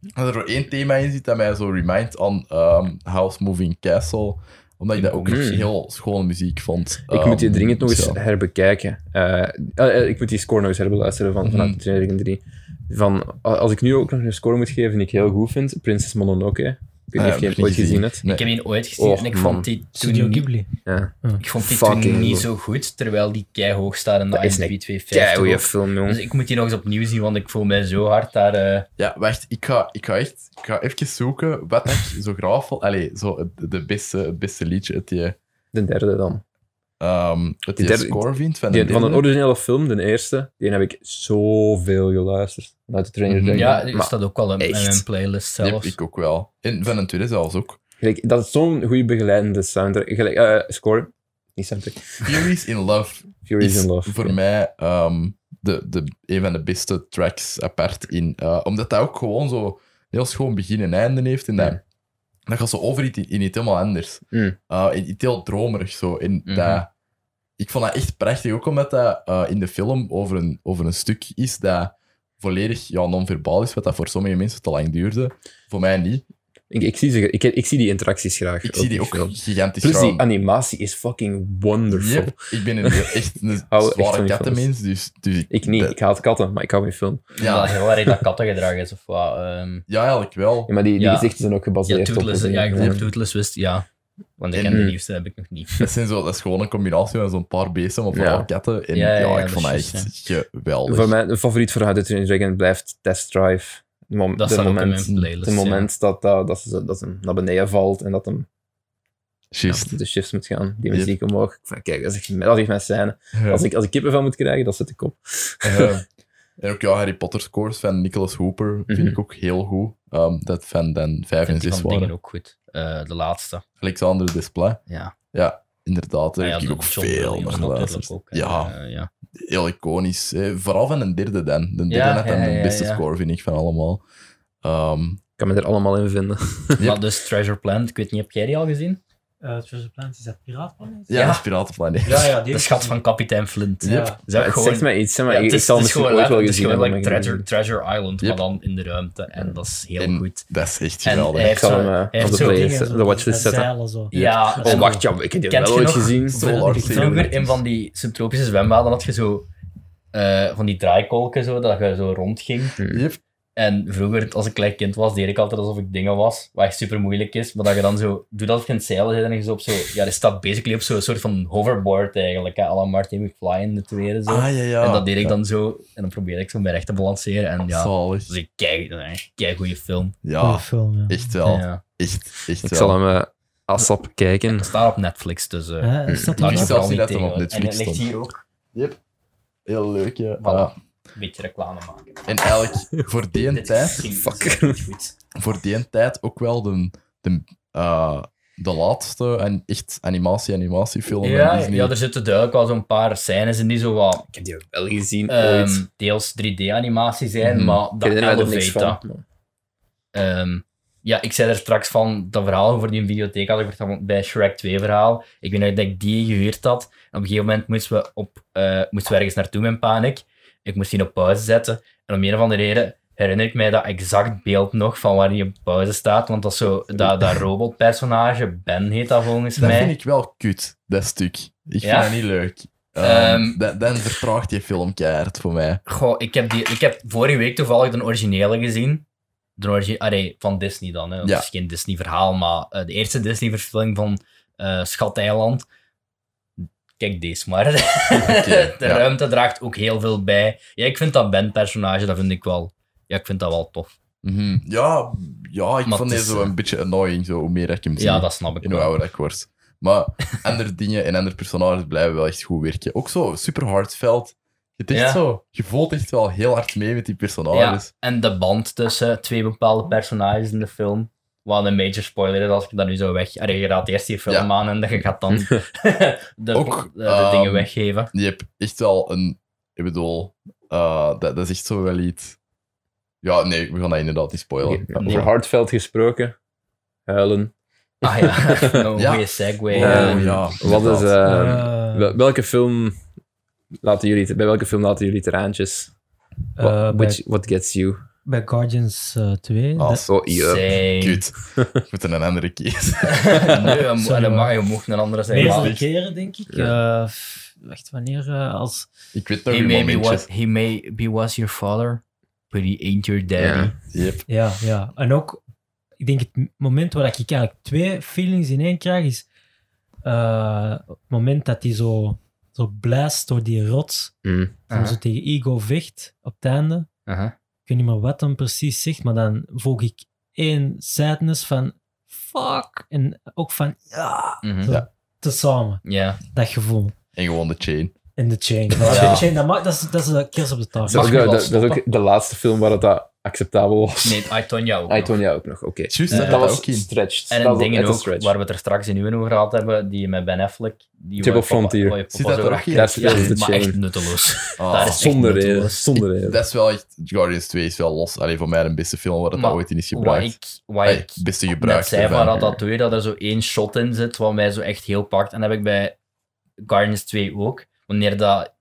[SPEAKER 3] dat er zo één thema in zit dat mij zo remindt aan ehm, House Moving Castle. Omdat ik dat ook
[SPEAKER 1] Mm.
[SPEAKER 3] echt heel schone muziek vond.
[SPEAKER 1] Ik moet die dringend nog eens
[SPEAKER 3] Ehm, zo.
[SPEAKER 1] herbekijken. Eh, eh, eh, ik moet die score nog eens herbeluisteren van, vanuit
[SPEAKER 3] Mhm.
[SPEAKER 1] de Train 3. Van, a- als ik nu ook nog een score moet geven die ik heel goed vind, Princess Mononoke. Ik weet niet
[SPEAKER 3] Ah,
[SPEAKER 1] of je
[SPEAKER 3] heb
[SPEAKER 1] het
[SPEAKER 3] ik
[SPEAKER 1] ooit
[SPEAKER 3] niet
[SPEAKER 1] gezien hebt.
[SPEAKER 3] Nee.
[SPEAKER 2] Ik heb die ooit gezien
[SPEAKER 1] Och,
[SPEAKER 2] en ik
[SPEAKER 1] man.
[SPEAKER 2] vond die toen
[SPEAKER 4] Studio
[SPEAKER 2] niet,
[SPEAKER 4] Ghibli.
[SPEAKER 1] Ja.
[SPEAKER 2] ik vond die
[SPEAKER 1] Fucking
[SPEAKER 2] toen niet
[SPEAKER 1] goed.
[SPEAKER 2] zo goed, terwijl die kei hoog staat in de
[SPEAKER 1] Dat is
[SPEAKER 2] IMDb
[SPEAKER 1] een
[SPEAKER 2] 250.
[SPEAKER 1] Keigoeie
[SPEAKER 2] ook.
[SPEAKER 1] film, jong.
[SPEAKER 2] Dus ik moet die nog eens opnieuw zien, want ik voel mij zo hard daar... eh,
[SPEAKER 3] Ja, wacht. Ik ga, ik ga echt ik ga even zoeken wat ik zo graag vond. Allee, zo het, de beste, het beste liedje uit die,
[SPEAKER 1] De derde dan.
[SPEAKER 3] ehm uit die,
[SPEAKER 1] derde-
[SPEAKER 3] score vindt. Van,
[SPEAKER 1] Die,
[SPEAKER 3] de
[SPEAKER 1] van een
[SPEAKER 3] derde.
[SPEAKER 1] originele film, de eerste, die heb ik zoveel geluisterd. Vanuit de trainer.
[SPEAKER 3] Mhm.
[SPEAKER 2] Ja,
[SPEAKER 1] maar,
[SPEAKER 2] die staat ook wel in, in
[SPEAKER 1] echt.
[SPEAKER 2] mijn playlist
[SPEAKER 3] Die
[SPEAKER 2] zelfs.
[SPEAKER 3] heb ik ook wel. En van een tweede zelfs ook.
[SPEAKER 1] gelijk, dat is zo'n goede begeleidende soundtrack. Gelijk, eh, score. Niet soundtrack.
[SPEAKER 3] Furies in Love
[SPEAKER 1] Furies
[SPEAKER 3] is
[SPEAKER 1] in Love.
[SPEAKER 3] voor
[SPEAKER 1] Ja.
[SPEAKER 3] mij ehm, de, de, een van de beste tracks apart in. eh, omdat dat ook gewoon zo een heel schoon begin en einde heeft. En dat,
[SPEAKER 1] Mm.
[SPEAKER 3] dat gaat zo over in, in iets helemaal anders.
[SPEAKER 1] Mm.
[SPEAKER 3] Eh, in iets heel dromerig zo. En
[SPEAKER 2] Mhm.
[SPEAKER 3] dat, ik vond dat echt prachtig, ook omdat dat eh, in de film over een, over een stuk is dat volledig ja, non-verbaal is, wat dat voor sommige mensen te lang duurde. Voor mij niet.
[SPEAKER 1] Ik, ik, zie ze, ik, ik zie die interacties graag.
[SPEAKER 3] Ik zie die ook
[SPEAKER 1] film.
[SPEAKER 3] gigantisch
[SPEAKER 1] Plus,
[SPEAKER 3] graag.
[SPEAKER 1] die animatie is fucking wonderful.
[SPEAKER 3] Yep, ik ben een, echt een
[SPEAKER 1] *laughs* hou echt van
[SPEAKER 3] zware
[SPEAKER 1] die
[SPEAKER 3] kattenmens, dus, dus ik,
[SPEAKER 1] Ik niet,
[SPEAKER 3] dat-
[SPEAKER 1] ik haat katten, maar ik hou van film.
[SPEAKER 2] Ja,
[SPEAKER 3] ja,
[SPEAKER 2] heel erg dat kattengedrag is of wat. ehm
[SPEAKER 3] ja, eigenlijk wel.
[SPEAKER 1] Ja, maar die, die
[SPEAKER 2] *laughs* Ja.
[SPEAKER 1] gezichten zijn ook
[SPEAKER 2] ja,
[SPEAKER 1] gebaseerd op...
[SPEAKER 2] Tootles, ja, ik
[SPEAKER 1] ja.
[SPEAKER 2] hoop Tootles wist, ja. Want ik
[SPEAKER 3] En-
[SPEAKER 2] ken de nieuwste heb ik nog niet.
[SPEAKER 3] Dat, zijn zo, dat is gewoon een combinatie van zo'n paar beesten, maar vooral
[SPEAKER 1] Ja.
[SPEAKER 3] katten. En
[SPEAKER 2] Ja,
[SPEAKER 3] ja,
[SPEAKER 2] ja, ja,
[SPEAKER 3] ik vond
[SPEAKER 2] dat
[SPEAKER 3] dat
[SPEAKER 2] is
[SPEAKER 3] echt geweldig.
[SPEAKER 1] Voor mij, een favoriet voor uit Train Dragon blijft Test Drive. De mom-
[SPEAKER 2] Dat
[SPEAKER 1] de
[SPEAKER 2] staat ook in
[SPEAKER 1] moment,
[SPEAKER 2] mijn playlist.
[SPEAKER 1] de
[SPEAKER 2] *laughs*
[SPEAKER 1] moment dat, dat, dat, ze, dat hem naar beneden valt en dat hem
[SPEAKER 3] Juist.
[SPEAKER 1] de shifts moet gaan, die
[SPEAKER 3] Yep.
[SPEAKER 1] muziek omhoog. Ik vind, Kijk, dat is echt, dat is echt mijn scène.
[SPEAKER 3] *laughs* Ja.
[SPEAKER 1] Als ik, als ik kippenvel moet krijgen, dat zit ik op.
[SPEAKER 3] Eh, en ook ja, Harry Potter scores van Nicholas Hooper vind
[SPEAKER 1] Mhm.
[SPEAKER 3] ik ook heel goed. Ehm, dat van dan 5 en
[SPEAKER 2] Vind die
[SPEAKER 3] 6
[SPEAKER 2] van dingen
[SPEAKER 3] waren.
[SPEAKER 2] ook goed. Eh, de laatste.
[SPEAKER 3] Alexander Desplat.
[SPEAKER 2] Ja.
[SPEAKER 3] Ja, inderdaad. Daar
[SPEAKER 2] Ah ja,
[SPEAKER 3] heb ik
[SPEAKER 2] de
[SPEAKER 3] ook
[SPEAKER 2] John
[SPEAKER 3] veel
[SPEAKER 2] Williams
[SPEAKER 3] naar
[SPEAKER 2] natuurlijk
[SPEAKER 3] geluisterd.
[SPEAKER 2] ook, hè.
[SPEAKER 3] Ja,
[SPEAKER 2] Eh, ja.
[SPEAKER 3] heel iconisch. hè. Vooral van een derde dan. De derde
[SPEAKER 2] Ja,
[SPEAKER 3] had dan
[SPEAKER 2] ja,
[SPEAKER 3] de
[SPEAKER 2] ja,
[SPEAKER 3] beste
[SPEAKER 2] ja.
[SPEAKER 3] score, vind ik, van allemaal. Ehm,
[SPEAKER 1] Ik kan me er allemaal in vinden.
[SPEAKER 3] Yep.
[SPEAKER 2] Maar dus Treasure Planet, ik weet niet, heb jij die al gezien?
[SPEAKER 4] Eh, Treasure Planet, is dat Piraatplanet?
[SPEAKER 3] ja,
[SPEAKER 2] Ja.
[SPEAKER 3] dat is Piratenplaneet.
[SPEAKER 4] Ja, ja, die
[SPEAKER 2] De schat van kapitein Flint.
[SPEAKER 3] Ja. Yep.
[SPEAKER 2] Is dat
[SPEAKER 1] het
[SPEAKER 2] gewoon-
[SPEAKER 1] zegt mij iets, hè, maar
[SPEAKER 2] Ja,
[SPEAKER 1] ik,
[SPEAKER 2] het
[SPEAKER 1] ik
[SPEAKER 2] is-
[SPEAKER 1] zal
[SPEAKER 2] het is
[SPEAKER 1] misschien
[SPEAKER 2] gewoon,
[SPEAKER 1] ooit wel
[SPEAKER 2] het is
[SPEAKER 1] gezien
[SPEAKER 2] gewoon
[SPEAKER 1] hebben.
[SPEAKER 2] like
[SPEAKER 1] maar ik-
[SPEAKER 2] treasure, treasure Island,
[SPEAKER 3] Yep.
[SPEAKER 2] maar dan in de ruimte. En dat is heel
[SPEAKER 3] En-
[SPEAKER 2] goed.
[SPEAKER 3] *laughs* Dat is echt
[SPEAKER 2] En
[SPEAKER 3] geweldig.
[SPEAKER 2] hij
[SPEAKER 1] Ik zal hem
[SPEAKER 2] Hij
[SPEAKER 1] eh,
[SPEAKER 2] heeft
[SPEAKER 1] op de
[SPEAKER 2] zo'n
[SPEAKER 1] playlist, de watchlist zetten.
[SPEAKER 4] Zeilen, zo.
[SPEAKER 2] Ja,
[SPEAKER 1] Oh,
[SPEAKER 2] en-
[SPEAKER 1] wacht, ja, ik heb die
[SPEAKER 2] Kent
[SPEAKER 1] wel
[SPEAKER 2] je
[SPEAKER 1] ooit
[SPEAKER 2] nog?
[SPEAKER 1] gezien.
[SPEAKER 4] oh,
[SPEAKER 3] Zo hard
[SPEAKER 4] Ik
[SPEAKER 3] zien.
[SPEAKER 2] Vroeger in van die subtropische zwembaden had je zo eh, van die draaikolken zo, dat je zo rondging.
[SPEAKER 1] Hmm.
[SPEAKER 3] Yep.
[SPEAKER 2] En vroeger, als ik klein kind was, deed ik altijd alsof ik dingen was, wat echt super moeilijk is. Maar dat je dan zo, doe dat je in het zeilen zit en je zo op zo, ja, je staat basically op zo'n soort van hoverboard eigenlijk, hè, à la Marty McFly in de tweede zo.
[SPEAKER 3] Ah, ja, ja.
[SPEAKER 2] en dat deed ik
[SPEAKER 3] Ja,
[SPEAKER 2] dan zo, en dan probeerde ik zo mijn recht te balanceren. En ja,
[SPEAKER 3] Zalig.
[SPEAKER 2] dus ik kijk, kijk goede film.
[SPEAKER 4] Goeie
[SPEAKER 3] Ja,
[SPEAKER 4] film, ja.
[SPEAKER 3] echt wel.
[SPEAKER 2] Ja.
[SPEAKER 3] Echt, echt
[SPEAKER 1] Ik
[SPEAKER 3] wel.
[SPEAKER 1] zal hem eh, ASAP kijken.
[SPEAKER 2] Dat staat op Netflix, dus eh
[SPEAKER 4] Hè, Nou, is dat
[SPEAKER 3] Ik
[SPEAKER 2] laat je
[SPEAKER 3] wist
[SPEAKER 4] dan?
[SPEAKER 2] vooral
[SPEAKER 3] zelfs
[SPEAKER 2] niet
[SPEAKER 3] niet dat hem
[SPEAKER 2] tegen. eh.
[SPEAKER 3] op
[SPEAKER 2] En het
[SPEAKER 3] Netflix
[SPEAKER 2] ligt
[SPEAKER 3] stond.
[SPEAKER 2] hier ook
[SPEAKER 3] Heel leuk, ja.
[SPEAKER 2] Voilà.
[SPEAKER 3] Ja.
[SPEAKER 2] een beetje reclame maken.
[SPEAKER 3] En *laughs* eigenlijk, voor die een
[SPEAKER 2] Dit is
[SPEAKER 3] tijd...
[SPEAKER 2] geen-
[SPEAKER 1] Fuck.
[SPEAKER 2] dit is niet
[SPEAKER 3] *laughs*
[SPEAKER 2] goed.
[SPEAKER 3] voor die een tijd ook wel de, de, eh, de laatste en echt animatie-animatiefilm van
[SPEAKER 2] Ja,
[SPEAKER 3] Oh, Disney.
[SPEAKER 2] ja, er zitten duidelijk wel zo'n paar scènes in die zo wat
[SPEAKER 1] Ik heb die wel gezien
[SPEAKER 2] ehm,
[SPEAKER 1] ooit.
[SPEAKER 2] deels 3D-animatie zijn,
[SPEAKER 3] Mhm.
[SPEAKER 2] maar
[SPEAKER 1] Ik
[SPEAKER 2] dat
[SPEAKER 1] herinner me er niks
[SPEAKER 2] elevate dat.
[SPEAKER 1] van. maar-
[SPEAKER 2] Ehm, ja, ik zei er straks van, dat verhaal over die videotheek had ik verteld bij Shrek 2 verhaal. Ik weet nog dat ik die gehuurd had. En op een gegeven moment moesten we, op, eh, moesten we ergens naartoe met paniek. Ik moest die op pauze zetten. En om een of andere reden herinner ik mij dat exact beeld nog van waar die op pauze staat. Want dat is zo, dat, dat robotpersonage, Ben heet dat volgens
[SPEAKER 3] dat
[SPEAKER 2] mij.
[SPEAKER 3] vind ik wel kut, dat stuk. Ik
[SPEAKER 2] Ja?
[SPEAKER 3] vind dat niet leuk. Ehm,
[SPEAKER 2] Ehm.
[SPEAKER 3] dan, dan vertraagt die film keihard voor mij.
[SPEAKER 2] Goh, ik heb, die, ik heb vorige week toevallig de originele gezien. De origi Allee, van Disney dan. Hè. Dat
[SPEAKER 3] Ja.
[SPEAKER 2] is geen Disney-verhaal, maar eh, de eerste Disney-verfilming van eh Schateiland. Kijk deze maar. *laughs* de
[SPEAKER 3] ja.
[SPEAKER 2] ruimte draagt ook heel veel bij. Ja, ik vind dat Ben-personage, dat vind ik wel... Ja, ik vind dat wel tof.
[SPEAKER 3] Mhm. Ja, ja, ik
[SPEAKER 2] Maar
[SPEAKER 3] vond
[SPEAKER 2] het
[SPEAKER 3] die
[SPEAKER 2] is,
[SPEAKER 3] zo
[SPEAKER 2] eh,
[SPEAKER 3] een beetje annoying, zo, hoe meer ik hem zie.
[SPEAKER 2] Ja, dat snap ik
[SPEAKER 3] en hoe
[SPEAKER 2] wel.
[SPEAKER 3] ouder ik word. Maar andere dingen en andere personages blijven wel echt goed werken. Ook zo super heartfelt. Je, hebt
[SPEAKER 2] Ja.
[SPEAKER 3] echt zo, je voelt echt wel heel hard mee met die
[SPEAKER 2] Ja,
[SPEAKER 3] personages.
[SPEAKER 2] en de band tussen twee bepaalde personages in de film. Wat een major spoiler is als ik dat nu zo weg... Allee, je raadt eerst die film
[SPEAKER 3] Ja.
[SPEAKER 2] aan en dan je gaat
[SPEAKER 3] *laughs*
[SPEAKER 2] dan de,
[SPEAKER 3] Ook,
[SPEAKER 2] de, de dingen
[SPEAKER 3] ehm,
[SPEAKER 2] weggeven.
[SPEAKER 3] Je hebt echt wel een. Ik bedoel, eh, dat, dat is echt zo wel iets. Ja, nee, we gaan dat inderdaad niet spoilen.
[SPEAKER 1] Oké,
[SPEAKER 3] Ja,
[SPEAKER 1] Over Hartveld gesproken. Huilen.
[SPEAKER 2] Ah
[SPEAKER 3] *laughs*
[SPEAKER 2] ja, *laughs* een
[SPEAKER 3] Ja.
[SPEAKER 2] goede segue.
[SPEAKER 3] Oh,
[SPEAKER 1] Ehm,
[SPEAKER 3] ja,
[SPEAKER 1] Wat is...
[SPEAKER 3] inderdaad.
[SPEAKER 1] eh,
[SPEAKER 4] Eh,
[SPEAKER 1] wel- welke film... Laten jullie, bij welke film laten jullie traantjes?
[SPEAKER 4] eh,
[SPEAKER 1] What,
[SPEAKER 4] bij-
[SPEAKER 1] which- what gets you?
[SPEAKER 4] Bij Guardians eh, 2.
[SPEAKER 3] Ah,
[SPEAKER 4] dat-
[SPEAKER 3] zo
[SPEAKER 1] Ja.
[SPEAKER 2] Zijn.
[SPEAKER 3] kut. Ik moet een andere kiezen.
[SPEAKER 2] *laughs* nee, je, mo-
[SPEAKER 4] Sorry,
[SPEAKER 2] allee,
[SPEAKER 4] man.
[SPEAKER 2] maar je mocht een andere zijn.
[SPEAKER 4] Meerdere
[SPEAKER 2] maar-
[SPEAKER 4] keren, denk ik. Eh, f- wacht, wanneer? eh, als...
[SPEAKER 3] *laughs* Ik weet nog
[SPEAKER 2] He
[SPEAKER 3] een
[SPEAKER 2] may, be
[SPEAKER 3] momentje.
[SPEAKER 2] was, he may be was your father, but he ain't your daddy.
[SPEAKER 1] Ja.
[SPEAKER 3] Yep.
[SPEAKER 4] Ja, ja. En ook, ik denk het moment waar ik eigenlijk twee feelings in één krijg, is eh, het moment dat hij zo, zo blaast door die rots,
[SPEAKER 1] Mm.
[SPEAKER 4] en
[SPEAKER 2] Aha.
[SPEAKER 4] zo tegen Ego vecht op het einde.
[SPEAKER 2] Aha.
[SPEAKER 4] Ik weet niet meer wat dan precies zegt, maar dan volg ik één sadness van fuck, en ook van ja,
[SPEAKER 2] Mhm.
[SPEAKER 4] zo tezamen,
[SPEAKER 2] Ja.
[SPEAKER 4] dat gevoel.
[SPEAKER 3] En gewoon de chain.
[SPEAKER 4] En de chain.
[SPEAKER 2] Ja.
[SPEAKER 4] De chain, dat, maakt- dat, is, dat is de kers op de
[SPEAKER 1] Dat,
[SPEAKER 4] tafel.
[SPEAKER 1] is ook-
[SPEAKER 2] Mag je wel
[SPEAKER 1] dat- dat is ook de laatste film waar dat, dat acceptabel was.
[SPEAKER 2] Nee, Aitonia ook.
[SPEAKER 1] Ah,
[SPEAKER 2] nog.
[SPEAKER 1] Tonya ook nog, oké.
[SPEAKER 3] Juist,
[SPEAKER 2] Eh,
[SPEAKER 3] daar
[SPEAKER 1] dat
[SPEAKER 3] zat
[SPEAKER 1] was
[SPEAKER 3] ook in.
[SPEAKER 1] stretched.
[SPEAKER 2] En
[SPEAKER 1] dat
[SPEAKER 2] een
[SPEAKER 1] was
[SPEAKER 2] ding
[SPEAKER 1] echt een
[SPEAKER 2] ook,
[SPEAKER 1] stretch.
[SPEAKER 2] waar we het er straks in uw over gehad hebben, die met Ben Affleck. Die
[SPEAKER 1] Triple
[SPEAKER 2] waar papa-
[SPEAKER 1] Frontier.
[SPEAKER 2] waar je
[SPEAKER 3] Zit
[SPEAKER 2] papa
[SPEAKER 3] dat
[SPEAKER 2] zo-
[SPEAKER 3] er ook in?
[SPEAKER 2] Ja,
[SPEAKER 1] Daar zit de
[SPEAKER 2] maar
[SPEAKER 1] chain.
[SPEAKER 2] echt nutteloos.
[SPEAKER 3] Ah,
[SPEAKER 2] daar is-
[SPEAKER 1] Zonder
[SPEAKER 2] echt
[SPEAKER 1] reden,
[SPEAKER 2] nutteloos.
[SPEAKER 1] zonder reden.
[SPEAKER 3] Dat is wel echt... Guardians 2 is wel los. Alleen voor mij de beste film waar dat
[SPEAKER 2] Maar
[SPEAKER 3] ooit in is
[SPEAKER 2] Wat
[SPEAKER 3] gebruikt.
[SPEAKER 2] ik, wat
[SPEAKER 3] Allee,
[SPEAKER 2] ik
[SPEAKER 3] beste
[SPEAKER 2] net
[SPEAKER 3] gebruikt.
[SPEAKER 2] zei
[SPEAKER 3] ervan.
[SPEAKER 2] van Ratatouille, dat er zo één shot in zit wat mij zo echt heel pakt. En dat heb ik bij Guardians 2 ook. Wanneer dat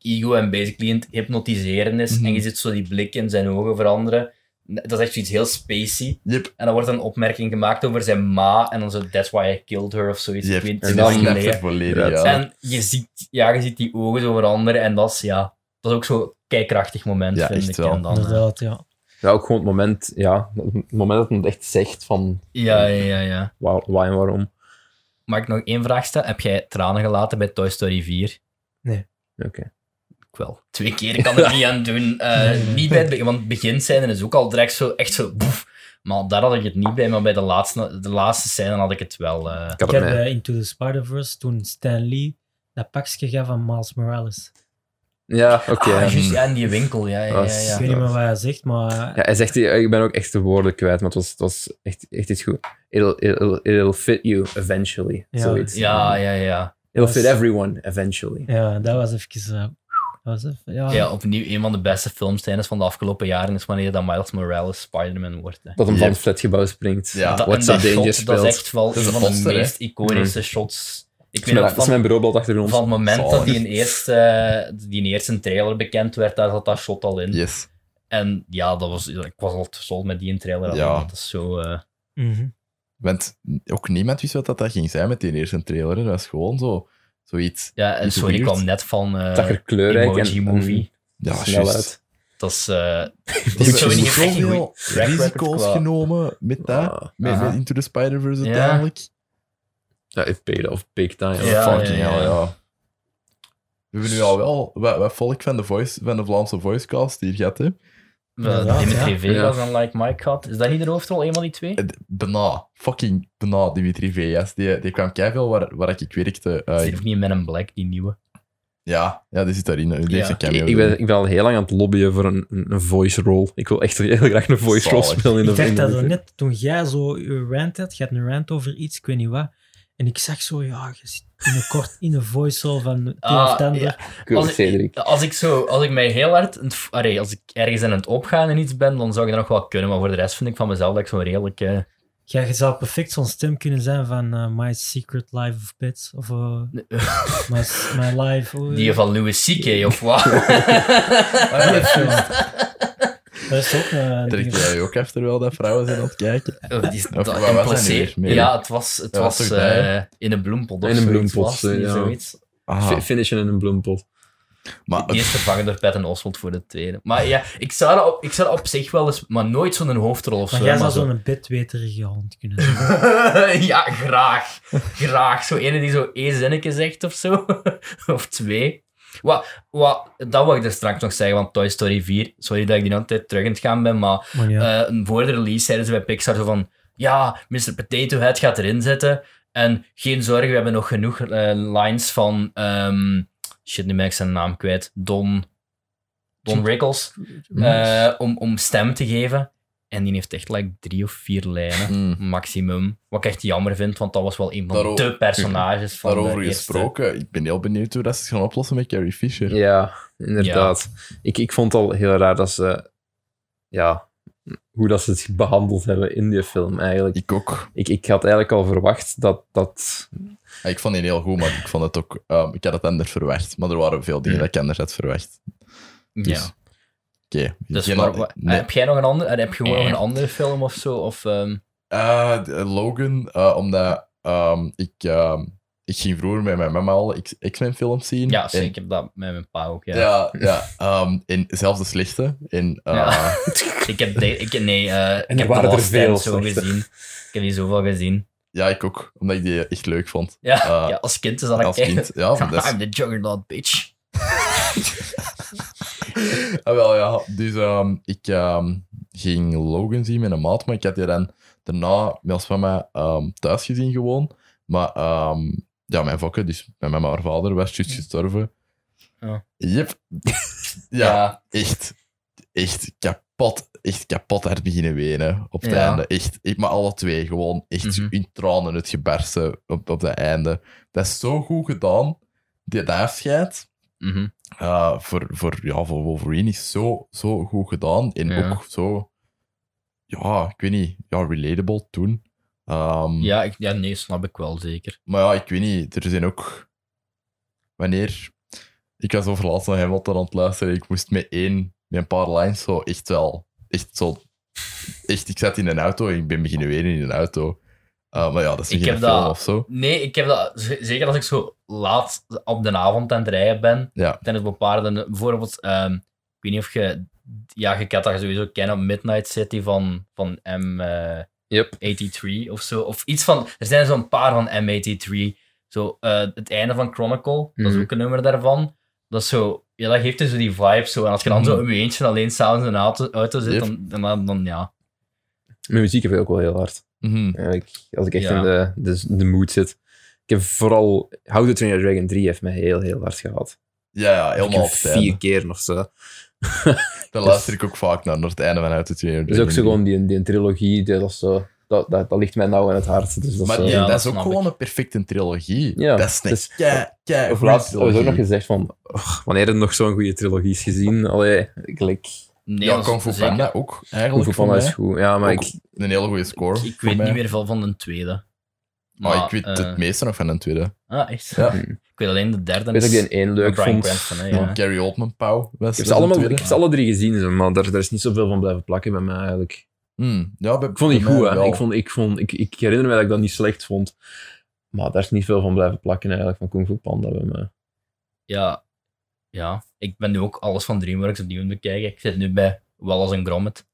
[SPEAKER 2] ego en basically aan het hypnotiseren is
[SPEAKER 3] Mhm.
[SPEAKER 2] en je ziet zo die blik in zijn ogen veranderen. Dat is echt iets heel spacey.
[SPEAKER 3] Yep.
[SPEAKER 2] En dan wordt een opmerking gemaakt over zijn ma en dan zo that's why I killed her of zoiets.
[SPEAKER 3] Je
[SPEAKER 2] Ik weet
[SPEAKER 3] hebt
[SPEAKER 2] het
[SPEAKER 3] en
[SPEAKER 2] niet
[SPEAKER 3] dat
[SPEAKER 2] lang
[SPEAKER 3] snapt
[SPEAKER 2] geleden.
[SPEAKER 3] het volledig, ja.
[SPEAKER 2] En je ziet, ja, je ziet die ogen zo veranderen en dat is, ja, dat is ook zo'n kijkkrachtig moment,
[SPEAKER 3] Ja,
[SPEAKER 2] vind
[SPEAKER 3] echt
[SPEAKER 2] ik.
[SPEAKER 3] wel.
[SPEAKER 2] En dan, eh,
[SPEAKER 4] Inderdaad, ja.
[SPEAKER 1] Ja, ook gewoon het moment, ja, het moment dat het echt zegt van
[SPEAKER 2] ja, ja, ja, ja.
[SPEAKER 1] waar, waar en waarom.
[SPEAKER 2] Maar Mag ik nog één vraag stellen? Heb jij tranen gelaten bij Toy Story 4?
[SPEAKER 1] Oké.
[SPEAKER 2] Ik wel. Twee keer ik kan
[SPEAKER 3] *laughs*
[SPEAKER 2] er niet aan doen. Eh, Niet bij het begin, want het begin scène is ook al direct zo, echt zo, boef. Maar daar had ik het niet bij, maar bij de laatste, de laatste scène had ik het wel. eh.
[SPEAKER 1] Ik had
[SPEAKER 4] Ik heb
[SPEAKER 1] het mij-
[SPEAKER 4] bij Into the Spider-Verse toen Stan Lee dat pakje gaf aan Miles Morales.
[SPEAKER 1] Ja, oké. ehm,
[SPEAKER 2] ah,
[SPEAKER 1] ja.
[SPEAKER 2] juist, ja, in die winkel, ja, ja, ja.
[SPEAKER 1] Was-
[SPEAKER 4] Ik
[SPEAKER 2] ja.
[SPEAKER 4] weet niet meer wat hij zegt, maar...
[SPEAKER 1] Ja, hij zegt, hier- ik ben ook echt de woorden kwijt, maar het was, het was echt, echt iets goed. It'll, it'll, it'll fit you eventually.
[SPEAKER 4] Ja.
[SPEAKER 1] Zoiets.
[SPEAKER 2] Ja, ja, ja.
[SPEAKER 1] It'll fit everyone eventually.
[SPEAKER 4] Ja, dat was even. eh, dat was even ja.
[SPEAKER 2] Ja, opnieuw een van de beste filmscènes van de afgelopen jaren is wanneer dat Miles Morales Spider-Man wordt. hè.
[SPEAKER 1] Dat hem van
[SPEAKER 3] Yep.
[SPEAKER 1] het flatgebouw springt.
[SPEAKER 3] Ja.
[SPEAKER 2] dat,
[SPEAKER 1] What's
[SPEAKER 2] en
[SPEAKER 1] Up
[SPEAKER 2] dat
[SPEAKER 1] Danger
[SPEAKER 2] shot, dat is
[SPEAKER 1] speelt.
[SPEAKER 2] echt wel
[SPEAKER 3] is
[SPEAKER 2] een
[SPEAKER 3] een
[SPEAKER 2] van de
[SPEAKER 3] monster, hè?
[SPEAKER 2] meest iconische shots. Ik
[SPEAKER 1] Dat Mm. is mijn,
[SPEAKER 2] weet
[SPEAKER 1] dat
[SPEAKER 2] nog
[SPEAKER 1] is mijn
[SPEAKER 2] van,
[SPEAKER 1] Oh, bureaublad achter ons.
[SPEAKER 2] van het moment dat
[SPEAKER 3] Zalig.
[SPEAKER 2] die in eerste, eh, die in eerste trailer bekend werd, daar zat dat shot al in.
[SPEAKER 3] Yes.
[SPEAKER 2] En ja, dat was, ik was al verzot met die trailer.
[SPEAKER 3] Ja.
[SPEAKER 2] Dat is zo... eh,
[SPEAKER 4] Mhm.
[SPEAKER 3] Want ook niemand wist wat dat, dat ging zijn met die eerste trailer. hè. Dat is gewoon zo, zoiets.
[SPEAKER 2] ja, en
[SPEAKER 3] Iets
[SPEAKER 2] sorry, ik
[SPEAKER 3] weird.
[SPEAKER 2] kwam net van eh
[SPEAKER 1] Het zag er kleurrijk
[SPEAKER 2] Emoji
[SPEAKER 1] en,
[SPEAKER 2] Movie.
[SPEAKER 3] Ja,
[SPEAKER 1] en snel
[SPEAKER 3] juist.
[SPEAKER 1] uit.
[SPEAKER 2] Dat is... eh
[SPEAKER 3] Er
[SPEAKER 2] is
[SPEAKER 3] zijn
[SPEAKER 2] zo niet echt een
[SPEAKER 3] zoveel
[SPEAKER 2] record
[SPEAKER 3] risico's
[SPEAKER 2] qua-
[SPEAKER 3] genomen met dat.
[SPEAKER 1] Ah,
[SPEAKER 3] Met,
[SPEAKER 2] Aha.
[SPEAKER 3] met Into the Spider-Verse
[SPEAKER 2] Ja.
[SPEAKER 3] uiteindelijk.
[SPEAKER 1] Ja, it paid off big time.
[SPEAKER 2] Ja,
[SPEAKER 3] Fucking
[SPEAKER 2] ja, ja.
[SPEAKER 3] hell, ja. We hebben nu al wel wat, wat volk van de, voice, van de Vlaamse voicecast hier gehad, hè.
[SPEAKER 4] Inderdaad,
[SPEAKER 2] Dimitri
[SPEAKER 4] ja.
[SPEAKER 2] Vegas
[SPEAKER 1] Ja. Eh,
[SPEAKER 2] en Like Mike had. Is dat niet de hoofdrol, een van die twee?
[SPEAKER 3] En Eh, Bijna, fucking bijna Dimitri Vegas. Die, die kwam keiveel waar, waar ik werkte. eh,
[SPEAKER 2] Zit ook niet in Men in Black, die nieuwe.
[SPEAKER 3] ja, ja, die zit daarin. eh, Die
[SPEAKER 2] Ja.
[SPEAKER 3] heeft een cameo.
[SPEAKER 1] Ik, ik ben, ik ben al heel lang aan het lobbyen voor een, een een voice role. Ik wil echt heel graag een voice role
[SPEAKER 3] Zalig.
[SPEAKER 1] spelen in de
[SPEAKER 4] Ik dacht
[SPEAKER 1] in de
[SPEAKER 4] dat zo
[SPEAKER 1] movie.
[SPEAKER 4] net toen jij zo je rant had, je had een rant over iets, ik weet niet wat. En ik zag zo, ja, je zit binnenkort in een voice van het een
[SPEAKER 2] Ah,
[SPEAKER 4] of het ander.
[SPEAKER 2] ja.
[SPEAKER 1] Cool,
[SPEAKER 2] als, ik,
[SPEAKER 1] Cedric.
[SPEAKER 2] als ik zo, als ik mij heel hard, aan het v- allee, als ik ergens aan het opgaan en iets ben, dan zou ik dat nog wel kunnen. Maar voor de rest vind ik van mezelf dat ik zo'n redelijk. eh,
[SPEAKER 4] Ja, je zou perfect zo'n stem kunnen zijn van eh, My Secret Life of Pets. Of eh, my, my Life. oh,
[SPEAKER 2] die van Louis C.K. of wat?
[SPEAKER 4] ja, dat is zo. Dat is ook eh, een
[SPEAKER 3] Trekt
[SPEAKER 4] ding.
[SPEAKER 3] jij ook even terwijl dat vrouwen zijn aan het kijken?
[SPEAKER 2] Of die-
[SPEAKER 3] waar
[SPEAKER 2] dat
[SPEAKER 3] was hij nu
[SPEAKER 2] impliceert-
[SPEAKER 3] weer?
[SPEAKER 2] Ja, het was, het
[SPEAKER 3] Ja,
[SPEAKER 2] was
[SPEAKER 3] toch dat, hè?
[SPEAKER 2] eh, in een bloempot. Of
[SPEAKER 1] In een
[SPEAKER 2] zoiets
[SPEAKER 1] bloempot,
[SPEAKER 2] was het niet,
[SPEAKER 1] ja.
[SPEAKER 2] zoiets.
[SPEAKER 3] Ah,
[SPEAKER 1] Fi- Finishen in een bloempot.
[SPEAKER 3] maar
[SPEAKER 2] Eerst vervangen door Pat en Oswald voor de tweede. Maar ja, ik zou dat op, ik zou dat op zich wel eens, maar nooit zo'n hoofdrol of
[SPEAKER 4] Maar
[SPEAKER 2] zo.
[SPEAKER 4] jij
[SPEAKER 2] maar
[SPEAKER 4] zou
[SPEAKER 2] zo-
[SPEAKER 4] zo'n bedweterige hond kunnen zijn.
[SPEAKER 2] ja, graag. Graag. Zo ene die zo één zinnetje zegt of zo. *laughs* of twee. Wat, wat, dat wil ik er straks nog zeggen, want Toy Story 4, sorry dat ik die altijd terug aan het gaan ben, *laughs* maar
[SPEAKER 4] Maar ja.
[SPEAKER 2] eh, voor de release zeiden ze bij Pixar zo van, ja, Mr. Potato Head gaat erin zitten. En geen zorgen, we hebben nog genoeg eh, lines van, ehm, shit, nu ben ik zijn naam kwijt, Don, Don Rickles, eh, om, om stem te geven. En die heeft echt like drie of vier lijnen
[SPEAKER 3] mm,
[SPEAKER 2] maximum. Wat ik echt jammer vind, want dat was wel een van
[SPEAKER 3] Daarover-
[SPEAKER 2] de personages van
[SPEAKER 3] daarover
[SPEAKER 2] de eerste.
[SPEAKER 3] gesproken. Ik ben heel benieuwd hoe dat ze het gaan oplossen met Carrie Fisher.
[SPEAKER 1] Ja, inderdaad. Ik, ik vond het al heel raar dat ze... Ja, hoe dat ze het behandeld hebben in die film eigenlijk.
[SPEAKER 3] Ik ook.
[SPEAKER 1] Ik, ik had eigenlijk al verwacht dat... dat
[SPEAKER 3] Ja, Ik vond die heel goed, maar ik vond het ook... ehm, ik had het anders verwacht. Maar er waren veel dingen
[SPEAKER 1] Mm.
[SPEAKER 3] dat ik anders had verwacht. Dus,
[SPEAKER 2] Ja.
[SPEAKER 3] Oké.
[SPEAKER 2] Dus
[SPEAKER 3] Geen-
[SPEAKER 2] maar, wa-
[SPEAKER 3] nee.
[SPEAKER 2] Heb jij nog een andere, heb je gewoon nog
[SPEAKER 3] Eh.
[SPEAKER 2] een andere film of zo? Of, ehm,
[SPEAKER 3] Eh, de- Logan, eh, omdat ehm, ik, ehm, ik ging vroeger met mijn mama al X- X-Men films zien.
[SPEAKER 2] ja,
[SPEAKER 3] En-
[SPEAKER 2] zeker. Ik heb dat met mijn pa ook. Ja.
[SPEAKER 3] Ja, ja. ehm, en zelfs de slechte. En, eh,
[SPEAKER 2] Ja. Ik heb, de- ik, nee,
[SPEAKER 1] *laughs*
[SPEAKER 2] eh, ik
[SPEAKER 1] er
[SPEAKER 2] heb
[SPEAKER 1] waren
[SPEAKER 2] de
[SPEAKER 1] er
[SPEAKER 2] Last Stand
[SPEAKER 1] veel
[SPEAKER 2] zo
[SPEAKER 1] slechte.
[SPEAKER 2] gezien. Ik heb die zoveel gezien.
[SPEAKER 3] *laughs* ja, ik ook. Omdat ik die echt leuk vond.
[SPEAKER 2] Ja,
[SPEAKER 3] Eh,
[SPEAKER 2] ja als kind is dat
[SPEAKER 3] als
[SPEAKER 2] ik *laughs*
[SPEAKER 3] kind. Ja, van dat is-
[SPEAKER 2] I'm the juggernaut, bitch.
[SPEAKER 3] Ah, wel ja. Dus ehm, ik ehm, ging Logan zien met een maat, maar ik had die dan daarna met ons mama ehm, thuis gezien gewoon. Maar ehm, ja, mijn fokken, dus mijn mama en haar vader, was juist gestorven.
[SPEAKER 2] Ja.
[SPEAKER 3] Yep. *laughs* ja, echt, echt kapot, echt kapot hard beginnen wenen op het
[SPEAKER 2] Ja.
[SPEAKER 3] einde. Echt, ik- maar alle twee gewoon echt
[SPEAKER 2] Mhm.
[SPEAKER 3] in tranen het gebersten op, op het einde. Dat is zo goed gedaan, die dat afscheid.
[SPEAKER 2] Mhm.
[SPEAKER 3] Eh, voor, voor, ja, voor Wolverine is zo, zo goed gedaan. En
[SPEAKER 2] Ja.
[SPEAKER 3] ook zo, ja, ik weet niet, ja, relatable toen. Ehm,
[SPEAKER 2] ja, ik, ja, nee, snap ik wel zeker.
[SPEAKER 3] Maar ja, ik weet niet, er zijn ook. Wanneer. Ik was over laatst naar Hamilton aan het luisteren. Ik moest met één, met een paar lines zo echt wel. Echt zo. Echt, ik zat in een auto en ik ben beginnen wenen in een auto. Eh, maar ja, dat is
[SPEAKER 2] Ik
[SPEAKER 3] geen film
[SPEAKER 2] heb dat-
[SPEAKER 3] of zo.
[SPEAKER 2] Nee, ik heb dat, z- zeker als ik zo laat op de avond aan het rijden ben,
[SPEAKER 3] Ja.
[SPEAKER 2] tijdens bepaalde, bijvoorbeeld, ehm, ik weet niet of je, ja, je kent dat sowieso kennen, Midnight City van, van M. eh,
[SPEAKER 1] Yep.
[SPEAKER 2] 83 of zo. Of iets van. Er zijn zo'n paar van M83. Zo, eh, het einde van Chronicle, dat is
[SPEAKER 1] Mhm.
[SPEAKER 2] ook een nummer daarvan. Dat is zo. Ja, dat geeft dus zo die vibe zo. En als je dan zo in je eentje alleen s'avonds in een auto, auto zit,
[SPEAKER 3] Mhm. Yep.
[SPEAKER 2] dan, dan, dan, dan ja.
[SPEAKER 1] Mijn muziek heb ik ook wel heel hard.
[SPEAKER 3] Mhm.
[SPEAKER 1] Ja, ik- als ik echt
[SPEAKER 2] Ja.
[SPEAKER 1] in de, de, de mood zit. Ik heb vooral... How to Train Your Dragon 3 heeft mij heel, heel hard gehad.
[SPEAKER 3] Ja, ja, helemaal
[SPEAKER 1] Ik
[SPEAKER 3] op
[SPEAKER 1] heb
[SPEAKER 3] het einde.
[SPEAKER 1] vier keer of zo. Dus
[SPEAKER 3] Daar luister ik ook vaak naar, naar het einde van Out of Tune.
[SPEAKER 1] Dus ook zo gewoon die, die trilogie, dat, is zo, dat, dat, dat ligt mij nauw in het hart. Dus dat is
[SPEAKER 3] Maar
[SPEAKER 1] zo-
[SPEAKER 3] die-
[SPEAKER 2] Ja,
[SPEAKER 3] dat
[SPEAKER 2] dat
[SPEAKER 3] is ook
[SPEAKER 2] snap
[SPEAKER 3] gewoon een perfecte trilogie.
[SPEAKER 1] Ja,
[SPEAKER 3] dat is
[SPEAKER 1] dat is-
[SPEAKER 3] een kei, kei
[SPEAKER 1] Of
[SPEAKER 3] goede
[SPEAKER 1] laatst hebben we ook nog
[SPEAKER 3] trilogie.
[SPEAKER 1] gezegd van, oh, wanneer hebben we nog zo'n goede trilogie is gezien? Allee, ik like,
[SPEAKER 2] Nee,
[SPEAKER 3] Ja,
[SPEAKER 2] dat is
[SPEAKER 3] Kung Fu
[SPEAKER 2] zeker.
[SPEAKER 3] Panda ook,
[SPEAKER 1] Kung
[SPEAKER 3] eigenlijk.
[SPEAKER 1] Fu
[SPEAKER 3] voor
[SPEAKER 1] Panda
[SPEAKER 3] mij.
[SPEAKER 1] is goed. Ja, maar
[SPEAKER 3] Ook
[SPEAKER 1] ik,
[SPEAKER 3] Een hele goede score.
[SPEAKER 2] Ik
[SPEAKER 3] voor
[SPEAKER 2] weet
[SPEAKER 3] mij.
[SPEAKER 2] niet meer veel van de tweede.
[SPEAKER 3] Maar ik weet
[SPEAKER 2] eh,
[SPEAKER 3] het meeste nog van een tweede.
[SPEAKER 2] Ah, echt?
[SPEAKER 3] Ja.
[SPEAKER 2] *laughs* Ik weet alleen de derde.
[SPEAKER 1] weet dat ik die
[SPEAKER 2] is
[SPEAKER 1] in één leuk
[SPEAKER 2] Bryan
[SPEAKER 1] vond.
[SPEAKER 2] Cranston, hè,
[SPEAKER 1] Ja.
[SPEAKER 2] ja.
[SPEAKER 3] Gary Oldman, Pauw.
[SPEAKER 1] Ik heb, ze allemaal, ik heb ze alle drie gezien, zo, maar daar, daar is niet zoveel van blijven plakken bij mij eigenlijk.
[SPEAKER 3] Hmm. ja, bij-
[SPEAKER 1] Ik vond die
[SPEAKER 3] bij
[SPEAKER 1] goed,
[SPEAKER 3] mij
[SPEAKER 1] hè.
[SPEAKER 3] wel.
[SPEAKER 1] Ik, vond, ik, vond, ik, ik herinner me dat ik dat niet slecht vond. Maar daar is niet veel van blijven plakken eigenlijk, van Kung Fu Panda bij mij.
[SPEAKER 2] ja. Ja. Ik ben nu ook alles van DreamWorks opnieuw aan het bekijken. Ik zit nu bij Wallace
[SPEAKER 1] *laughs*
[SPEAKER 2] en Gromit.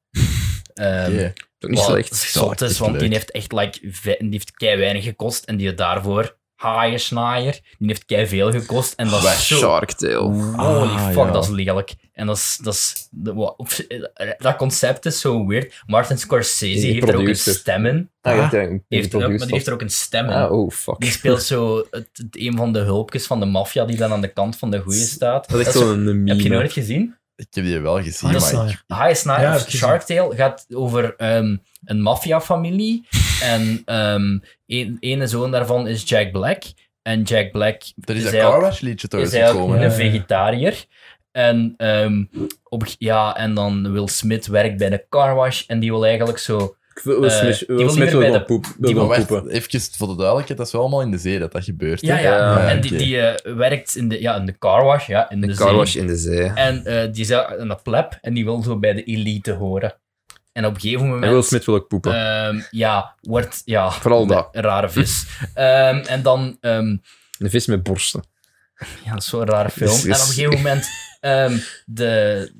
[SPEAKER 2] Ehm,
[SPEAKER 3] Yeah.
[SPEAKER 1] Is ook niet
[SPEAKER 2] wat
[SPEAKER 1] slecht.
[SPEAKER 2] Zot
[SPEAKER 3] Dat
[SPEAKER 2] is,
[SPEAKER 3] is
[SPEAKER 2] want die
[SPEAKER 3] leuk.
[SPEAKER 2] heeft echt like, ve- die heeft kei weinig gekost en die heeft daarvoor haaien snaaier. Die heeft kei veel gekost en dat
[SPEAKER 1] Bij
[SPEAKER 2] is zo.
[SPEAKER 1] Shark Tale.
[SPEAKER 2] Holy
[SPEAKER 3] Ah,
[SPEAKER 2] fuck,
[SPEAKER 3] ja.
[SPEAKER 2] dat is lelijk. En dat is. Dat, is de- wa- op- eh, dat concept is zo weird. Martin Scorsese
[SPEAKER 1] Die
[SPEAKER 2] heeft er ook een
[SPEAKER 1] producer.
[SPEAKER 2] stem in.
[SPEAKER 1] Ah, je hebt eigenlijk
[SPEAKER 2] Die
[SPEAKER 1] een
[SPEAKER 2] heeft er ook, maar
[SPEAKER 1] producer.
[SPEAKER 2] die heeft er ook een stem in.
[SPEAKER 1] Ah, oh, fuck.
[SPEAKER 2] Die speelt zo het, het een van de hulpjes van de maffia die dan aan de kant van de goeie
[SPEAKER 1] *laughs*
[SPEAKER 2] staat.
[SPEAKER 1] Dat is echt
[SPEAKER 2] zo-
[SPEAKER 1] zo'n meme.
[SPEAKER 2] Heb je nooit gezien?
[SPEAKER 3] Ik heb die wel gezien,
[SPEAKER 4] Ah, dat is
[SPEAKER 3] maar ik-
[SPEAKER 4] waar.
[SPEAKER 2] High Sniper
[SPEAKER 4] Ja,
[SPEAKER 2] of
[SPEAKER 4] heb ik
[SPEAKER 2] Shark Tale gaat over ehm, een maffiafamilie. en ehm een, ene zoon daarvan is Jack Black. En Jack Black
[SPEAKER 3] er is
[SPEAKER 2] is
[SPEAKER 3] een
[SPEAKER 2] hij ook-
[SPEAKER 3] Car Wash liedje toch
[SPEAKER 2] is
[SPEAKER 3] eens
[SPEAKER 2] eigenlijk
[SPEAKER 3] gekomen.
[SPEAKER 4] hè?
[SPEAKER 2] een vegetariër. En, ehm, op, ja, en dan Will Smith werkt bij de carwash en die wil eigenlijk zo...
[SPEAKER 1] Ik wil- Will
[SPEAKER 2] Eh,
[SPEAKER 1] Smith-
[SPEAKER 2] die
[SPEAKER 1] Will
[SPEAKER 2] wil
[SPEAKER 1] Smith
[SPEAKER 2] liever
[SPEAKER 1] wil
[SPEAKER 2] bij
[SPEAKER 1] gewoon
[SPEAKER 2] de-
[SPEAKER 1] poep- wil
[SPEAKER 2] die
[SPEAKER 3] Maar
[SPEAKER 1] gewoon
[SPEAKER 3] wacht,
[SPEAKER 1] poepen.
[SPEAKER 3] even voor de duidelijkheid, dat is wel allemaal in de zee dat dat gebeurt. hè?
[SPEAKER 2] Ja, ja.
[SPEAKER 1] Ja,
[SPEAKER 2] en die,
[SPEAKER 3] oké.
[SPEAKER 2] die eh, werkt in de, ja, in de carwash, ja, in de,
[SPEAKER 1] Een
[SPEAKER 2] zee.
[SPEAKER 1] carwash in de zee.
[SPEAKER 2] En eh, die is een pleb en die wil zo bij de elite horen. En op een gegeven moment...
[SPEAKER 1] En Will Smith wil ook poepen.
[SPEAKER 2] ehm, ja, wordt... Ja,
[SPEAKER 1] Vooral dat.
[SPEAKER 2] Een rare vis.
[SPEAKER 1] *laughs*
[SPEAKER 2] Ehm, en dan... ehm,
[SPEAKER 1] Een vis met borsten.
[SPEAKER 2] ja, dat is zo'n rare film.
[SPEAKER 1] Dus-
[SPEAKER 2] En op een gegeven moment... ehm, de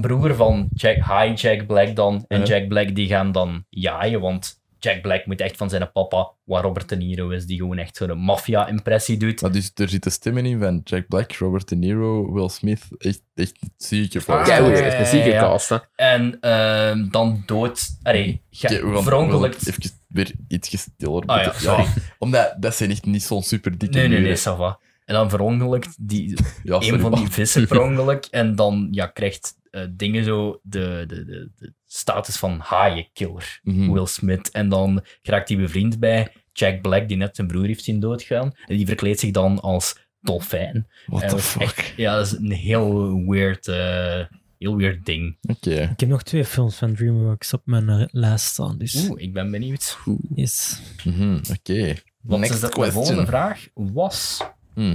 [SPEAKER 2] broer van Jack... Hi, Jack Black dan. En
[SPEAKER 3] Ja.
[SPEAKER 2] Jack Black, die gaan dan jaaien, want... Jack Black moet echt van zijn papa, waar Robert De Niro is, die gewoon echt zo'n maffia-impressie doet.
[SPEAKER 3] Maar dus, er zitten stemmen in van Jack Black, Robert De Niro, Will Smith. Echt, echt zieke
[SPEAKER 2] Ah,
[SPEAKER 3] volgens
[SPEAKER 1] Kijk,
[SPEAKER 2] ja,
[SPEAKER 1] hoe
[SPEAKER 2] ja,
[SPEAKER 1] je echt een
[SPEAKER 2] ja,
[SPEAKER 1] zieke
[SPEAKER 2] ja.
[SPEAKER 1] cast, hè.
[SPEAKER 2] En ehm, dan dood... Allee,
[SPEAKER 3] Oké, we
[SPEAKER 2] ge-
[SPEAKER 3] gaan-
[SPEAKER 2] verongelukt.
[SPEAKER 3] we gaan Even weer iets stiller.
[SPEAKER 2] Ah ja,
[SPEAKER 3] moeten-
[SPEAKER 2] sorry.
[SPEAKER 3] omdat dat zijn echt niet zo'n super dikke
[SPEAKER 2] Nee, nee, nee,
[SPEAKER 3] muren.
[SPEAKER 2] ça va. En dan verongelukt
[SPEAKER 3] *laughs*
[SPEAKER 2] die,
[SPEAKER 3] Ja, sorry,
[SPEAKER 2] een van die
[SPEAKER 3] maar-
[SPEAKER 2] vissen
[SPEAKER 3] *laughs*
[SPEAKER 2] per ongeluk. En dan ja, krijgt eh, dingen zo de, de, de, de status van haaienkiller,
[SPEAKER 3] Mhm.
[SPEAKER 2] Will Smith. En dan raakt hij bevriend bij Jack Black, die net zijn broer heeft zien doodgaan. En die verkleedt zich dan als dolfijn.
[SPEAKER 3] What
[SPEAKER 2] En
[SPEAKER 3] the
[SPEAKER 2] dat is
[SPEAKER 3] fuck?
[SPEAKER 2] echt- ja, dat is een heel weird, eh, heel weird ding.
[SPEAKER 3] Oké.
[SPEAKER 4] Ik heb nog twee films van DreamWorks op mijn eh, lijst staan, dus...
[SPEAKER 2] Oeh, ik ben benieuwd.
[SPEAKER 4] Yes.
[SPEAKER 3] Mhm, Oké.
[SPEAKER 2] Wat
[SPEAKER 3] Next
[SPEAKER 2] is dat? De
[SPEAKER 3] question.
[SPEAKER 2] volgende vraag was...
[SPEAKER 3] Hmm.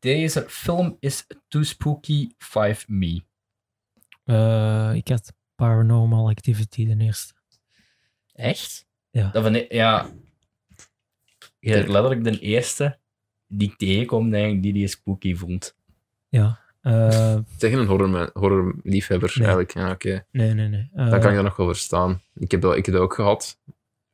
[SPEAKER 2] Deze film is too spooky, five me.
[SPEAKER 4] Eh, ik had Paranormal Activity, de eerste.
[SPEAKER 2] Echt?
[SPEAKER 4] Ja.
[SPEAKER 2] Dat van, ja. Je bent letterlijk de eerste die ik tegenkom, denk ik, die die spooky vond.
[SPEAKER 4] Eh,
[SPEAKER 1] Tegen een horror, horror liefhebber,
[SPEAKER 4] Nee.
[SPEAKER 1] eigenlijk. Ja, oké.
[SPEAKER 4] nee, nee, nee. Eh,
[SPEAKER 1] Dan kan ik dat nog wel verstaan. Ik heb dat, ik heb dat ook gehad.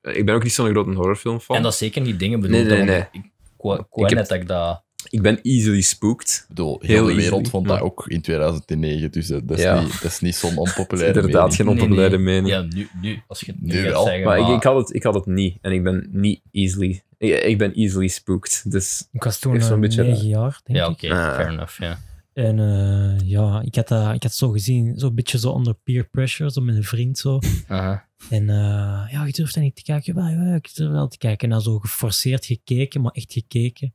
[SPEAKER 1] Eh, Ik ben ook niet zo'n grote horrorfilm fan.
[SPEAKER 2] En dat is zeker niet dingen
[SPEAKER 1] Nee,
[SPEAKER 2] bedoeld.
[SPEAKER 1] nee,
[SPEAKER 2] dat-
[SPEAKER 1] nee.
[SPEAKER 2] Ik kwa-
[SPEAKER 1] Ik
[SPEAKER 2] kwa
[SPEAKER 1] heb-
[SPEAKER 2] net dat ik dat...
[SPEAKER 1] Ik ben easily spooked.
[SPEAKER 3] Ik bedoel, heel,
[SPEAKER 1] Heel
[SPEAKER 3] de wereld
[SPEAKER 1] easily,
[SPEAKER 3] vond
[SPEAKER 1] ja.
[SPEAKER 3] dat ook in 2009, dus eh, dat is
[SPEAKER 1] Ja.
[SPEAKER 3] niet, dat is niet zo'n
[SPEAKER 1] Dat is
[SPEAKER 3] onpopulaire
[SPEAKER 1] *laughs* inderdaad
[SPEAKER 3] mening.
[SPEAKER 1] geen onpopulaire mening.
[SPEAKER 2] Ja, nu, nu als je het nu,
[SPEAKER 3] Nu
[SPEAKER 2] gaat
[SPEAKER 3] wel,
[SPEAKER 2] zeggen,
[SPEAKER 1] Maar ik, ik, had het, ik had het niet. En ik ben niet easily... Ik, ik ben easily spooked. Dus
[SPEAKER 4] ik was toen
[SPEAKER 1] Eerst zo'n
[SPEAKER 4] eh,
[SPEAKER 1] beetje,
[SPEAKER 4] negen jaar, denk
[SPEAKER 2] Ja,
[SPEAKER 4] ik.
[SPEAKER 2] oké,
[SPEAKER 1] Ah.
[SPEAKER 2] fair enough, ja.
[SPEAKER 4] En eh, ja, ik had, dat, ik had zo gezien, zo'n beetje zo onder peer pressure, zo met een vriend zo.
[SPEAKER 2] Aha.
[SPEAKER 4] En eh, ja, je durft daar niet te kijken. Ja, ja, ik durf wel te kijken. En dan zo geforceerd gekeken, maar echt gekeken.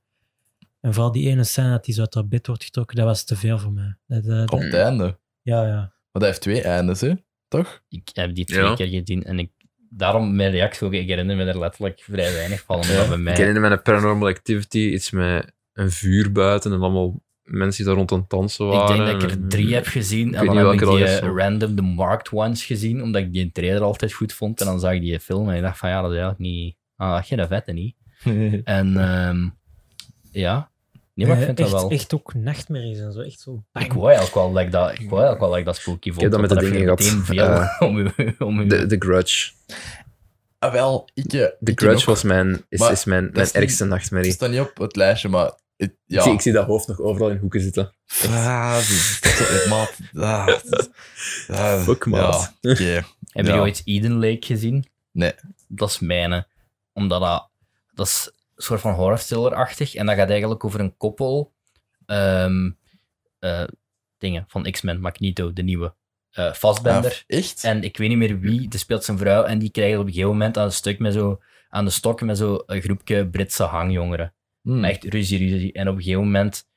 [SPEAKER 4] En vooral die ene scène dat hij zo uit haar bed wordt getrokken, dat was te veel voor mij. Dat, dat-
[SPEAKER 3] Op het einde. Maar
[SPEAKER 4] ja, ja.
[SPEAKER 3] dat heeft twee eindes, hè? Toch?
[SPEAKER 1] *laughs*
[SPEAKER 2] Ik heb die twee
[SPEAKER 1] Ja.
[SPEAKER 2] keer gezien en ik... Daarom mijn reactie ook, ik herinner me er letterlijk vrij weinig van, omdat bij mij...
[SPEAKER 1] ik herinner me een paranormal activity. Iets met een vuur buiten en allemaal mensen die daar rond aan het dansen
[SPEAKER 2] Ik
[SPEAKER 1] waren.
[SPEAKER 2] denk dat ik er
[SPEAKER 1] En-
[SPEAKER 2] drie heb gezien. En
[SPEAKER 1] weet
[SPEAKER 2] dan
[SPEAKER 1] niet
[SPEAKER 2] heb ik
[SPEAKER 1] welke
[SPEAKER 2] die
[SPEAKER 1] dat is,
[SPEAKER 2] eh,
[SPEAKER 1] hoor.
[SPEAKER 2] random The Marked Ones gezien, omdat ik die in trailer altijd goed vond. En dan zag ik die film en ik dacht van ja, dat is eigenlijk niet... Ah, geen dat vette niet. En ehm, ja, nee, maar ik
[SPEAKER 4] Eh,
[SPEAKER 2] vind
[SPEAKER 4] echt,
[SPEAKER 2] dat wel...
[SPEAKER 4] Echt ook nachtmerries en zo. Echt zo. bang.
[SPEAKER 2] Ik wou eigenlijk wel dat ik dat, ik wou eigenlijk wel dat, ik dat spooky vond.
[SPEAKER 1] heb dat met
[SPEAKER 2] want
[SPEAKER 1] de Eh,
[SPEAKER 2] dat *laughs*
[SPEAKER 1] dingen
[SPEAKER 2] vind ik
[SPEAKER 1] gehad.
[SPEAKER 2] meteen veel om u... Om u
[SPEAKER 1] The, The Grudge.
[SPEAKER 3] Ah, wel, ik... eh,
[SPEAKER 1] The
[SPEAKER 3] ik
[SPEAKER 1] Grudge
[SPEAKER 3] ook.
[SPEAKER 1] was mijn, is,
[SPEAKER 3] Maar
[SPEAKER 1] is mijn,
[SPEAKER 3] dat
[SPEAKER 1] mijn
[SPEAKER 3] is niet-
[SPEAKER 1] ergste
[SPEAKER 3] Het
[SPEAKER 1] nachtmerrie.
[SPEAKER 3] staat niet op het lijstje, maar... het- ja.
[SPEAKER 1] Ik, zie, ik zie dat hoofd nog overal in hoeken zitten.
[SPEAKER 3] Ah, dat is- dat is- maat. Ah, dat is- ah,
[SPEAKER 1] Fuck, maat. *laughs*
[SPEAKER 3] Ja, oké.
[SPEAKER 2] Hebben
[SPEAKER 3] Ja.
[SPEAKER 2] jullie ooit Eden Lake gezien?
[SPEAKER 3] Nee.
[SPEAKER 2] Dat is mijne. Omdat dat, dat is een soort van horror-thriller-achtig. En dat gaat eigenlijk over een koppel ehm, eh, dingen van X-Men, Magneto, de nieuwe. eh Fassbender.
[SPEAKER 3] Ah, Echt?
[SPEAKER 2] En ik weet niet meer wie, er speelt zijn vrouw. En die krijgen op een gegeven moment aan, een stuk met zo, aan de stok met zo'n groepje Britse hangjongeren.
[SPEAKER 3] Hmm.
[SPEAKER 2] Maar echt ruzie, ruzie. En op een gegeven moment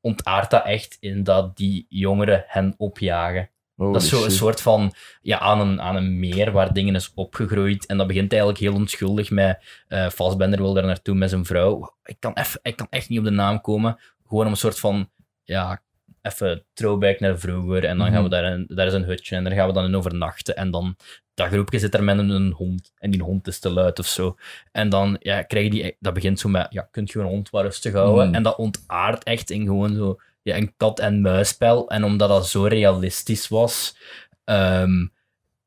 [SPEAKER 2] ontaart dat echt in dat die jongeren hen opjagen.
[SPEAKER 3] Holy
[SPEAKER 2] Dat is zo een
[SPEAKER 3] shit.
[SPEAKER 2] soort van ja, aan, een, aan een meer waar dingen is opgegroeid. En dat begint eigenlijk heel onschuldig met eh Fassbender wil daar naartoe met zijn vrouw. Ik kan, eff, ik kan echt niet op de naam komen. Gewoon om een soort van ja, even throwback naar vroeger. En dan gaan we
[SPEAKER 3] Mhm.
[SPEAKER 2] daar, een, daar is een hutje en daar gaan we dan in overnachten. En dan dat groepje zit er met een, een hond. En die hond is te luid of zo. En dan ja, krijg je die, dat begint zo met, ja, kunt je een hond wat rustig houden?
[SPEAKER 3] Mm.
[SPEAKER 2] En dat ontaart echt in gewoon zo ja, een kat-en-muisspel. En omdat dat zo realistisch was, ehm,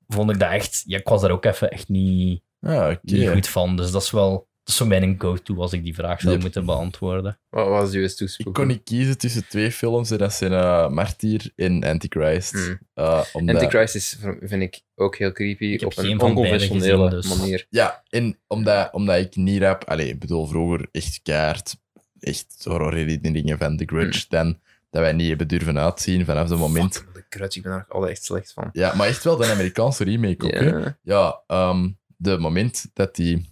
[SPEAKER 2] vond ik dat echt... Ja, ik was daar ook even echt niet,
[SPEAKER 3] Ja, oké.
[SPEAKER 2] niet goed van. Dus dat is wel... Dat is zo mijn go-to als ik die vraag zou
[SPEAKER 3] Yep.
[SPEAKER 2] moeten beantwoorden.
[SPEAKER 1] Wat was uw toespoel?
[SPEAKER 3] Ik kon niet kiezen tussen twee films en dat zijn eh, Martyr en Antichrist.
[SPEAKER 1] Mm.
[SPEAKER 3] Eh, omdat,
[SPEAKER 1] Antichrist is, vind ik ook heel creepy
[SPEAKER 2] heb
[SPEAKER 1] op
[SPEAKER 2] geen
[SPEAKER 1] een
[SPEAKER 2] van beide
[SPEAKER 1] onconventionele
[SPEAKER 2] gezien, dus.
[SPEAKER 1] manier.
[SPEAKER 3] Ja, en omdat, omdat ik niet heb... Allee, ik bedoel, vroeger echt kaart, echt horror-herinneringen van The Grudge, dan dat wij niet hebben durven uitzien vanaf dat moment.
[SPEAKER 1] Hmm. Fuck, de Grudge, ik ben daar altijd echt slecht van.
[SPEAKER 3] Ja, maar echt wel de Amerikaanse remake ook, hè.
[SPEAKER 1] Ja.
[SPEAKER 3] Ja, ehm, de moment dat die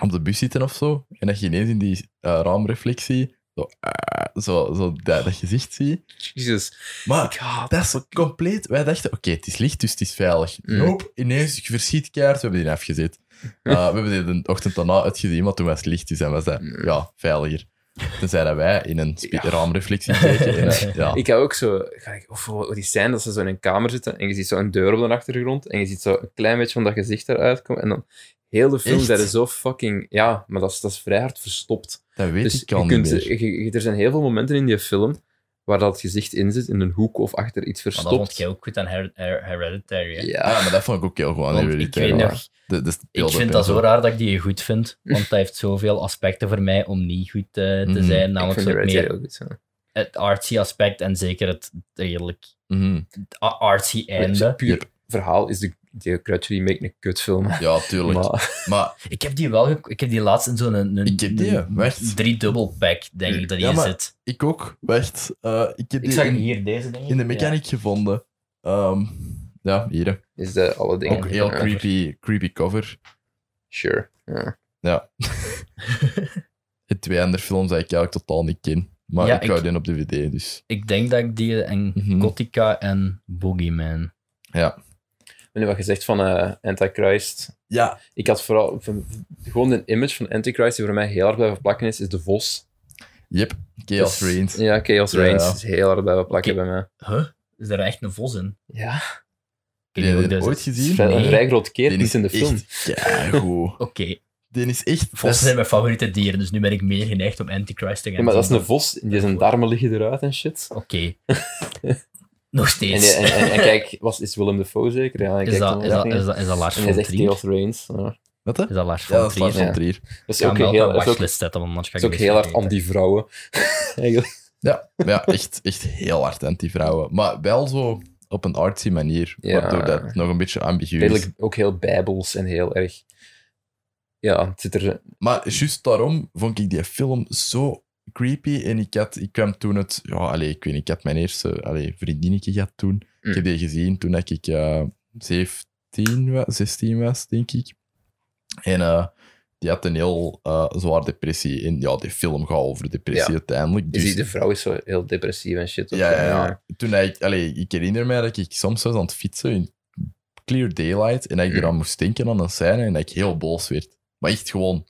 [SPEAKER 3] op de bus zitten of zo, en dat je ineens in die eh, raamreflectie zo, ah, zo, zo dat, dat gezicht ziet.
[SPEAKER 1] Jezus.
[SPEAKER 3] Maar
[SPEAKER 1] Ik haat
[SPEAKER 3] dat is zo compleet... Wij dachten, oké, het is licht, dus het is veilig.
[SPEAKER 1] Mm.
[SPEAKER 3] Nope, ineens, je verschiet keihard, we hebben die afgezet. Eh, we hebben die de ochtend daarna uitgezien, maar toen was het licht, dus dan was dat
[SPEAKER 1] Mm.
[SPEAKER 3] ja, veiliger. Tenzij dat wij in een spe-
[SPEAKER 1] Ja.
[SPEAKER 3] raamreflectie
[SPEAKER 2] *laughs*
[SPEAKER 3] keken. En, eh, ja.
[SPEAKER 1] Ik heb ook zo, ga ik- of hoe die zijn dat ze zo in een kamer zitten en je ziet zo een deur op de achtergrond en je ziet zo een klein beetje van dat gezicht eruit komen en dan heel de film
[SPEAKER 3] Echt?
[SPEAKER 1] zijn er zo fucking, ja, maar dat is, dat is vrij hard verstopt.
[SPEAKER 3] dat weet
[SPEAKER 1] dus
[SPEAKER 3] ik al
[SPEAKER 1] je
[SPEAKER 3] niet
[SPEAKER 1] kunt,
[SPEAKER 3] meer.
[SPEAKER 1] je- je- er zijn heel veel momenten in die film waar dat gezicht in zit, in een hoek of achter iets
[SPEAKER 2] Maar dat vond
[SPEAKER 1] verstopt.
[SPEAKER 2] jij ook goed aan Her- Her- Hereditary, hè?
[SPEAKER 1] ja,
[SPEAKER 3] Ah, maar dat vond ik ook heel gewoon.
[SPEAKER 2] Want ik weet nog...
[SPEAKER 3] De, de
[SPEAKER 2] Ik
[SPEAKER 3] beelden
[SPEAKER 2] vind
[SPEAKER 3] en
[SPEAKER 2] dat zo raar dat ik die goed vind, want dat heeft zoveel aspecten voor mij om niet goed eh, te
[SPEAKER 3] Mhm.
[SPEAKER 2] zijn.
[SPEAKER 1] ik
[SPEAKER 2] Namelijk
[SPEAKER 1] vind
[SPEAKER 2] zo
[SPEAKER 1] de
[SPEAKER 2] het,
[SPEAKER 1] Red
[SPEAKER 2] meer
[SPEAKER 1] Dead ook goed. zo.
[SPEAKER 2] het artsy aspect en zeker het redelijk
[SPEAKER 3] Mhm.
[SPEAKER 2] a- artsy einde.
[SPEAKER 1] Puur
[SPEAKER 3] Yep.
[SPEAKER 1] verhaal is de, de Grudge remake een kutfilm.
[SPEAKER 3] Ja, tuurlijk. Maar,
[SPEAKER 1] Maar
[SPEAKER 2] Ik heb die wel, gek- ik heb die laatst in zo'n een,
[SPEAKER 3] Ik heb die, ja, wacht.
[SPEAKER 2] drie dubbel pack denk ik dat die
[SPEAKER 3] Ja,
[SPEAKER 2] in
[SPEAKER 3] maar
[SPEAKER 2] zit.
[SPEAKER 3] ik ook. Wacht, eh, ik heb
[SPEAKER 2] Ik
[SPEAKER 3] die
[SPEAKER 2] zag
[SPEAKER 3] in,
[SPEAKER 2] hem hier deze ding.
[SPEAKER 3] in de mechanic gevonden. Ehm, ja, hier. hè.
[SPEAKER 1] is de alle dingen.
[SPEAKER 3] Ook heel
[SPEAKER 1] Ja,
[SPEAKER 3] creepy, creepy cover.
[SPEAKER 1] Sure. Ja.
[SPEAKER 3] Ja. Het twee andere films die ik eigenlijk totaal niet ken. Maar
[SPEAKER 2] Ja,
[SPEAKER 3] ik
[SPEAKER 2] ik-
[SPEAKER 3] hou die op DVD, dus
[SPEAKER 2] Ik denk dat ik die en
[SPEAKER 3] Mhm.
[SPEAKER 2] Gothica en Boogeyman.
[SPEAKER 3] ja.
[SPEAKER 1] Maar nu wat gezegd van eh, Antichrist.
[SPEAKER 3] Ja,
[SPEAKER 1] Ik had vooral van- gewoon een image van Antichrist die voor mij heel hard blijven plakken is, is de vos.
[SPEAKER 3] yep. Chaos
[SPEAKER 1] Dus-
[SPEAKER 3] Reigns.
[SPEAKER 1] Ja, Chaos
[SPEAKER 3] Ja.
[SPEAKER 1] Reigns is heel hard blijven plakken bij mij.
[SPEAKER 2] Huh? Is daar echt een vos in?
[SPEAKER 1] Ja,
[SPEAKER 2] Ik
[SPEAKER 3] Heb
[SPEAKER 2] weet niet
[SPEAKER 3] je
[SPEAKER 2] hoe
[SPEAKER 3] die
[SPEAKER 2] dat
[SPEAKER 3] ooit
[SPEAKER 2] is.
[SPEAKER 1] een
[SPEAKER 3] gezien?
[SPEAKER 1] vrij- een
[SPEAKER 2] Nee.
[SPEAKER 1] vrij groot keer,
[SPEAKER 3] Die
[SPEAKER 1] die is in de film.
[SPEAKER 3] echt
[SPEAKER 1] *laughs*
[SPEAKER 3] keigoed.
[SPEAKER 2] Oké,
[SPEAKER 3] Die is echt... dat
[SPEAKER 2] vossen
[SPEAKER 3] is-
[SPEAKER 2] zijn mijn favoriete dieren, dus nu ben ik meer geneigd om Antichrist te gaan
[SPEAKER 1] Ja, maar dat is
[SPEAKER 2] zien.
[SPEAKER 1] een vos, die zijn darmen liggen eruit en shit.
[SPEAKER 2] Oké.
[SPEAKER 1] *laughs*
[SPEAKER 2] Nog
[SPEAKER 1] En,
[SPEAKER 2] steeds.
[SPEAKER 1] die- en, en, en kijk, was, is Willem Dafoe zeker? Ja, en
[SPEAKER 2] is,
[SPEAKER 1] kijk
[SPEAKER 2] dat,
[SPEAKER 1] dan
[SPEAKER 2] is,
[SPEAKER 1] naar
[SPEAKER 2] dat,
[SPEAKER 1] dingen.
[SPEAKER 2] is, dat, is dat Lars
[SPEAKER 1] En hij
[SPEAKER 2] von
[SPEAKER 1] zegt
[SPEAKER 2] Trier?
[SPEAKER 1] Chaos Reigns. Ja.
[SPEAKER 3] Wat, hè?
[SPEAKER 2] Is dat Lars
[SPEAKER 3] Ja,
[SPEAKER 2] van
[SPEAKER 3] dat is
[SPEAKER 2] Trier?
[SPEAKER 3] Lars
[SPEAKER 1] Ja.
[SPEAKER 3] van Trier.
[SPEAKER 1] Dat is
[SPEAKER 2] Ik ga
[SPEAKER 1] ook
[SPEAKER 2] hem wel
[SPEAKER 1] heel,
[SPEAKER 2] op mijn
[SPEAKER 1] dat is ook,
[SPEAKER 2] watchlist zetten, want anders ga
[SPEAKER 1] is
[SPEAKER 2] ik
[SPEAKER 1] ook
[SPEAKER 2] deze
[SPEAKER 1] heel hard
[SPEAKER 2] vergeten.
[SPEAKER 1] anti-vrouwen. *laughs* Eigenlijk.
[SPEAKER 3] Ja, maar ja echt, echt heel hard anti-vrouwen. Maar wel zo op een artsy manier,
[SPEAKER 1] Ja.
[SPEAKER 3] waardoor dat nog een beetje ambigu is.
[SPEAKER 1] Redelijk ook heel bijbels en heel erg... Ja, het zit er...
[SPEAKER 3] Maar juist daarom vond ik die film zo creepy. En ik, had, ik kwam toen het... Ja, allee, ik weet niet, ik had mijn eerste allee, vriendinnetje gehad toen.
[SPEAKER 1] Mm.
[SPEAKER 3] Ik heb die gezien toen dat ik eh 17 was, 16 was, denk ik. En eh, die had een heel eh, zwaar depressie. En ja, die film gaat over depressie
[SPEAKER 1] Ja.
[SPEAKER 3] uiteindelijk.
[SPEAKER 1] Je
[SPEAKER 3] Dus
[SPEAKER 1] ziet, de vrouw is zo heel depressief en shit. ook,
[SPEAKER 3] Ja, ja,
[SPEAKER 1] hè.
[SPEAKER 3] ja. Toen dat ik, allee, ik herinner mij dat ik soms was aan het fietsen in clear daylight en dat ik
[SPEAKER 1] Mm.
[SPEAKER 3] eraan moest denken aan een scène en dat ik heel boos werd. Maar echt gewoon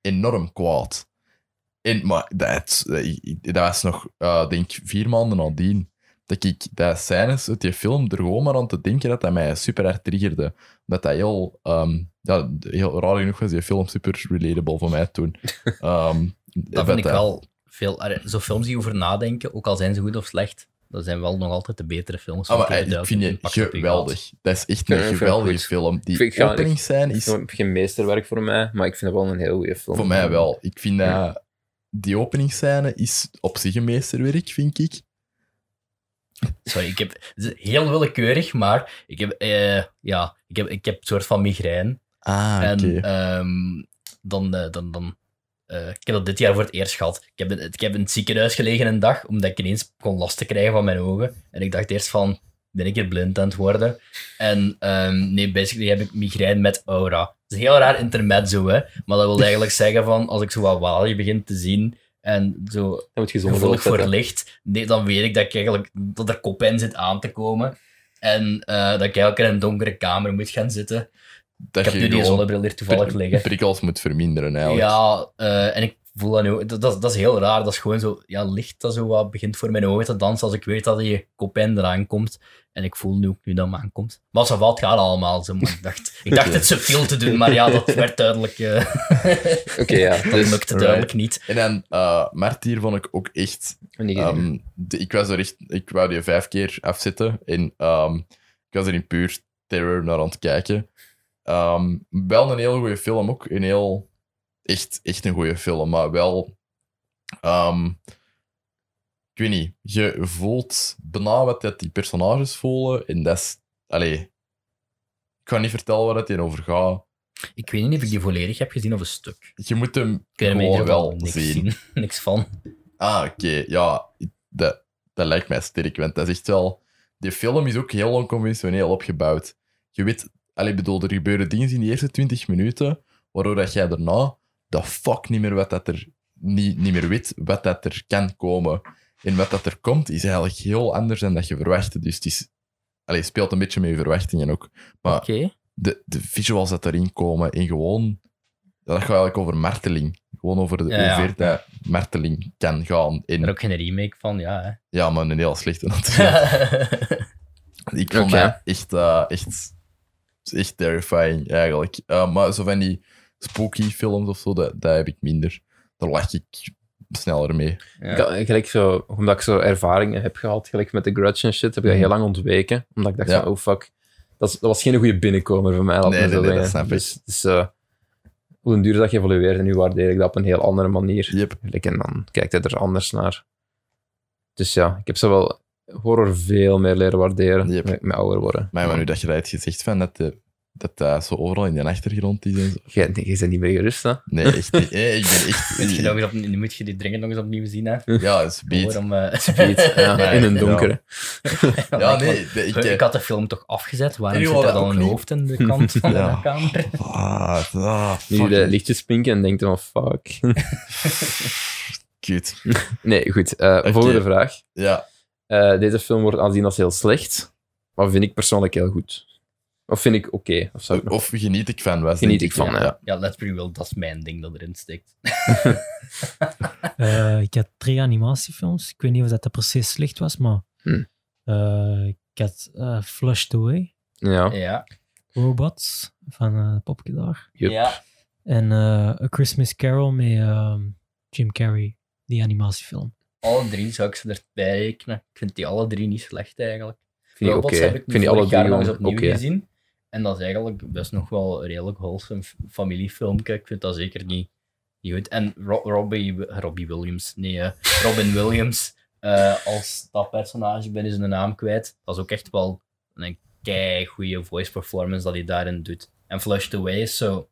[SPEAKER 3] enorm kwaad. En, maar dat, dat was nog, eh, denk ik, vier maanden nadien. Dat ik dat scènes uit die film er gewoon maar aan te denken dat dat mij super hard triggerde. Omdat dat heel, ehm, ja, heel raar genoeg was, die film super relatable voor mij
[SPEAKER 1] *laughs*
[SPEAKER 3] toen. Ehm,
[SPEAKER 2] Dat vind ik wel veel... allee, Zo films die over nadenken, ook al zijn ze goed of slecht, dat zijn wel nog altijd de betere films. van
[SPEAKER 3] Ah, maar ik
[SPEAKER 2] 2000
[SPEAKER 3] vind je
[SPEAKER 2] Pak op je geld.
[SPEAKER 3] geweldig. Dat is echt
[SPEAKER 1] Ja,
[SPEAKER 3] een
[SPEAKER 1] ik vind het
[SPEAKER 3] geweldige
[SPEAKER 1] goed.
[SPEAKER 3] film. Die
[SPEAKER 1] vind- ik ga-
[SPEAKER 3] openingsscène
[SPEAKER 1] Het is
[SPEAKER 3] is
[SPEAKER 1] nog geen meesterwerk voor mij, maar ik vind het wel een heel goede film.
[SPEAKER 3] Voor mij wel. Ik vind dat...
[SPEAKER 1] Ja.
[SPEAKER 3] Die openingsscène is op zich een meesterwerk, vind ik.
[SPEAKER 2] Sorry, ik heb, het is heel willekeurig, maar ik heb, eh, ja, ik heb, ik heb een soort van migraine.
[SPEAKER 3] Ah,
[SPEAKER 2] En
[SPEAKER 3] oké.
[SPEAKER 2] ehm, dan, eh, dan, dan eh, ik heb dat dit jaar voor het eerst gehad. Ik heb, in- ik heb in het ziekenhuis gelegen een dag, omdat ik ineens kon last krijgen van mijn ogen. En ik dacht eerst van, ben ik hier blind aan het worden? En ehm, nee, basically heb ik migraine met aura. Het is een heel raar intermezzo, hè. Maar dat wil
[SPEAKER 3] *laughs*
[SPEAKER 2] eigenlijk zeggen van, als ik zo wat walie begin te zien en zo
[SPEAKER 1] Dan moet je zonder
[SPEAKER 2] gevoelig voor
[SPEAKER 1] opzetten.
[SPEAKER 2] licht, nee, dan weet ik dat ik eigenlijk, dat er kopijn zit aan te komen. En eh, dat ik eigenlijk in een donkere kamer moet gaan zitten.
[SPEAKER 3] Dat
[SPEAKER 2] Ik heb nu die
[SPEAKER 3] gewoon
[SPEAKER 2] zonnebril hier toevallig
[SPEAKER 3] pri-
[SPEAKER 2] liggen.
[SPEAKER 3] prikkels moet verminderen, eigenlijk.
[SPEAKER 2] Ja, eh, en ik voel dat nu. Dat, dat, dat is heel raar. Dat is gewoon zo. Ja, licht dat zo wat begint voor mijn ogen te dansen. Als ik weet dat die kopijn eraan komt. En ik voel nu ook nu dat hem aankomt. Maar ze valt gaat allemaal. Zo, maar ik dacht, ik dacht het subtiel te doen. Maar ja, dat werd duidelijk. eh
[SPEAKER 1] Oké, ja.
[SPEAKER 2] *laughs* dat
[SPEAKER 1] Dus,
[SPEAKER 2] lukte duidelijk niet.
[SPEAKER 3] En dan, eh Martier vond ik ook echt...
[SPEAKER 1] niet gezien.
[SPEAKER 3] ehm, de- ik was er echt... Ik wou die vijf keer afzetten. En ehm, ik was er in puur terror naar aan het kijken. Ehm, wel een heel goede film ook. Een heel... Echt, echt een goede film, maar wel... ehm, ik weet niet. Je voelt bijna wat dat die personages voelen. En dat is... Allee... Ik kan niet vertellen waar het hier over gaat.
[SPEAKER 2] Ik weet niet of ik die volledig heb gezien of een stuk.
[SPEAKER 3] Je moet hem
[SPEAKER 2] Ik weet hem in ieder
[SPEAKER 3] gewoon
[SPEAKER 2] geval
[SPEAKER 3] wel
[SPEAKER 2] niks
[SPEAKER 3] zien.
[SPEAKER 2] zien. *laughs* Niks van.
[SPEAKER 3] Ah, oké. Ja, dat, dat lijkt mij sterk, want dat is echt wel... Die film is ook heel onconventioneel opgebouwd. Je weet... Allee, bedoel, er gebeuren dingen in die eerste 20 minuten, waardoor dat jij daarna de fuck niet meer, wat dat er, niet, niet meer weet wat dat er kan komen. En wat dat er komt, is eigenlijk heel anders dan dat je verwachtte. Dus het is... Allee, speelt een beetje met je verwachtingen ook. Maar
[SPEAKER 2] Oké.
[SPEAKER 3] de, de visuals dat erin komen en gewoon... Dat gaat eigenlijk over marteling. Gewoon over de,
[SPEAKER 2] Ja, ja.
[SPEAKER 3] hoe ver dat marteling kan gaan. En,
[SPEAKER 2] Er ook geen remake van, ja. Hè.
[SPEAKER 3] ja, maar een heel slechte *laughs* natuurlijk. Ik vond
[SPEAKER 1] Oké.
[SPEAKER 3] dat echt, eh, echt, echt terrifying eigenlijk. Eh, maar zo van die spooky films of zo, dat, dat heb ik minder. Daar lach ik sneller mee.
[SPEAKER 2] *laughs* Ja.
[SPEAKER 1] Ik had- gelijk zo, omdat ik zo ervaringen heb gehad, gelijk met de grudge en shit, heb ik dat heel lang ontweken. Omdat ik dacht
[SPEAKER 3] Mm. Ja.
[SPEAKER 1] van, oh fuck, dat, is- dat was geen goede binnenkomer voor mij. laat
[SPEAKER 3] Nee,
[SPEAKER 1] me
[SPEAKER 3] nee,
[SPEAKER 1] zo
[SPEAKER 3] nee,
[SPEAKER 1] zeggen.
[SPEAKER 3] dat snap ik.
[SPEAKER 1] Dus, dus eh, hoe een duur dat evolueert, en nu waardeer ik dat op een heel andere manier.
[SPEAKER 3] Yep.
[SPEAKER 1] Gelijk, en dan kijkt hij er anders naar. Dus ja, ik heb zo wel horror veel meer leren waarderen
[SPEAKER 3] Yep.
[SPEAKER 1] met, met ouder worden.
[SPEAKER 3] Maar, maar nu dat je dat hebt gezegd, van, dat de, dat dat zo overal in de achtergrond is en zo.
[SPEAKER 1] Jij, nee, jij bent niet meer gerust, hè?
[SPEAKER 3] Nee, echt niet. Eh, ik ben echt...
[SPEAKER 2] Moet je, dat weer opnieuw- moet je die dringend nog eens opnieuw zien, hè?
[SPEAKER 3] Ja, het is beat.
[SPEAKER 2] Gewoon om,
[SPEAKER 3] *laughs*
[SPEAKER 2] eh,
[SPEAKER 1] Niet,
[SPEAKER 2] *laughs*
[SPEAKER 1] ja,
[SPEAKER 2] Ja,
[SPEAKER 1] in een
[SPEAKER 2] ja.
[SPEAKER 1] donkere.
[SPEAKER 3] Ja, nee, de-
[SPEAKER 2] Ik,
[SPEAKER 3] ik... eh,
[SPEAKER 2] had de film toch afgezet. Waarom
[SPEAKER 3] Ja,
[SPEAKER 2] zit er
[SPEAKER 3] dat
[SPEAKER 2] dan
[SPEAKER 3] ook
[SPEAKER 2] een
[SPEAKER 3] niet.
[SPEAKER 2] hoofd in de kant
[SPEAKER 3] *laughs*
[SPEAKER 2] van
[SPEAKER 3] Ja.
[SPEAKER 2] de kamer?
[SPEAKER 3] Ah, ah,
[SPEAKER 1] Nu de
[SPEAKER 3] fucking
[SPEAKER 1] lichtjes pinken en denkt van fuck. *laughs*
[SPEAKER 3] kut.
[SPEAKER 1] nee, goed. eh,
[SPEAKER 3] Oké.
[SPEAKER 1] Volgende vraag.
[SPEAKER 3] Ja,
[SPEAKER 1] Eh, deze film wordt aanzien als heel slecht, maar vind ik persoonlijk heel goed. Of vind ik oké. Of zou ik nog-
[SPEAKER 3] of geniet ik van, was
[SPEAKER 1] Geniet
[SPEAKER 3] denk
[SPEAKER 1] ik van,
[SPEAKER 3] ja.
[SPEAKER 1] hè.
[SPEAKER 3] Ja.
[SPEAKER 2] Ja, Let's Be Real, dat is mijn ding dat erin steekt.
[SPEAKER 4] Eh, ik had drie animatiefilms. Ik weet niet of dat, dat precies slecht was, maar
[SPEAKER 1] Hm.
[SPEAKER 4] eh, ik had eh, Flushed Away,
[SPEAKER 3] Oh,
[SPEAKER 1] Ja.
[SPEAKER 2] Ja.
[SPEAKER 4] Robots van eh Popke daar.
[SPEAKER 1] Yup.
[SPEAKER 2] Ja.
[SPEAKER 4] En eh, A Christmas Carol met ehm, Jim Carrey, die animatiefilm.
[SPEAKER 2] Alle drie zou ik ze erbij rekenen. Ik vind die alle drie niet slecht eigenlijk.
[SPEAKER 1] Vind ik
[SPEAKER 2] Robots
[SPEAKER 1] oké.
[SPEAKER 2] heb ik
[SPEAKER 1] Ik vind die alle
[SPEAKER 2] vorig jaar
[SPEAKER 1] drie
[SPEAKER 2] nog eens
[SPEAKER 1] gewoon
[SPEAKER 2] opnieuw
[SPEAKER 1] oké.
[SPEAKER 2] gezien. En dat is eigenlijk best nog wel een redelijk wholesome f- familiefilmpje. Ik vind dat zeker niet, niet goed. En Ro- Robbie, Robbie Williams, nee, eh, Robin *laughs* Williams eh, als dat personage, ik ben eens de naam kwijt. Dat is ook echt wel een kei goede voice performance dat hij daarin doet. En Flushed Away is zo.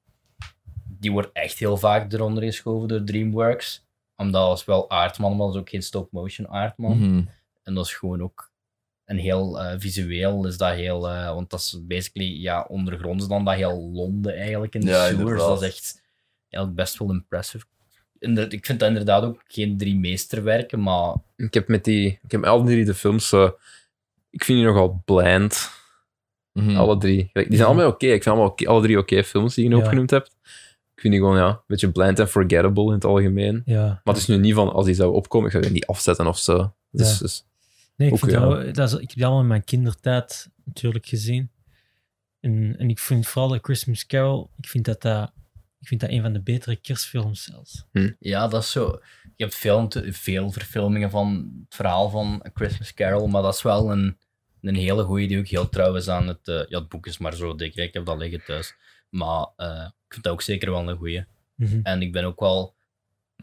[SPEAKER 2] Die wordt echt heel vaak eronder geschoven door DreamWorks. Omdat dat is wel aardman, maar dat is ook geen stop-motion aardman.
[SPEAKER 3] Mhm.
[SPEAKER 2] En dat is gewoon ook een heel eh, visueel, is dat heel, eh, want dat is basically ja, ondergronds dan dat heel Londen eigenlijk in de
[SPEAKER 3] Ja,
[SPEAKER 2] sewers.
[SPEAKER 3] inderdaad.
[SPEAKER 2] Dat is echt eigenlijk best wel impressive. Inder- ik vind dat inderdaad ook geen drie meesterwerken, maar
[SPEAKER 1] Ik heb met die... Ik heb al drie de films... eh, ik vind die nogal blind.
[SPEAKER 3] Mhm.
[SPEAKER 2] Hmm.
[SPEAKER 1] Alle drie. Gelijk, Die zijn allemaal oké. Ik vind allemaal oké- alle drie oké films die je nu
[SPEAKER 4] Ja.
[SPEAKER 1] opgenoemd hebt. Ik vind die gewoon, ja, een beetje blind en forgettable in het algemeen.
[SPEAKER 4] Ja.
[SPEAKER 1] Maar het is nu niet van, als die zou opkomen, ik zou die niet afzetten of zo. Dus,
[SPEAKER 4] Ja.
[SPEAKER 1] dus-
[SPEAKER 4] Nee, ik,
[SPEAKER 1] Ook
[SPEAKER 4] vind
[SPEAKER 1] ja.
[SPEAKER 4] dat, wel- dat is, ik heb dat allemaal in mijn kindertijd natuurlijk gezien. En, en ik vind vooral de Christmas Carol, ik vind dat, dat, ik vind dat een van de betere kerstfilms zelfs.
[SPEAKER 2] ja, dat is zo. je hebt veel, te- veel verfilmingen van het verhaal van A Christmas Carol, maar dat is wel een, een hele goeie die ook heel trouw is aan het... eh, ja, het boek is maar zo dik, hè. ik heb dat liggen thuis. Maar eh, ik vind dat ook zeker wel een goeie.
[SPEAKER 4] Mhm.
[SPEAKER 2] En ik ben ook wel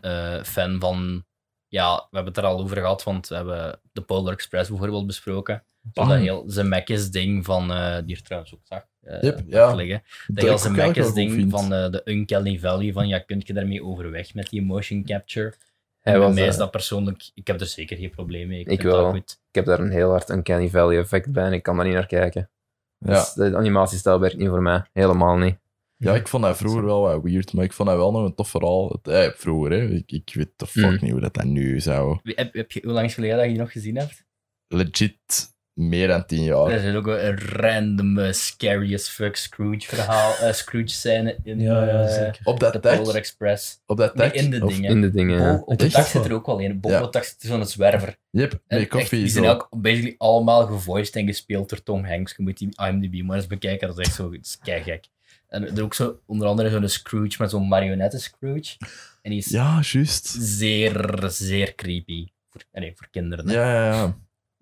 [SPEAKER 2] eh, fan van... Ja, we hebben het er al over gehad, want we hebben de Polar Express bijvoorbeeld besproken. Dat heel Zemeckis ding van... eh, die er trouwens ook zag. eh,
[SPEAKER 3] Yep, ja.
[SPEAKER 2] liggen.
[SPEAKER 3] Dat
[SPEAKER 2] Dat
[SPEAKER 3] ik
[SPEAKER 2] heel
[SPEAKER 3] ook eigenlijk wel
[SPEAKER 2] Zemeckis
[SPEAKER 3] goed
[SPEAKER 2] ding
[SPEAKER 3] vind.
[SPEAKER 2] van eh, de Uncanny Valley. Van ja, kun je daarmee overweg met die motion capture?
[SPEAKER 1] Hij
[SPEAKER 2] En bij
[SPEAKER 1] was,
[SPEAKER 2] mij
[SPEAKER 1] eh,
[SPEAKER 2] is dat persoonlijk... Ik heb er zeker geen probleem mee. Ik,
[SPEAKER 1] Ik
[SPEAKER 2] vind dat
[SPEAKER 1] wel.
[SPEAKER 2] goed.
[SPEAKER 1] Ik heb daar een heel hard Uncanny Valley effect bij en ik kan daar niet naar kijken.
[SPEAKER 3] Ja.
[SPEAKER 1] Dus de animatiestijl werkt niet voor mij. Helemaal niet.
[SPEAKER 3] ja, ik vond dat vroeger wel wat weird, maar ik vond dat wel nog een tof verhaal. Het- eh, vroeger, hè. Ik, ik weet de fuck
[SPEAKER 1] Mm.
[SPEAKER 3] niet hoe dat, dat nu zou...
[SPEAKER 2] Wie- Heb, heb je, hoe lang is het geleden dat je die nog gezien hebt?
[SPEAKER 3] Legit meer dan tien jaar.
[SPEAKER 2] Er zit ook een random eh, scary as fuck Scrooge verhaal, eh, Scrooge scène in
[SPEAKER 4] Ja, ja,
[SPEAKER 2] eh,
[SPEAKER 4] zeker.
[SPEAKER 3] Op dat
[SPEAKER 2] de
[SPEAKER 3] dek?
[SPEAKER 2] Polar Express.
[SPEAKER 3] Op dat
[SPEAKER 2] Nee,
[SPEAKER 3] dek?
[SPEAKER 2] in de
[SPEAKER 3] Of-
[SPEAKER 2] dingen.
[SPEAKER 1] In de dingen.
[SPEAKER 2] Bo-
[SPEAKER 1] ja.
[SPEAKER 2] op de
[SPEAKER 3] Echt?
[SPEAKER 2] dag zit er ook wel een. Bob
[SPEAKER 3] Ja.
[SPEAKER 2] op de dag zit er zo'n zwerver.
[SPEAKER 3] Yep,
[SPEAKER 2] En
[SPEAKER 3] nee,
[SPEAKER 2] echt,
[SPEAKER 3] koffie.
[SPEAKER 2] die zijn
[SPEAKER 3] zo.
[SPEAKER 2] ook basically allemaal gevoiced en gespeeld door Tom Hanks. Je moet die IMDb maar eens bekijken, dat is echt zo dat is keigek. En er is ook zo, onder andere zo'n Scrooge met zo'n marionetten Scrooge. En die is
[SPEAKER 3] Ja, juist.
[SPEAKER 2] zeer, zeer creepy. Voor, nee, voor kinderen. hè.
[SPEAKER 3] Ja, ja, ja.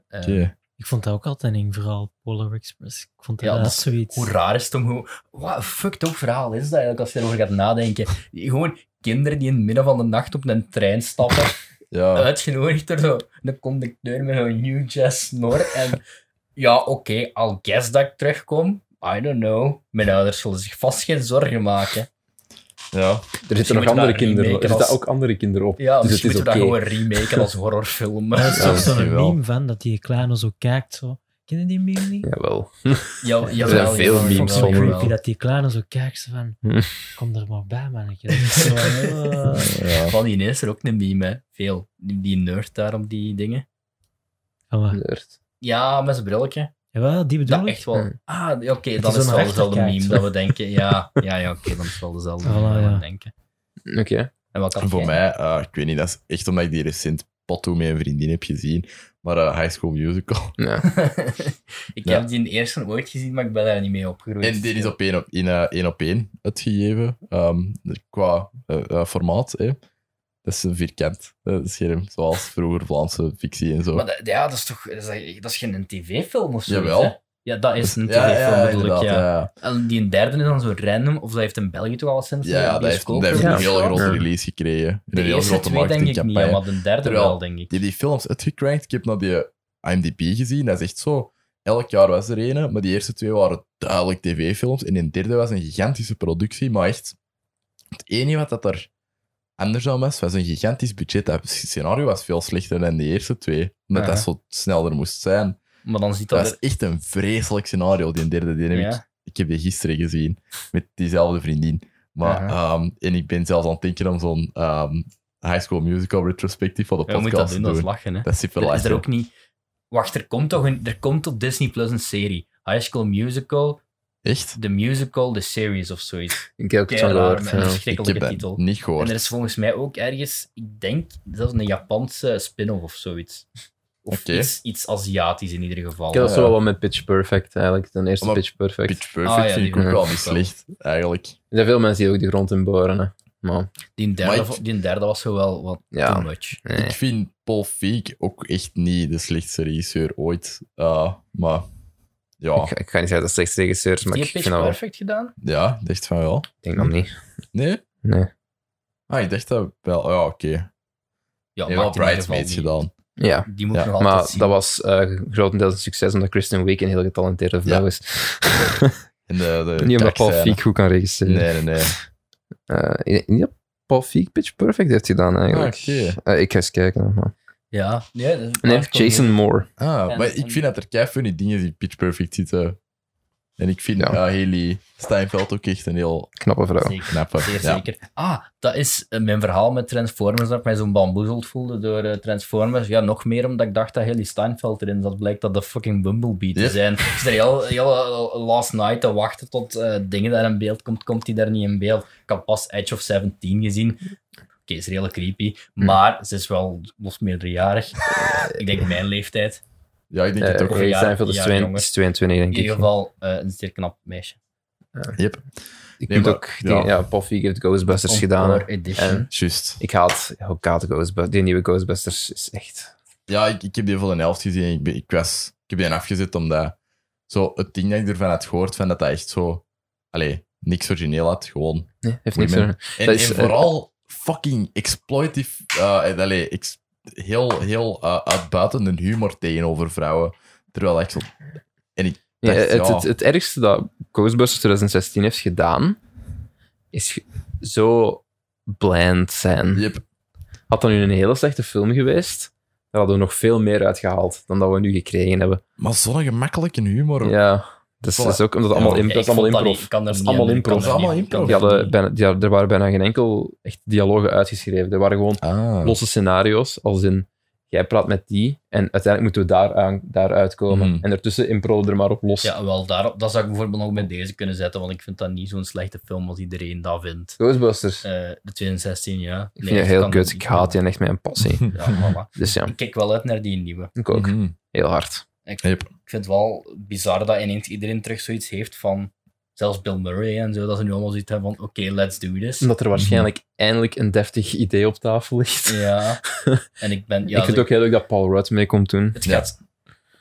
[SPEAKER 2] Eh,
[SPEAKER 3] Oké.
[SPEAKER 4] Ik vond dat ook altijd een eng verhaal, Polar Express. Ik vond dat,
[SPEAKER 2] Ja,
[SPEAKER 4] dat
[SPEAKER 2] dat-
[SPEAKER 4] zoiets...
[SPEAKER 2] Hoe raar is het om gewoon... Wat een fucked up verhaal is dat eigenlijk, als je erover gaat nadenken. Gewoon kinderen die in het midden van de nacht op een trein stappen,
[SPEAKER 3] Ja.
[SPEAKER 2] uitgenodigd door zo de conducteur met een New Jazz snor. En ja, oké, I'll guess dat ik terugkom. I don't know. Mijn ouders zullen zich vast geen zorgen maken.
[SPEAKER 3] ja.
[SPEAKER 1] Er zitten nog
[SPEAKER 2] Misschien moeten we
[SPEAKER 1] andere
[SPEAKER 2] dat
[SPEAKER 1] kinderen. Er
[SPEAKER 2] remaken
[SPEAKER 1] zitten
[SPEAKER 2] als-
[SPEAKER 1] ook andere kinderen op.
[SPEAKER 2] Ja,
[SPEAKER 1] dus het
[SPEAKER 2] dus je
[SPEAKER 1] is
[SPEAKER 2] moet
[SPEAKER 1] oké.
[SPEAKER 2] dat gewoon remaken als horrorfilm.
[SPEAKER 4] Maar dat
[SPEAKER 1] *laughs*
[SPEAKER 4] is
[SPEAKER 1] Ja,
[SPEAKER 4] toch zo'n
[SPEAKER 3] misschien wel.
[SPEAKER 4] meme van dat die kleine zo kijkt. Zo. Ken je die meme niet?
[SPEAKER 1] Jawel.
[SPEAKER 2] Ja, ja,
[SPEAKER 1] zijn veel memes
[SPEAKER 4] Vond ik zo
[SPEAKER 1] van,
[SPEAKER 4] creepy dat die kleine zo kijkt zo
[SPEAKER 2] *laughs*
[SPEAKER 4] van,
[SPEAKER 1] Hm.
[SPEAKER 4] kom er maar bij mannetje. Dat is zo, *laughs* eh,
[SPEAKER 3] ja.
[SPEAKER 2] Van die is er ook een meme, hè. Veel. Die, die nerd daar op die dingen.
[SPEAKER 4] van wat?
[SPEAKER 1] Nerd.
[SPEAKER 2] Ja, met zijn brilletje.
[SPEAKER 4] Jawel, die bedoel
[SPEAKER 2] Dat
[SPEAKER 4] ik.
[SPEAKER 2] echt wel.
[SPEAKER 1] Hmm.
[SPEAKER 2] Ah, oké,
[SPEAKER 4] Het
[SPEAKER 2] dan
[SPEAKER 4] is
[SPEAKER 2] is het
[SPEAKER 4] een
[SPEAKER 2] wel dezelfde
[SPEAKER 4] rechterkijk,
[SPEAKER 2] meme
[SPEAKER 4] zo.
[SPEAKER 2] dat we denken. Ja, ja, ja oké, dan is het wel
[SPEAKER 1] *laughs*
[SPEAKER 2] dezelfde meme
[SPEAKER 4] Voilà,
[SPEAKER 2] dat
[SPEAKER 4] ja.
[SPEAKER 2] we denken.
[SPEAKER 1] Oké.
[SPEAKER 2] En wat had
[SPEAKER 3] En voor
[SPEAKER 2] jij?
[SPEAKER 3] mij, eh, ik weet niet, dat is echt omdat ik die recent Potto met een vriendin heb gezien. Maar eh, High School Musical.
[SPEAKER 1] Ja.
[SPEAKER 2] *laughs* ik
[SPEAKER 3] Ja.
[SPEAKER 2] heb die eerste ooit gezien, maar ik ben daar niet mee opgegroeid.
[SPEAKER 3] En dit is op één op, in, eh, één, op één uitgegeven, ehm, qua eh, eh, formaat. Hè. Dat is een vierkant eh, scherm, zoals vroeger Vlaamse fictie en zo.
[SPEAKER 2] Maar dat, ja, dat is toch dat is, dat is geen tv-film of zo?
[SPEAKER 3] Jawel.
[SPEAKER 2] hè? Ja, dat is een
[SPEAKER 3] Dus, Ja,
[SPEAKER 2] tv-film,
[SPEAKER 3] ja,
[SPEAKER 2] bedoel
[SPEAKER 3] inderdaad,
[SPEAKER 2] ik. Ja.
[SPEAKER 3] ja.
[SPEAKER 2] En die derde is dan zo random, of dat heeft in België toch al sinds
[SPEAKER 3] Ja,
[SPEAKER 2] de
[SPEAKER 3] ja, dat heeft,
[SPEAKER 2] bioscoop
[SPEAKER 3] dat heeft
[SPEAKER 2] of
[SPEAKER 3] een
[SPEAKER 2] zo?
[SPEAKER 3] heel grote
[SPEAKER 1] Ja.
[SPEAKER 3] release gekregen. En
[SPEAKER 2] De
[SPEAKER 3] een heel
[SPEAKER 2] eerste
[SPEAKER 3] grote
[SPEAKER 2] twee denk ik niet,
[SPEAKER 3] marketingcampagne.
[SPEAKER 2] maar de derde
[SPEAKER 3] Terwijl-
[SPEAKER 2] wel, denk ik.
[SPEAKER 3] Die heeft die films uitgecrankt. Ik heb naar die IMDb gezien. Dat is echt zo. Elk jaar was er een, maar die eerste twee waren duidelijk tv-films. En de derde was een gigantische productie. Maar echt, het enige wat dat er anders aan was, was een gigantisch budget. Dat scenario was veel slechter dan de eerste twee. Omdat dat
[SPEAKER 2] Aha.
[SPEAKER 3] zo sneller moest zijn.
[SPEAKER 2] Maar dan ziet
[SPEAKER 3] Dat,
[SPEAKER 2] dat
[SPEAKER 3] is
[SPEAKER 2] er...
[SPEAKER 3] echt een vreselijk scenario, die derde. Die heb ik
[SPEAKER 2] Ja.
[SPEAKER 3] ik heb die gisteren gezien met diezelfde vriendin. Maar, ehm, en ik ben zelfs aan het denken om zo'n ehm, High School Musical retrospectief voor de
[SPEAKER 2] Ja, hoe moet je
[SPEAKER 3] podcast
[SPEAKER 2] dat
[SPEAKER 3] te
[SPEAKER 2] doen?
[SPEAKER 3] doen.
[SPEAKER 2] Dat is lachen, hè?
[SPEAKER 3] Dat is super
[SPEAKER 2] Er is
[SPEAKER 3] lachen.
[SPEAKER 2] er ook niet... Wacht, er komt toch een, er komt op Disney Plus een serie. High School Musical,
[SPEAKER 3] Echt?
[SPEAKER 2] The Musical, The Series of zoiets.
[SPEAKER 1] Ik heb ook het van
[SPEAKER 2] Kei raar,
[SPEAKER 1] gehoord.
[SPEAKER 2] met een
[SPEAKER 1] ja.
[SPEAKER 3] Ik heb
[SPEAKER 2] verschrikkelijke
[SPEAKER 3] dat
[SPEAKER 2] titel.
[SPEAKER 3] niet
[SPEAKER 2] En
[SPEAKER 3] gehoord.
[SPEAKER 2] er is volgens mij ook ergens, ik denk, zelfs een Japanse spin-off of zoiets. Of
[SPEAKER 3] Oké.
[SPEAKER 2] iets, iets Aziatisch in ieder geval.
[SPEAKER 1] Ik heb dat
[SPEAKER 3] Ja.
[SPEAKER 1] zo wel wat met Pitch Perfect eigenlijk. De eerste
[SPEAKER 3] Maar
[SPEAKER 1] Pitch Perfect.
[SPEAKER 3] Pitch Perfect
[SPEAKER 2] Ah, ja,
[SPEAKER 3] vind
[SPEAKER 2] die
[SPEAKER 3] ik ook
[SPEAKER 1] ook.
[SPEAKER 3] wel
[SPEAKER 2] Ja.
[SPEAKER 3] niet slecht, eigenlijk.
[SPEAKER 1] Er zijn veel mensen die ook de grond in boren. Hè. Maar
[SPEAKER 2] Die derde,
[SPEAKER 3] Maar ik-
[SPEAKER 2] vo- die derde was zo wel wat
[SPEAKER 1] Ja. Dus
[SPEAKER 2] too much.
[SPEAKER 1] nee.
[SPEAKER 3] Ik vind Paul Feig ook echt niet de slechtste regisseur ooit. Eh, maar ja,
[SPEAKER 1] ik, ik ga niet zeggen dat het slechts regisseurs, maar
[SPEAKER 2] Die
[SPEAKER 1] ik
[SPEAKER 2] heeft
[SPEAKER 1] vind
[SPEAKER 2] Pitch
[SPEAKER 1] dat wel. Ik
[SPEAKER 2] Perfect gedaan?
[SPEAKER 3] ja, ik dacht van wel.
[SPEAKER 1] denk dat niet.
[SPEAKER 3] Nee?
[SPEAKER 1] Nee.
[SPEAKER 3] Ah, ik dacht dat wel. Ja, oké. Hij
[SPEAKER 2] Ja,
[SPEAKER 3] heeft wel
[SPEAKER 2] maakt in ieder geval
[SPEAKER 3] Bridesmaids
[SPEAKER 2] niet.
[SPEAKER 3] gedaan.
[SPEAKER 1] Ja.
[SPEAKER 2] Die moet
[SPEAKER 3] Ja,
[SPEAKER 2] nog altijd
[SPEAKER 1] Maar
[SPEAKER 2] zien.
[SPEAKER 1] dat was eh, grotendeels een succes omdat Kristen Wiig een heel getalenteerde vrouw
[SPEAKER 3] Ja.
[SPEAKER 1] is. *laughs*
[SPEAKER 3] En de, de
[SPEAKER 1] niet omdat Paul
[SPEAKER 3] kakscène.
[SPEAKER 1] Feig goed kan regisseren.
[SPEAKER 3] eh, Nee, nee, nee.
[SPEAKER 1] Eh, ik- niet dat Paul Feig Pitch Perfect heeft gedaan eigenlijk.
[SPEAKER 3] Ah,
[SPEAKER 1] Eh, ik ga eens kijken. Maar.
[SPEAKER 2] Ja. Nee, dat is-
[SPEAKER 1] Nee,
[SPEAKER 2] dat is gewoon
[SPEAKER 1] Jason Moore.
[SPEAKER 3] Ah,
[SPEAKER 2] En-
[SPEAKER 3] maar ik
[SPEAKER 2] en-
[SPEAKER 3] vind dat er kei funny dingen die Pitch Perfect zitten. En ik vind
[SPEAKER 1] Ja.
[SPEAKER 3] eh, Haley Steinfeld ook echt een heel
[SPEAKER 1] Knappe vrouw.
[SPEAKER 2] Zeker.
[SPEAKER 3] knappe.
[SPEAKER 2] Zeer
[SPEAKER 3] ja.
[SPEAKER 2] zeker. Ah, dat is eh, mijn verhaal met Transformers, dat ik mij zo'n bamboezeld voelde door eh, Transformers. Ja, nog meer omdat ik dacht dat Haley Steinfeld erin zat. Blijkt dat de fucking Bumblebee te
[SPEAKER 3] Ja.
[SPEAKER 2] zijn. Ik zit er heel, heel eh, last night te wachten tot eh, dingen daar in beeld komt. Komt die daar niet in beeld? Ik had pas Edge of 17 gezien. Oké, is redelijk creepy.
[SPEAKER 1] Hm.
[SPEAKER 2] Maar ze is wel los meerderjarig. Eh, ik denk mijn leeftijd.
[SPEAKER 3] Ja, ik denk het
[SPEAKER 1] Eh,
[SPEAKER 3] ook.
[SPEAKER 2] een
[SPEAKER 1] Ray
[SPEAKER 2] jaar-
[SPEAKER 1] Seinfeld is
[SPEAKER 2] ja,
[SPEAKER 1] twee-
[SPEAKER 2] jonger.
[SPEAKER 1] is 22, denk
[SPEAKER 2] In ieder
[SPEAKER 1] ik.
[SPEAKER 2] geval eh, een zeer knap meisje.
[SPEAKER 3] Yep.
[SPEAKER 1] Ik
[SPEAKER 3] Nee,
[SPEAKER 1] moet
[SPEAKER 3] maar-
[SPEAKER 1] ook
[SPEAKER 3] ja.
[SPEAKER 1] dingen- ja. Paul Feig heeft Ghostbusters gedaan. hè.
[SPEAKER 2] Encore edition.
[SPEAKER 1] En-
[SPEAKER 3] Juist.
[SPEAKER 1] Ik haat, ik haat Ghostbusters. Die nieuwe Ghostbusters is echt...
[SPEAKER 3] Ja, ik, ik heb die voor de helft gezien. en Ik, ben- ik, was, ik heb die afgezet omdat zo het ding dat ik ervan had gehoord, van dat dat echt zo... Allee, niks origineel had, gewoon...
[SPEAKER 1] Nee, heeft niks
[SPEAKER 3] Women.
[SPEAKER 1] meer.
[SPEAKER 3] En,
[SPEAKER 1] Dat is,
[SPEAKER 3] en
[SPEAKER 1] eh,
[SPEAKER 3] vooral fucking exploitief... eh, en allee, ex- heel, heel eh, uitbuitende humor tegenover vrouwen. Terwijl ik zo... En ik
[SPEAKER 1] Ja,
[SPEAKER 3] dacht, ja,
[SPEAKER 1] het, het, het ergste dat Ghostbusters 2016 heeft gedaan, is ge- zo bland zijn.
[SPEAKER 3] yep,
[SPEAKER 1] Had dat nu een hele slechte film geweest, dan hadden we nog veel meer uitgehaald dan dat we nu gekregen hebben.
[SPEAKER 3] Maar zo'n gemakkelijke humor.
[SPEAKER 1] Ja, dus dat is ook omdat het allemaal,
[SPEAKER 2] Ja,
[SPEAKER 1] in,
[SPEAKER 2] ik
[SPEAKER 1] dat is allemaal
[SPEAKER 2] vond dat
[SPEAKER 1] improv.
[SPEAKER 2] niet. Ik kan er
[SPEAKER 1] Dat is
[SPEAKER 2] niet
[SPEAKER 1] allemaal
[SPEAKER 2] aan-
[SPEAKER 1] improv.
[SPEAKER 2] ik kan er
[SPEAKER 3] Dat is
[SPEAKER 2] niet- ik
[SPEAKER 3] allemaal
[SPEAKER 1] Die
[SPEAKER 2] kan er
[SPEAKER 1] hadden
[SPEAKER 2] niet-
[SPEAKER 1] bijna, die, hadden- er waren bijna geen enkel echt dialogen uitgeschreven. Er waren gewoon
[SPEAKER 3] Ah.
[SPEAKER 1] losse scenario's, als in jij praat met die en uiteindelijk moeten we daar, aan, daar uitkomen.
[SPEAKER 3] Mhm.
[SPEAKER 1] En daartussen improv er maar op los.
[SPEAKER 2] Ja, wel, daarop, dat zou ik bijvoorbeeld nog met deze kunnen zetten, want ik vind dat niet zo'n slechte film als iedereen dat vindt.
[SPEAKER 1] Ghostbusters.
[SPEAKER 2] Eh, de 2016, ja.
[SPEAKER 1] ik vind je heel kut. Ik haat je echt met een
[SPEAKER 3] *laughs*
[SPEAKER 1] passie.
[SPEAKER 2] Ja, voilà.
[SPEAKER 1] Dus ja,
[SPEAKER 2] Ik kijk wel uit naar die nieuwe.
[SPEAKER 1] ik *laughs* ook.
[SPEAKER 3] Mhm.
[SPEAKER 1] Heel hard.
[SPEAKER 2] Ik,
[SPEAKER 3] Yep.
[SPEAKER 2] ik vind het wel bizar dat ineens iedereen terug zoiets heeft van, zelfs Bill Murray en zo, dat ze nu allemaal zoiets hebben van, oké, let's do this.
[SPEAKER 1] Omdat er waarschijnlijk eindelijk een deftig idee op tafel ligt.
[SPEAKER 2] Ja. En ik ben...
[SPEAKER 1] *laughs*
[SPEAKER 2] Ja,
[SPEAKER 1] ik vind
[SPEAKER 2] zo-
[SPEAKER 1] het ook heel leuk dat Paul Rudd mee komt doen.
[SPEAKER 2] Het
[SPEAKER 3] Ja.
[SPEAKER 2] gaat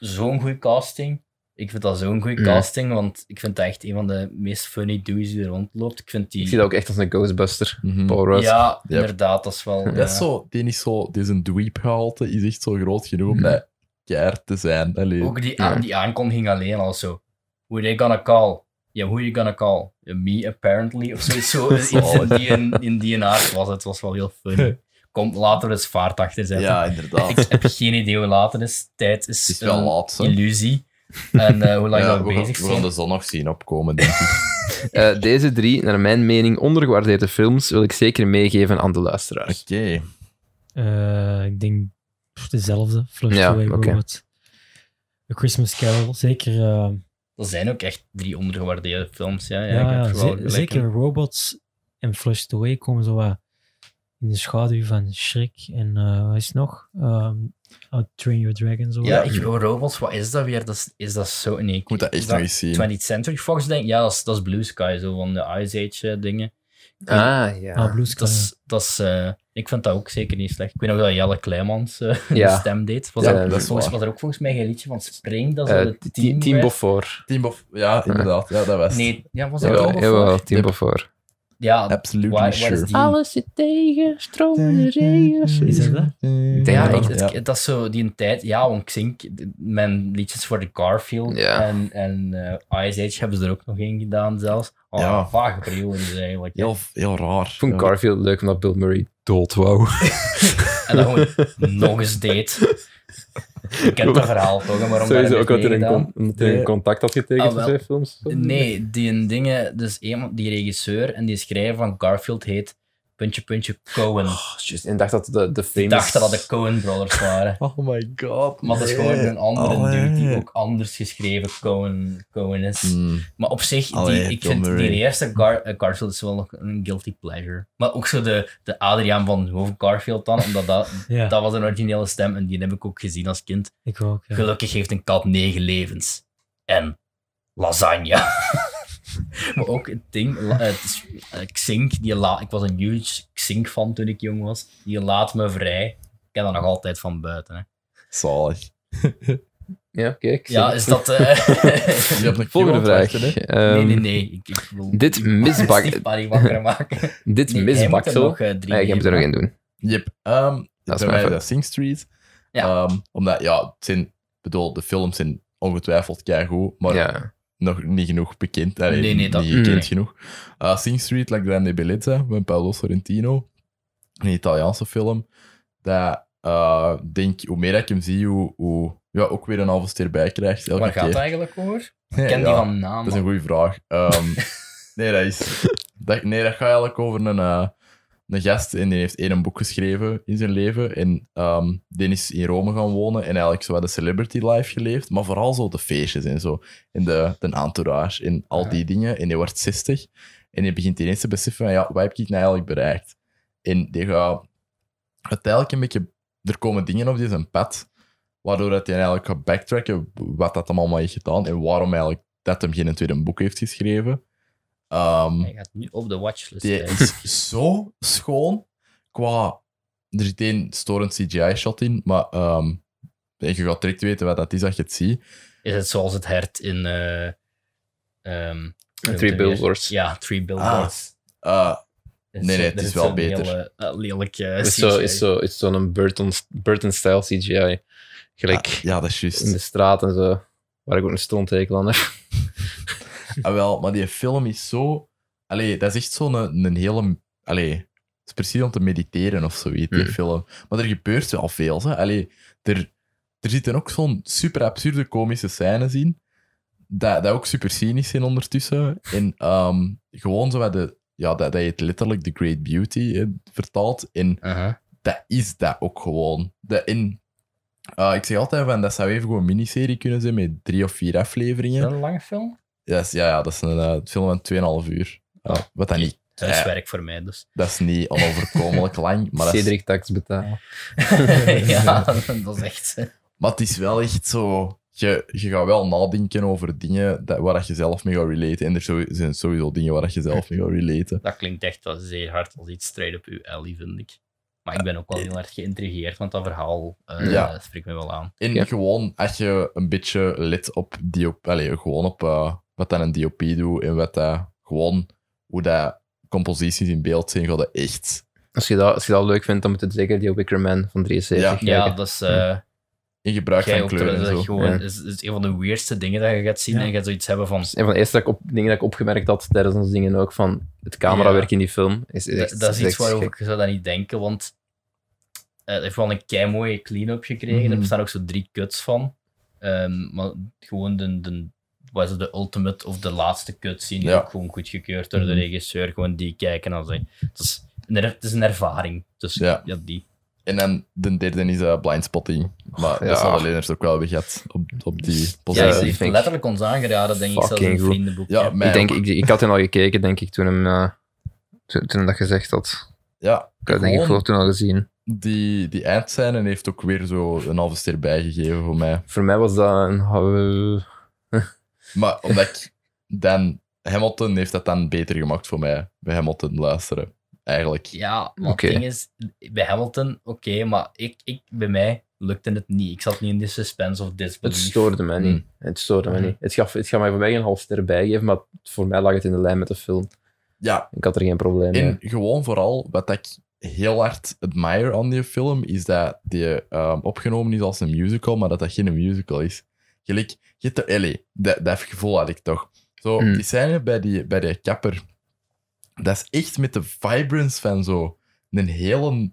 [SPEAKER 2] zo'n goede casting. Ik vind dat zo'n goede
[SPEAKER 1] Ja.
[SPEAKER 2] casting, want ik vind dat echt een van de meest funny dudes die er rondloopt. Ik vind die...
[SPEAKER 1] Ik zie dat ook echt als een Ghostbuster.
[SPEAKER 3] Mhm.
[SPEAKER 1] Paul Rudd.
[SPEAKER 2] Ja,
[SPEAKER 3] Yep.
[SPEAKER 2] inderdaad, dat
[SPEAKER 1] *laughs*
[SPEAKER 2] is wel...
[SPEAKER 3] Dat is
[SPEAKER 2] ja.
[SPEAKER 3] zo, die is zo, deze dweep-gehalte is echt zo groot genoeg om
[SPEAKER 1] Mhm.
[SPEAKER 3] dat keihard te zijn. Allee.
[SPEAKER 2] Ook die,
[SPEAKER 1] Ja.
[SPEAKER 2] die aankondiging alleen al zo. Who they gonna call? Ja, who you gonna call? Ja, me apparently, of zoiets.
[SPEAKER 3] *laughs*
[SPEAKER 2] Zo, iets
[SPEAKER 3] Oh.
[SPEAKER 2] in die, in, in die aard was het. was wel heel funny.
[SPEAKER 3] *laughs*
[SPEAKER 2] Komt later eens vaart achter zetten.
[SPEAKER 3] Ja, inderdaad.
[SPEAKER 2] Ik heb geen idee hoe later is. Tijd is,
[SPEAKER 3] het is wel
[SPEAKER 2] een
[SPEAKER 3] laat, hè.
[SPEAKER 2] illusie. En eh, hoe lang
[SPEAKER 3] *laughs* Ja,
[SPEAKER 2] we
[SPEAKER 3] we, gaan,
[SPEAKER 2] bezig
[SPEAKER 3] we gaan
[SPEAKER 2] zijn.
[SPEAKER 3] de zon nog zien opkomen, denk ik.
[SPEAKER 1] Eh, deze drie, naar mijn mening, ondergewaardeerde films wil ik zeker meegeven aan de
[SPEAKER 3] *laughs* Oké.
[SPEAKER 1] luisteraars.
[SPEAKER 4] Eh, ik denk pff, dezelfde. Flush
[SPEAKER 1] Ja,
[SPEAKER 4] Away
[SPEAKER 1] oké.
[SPEAKER 4] Robot. A Christmas Carol. Zeker, eh,
[SPEAKER 2] Er zijn ook echt drie ondergewaardeerde films. Ja, ja,
[SPEAKER 4] ja,
[SPEAKER 2] ik heb
[SPEAKER 4] ja,
[SPEAKER 2] er wel
[SPEAKER 4] ze-
[SPEAKER 2] gelijk
[SPEAKER 4] zeker
[SPEAKER 2] in.
[SPEAKER 4] Robots en Flushed Away komen zo wat in de schaduw van Schrik. En eh wat is het nog? Ehm How to Train Your Dragon. Zo.
[SPEAKER 2] Ja, ik, robots, wat is dat weer? Dat is, is dat zo in één
[SPEAKER 3] Ik moet dat echt nog eens zien.
[SPEAKER 2] 20th Century Fox, denk ik. Ja, dat is, dat is Blue Sky, zo van de Ice Age eh, dingen.
[SPEAKER 1] Ah, ja.
[SPEAKER 4] Ah, Blue
[SPEAKER 2] Dus
[SPEAKER 4] Sky.
[SPEAKER 2] Dat is, dat is, eh, ik vind dat ook zeker niet slecht. Ik weet nog dat Jelle Kleimans eh, de
[SPEAKER 1] Ja.
[SPEAKER 2] stem deed. Was
[SPEAKER 1] Ja,
[SPEAKER 2] er-
[SPEAKER 1] dat
[SPEAKER 3] is
[SPEAKER 2] volgens,
[SPEAKER 3] waar.
[SPEAKER 2] was er ook volgens mij geen liedje van Spring, dat is
[SPEAKER 1] Eh,
[SPEAKER 2] al het
[SPEAKER 1] Team,
[SPEAKER 2] team,
[SPEAKER 1] team
[SPEAKER 2] werd.
[SPEAKER 1] Beaufort.
[SPEAKER 3] Team of... Ja, inderdaad. Ja, dat was het.
[SPEAKER 2] Nee, ja, was dat
[SPEAKER 1] Jawel,
[SPEAKER 2] Team of
[SPEAKER 1] jawel,
[SPEAKER 2] Four?
[SPEAKER 1] Team Beaufort.
[SPEAKER 2] Ja,
[SPEAKER 3] Absolutely
[SPEAKER 2] waar- waar is
[SPEAKER 3] sure.
[SPEAKER 2] die? Alles
[SPEAKER 1] zit tegen, stromen,
[SPEAKER 4] Is dat dat?
[SPEAKER 1] Ik denk
[SPEAKER 2] ja,
[SPEAKER 1] dat
[SPEAKER 2] ik-
[SPEAKER 1] wel.
[SPEAKER 2] het-
[SPEAKER 3] Ja.
[SPEAKER 2] het- dat is zo die een tijd. Ja, want ik zing d- mijn liedjes voor de Garfield
[SPEAKER 1] Ja.
[SPEAKER 2] en, en eh Ice Age hebben ze er ook nog één gedaan zelfs. Oh,
[SPEAKER 3] Ja.
[SPEAKER 2] vage periodes eigenlijk.
[SPEAKER 3] Heel, heel raar.
[SPEAKER 1] Ik vond
[SPEAKER 3] Ja.
[SPEAKER 1] Garfield leuk omdat Bill Murray dood wou.
[SPEAKER 2] En dan gewoon nog eens deed. Ik ken dat verhaal toch, maar waarom dat
[SPEAKER 1] *laughs* Sowieso
[SPEAKER 2] heeft
[SPEAKER 1] ook omdat hij een,
[SPEAKER 2] meegedaan.
[SPEAKER 1] con- omdat hij een
[SPEAKER 3] Nee.
[SPEAKER 1] contact had getekend
[SPEAKER 2] Ah,
[SPEAKER 1] voor
[SPEAKER 2] wel.
[SPEAKER 1] zijn films.
[SPEAKER 2] Nee, die een dingen, dus een, die regisseur en die schrijver van Garfield heet puntje puntje Cohen.
[SPEAKER 1] Oh, juist. En dacht dat de, de famous...
[SPEAKER 2] Ik dacht dat de Cohen brothers waren.
[SPEAKER 3] Oh my god.
[SPEAKER 2] Maar dat is gewoon
[SPEAKER 3] nee.
[SPEAKER 2] een andere
[SPEAKER 3] Allee.
[SPEAKER 2] dude die ook anders geschreven Cohen, Cohen is.
[SPEAKER 3] Mm,
[SPEAKER 2] Maar op zich, die,
[SPEAKER 3] Allee,
[SPEAKER 2] ik
[SPEAKER 3] Bill
[SPEAKER 2] vind
[SPEAKER 3] Murray.
[SPEAKER 2] die eerste Gar- eh, Garfield is wel nog een guilty pleasure. Maar ook zo de, de Adriaan van Hoven Garfield dan, omdat dat,
[SPEAKER 4] ja,
[SPEAKER 2] dat was een originele stem en die heb ik ook gezien als kind.
[SPEAKER 4] ik ook. Ja.
[SPEAKER 2] Gelukkig heeft een kat negen levens. En lasagne. *laughs* maar ook het ding, la- het is- eh, Xink, die la, ik was een huge Xink-fan toen ik jong was. Die laat me vrij. Ik ken dat nog altijd van buiten. Hè.
[SPEAKER 3] zalig.
[SPEAKER 1] Ja, kijk.
[SPEAKER 2] Ja,
[SPEAKER 1] zie.
[SPEAKER 2] is dat... eh,
[SPEAKER 3] Je hebt een
[SPEAKER 1] Volgende
[SPEAKER 3] cue
[SPEAKER 1] vraag.
[SPEAKER 3] ontwachten, hè?
[SPEAKER 1] Ehm,
[SPEAKER 2] *laughs* nee, nee, nee. Ik, ik wil
[SPEAKER 1] dit
[SPEAKER 2] *laughs* ik wil
[SPEAKER 1] misbak-
[SPEAKER 2] Steve Barry wakker maken.
[SPEAKER 1] *laughs* Dit
[SPEAKER 2] Nee, jij moet er
[SPEAKER 1] misbaksel...
[SPEAKER 2] nog, eh, drie
[SPEAKER 1] Nee, ik heb er nog
[SPEAKER 2] nemen.
[SPEAKER 1] één doen.
[SPEAKER 3] Yep. Ehm
[SPEAKER 1] Dat is
[SPEAKER 3] dat
[SPEAKER 1] mijn
[SPEAKER 3] bij mij
[SPEAKER 1] fout.
[SPEAKER 3] is dat Sing Street.
[SPEAKER 2] Ja.
[SPEAKER 3] Ehm, omdat, ja, het zijn, bedoel, de films zijn ongetwijfeld keigoed, maar
[SPEAKER 1] Ja.
[SPEAKER 3] nog niet genoeg bekend. Allee,
[SPEAKER 2] Nee, nee, dat-
[SPEAKER 3] niet gekend
[SPEAKER 2] nee.
[SPEAKER 3] genoeg. Eh, Sing Street, La Grande Bellezza, van Paolo Sorrentino. Een Italiaanse film. Dat, eh, denk, hoe meer ik hem zie, hoe, hoe ja, ook weer een halve ster bij krijgt. Elke
[SPEAKER 2] Waar gaat
[SPEAKER 3] keer. *laughs*
[SPEAKER 2] het eigenlijk over?
[SPEAKER 3] Ja,
[SPEAKER 2] Ik ken die
[SPEAKER 3] ja,
[SPEAKER 2] van naam.
[SPEAKER 3] Dat is een goede vraag. Ehm, *laughs* nee, dat is, dat, nee, dat gaat eigenlijk over een, eh, een gast en die heeft één boek geschreven in zijn leven. En ehm, die is in Rome gaan wonen en eigenlijk zo wat de celebrity life geleefd. Maar vooral zo de feestjes en zo. En de, de entourage en al die dingen. En die wordt 60 en die begint ineens te beseffen van ja, wat heb ik nou eigenlijk bereikt? En die gaat uiteindelijk een beetje... Er komen dingen op die zijn pad, waardoor dat hij eigenlijk gaat backtracken wat dat hem allemaal heeft gedaan en waarom eigenlijk dat hem geen tweede boek heeft geschreven. Ehm,
[SPEAKER 2] Hij gaat nu op de watchlist.
[SPEAKER 3] die
[SPEAKER 2] kijken.
[SPEAKER 3] is zo schoon qua... Er zit één storend CGI-shot in, maar ehm, je gaat direct weten wat dat is als je het ziet.
[SPEAKER 2] Is het zoals het hert in... eh ehm,
[SPEAKER 1] En Three Billboards.
[SPEAKER 2] Ja, Three Billboards.
[SPEAKER 3] Eh,
[SPEAKER 2] Dat
[SPEAKER 3] Ah. Nee, nee,
[SPEAKER 2] zo-
[SPEAKER 3] het
[SPEAKER 2] dat
[SPEAKER 3] is wel
[SPEAKER 2] zo'n
[SPEAKER 3] beter.
[SPEAKER 2] hele, eh, lelijke
[SPEAKER 1] is
[SPEAKER 2] CGI.
[SPEAKER 1] zo, is zo, is zo'n Burton, Burton-style CGI. Gelijk
[SPEAKER 3] Ah, ja, dat is juist.
[SPEAKER 1] in de straat en zo. Waar ik ook een stronttekel aan heb.
[SPEAKER 3] Ah, wel, maar die film is zo. Allee, dat is echt zo'n eh, een, hele. Allee, het is precies om te mediteren of zoiets, die
[SPEAKER 1] Mm.
[SPEAKER 3] film. Maar er gebeurt wel veel. Hè. Allee, er, er zitten ook zo'n super absurde komische scènes in. Dat, dat ook super cynisch zijn ondertussen. En ehm, gewoon zo wat de. Ja, dat, dat je het letterlijk The Great Beauty eh, vertaalt. En
[SPEAKER 2] Aha.
[SPEAKER 3] dat is dat ook gewoon. De, in, eh, ik zeg altijd van, dat zou even gewoon een miniserie kunnen zijn met drie of vier
[SPEAKER 2] Is
[SPEAKER 3] afleveringen.
[SPEAKER 2] dat een lange film?
[SPEAKER 3] Ja, is- ja, ja, dat is een eh, film van 2,5 uur. Ja, wat dat niet.
[SPEAKER 2] Thuiswerk voor mij
[SPEAKER 3] *laughs*
[SPEAKER 2] dus. *laughs*
[SPEAKER 3] Dat is niet onoverkomelijk *laughs* lang, maar, dat is,
[SPEAKER 1] Cedric Tax betalen.
[SPEAKER 2] ja, dat is echt...
[SPEAKER 3] maar het is wel echt zo. Je, je gaat wel nadenken over dingen dat, waar dat je zelf mee gaat relaten. En er zo- zijn sowieso dingen waar dat je zelf mee gaat relaten.
[SPEAKER 2] Dat klinkt echt wel zeer hard als iets straight op uw alley, vind ik. Maar ik ben ook wel heel erg geïntrigeerd, want dat verhaal eh,
[SPEAKER 3] Ja.
[SPEAKER 2] spreekt me wel aan.
[SPEAKER 3] En
[SPEAKER 1] Ja.
[SPEAKER 3] gewoon, als je een beetje let op DOP, allee, gewoon op eh, wat dan een DOP doet en wat dat, gewoon hoe dat composities in beeld zijn, gaat dat echt.
[SPEAKER 1] Als je, dat, als je dat leuk vindt, dan moet je zeker die Wickerman van 73
[SPEAKER 3] Ja.
[SPEAKER 1] kijken.
[SPEAKER 2] Ja, dat is... eh,
[SPEAKER 3] In gebruik
[SPEAKER 2] jij
[SPEAKER 3] van
[SPEAKER 2] ook
[SPEAKER 3] kleuren en
[SPEAKER 2] terwijl
[SPEAKER 3] zo.
[SPEAKER 2] dat gewoon,
[SPEAKER 1] Ja.
[SPEAKER 2] is, is een van de weirdste dingen dat je gaat zien
[SPEAKER 4] Ja.
[SPEAKER 2] en je gaat zoiets hebben van...
[SPEAKER 1] Dat is een van de eerste dat ik op, dingen dat ik opgemerkt had tijdens ons dingen ook, van het camerawerk in die film. Is, is
[SPEAKER 2] Dat-
[SPEAKER 1] echt-
[SPEAKER 2] dat is iets
[SPEAKER 1] echt
[SPEAKER 2] waarover
[SPEAKER 1] gek.
[SPEAKER 2] ik zou dat niet denken, want eh, het heeft wel een kei mooie clean-up gekregen.
[SPEAKER 3] Mhm.
[SPEAKER 2] Er bestaan ook zo drie cuts van. Ehm, maar gewoon de, de, was het de ultimate of de laatste cut zien,
[SPEAKER 3] Ja.
[SPEAKER 2] ook gewoon goedgekeurd door de
[SPEAKER 3] Mhm.
[SPEAKER 2] regisseur. Gewoon die kijken en dan zeggen. Het is, een er- het is een ervaring. Dus ja,
[SPEAKER 3] Ja.
[SPEAKER 2] die.
[SPEAKER 3] En dan de derde is eh, blindspotting. Maar
[SPEAKER 1] Ja.
[SPEAKER 3] dat zal de leners ook wel hebben gehad op, op die
[SPEAKER 1] Ja,
[SPEAKER 2] Ja, die
[SPEAKER 1] die
[SPEAKER 3] positie.
[SPEAKER 2] heeft
[SPEAKER 1] vind ik
[SPEAKER 2] letterlijk ons aangeraden, denk ik, zelfs in
[SPEAKER 1] fucking
[SPEAKER 2] het
[SPEAKER 1] goed.
[SPEAKER 2] vriendenboek.
[SPEAKER 3] Ja, mij
[SPEAKER 1] Ik, denk,
[SPEAKER 3] ook.
[SPEAKER 1] ik, ik had hem al gekeken, denk ik, toen hem, eh, toen, toen hem dat gezegd had.
[SPEAKER 3] Ja,
[SPEAKER 1] Ik had denk ik
[SPEAKER 3] Gewoon-
[SPEAKER 1] gewoon toen al gezien.
[SPEAKER 3] die, die eindscène heeft ook weer zo een halve ster bijgegeven voor mij.
[SPEAKER 1] Voor mij was dat een... eh,
[SPEAKER 3] Maar omdat ik dan... Hamilton heeft dat dan beter gemaakt voor mij, bij Hamilton luisteren. Eigenlijk.
[SPEAKER 2] Ja, maar
[SPEAKER 1] Oké.
[SPEAKER 2] het ding is, bij Hamilton, oké, maar ik, ik, bij mij lukte het niet. Ik zat niet in de suspense of
[SPEAKER 1] Het
[SPEAKER 2] disbelief.
[SPEAKER 1] stoorde mij niet. Het stoorde mij
[SPEAKER 2] Mhm.
[SPEAKER 1] niet. Het gaf, het gaf mij voor mij een half ster bijgeven, maar voor mij lag het in de lijn met de film.
[SPEAKER 3] Ja,
[SPEAKER 1] Ik had er geen probleem
[SPEAKER 3] en
[SPEAKER 1] mee.
[SPEAKER 3] gewoon vooral wat ik heel hard admire aan die film, is dat die ehm, opgenomen is als een musical, maar dat dat geen musical is. Gelijk, je hebt de- allee, dat, dat gevoel had ik toch. Zo,
[SPEAKER 2] Hmm.
[SPEAKER 1] Mm.
[SPEAKER 3] die scène bij die, bij die kapper, dat is echt met de vibrance van zo een hele...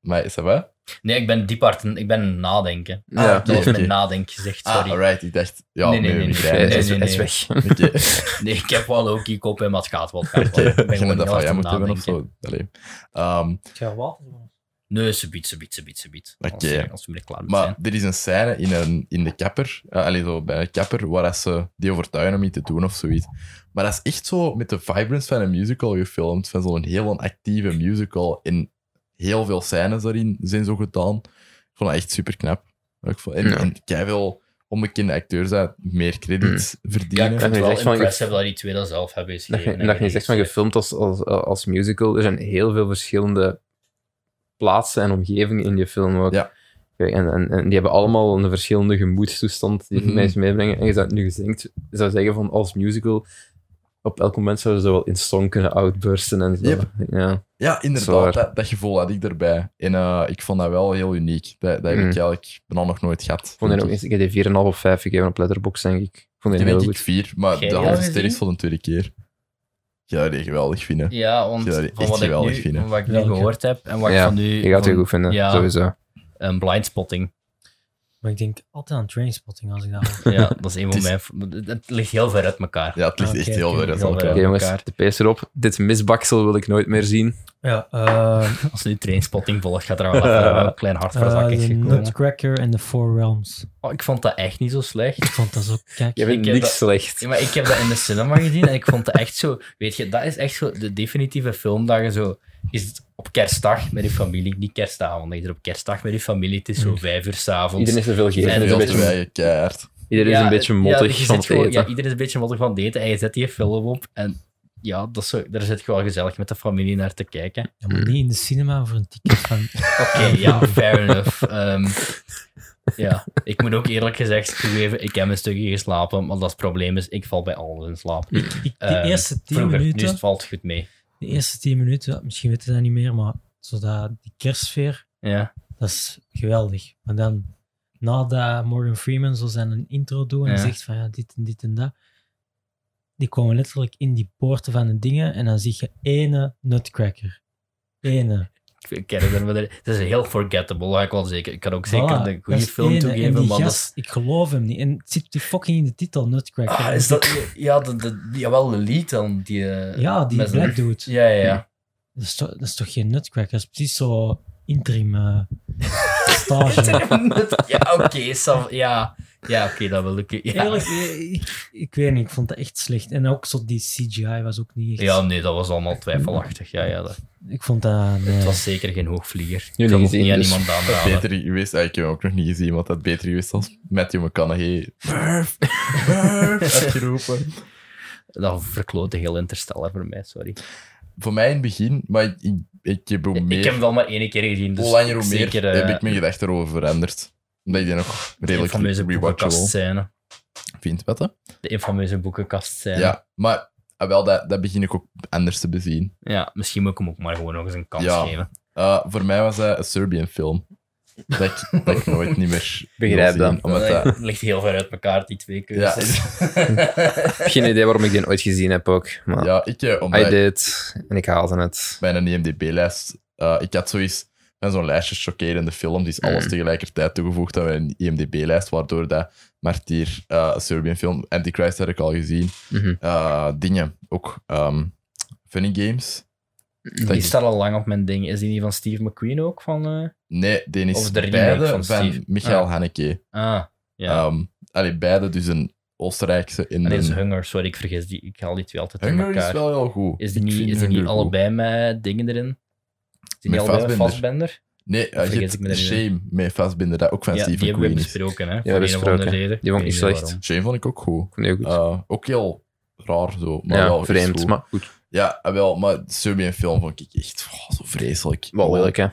[SPEAKER 3] Maar is dat wat?
[SPEAKER 2] Nee, ik ben diep hard aan- ik ben aan het nadenken.
[SPEAKER 1] Ja.
[SPEAKER 2] dat was
[SPEAKER 3] Oké.
[SPEAKER 2] mijn nadenk gezegd, sorry.
[SPEAKER 3] Ah, alright, ik dacht... Ja,
[SPEAKER 2] Nee, nee,
[SPEAKER 3] nu
[SPEAKER 2] nee,
[SPEAKER 3] heb ik
[SPEAKER 2] nee.
[SPEAKER 1] Nee,
[SPEAKER 3] het.
[SPEAKER 1] hij is-
[SPEAKER 2] nee,
[SPEAKER 1] hij is
[SPEAKER 2] nee.
[SPEAKER 1] weg.
[SPEAKER 3] Oké.
[SPEAKER 2] Nee, *laughs* ik heb wel ook ik op en wat gaat wel. het gaat
[SPEAKER 3] Oké,
[SPEAKER 2] wel. Ik ben
[SPEAKER 3] je
[SPEAKER 2] gewoon heel
[SPEAKER 3] moet dat van
[SPEAKER 2] hard
[SPEAKER 3] jij
[SPEAKER 2] aan
[SPEAKER 3] moeten
[SPEAKER 2] het
[SPEAKER 3] hebben of
[SPEAKER 2] nadenken.
[SPEAKER 3] zo. Allee. Ehm,
[SPEAKER 4] Ik ga water doen.
[SPEAKER 2] Nee, subiet, subiet, subiet, subiet. Als
[SPEAKER 3] Oké.
[SPEAKER 2] je- Als we er klaar mee
[SPEAKER 3] maar
[SPEAKER 2] zijn.
[SPEAKER 3] er is een scène in, een, in de kapper, eh, allee, zo bij een kapper, waar dat ze die overtuigen om iets te doen of zoiets. Maar dat is echt zo met de vibrance van een musical gefilmd, van zo'n heel actieve musical. En heel veel scènes daarin zijn zo gedaan. Ik vond dat echt super knap. Ik vond, en
[SPEAKER 1] Ja.
[SPEAKER 3] en veel onbekende acteurs dat meer credits
[SPEAKER 1] Hm.
[SPEAKER 2] Ja,
[SPEAKER 3] verdienen.
[SPEAKER 2] ik
[SPEAKER 1] dat
[SPEAKER 2] vind
[SPEAKER 1] je
[SPEAKER 2] het wel
[SPEAKER 1] zegt van-
[SPEAKER 2] impressive dat die twee dat zelf
[SPEAKER 1] *laughs*
[SPEAKER 2] hebben
[SPEAKER 1] Dat je,
[SPEAKER 2] geschreven.
[SPEAKER 1] dat je niet zegt van gefilmd als, als, als musical. Er zijn heel veel verschillende plaatsen en omgevingen in die film ook.
[SPEAKER 3] Ja.
[SPEAKER 1] Kijk, en, en, en die hebben allemaal een verschillende gemoedstoestand die
[SPEAKER 3] Mhm.
[SPEAKER 1] mensen meebrengen. En je zou het nu gezinkt, zou zeggen van als musical, op elk moment zouden ze wel in song kunnen outbursten en zo.
[SPEAKER 3] Yep.
[SPEAKER 1] Ja.
[SPEAKER 3] Ja,
[SPEAKER 1] Zwaar.
[SPEAKER 3] inderdaad. Dat, dat gevoel had ik erbij. En eh, ik vond dat wel heel uniek. Dat, dat heb
[SPEAKER 1] Mm.
[SPEAKER 3] ik eigenlijk bijna nog nooit gehad. Dus-
[SPEAKER 1] Ik, vond die ook, eens- ik heb die 4,5 op 5 gegeven op Letterboxd, denk ik. Ik vond die
[SPEAKER 3] Die
[SPEAKER 1] heel
[SPEAKER 3] denk ik
[SPEAKER 1] goed.
[SPEAKER 3] vier, maar
[SPEAKER 2] Jij
[SPEAKER 3] de
[SPEAKER 2] al
[SPEAKER 3] halve
[SPEAKER 2] gezien?
[SPEAKER 3] ster is voor de tweede keer. Ik ga die geweldig vinden.
[SPEAKER 2] Ja, want
[SPEAKER 3] Ja, die
[SPEAKER 2] van
[SPEAKER 3] echt
[SPEAKER 2] wat ik,
[SPEAKER 3] geweldig
[SPEAKER 2] nu,
[SPEAKER 3] vinden.
[SPEAKER 2] van wat ik nu
[SPEAKER 4] Welke?
[SPEAKER 2] gehoord heb en wat ik
[SPEAKER 1] Ja,
[SPEAKER 2] van nu...
[SPEAKER 1] Je gaat het
[SPEAKER 2] van-
[SPEAKER 1] goed vinden,
[SPEAKER 2] Ja,
[SPEAKER 1] sowieso.
[SPEAKER 2] een blindspotting.
[SPEAKER 4] Maar ik denk altijd aan trainspotting als ik dat
[SPEAKER 2] *laughs*
[SPEAKER 4] hoor.
[SPEAKER 2] Ja, dat is een
[SPEAKER 1] *laughs*
[SPEAKER 2] van
[SPEAKER 3] Het
[SPEAKER 2] mijn... Het ligt heel ver uit elkaar. *laughs*
[SPEAKER 3] Ja, het ligt
[SPEAKER 4] Ah, oké,
[SPEAKER 3] echt heel
[SPEAKER 4] oké,
[SPEAKER 3] ver uit
[SPEAKER 2] heel
[SPEAKER 1] Oké
[SPEAKER 3] elkaar.
[SPEAKER 2] ver.
[SPEAKER 1] jongens,
[SPEAKER 2] elkaar.
[SPEAKER 1] de pees erop. Dit misbaksel wil ik nooit meer zien.
[SPEAKER 4] Ja,
[SPEAKER 2] *laughs*
[SPEAKER 4] eh,
[SPEAKER 2] Als nu trainspotting volgt, gaat er wel even een klein hart voor
[SPEAKER 4] eh,
[SPEAKER 2] zakken
[SPEAKER 4] de
[SPEAKER 2] gekomen.
[SPEAKER 4] Nutcracker en de Four Realms.
[SPEAKER 2] Oh, ik vond dat echt niet zo slecht.
[SPEAKER 4] Ik vond dat zo kijk.
[SPEAKER 1] Je vindt
[SPEAKER 2] heb
[SPEAKER 1] niks
[SPEAKER 2] dat-
[SPEAKER 1] slecht.
[SPEAKER 2] Ja, maar ik heb dat in de cinema gezien en ik vond het echt zo... Weet je, dat is echt zo de definitieve film dat je zo... Is het op kerstdag met je familie? Niet kerstavond, dat je er op kerstdag met je familie... Het is zo vijf uur s'avonds.
[SPEAKER 1] *laughs* Mm. Iedereen is er veel
[SPEAKER 2] Ja,
[SPEAKER 1] gegeven.
[SPEAKER 2] dat
[SPEAKER 1] is een
[SPEAKER 3] Heel
[SPEAKER 2] dat
[SPEAKER 1] beetje,
[SPEAKER 3] zwijgen, keihard.
[SPEAKER 1] iedereen is een beetje mottig
[SPEAKER 2] ja, dus je zit
[SPEAKER 1] van het
[SPEAKER 2] gewoon-
[SPEAKER 1] eten.
[SPEAKER 2] Ja, iedereen is een beetje mottig van het eten en je zet die film op en ja, dat is zo, daar zit je wel gezellig met de familie naar te kijken.
[SPEAKER 4] Ja, maar niet in de cinema voor een ticket van...
[SPEAKER 2] Oké,
[SPEAKER 1] *laughs*
[SPEAKER 2] ja, fair enough. Ehm, ja, ik moet ook eerlijk gezegd toegeven, ik heb een stukje geslapen, maar dat is het probleem is, ik val bij alles in slaap.
[SPEAKER 4] Ik, de
[SPEAKER 2] Eh,
[SPEAKER 4] eerste tien
[SPEAKER 2] Vroeger, nu is
[SPEAKER 4] minuten...
[SPEAKER 2] het valt het goed mee.
[SPEAKER 4] De eerste tien minuten, ja, misschien weten ze dat niet meer, maar zodat die kerstsfeer,
[SPEAKER 2] Ja,
[SPEAKER 4] dat is geweldig. Maar dan, nadat Morgan Freeman zo zijn een intro doet en
[SPEAKER 2] Ja.
[SPEAKER 4] zegt van ja, dit en dit en dat, die komen letterlijk in die poorten van de dingen en dan zie je ene nutcracker. Ene.
[SPEAKER 2] ik ken het, maar het is heel forgettable, dat ga ik wel zeker. Ik kan ook
[SPEAKER 4] Voilà,
[SPEAKER 2] zeker
[SPEAKER 4] dat
[SPEAKER 2] een goede
[SPEAKER 4] is
[SPEAKER 2] film
[SPEAKER 4] ene. En
[SPEAKER 2] toegeven,
[SPEAKER 4] die
[SPEAKER 2] maar dat
[SPEAKER 4] gast,
[SPEAKER 2] is...
[SPEAKER 4] ik geloof hem niet. En het zit die fucking in de titel, nutcracker.
[SPEAKER 2] Ah, is dat... Ja, de, de, jawel, de lied dan, die... eh,
[SPEAKER 4] Ja, die
[SPEAKER 2] met zijn-
[SPEAKER 4] black dude.
[SPEAKER 2] Ja, ja, ja.
[SPEAKER 4] Dat, is toch, dat is toch geen nutcracker? Dat is precies zo interim eh, stage.
[SPEAKER 2] *laughs* ja, oké, Sam, ja. Ja, oké, dat wil ik... Ja.
[SPEAKER 4] Eerlijk, eh, ik, ik weet niet, ik vond dat echt slecht. En ook zo die CGI was ook niet echt...
[SPEAKER 2] ja, nee, dat was allemaal twijfelachtig. Ja, ja, dat,
[SPEAKER 4] Ik vond dat... nee.
[SPEAKER 2] Het was zeker geen hoogvlieger.
[SPEAKER 1] Jullie
[SPEAKER 2] Ik kan ook
[SPEAKER 1] gezien,
[SPEAKER 2] niet aan
[SPEAKER 1] dus.
[SPEAKER 2] iemand
[SPEAKER 3] Dat
[SPEAKER 2] aanraden.
[SPEAKER 3] beter geweest, eh, ik heb hem ook nog niet gezien, want dat beter geweest als Matthew McConaughey. Murph, *laughs* Murph, had geroepen.
[SPEAKER 2] Dat verklootte heel interstellar voor mij, sorry.
[SPEAKER 3] Voor mij in het begin, maar ik, ik, ik heb hoe meer,
[SPEAKER 2] Ik heb hem wel maar één keer gezien, dus
[SPEAKER 3] hoe langer hoe meer,
[SPEAKER 2] zeker eh,
[SPEAKER 3] heb ik mijn gedachten erover veranderd. Omdat ik die nog
[SPEAKER 2] de
[SPEAKER 3] redelijk
[SPEAKER 2] infameuze
[SPEAKER 3] rewatchable
[SPEAKER 2] boekenkastscène.
[SPEAKER 3] vind. Wat, hè?
[SPEAKER 2] De infameuze boekenkastscène. eh. Ja.
[SPEAKER 3] Ja, maar ah, wel, dat, dat begin ik ook anders te bezien.
[SPEAKER 2] misschien moet ik hem ook maar gewoon nog eens een kans
[SPEAKER 3] Ja.
[SPEAKER 2] geven.
[SPEAKER 3] Eh, voor mij was dat een Serbian film. Dat ik, dat ik nooit niet
[SPEAKER 1] *laughs*
[SPEAKER 3] meer
[SPEAKER 1] Begrijp
[SPEAKER 3] wil zien,
[SPEAKER 1] dat.
[SPEAKER 3] Omdat
[SPEAKER 2] dat,
[SPEAKER 3] dat
[SPEAKER 2] *laughs* ligt heel ver uit elkaar, die twee
[SPEAKER 3] eh, ja,
[SPEAKER 2] keuzes. *laughs*
[SPEAKER 1] heb geen idee waarom ik die ooit gezien heb ook. Maar
[SPEAKER 3] ja, ik, eh,
[SPEAKER 1] I
[SPEAKER 3] omdat ik
[SPEAKER 1] did. En ik haalde het.
[SPEAKER 3] mijn IMDb-lijst, eh, ik had zoiets met zo'n lijstje chockerende films, die is alles tegelijkertijd toegevoegd aan mijn IMDb-lijst, waardoor dat Martier, eh, een Serbian film, Antichrist had ik al gezien,
[SPEAKER 1] Mhm.
[SPEAKER 3] Eh, dingen, ook ehm, Funny Games.
[SPEAKER 2] Die staat al lang op mijn ding. Is die niet van Steve McQueen ook? Van, eh,
[SPEAKER 3] Nee, die is
[SPEAKER 2] Of de remake
[SPEAKER 3] beide
[SPEAKER 2] van
[SPEAKER 3] van,
[SPEAKER 2] Steve.
[SPEAKER 3] Michael
[SPEAKER 2] Ah.
[SPEAKER 3] Haneke.
[SPEAKER 2] Ah, ja.
[SPEAKER 3] Ehm allee, beide dus een Oostenrijkse in
[SPEAKER 2] en
[SPEAKER 3] een...
[SPEAKER 2] deze Hunger, sorry, ik vergis die. Ik haal die twee altijd
[SPEAKER 3] Hunger
[SPEAKER 2] uit elkaar.
[SPEAKER 3] is wel heel goed.
[SPEAKER 2] Is die
[SPEAKER 3] Ik
[SPEAKER 2] niet,
[SPEAKER 3] vind
[SPEAKER 2] is die niet
[SPEAKER 3] Hunger goed.
[SPEAKER 2] allebei met dingen erin? Is die
[SPEAKER 3] Met
[SPEAKER 2] niet allebei met
[SPEAKER 3] Fassbender.
[SPEAKER 2] Fassbender?
[SPEAKER 3] Nee, eh, je
[SPEAKER 2] Vergeet
[SPEAKER 3] hebt
[SPEAKER 2] ik me erin.
[SPEAKER 3] Shame met Vastbinder, dat ook van
[SPEAKER 2] Ja, die
[SPEAKER 3] Stephen
[SPEAKER 2] hebben we
[SPEAKER 3] Queen is.
[SPEAKER 2] besproken, hè?
[SPEAKER 1] hebben besproken. Die vond ik niet slecht.
[SPEAKER 3] Shame vond ik ook goed.
[SPEAKER 1] Nee, goed.
[SPEAKER 3] Eh, ook heel raar zo, maar
[SPEAKER 1] ja,
[SPEAKER 3] wel
[SPEAKER 1] vreemd,
[SPEAKER 3] goed.
[SPEAKER 1] maar goed.
[SPEAKER 3] Ja, eh, wel, maar Serbian film vond ik echt oh, zo vreselijk.
[SPEAKER 1] Wel lelijk, hè.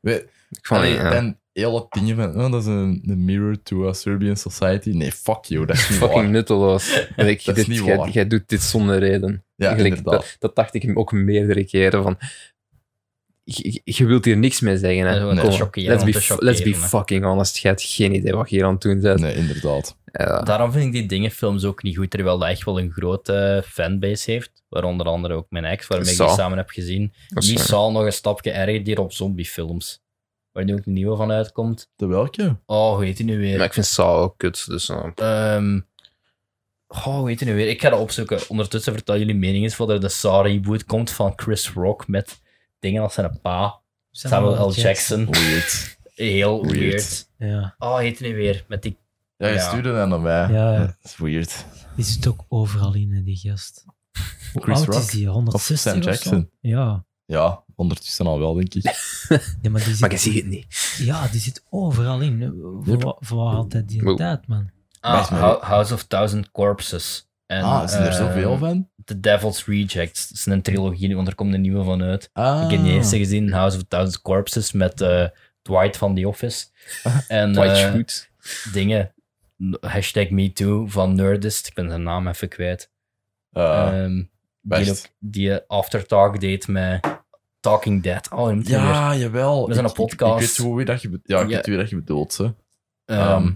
[SPEAKER 3] We-
[SPEAKER 1] Ik vond
[SPEAKER 3] allee,
[SPEAKER 1] het... ja.
[SPEAKER 3] En heel dat ding van, oh, dat is een, een mirror to a Serbian society. Nee, fuck you, dat is niet
[SPEAKER 1] Fucking
[SPEAKER 3] waar.
[SPEAKER 1] nutteloos. En ik,
[SPEAKER 3] *laughs* Dat is
[SPEAKER 1] dit,
[SPEAKER 3] niet
[SPEAKER 1] jij-
[SPEAKER 3] waar.
[SPEAKER 1] jij doet dit zonder reden.
[SPEAKER 3] Ja,
[SPEAKER 1] Gelijk,
[SPEAKER 3] inderdaad.
[SPEAKER 1] dat, dat dacht ik hem ook meerdere keren. Van, je, je- je wilt hier niks mee zeggen. Hè.
[SPEAKER 2] Dat is gewoon
[SPEAKER 1] Kom,
[SPEAKER 2] te chockeren
[SPEAKER 1] let's,
[SPEAKER 2] om
[SPEAKER 1] be,
[SPEAKER 2] te
[SPEAKER 1] f-
[SPEAKER 2] chockeren,
[SPEAKER 1] let's be
[SPEAKER 2] hè.
[SPEAKER 1] fucking honest. Je hebt geen idee wat je hier aan het doen bent.
[SPEAKER 3] Nee, inderdaad.
[SPEAKER 1] Ja.
[SPEAKER 2] Daarom vind ik die dingenfilms ook niet goed, terwijl dat echt wel een grote fanbase heeft. Waaronder andere ook mijn ex, waarmee ik
[SPEAKER 1] Saw.
[SPEAKER 2] die samen heb gezien.
[SPEAKER 1] Dat is
[SPEAKER 2] Die
[SPEAKER 1] waar.
[SPEAKER 2] zal nog een stapje erger hier op zombiefilms. Waar nu ook een nieuwe van uitkomt.
[SPEAKER 3] De welke?
[SPEAKER 2] Oh, hoe heet die nu
[SPEAKER 1] Maar
[SPEAKER 2] weer?
[SPEAKER 1] ik vind Saw ook kut. Dus, eh,
[SPEAKER 2] Ehm, oh, hoe heet die nu weer? Ik ga dat opzoeken. Ondertussen vertel jullie mening eens wat er de Saw reboot komt van Chris Rock met dingen als zijn pa, Samuel L. Jackson.
[SPEAKER 3] Weird.
[SPEAKER 2] Heel
[SPEAKER 3] Weird.
[SPEAKER 2] weird.
[SPEAKER 4] Ja,
[SPEAKER 2] Oh, hoe heet die nu weer? Met die...
[SPEAKER 3] Ja, je
[SPEAKER 2] Ja.
[SPEAKER 3] stuurde dat naar mij.
[SPEAKER 4] Ja, ja.
[SPEAKER 3] Dat is weird.
[SPEAKER 4] die zit ook overal in, hè, die gast. Hoe
[SPEAKER 3] Chris
[SPEAKER 4] oud
[SPEAKER 3] Rock?
[SPEAKER 4] is die?
[SPEAKER 3] Of
[SPEAKER 4] 160
[SPEAKER 3] Sam
[SPEAKER 4] of zo?
[SPEAKER 3] Jackson.
[SPEAKER 4] Ja.
[SPEAKER 3] Ja, ondertussen al wel, denk ik.
[SPEAKER 4] Nee, maar die zit,
[SPEAKER 1] maar je ziet het niet.
[SPEAKER 4] ja, die zit overal in. hè. Voor,
[SPEAKER 3] Yep.
[SPEAKER 4] wa- voor waar haalt hij die
[SPEAKER 1] Wow.
[SPEAKER 4] tijd, man?
[SPEAKER 2] Ah,
[SPEAKER 3] Wacht maar.
[SPEAKER 2] Hou- House of Thousand Corpses. En,
[SPEAKER 3] ah, zijn er
[SPEAKER 2] eh,
[SPEAKER 3] zoveel van?
[SPEAKER 2] The Devil's Rejects. Dat is een trilogie, want er komt een nieuwe van uit.
[SPEAKER 3] Ah.
[SPEAKER 2] Ik heb die eerste gezien, House of Thousand Corpses, met eh, Dwight van The
[SPEAKER 3] *laughs*
[SPEAKER 2] Office. En
[SPEAKER 1] Dwight
[SPEAKER 2] eh,
[SPEAKER 1] Schrute.
[SPEAKER 2] dingen, hashtag MeToo van Nerdist. Ik ben zijn naam even kwijt.
[SPEAKER 3] Eh,
[SPEAKER 2] Ehm, die,
[SPEAKER 3] best.
[SPEAKER 2] ook, die eh, aftertalk deed met Talking Dead. Oh, moet ja. weer.
[SPEAKER 3] Ja, jawel.
[SPEAKER 2] We zijn
[SPEAKER 3] Ik-
[SPEAKER 2] een
[SPEAKER 3] ik- Ik,
[SPEAKER 2] podcast.
[SPEAKER 3] weet hoe wie dat je, be- ja, ik
[SPEAKER 2] Ja.
[SPEAKER 3] weet wie dat je bedoelt. Hè.
[SPEAKER 2] Ehm,
[SPEAKER 3] Ehm,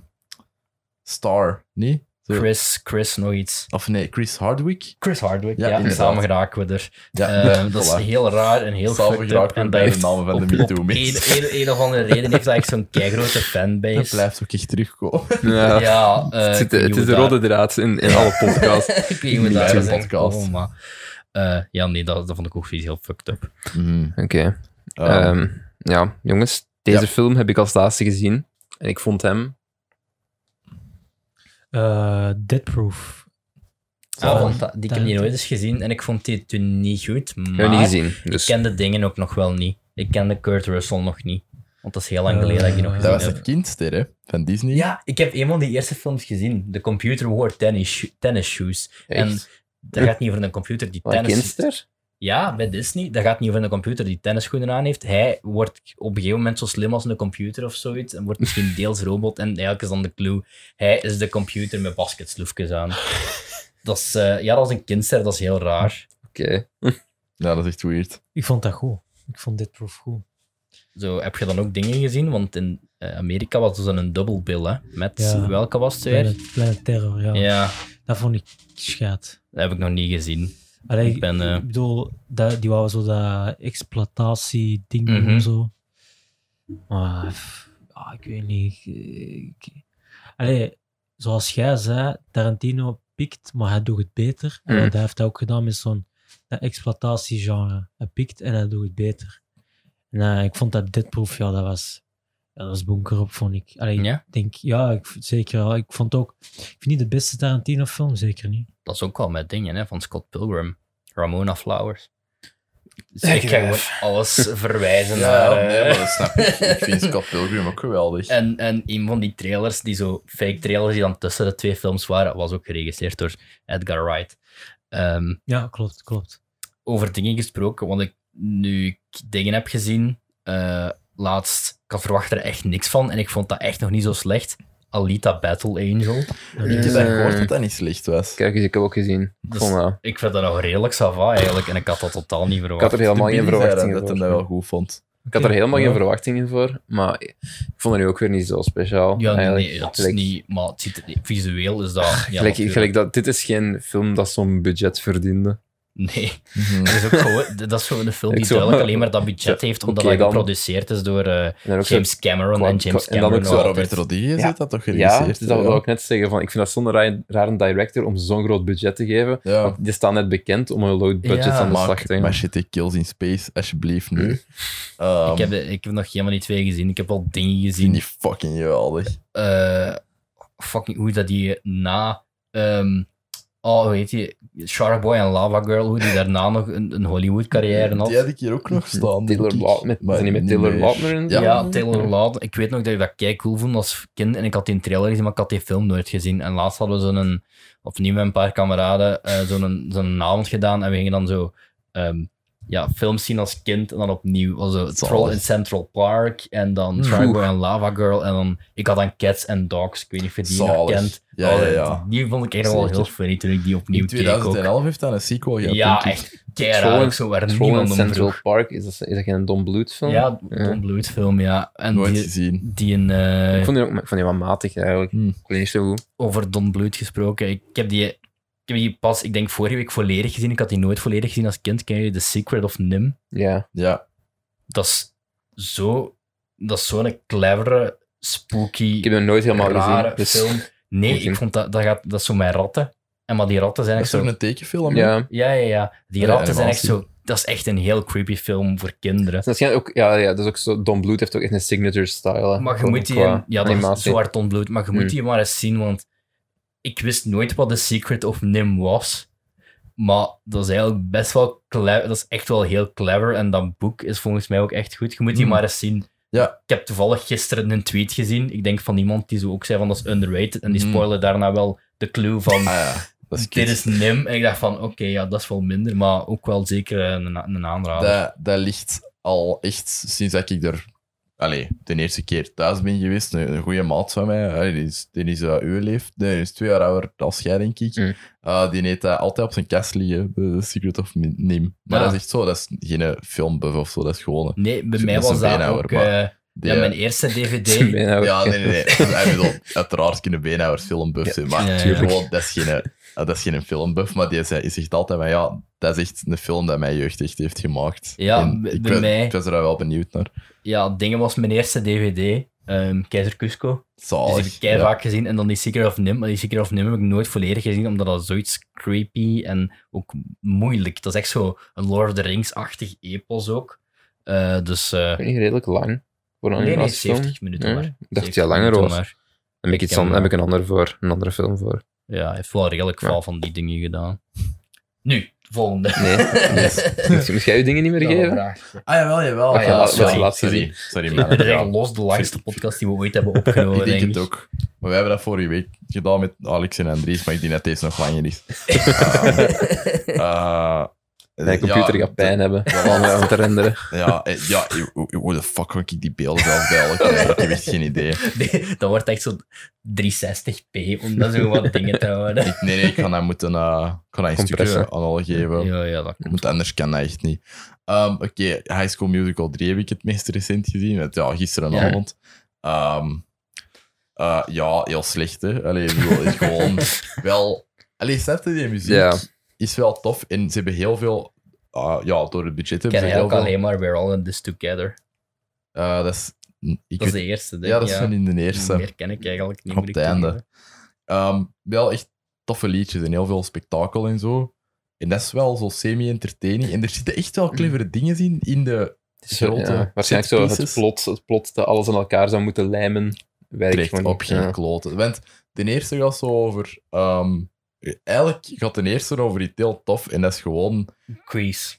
[SPEAKER 3] Star, nee? Zo-
[SPEAKER 2] Chris, Chris nog iets.
[SPEAKER 3] Of nee, Chris Hardwick.
[SPEAKER 2] Chris Hardwick,
[SPEAKER 3] Ja,
[SPEAKER 2] ja.
[SPEAKER 3] inderdaad.
[SPEAKER 2] samen geraken we er.
[SPEAKER 3] Ja,
[SPEAKER 2] Ehm, dat is
[SPEAKER 3] *laughs* voilà.
[SPEAKER 2] heel raar en heel
[SPEAKER 3] Samen
[SPEAKER 2] fucked up.
[SPEAKER 3] geraken we
[SPEAKER 2] En
[SPEAKER 3] bij
[SPEAKER 2] dat
[SPEAKER 3] de namen van de
[SPEAKER 2] op-
[SPEAKER 3] Me
[SPEAKER 2] op
[SPEAKER 3] Too mix.
[SPEAKER 2] Een, een, een of andere reden heeft hij echt
[SPEAKER 3] *laughs*
[SPEAKER 2] zo'n keigrote
[SPEAKER 3] Dat
[SPEAKER 2] fanbase.
[SPEAKER 3] blijft ook echt *laughs* terugkomen.
[SPEAKER 1] Ja.
[SPEAKER 2] Ja, eh,
[SPEAKER 1] het
[SPEAKER 2] ik
[SPEAKER 1] zit-
[SPEAKER 2] weet
[SPEAKER 1] het
[SPEAKER 2] niet
[SPEAKER 1] is
[SPEAKER 2] hoe
[SPEAKER 1] de
[SPEAKER 2] daar-
[SPEAKER 1] rode draad in, in alle podcasts.
[SPEAKER 2] *laughs*
[SPEAKER 3] *laughs*
[SPEAKER 2] ik weet niet hoe
[SPEAKER 3] In
[SPEAKER 2] daar
[SPEAKER 3] de
[SPEAKER 2] is
[SPEAKER 3] podcast.
[SPEAKER 2] gekomen, maar... eh, ja, nee, dat, dat vond ik ook vies, heel fucked up.
[SPEAKER 3] Mhm.
[SPEAKER 1] Oké.
[SPEAKER 3] Ehm,
[SPEAKER 1] Ehm, ja, jongens. Deze
[SPEAKER 3] Ja.
[SPEAKER 1] film heb ik als laatste gezien. En ik vond hem...
[SPEAKER 4] Eh Deadproof.
[SPEAKER 2] Ah,
[SPEAKER 4] Van
[SPEAKER 2] want dat- die ik heb die
[SPEAKER 4] Tarantino.
[SPEAKER 2] nooit eens gezien en ik vond die toen niet goed,
[SPEAKER 1] Ik heb
[SPEAKER 2] maar
[SPEAKER 1] hem niet gezien.
[SPEAKER 2] ik
[SPEAKER 1] Dus
[SPEAKER 2] kende dingen ook nog wel niet. Ik kende Kurt Russell nog niet, want dat is heel lang geleden dat ik die nog
[SPEAKER 4] Eh,
[SPEAKER 2] gezien
[SPEAKER 3] dat was
[SPEAKER 2] heb.
[SPEAKER 3] een kindster, hè? Van Disney.
[SPEAKER 2] Ja, ik heb een van die eerste films gezien, The Computer Wore Tennis, Sho- tennis Shoes.
[SPEAKER 1] echt.
[SPEAKER 2] En Dat gaat niet over een computer die
[SPEAKER 1] Wat,
[SPEAKER 2] tennis...
[SPEAKER 1] Kinster?
[SPEAKER 2] Ja, bij Disney. Dat gaat niet over een computer die tennisschoenen aan heeft. Hij wordt op een gegeven moment zo slim als een computer of zoiets. En wordt misschien deels robot. En eigenlijk is dan de clue. Hij is de computer met basketsloefjes aan. Dat is, eh, ja, dat is een kindster. Dat is heel raar.
[SPEAKER 1] Oké.
[SPEAKER 3] Ja, dat is echt weird.
[SPEAKER 4] Ik vond dat goed. Ik vond dit proef goed.
[SPEAKER 2] Zo, heb je dan ook dingen gezien? Want in eh, Amerika was dus een dubbelbil, hè? Met
[SPEAKER 4] Ja.
[SPEAKER 2] welke was het weer?
[SPEAKER 4] Planet, Planet Terror, ja.
[SPEAKER 2] Ja,
[SPEAKER 4] Dat vond ik schaat.
[SPEAKER 2] dat heb ik nog niet gezien.
[SPEAKER 4] Allee,
[SPEAKER 2] Ik ben, eh,
[SPEAKER 4] ik bedoel, dat, die wouden zo dat exploitatie-ding
[SPEAKER 2] Mhm.
[SPEAKER 4] doen, zo. Maar, pff, ja, ik weet niet. ik- ik- Allee, zoals jij zei, Tarantino pikt, maar hij doet het beter. En
[SPEAKER 1] Mhm.
[SPEAKER 4] dat heeft hij ook gedaan met zo'n dat exploitatiegenre. Hij pikt en hij doet het beter. Nou, ik vond dat dit proef, ja, dat was, ja, dat was bunker op, vond ik. Allee, ik
[SPEAKER 2] Ja,
[SPEAKER 4] denk, ja, ik, v- zeker wel. Ik vond ook, ik vind niet de beste Tarantino-film, zeker niet.
[SPEAKER 2] dat is ook wel met dingen, hè? Van Scott Pilgrim. Ramona Flowers. Dus
[SPEAKER 1] Zeg
[SPEAKER 2] ik ga
[SPEAKER 1] het.
[SPEAKER 2] gewoon alles verwijzen
[SPEAKER 3] *laughs* Ja,
[SPEAKER 2] naar...
[SPEAKER 3] nee,
[SPEAKER 2] eh,
[SPEAKER 3] maar dat snap ik. Ik *laughs* vind Scott Pilgrim ook geweldig.
[SPEAKER 2] En, en een van die trailers, die zo fake trailers die dan tussen de twee films waren, was ook geregisseerd door Edgar Wright. Ehm,
[SPEAKER 4] Ja, klopt, klopt.
[SPEAKER 2] over dingen gesproken, want ik, nu ik dingen heb gezien, eh, laatst, ik had verwacht er echt niks van en ik vond dat echt nog niet zo slecht. Alita Battle Angel.
[SPEAKER 3] Ik heb
[SPEAKER 1] Eh.
[SPEAKER 3] daar gehoord dat dat niet slecht was.
[SPEAKER 1] Kijk eens, ik heb ook gezien. Ik,
[SPEAKER 2] Dus-
[SPEAKER 1] vond dat-
[SPEAKER 2] Ik vind dat nog redelijk sava eigenlijk en ik had dat totaal niet
[SPEAKER 1] ik
[SPEAKER 2] verwacht.
[SPEAKER 1] had er helemaal geen
[SPEAKER 3] De Billy zei
[SPEAKER 1] verwachtingen
[SPEAKER 3] dat
[SPEAKER 1] voor.
[SPEAKER 3] hij dat wel goed vond.
[SPEAKER 1] Ik had er helemaal
[SPEAKER 3] Ja.
[SPEAKER 1] geen verwachtingen voor, maar ik vond het nu ook weer niet zo speciaal.
[SPEAKER 2] Ja, nee,
[SPEAKER 1] eigenlijk.
[SPEAKER 2] nee, dat is
[SPEAKER 1] Gelijk-
[SPEAKER 2] niet, maar het ziet, er- visueel is dat. Ja,
[SPEAKER 1] gelijk,
[SPEAKER 2] natuurlijk.
[SPEAKER 1] gelijk dat, dit is geen film dat zo'n budget verdiende.
[SPEAKER 2] Nee.
[SPEAKER 3] Mhm.
[SPEAKER 2] Dat is ook gewoon, dat is gewoon een film die
[SPEAKER 1] Ik zo-
[SPEAKER 2] duidelijk alleen maar dat
[SPEAKER 1] *laughs*
[SPEAKER 2] budget
[SPEAKER 1] Ja,
[SPEAKER 2] heeft,
[SPEAKER 1] oké
[SPEAKER 2] omdat hij
[SPEAKER 1] dan.
[SPEAKER 2] geproduceerd is door eh,
[SPEAKER 1] En dan ook zo-
[SPEAKER 2] James Cameron
[SPEAKER 1] Qua-
[SPEAKER 2] en James
[SPEAKER 1] en dan ook
[SPEAKER 2] Cameron.
[SPEAKER 1] zo-
[SPEAKER 3] Maar
[SPEAKER 2] nog
[SPEAKER 3] Robert
[SPEAKER 2] altijd.
[SPEAKER 3] Rodriguez
[SPEAKER 1] Ja.
[SPEAKER 3] heeft dat toch
[SPEAKER 1] Ja,
[SPEAKER 3] geregisseerd?
[SPEAKER 1] dus dat
[SPEAKER 3] ja.
[SPEAKER 1] wil ik net zeggen. Van, ik vind dat zo'n raar, raar een director om zo'n groot budget te geven.
[SPEAKER 3] Ja.
[SPEAKER 1] Want die staan net bekend om een low budget
[SPEAKER 2] Ja,
[SPEAKER 1] aan de slag
[SPEAKER 3] Maak
[SPEAKER 1] te gaan.
[SPEAKER 3] maar shit, ik kills in space, alsjeblieft nu. Ehm,
[SPEAKER 2] Ik heb, ik heb nog helemaal niet twee gezien. Ik heb al dingen
[SPEAKER 3] die
[SPEAKER 2] gezien.
[SPEAKER 3] niet fucking geweldig.
[SPEAKER 2] eh, fucking hoe dat die na. ehm, oh, hoe heet die? Shark Boy en Lava Girl. Hoe die daarna nog een, een Hollywood-carrière had.
[SPEAKER 3] Die had ik hier ook nog staan. denk
[SPEAKER 1] Taylor
[SPEAKER 3] ik.
[SPEAKER 1] Lautner.
[SPEAKER 3] Maar
[SPEAKER 1] Zijn die met
[SPEAKER 3] niet
[SPEAKER 1] Taylor
[SPEAKER 3] meer.
[SPEAKER 1] Lautner in?
[SPEAKER 2] Ja,
[SPEAKER 3] Ja.
[SPEAKER 2] Taylor Lautner. Ik weet nog dat ik dat kei cool vond als kind. En ik had die trailer gezien, maar ik had die film nooit gezien. En laatst hadden we zo'n, opnieuw met een paar kameraden, eh, zo'n, zo'n avond gedaan. En we gingen dan zo ehm, ja, films zien als kind. En dan opnieuw was zo
[SPEAKER 3] Zalig.
[SPEAKER 2] Troll in Central Park. En dan
[SPEAKER 3] Mm.
[SPEAKER 2] Triangle en Lava Girl. En dan, ik had dan Cats and Dogs. Ik weet niet of je die nog
[SPEAKER 3] Zalig.
[SPEAKER 2] kent.
[SPEAKER 3] Ja,
[SPEAKER 2] Oh,
[SPEAKER 3] ja, ja.
[SPEAKER 2] Die vond ik echt wel
[SPEAKER 3] Zeker.
[SPEAKER 2] heel funny toen ik die opnieuw
[SPEAKER 3] In
[SPEAKER 2] keek ook.
[SPEAKER 3] 2011 heeft hij een sequel gehad.
[SPEAKER 2] Ja,
[SPEAKER 3] denk ik.
[SPEAKER 2] echt kei raar. Ook zo waar
[SPEAKER 1] Troll in
[SPEAKER 2] niemand om
[SPEAKER 1] Central
[SPEAKER 2] vroeg.
[SPEAKER 1] Park, is dat, is dat geen Don Bluth film?
[SPEAKER 2] Ja, Don Bluth film, ja. En
[SPEAKER 3] Nooit
[SPEAKER 2] die,
[SPEAKER 3] gezien.
[SPEAKER 2] die een... eh,
[SPEAKER 1] Ik vond die, ook, ik vond die wel matig eigenlijk.
[SPEAKER 2] Hm.
[SPEAKER 3] Hmm.
[SPEAKER 1] Ik vond die niet zo goed.
[SPEAKER 2] over Don Bluth gesproken. Ik heb die, ik heb die pas, ik denk vorige week volledig gezien. Ik had die nooit volledig gezien als kind. Ken je The Secret of Nim?
[SPEAKER 1] Ja.
[SPEAKER 3] Ja.
[SPEAKER 2] Dat is zo, dat is zo'n clevere, spooky,
[SPEAKER 1] Ik heb hem nooit helemaal
[SPEAKER 2] rare
[SPEAKER 1] gezien. Dus,
[SPEAKER 2] film. Nee,
[SPEAKER 1] Oké.
[SPEAKER 2] ik vond dat, dat, gaat, dat is zo mijn ratten. En maar die ratten zijn
[SPEAKER 3] Dat
[SPEAKER 2] echt
[SPEAKER 3] is toch
[SPEAKER 2] zo...
[SPEAKER 3] een tekenfilm? hè?
[SPEAKER 1] ja. Het
[SPEAKER 2] Ja, ja, ja. Die
[SPEAKER 3] Ja,
[SPEAKER 2] ratten zijn echt
[SPEAKER 3] animatie.
[SPEAKER 2] zo... Dat is echt een heel creepy film voor kinderen.
[SPEAKER 1] is waarschijnlijk ook, ja, ja, dat is ook zo, Don Bluth heeft ook echt een signature style. hè.
[SPEAKER 2] Maar je
[SPEAKER 1] Gewoon
[SPEAKER 2] moet die...
[SPEAKER 1] qua
[SPEAKER 2] een- Ja, dat is
[SPEAKER 1] animatie. *laughs*
[SPEAKER 2] zo hard ontbloot. Maar je moet
[SPEAKER 1] Hmm.
[SPEAKER 2] die maar eens zien, want... Ik wist nooit wat The Secret of Nim was. Maar dat is eigenlijk best wel clever. Dat is echt wel heel clever. En dat boek is volgens mij ook echt goed. Je moet die
[SPEAKER 3] Hmm.
[SPEAKER 2] maar eens zien.
[SPEAKER 3] Ja.
[SPEAKER 2] Ik heb toevallig gisteren een tweet gezien. Ik denk van iemand die zo ook zei van dat is underrated. En die
[SPEAKER 3] Hmm.
[SPEAKER 2] spoilen daarna wel de clue van...
[SPEAKER 3] Ah ja, dat is
[SPEAKER 2] dit
[SPEAKER 3] kut.
[SPEAKER 2] is Nim. En ik dacht van, oké, ja, dat is wel minder. Maar ook wel zeker een, een aanrader.
[SPEAKER 3] dat, dat ligt al echt sinds dat ik er allee, de eerste keer thuis ben geweest. Een, een goede maat van mij, allee, die is, die is eh, uw leeft, nee, die is twee jaar ouder dan jij, denk ik.
[SPEAKER 1] Mm.
[SPEAKER 3] Eh, die heeft dat altijd op zijn kast liggen, eh, The Secret of Min- Nim. Maar
[SPEAKER 2] Ja.
[SPEAKER 3] dat is echt zo, dat is geen filmbuff of zo, dat is gewoon... een-
[SPEAKER 2] Nee, bij
[SPEAKER 3] Zo,
[SPEAKER 2] mij
[SPEAKER 3] dat is
[SPEAKER 2] was
[SPEAKER 3] een
[SPEAKER 2] dat
[SPEAKER 3] beenhouwer,
[SPEAKER 2] ook...
[SPEAKER 3] maar
[SPEAKER 2] eh,
[SPEAKER 3] die,
[SPEAKER 2] ja,
[SPEAKER 3] eh,
[SPEAKER 2] mijn
[SPEAKER 3] *laughs*
[SPEAKER 2] eerste DVD.
[SPEAKER 1] Ik ben nou-
[SPEAKER 2] *laughs*
[SPEAKER 3] Ja, nee, nee, nee. Ik bedoel, uiteraard kunnen beenhouwers filmbuff zijn, maar
[SPEAKER 2] Ja, ja, ja.
[SPEAKER 3] gewoon, dat, is geen, eh, dat is geen filmbuff, maar die zei- zegt altijd van ja, dat is echt een film dat mijn jeugd echt heeft gemaakt.
[SPEAKER 2] Ja,
[SPEAKER 3] En
[SPEAKER 2] bij-
[SPEAKER 3] ik,
[SPEAKER 2] bij
[SPEAKER 3] was,
[SPEAKER 2] mij-
[SPEAKER 3] ik was er wel benieuwd naar.
[SPEAKER 2] Ja, Dingen was mijn eerste DVD. ehm, Keizer Cusco.
[SPEAKER 1] Oh,
[SPEAKER 2] Dus die
[SPEAKER 3] Zalig.
[SPEAKER 2] heb ik kei vaak gezien. En dan die Secret of Nim. Maar die Secret of Nim heb ik nooit volledig gezien, omdat dat zoiets creepy en ook moeilijk. Dat is echt zo een Lord of the Rings-achtig epos ook. Eh, dus... eh
[SPEAKER 1] Ik vind die redelijk lang. Voor een
[SPEAKER 2] nee, nee,
[SPEAKER 1] animatiefilm.
[SPEAKER 2] 70 minuten
[SPEAKER 1] Ja,
[SPEAKER 2] maar.
[SPEAKER 1] ik dacht
[SPEAKER 2] 70
[SPEAKER 1] ja, langer
[SPEAKER 2] minuten
[SPEAKER 1] was.
[SPEAKER 2] maar.
[SPEAKER 1] Dan heb ik, iets
[SPEAKER 2] Ik ken
[SPEAKER 1] an-
[SPEAKER 2] hem
[SPEAKER 1] heb ik een ander voor, een andere film voor.
[SPEAKER 2] Ja, hij heeft wel redelijk
[SPEAKER 1] Ja.
[SPEAKER 2] veel van die dingen gedaan. Nu, volgende. *laughs*
[SPEAKER 1] Nee. Moest, moest jij je dingen niet meer geven?
[SPEAKER 3] Ah, jawel, jawel.
[SPEAKER 2] Ah, ja,
[SPEAKER 3] ja,
[SPEAKER 2] dat is
[SPEAKER 3] sorry.
[SPEAKER 1] wel laatst
[SPEAKER 3] sorry,
[SPEAKER 1] gezien.
[SPEAKER 3] sorry,
[SPEAKER 2] Dit
[SPEAKER 3] man.
[SPEAKER 2] is echt
[SPEAKER 1] *laughs*
[SPEAKER 3] Ja.
[SPEAKER 2] los de langste podcast die we ooit hebben opgenomen,
[SPEAKER 3] Ik denk
[SPEAKER 2] denk
[SPEAKER 3] het
[SPEAKER 2] ik.
[SPEAKER 3] ook. Maar wij hebben dat vorige week gedaan met Alex en Andries, maar ik denk dat deze nog langer is.
[SPEAKER 2] *laughs*
[SPEAKER 3] Eh,
[SPEAKER 1] Mijn computer
[SPEAKER 3] ja,
[SPEAKER 1] gaat pijn hebben *laughs* om om te renderen.
[SPEAKER 3] Ja, eh, ja eh, hoe- hoe de fuck kan ik die beelden zelf bij elkaar? Ik heb echt geen idee.
[SPEAKER 2] *laughs* Nee, dat wordt echt zo'n 360p om dat zo
[SPEAKER 3] *laughs*
[SPEAKER 2] wat dingen te houden.
[SPEAKER 3] Ik, nee, nee, ik ga dat moeten eh, ik ga dat een stukje
[SPEAKER 1] Compressen.
[SPEAKER 3] aan al geven.
[SPEAKER 2] Ja, ja, dat
[SPEAKER 3] Want anders kan dat echt niet. Ehm, Oké, High School Musical 3 heb ik het meest recent gezien. Het, ja, gisterenavond. Ehm, eh, ja, heel slecht. Hè. Allee, ik bedoel, het is
[SPEAKER 2] *laughs*
[SPEAKER 3] gewoon wel... Allee, snap je, die muziek
[SPEAKER 1] Ja.
[SPEAKER 3] is wel tof. En ze hebben heel veel... eh, ja, door het budget
[SPEAKER 2] Ik ken
[SPEAKER 3] hebben ze
[SPEAKER 2] eigenlijk
[SPEAKER 3] heel veel...
[SPEAKER 2] alleen maar We're All in This Together.
[SPEAKER 3] eh, dat is... Ik
[SPEAKER 2] Dat is
[SPEAKER 3] weet-
[SPEAKER 2] de eerste, denk ik.
[SPEAKER 3] ja, dat is van in de eerste.
[SPEAKER 2] Meer ken ik eigenlijk niet.
[SPEAKER 3] Op
[SPEAKER 2] moet ik
[SPEAKER 3] het einde.
[SPEAKER 2] toegeven.
[SPEAKER 3] Ehm, wel echt toffe liedjes en heel veel spektakel en zo. En dat is wel zo semi-entertaining. En er zitten echt
[SPEAKER 2] Mm.
[SPEAKER 3] wel clevere dingen in, in de grote
[SPEAKER 1] Ja, waarschijnlijk zo het
[SPEAKER 3] setpieces.
[SPEAKER 1] plot, het plot dat alles aan elkaar zou moeten lijmen, werkt
[SPEAKER 3] trekt
[SPEAKER 1] gewoon niet.
[SPEAKER 3] op geen
[SPEAKER 1] Ja.
[SPEAKER 3] kloten. Want de eerste gaat zo over... ehm, eigenlijk gaat de eerste over iets heel tof. En dat is gewoon
[SPEAKER 2] Grease.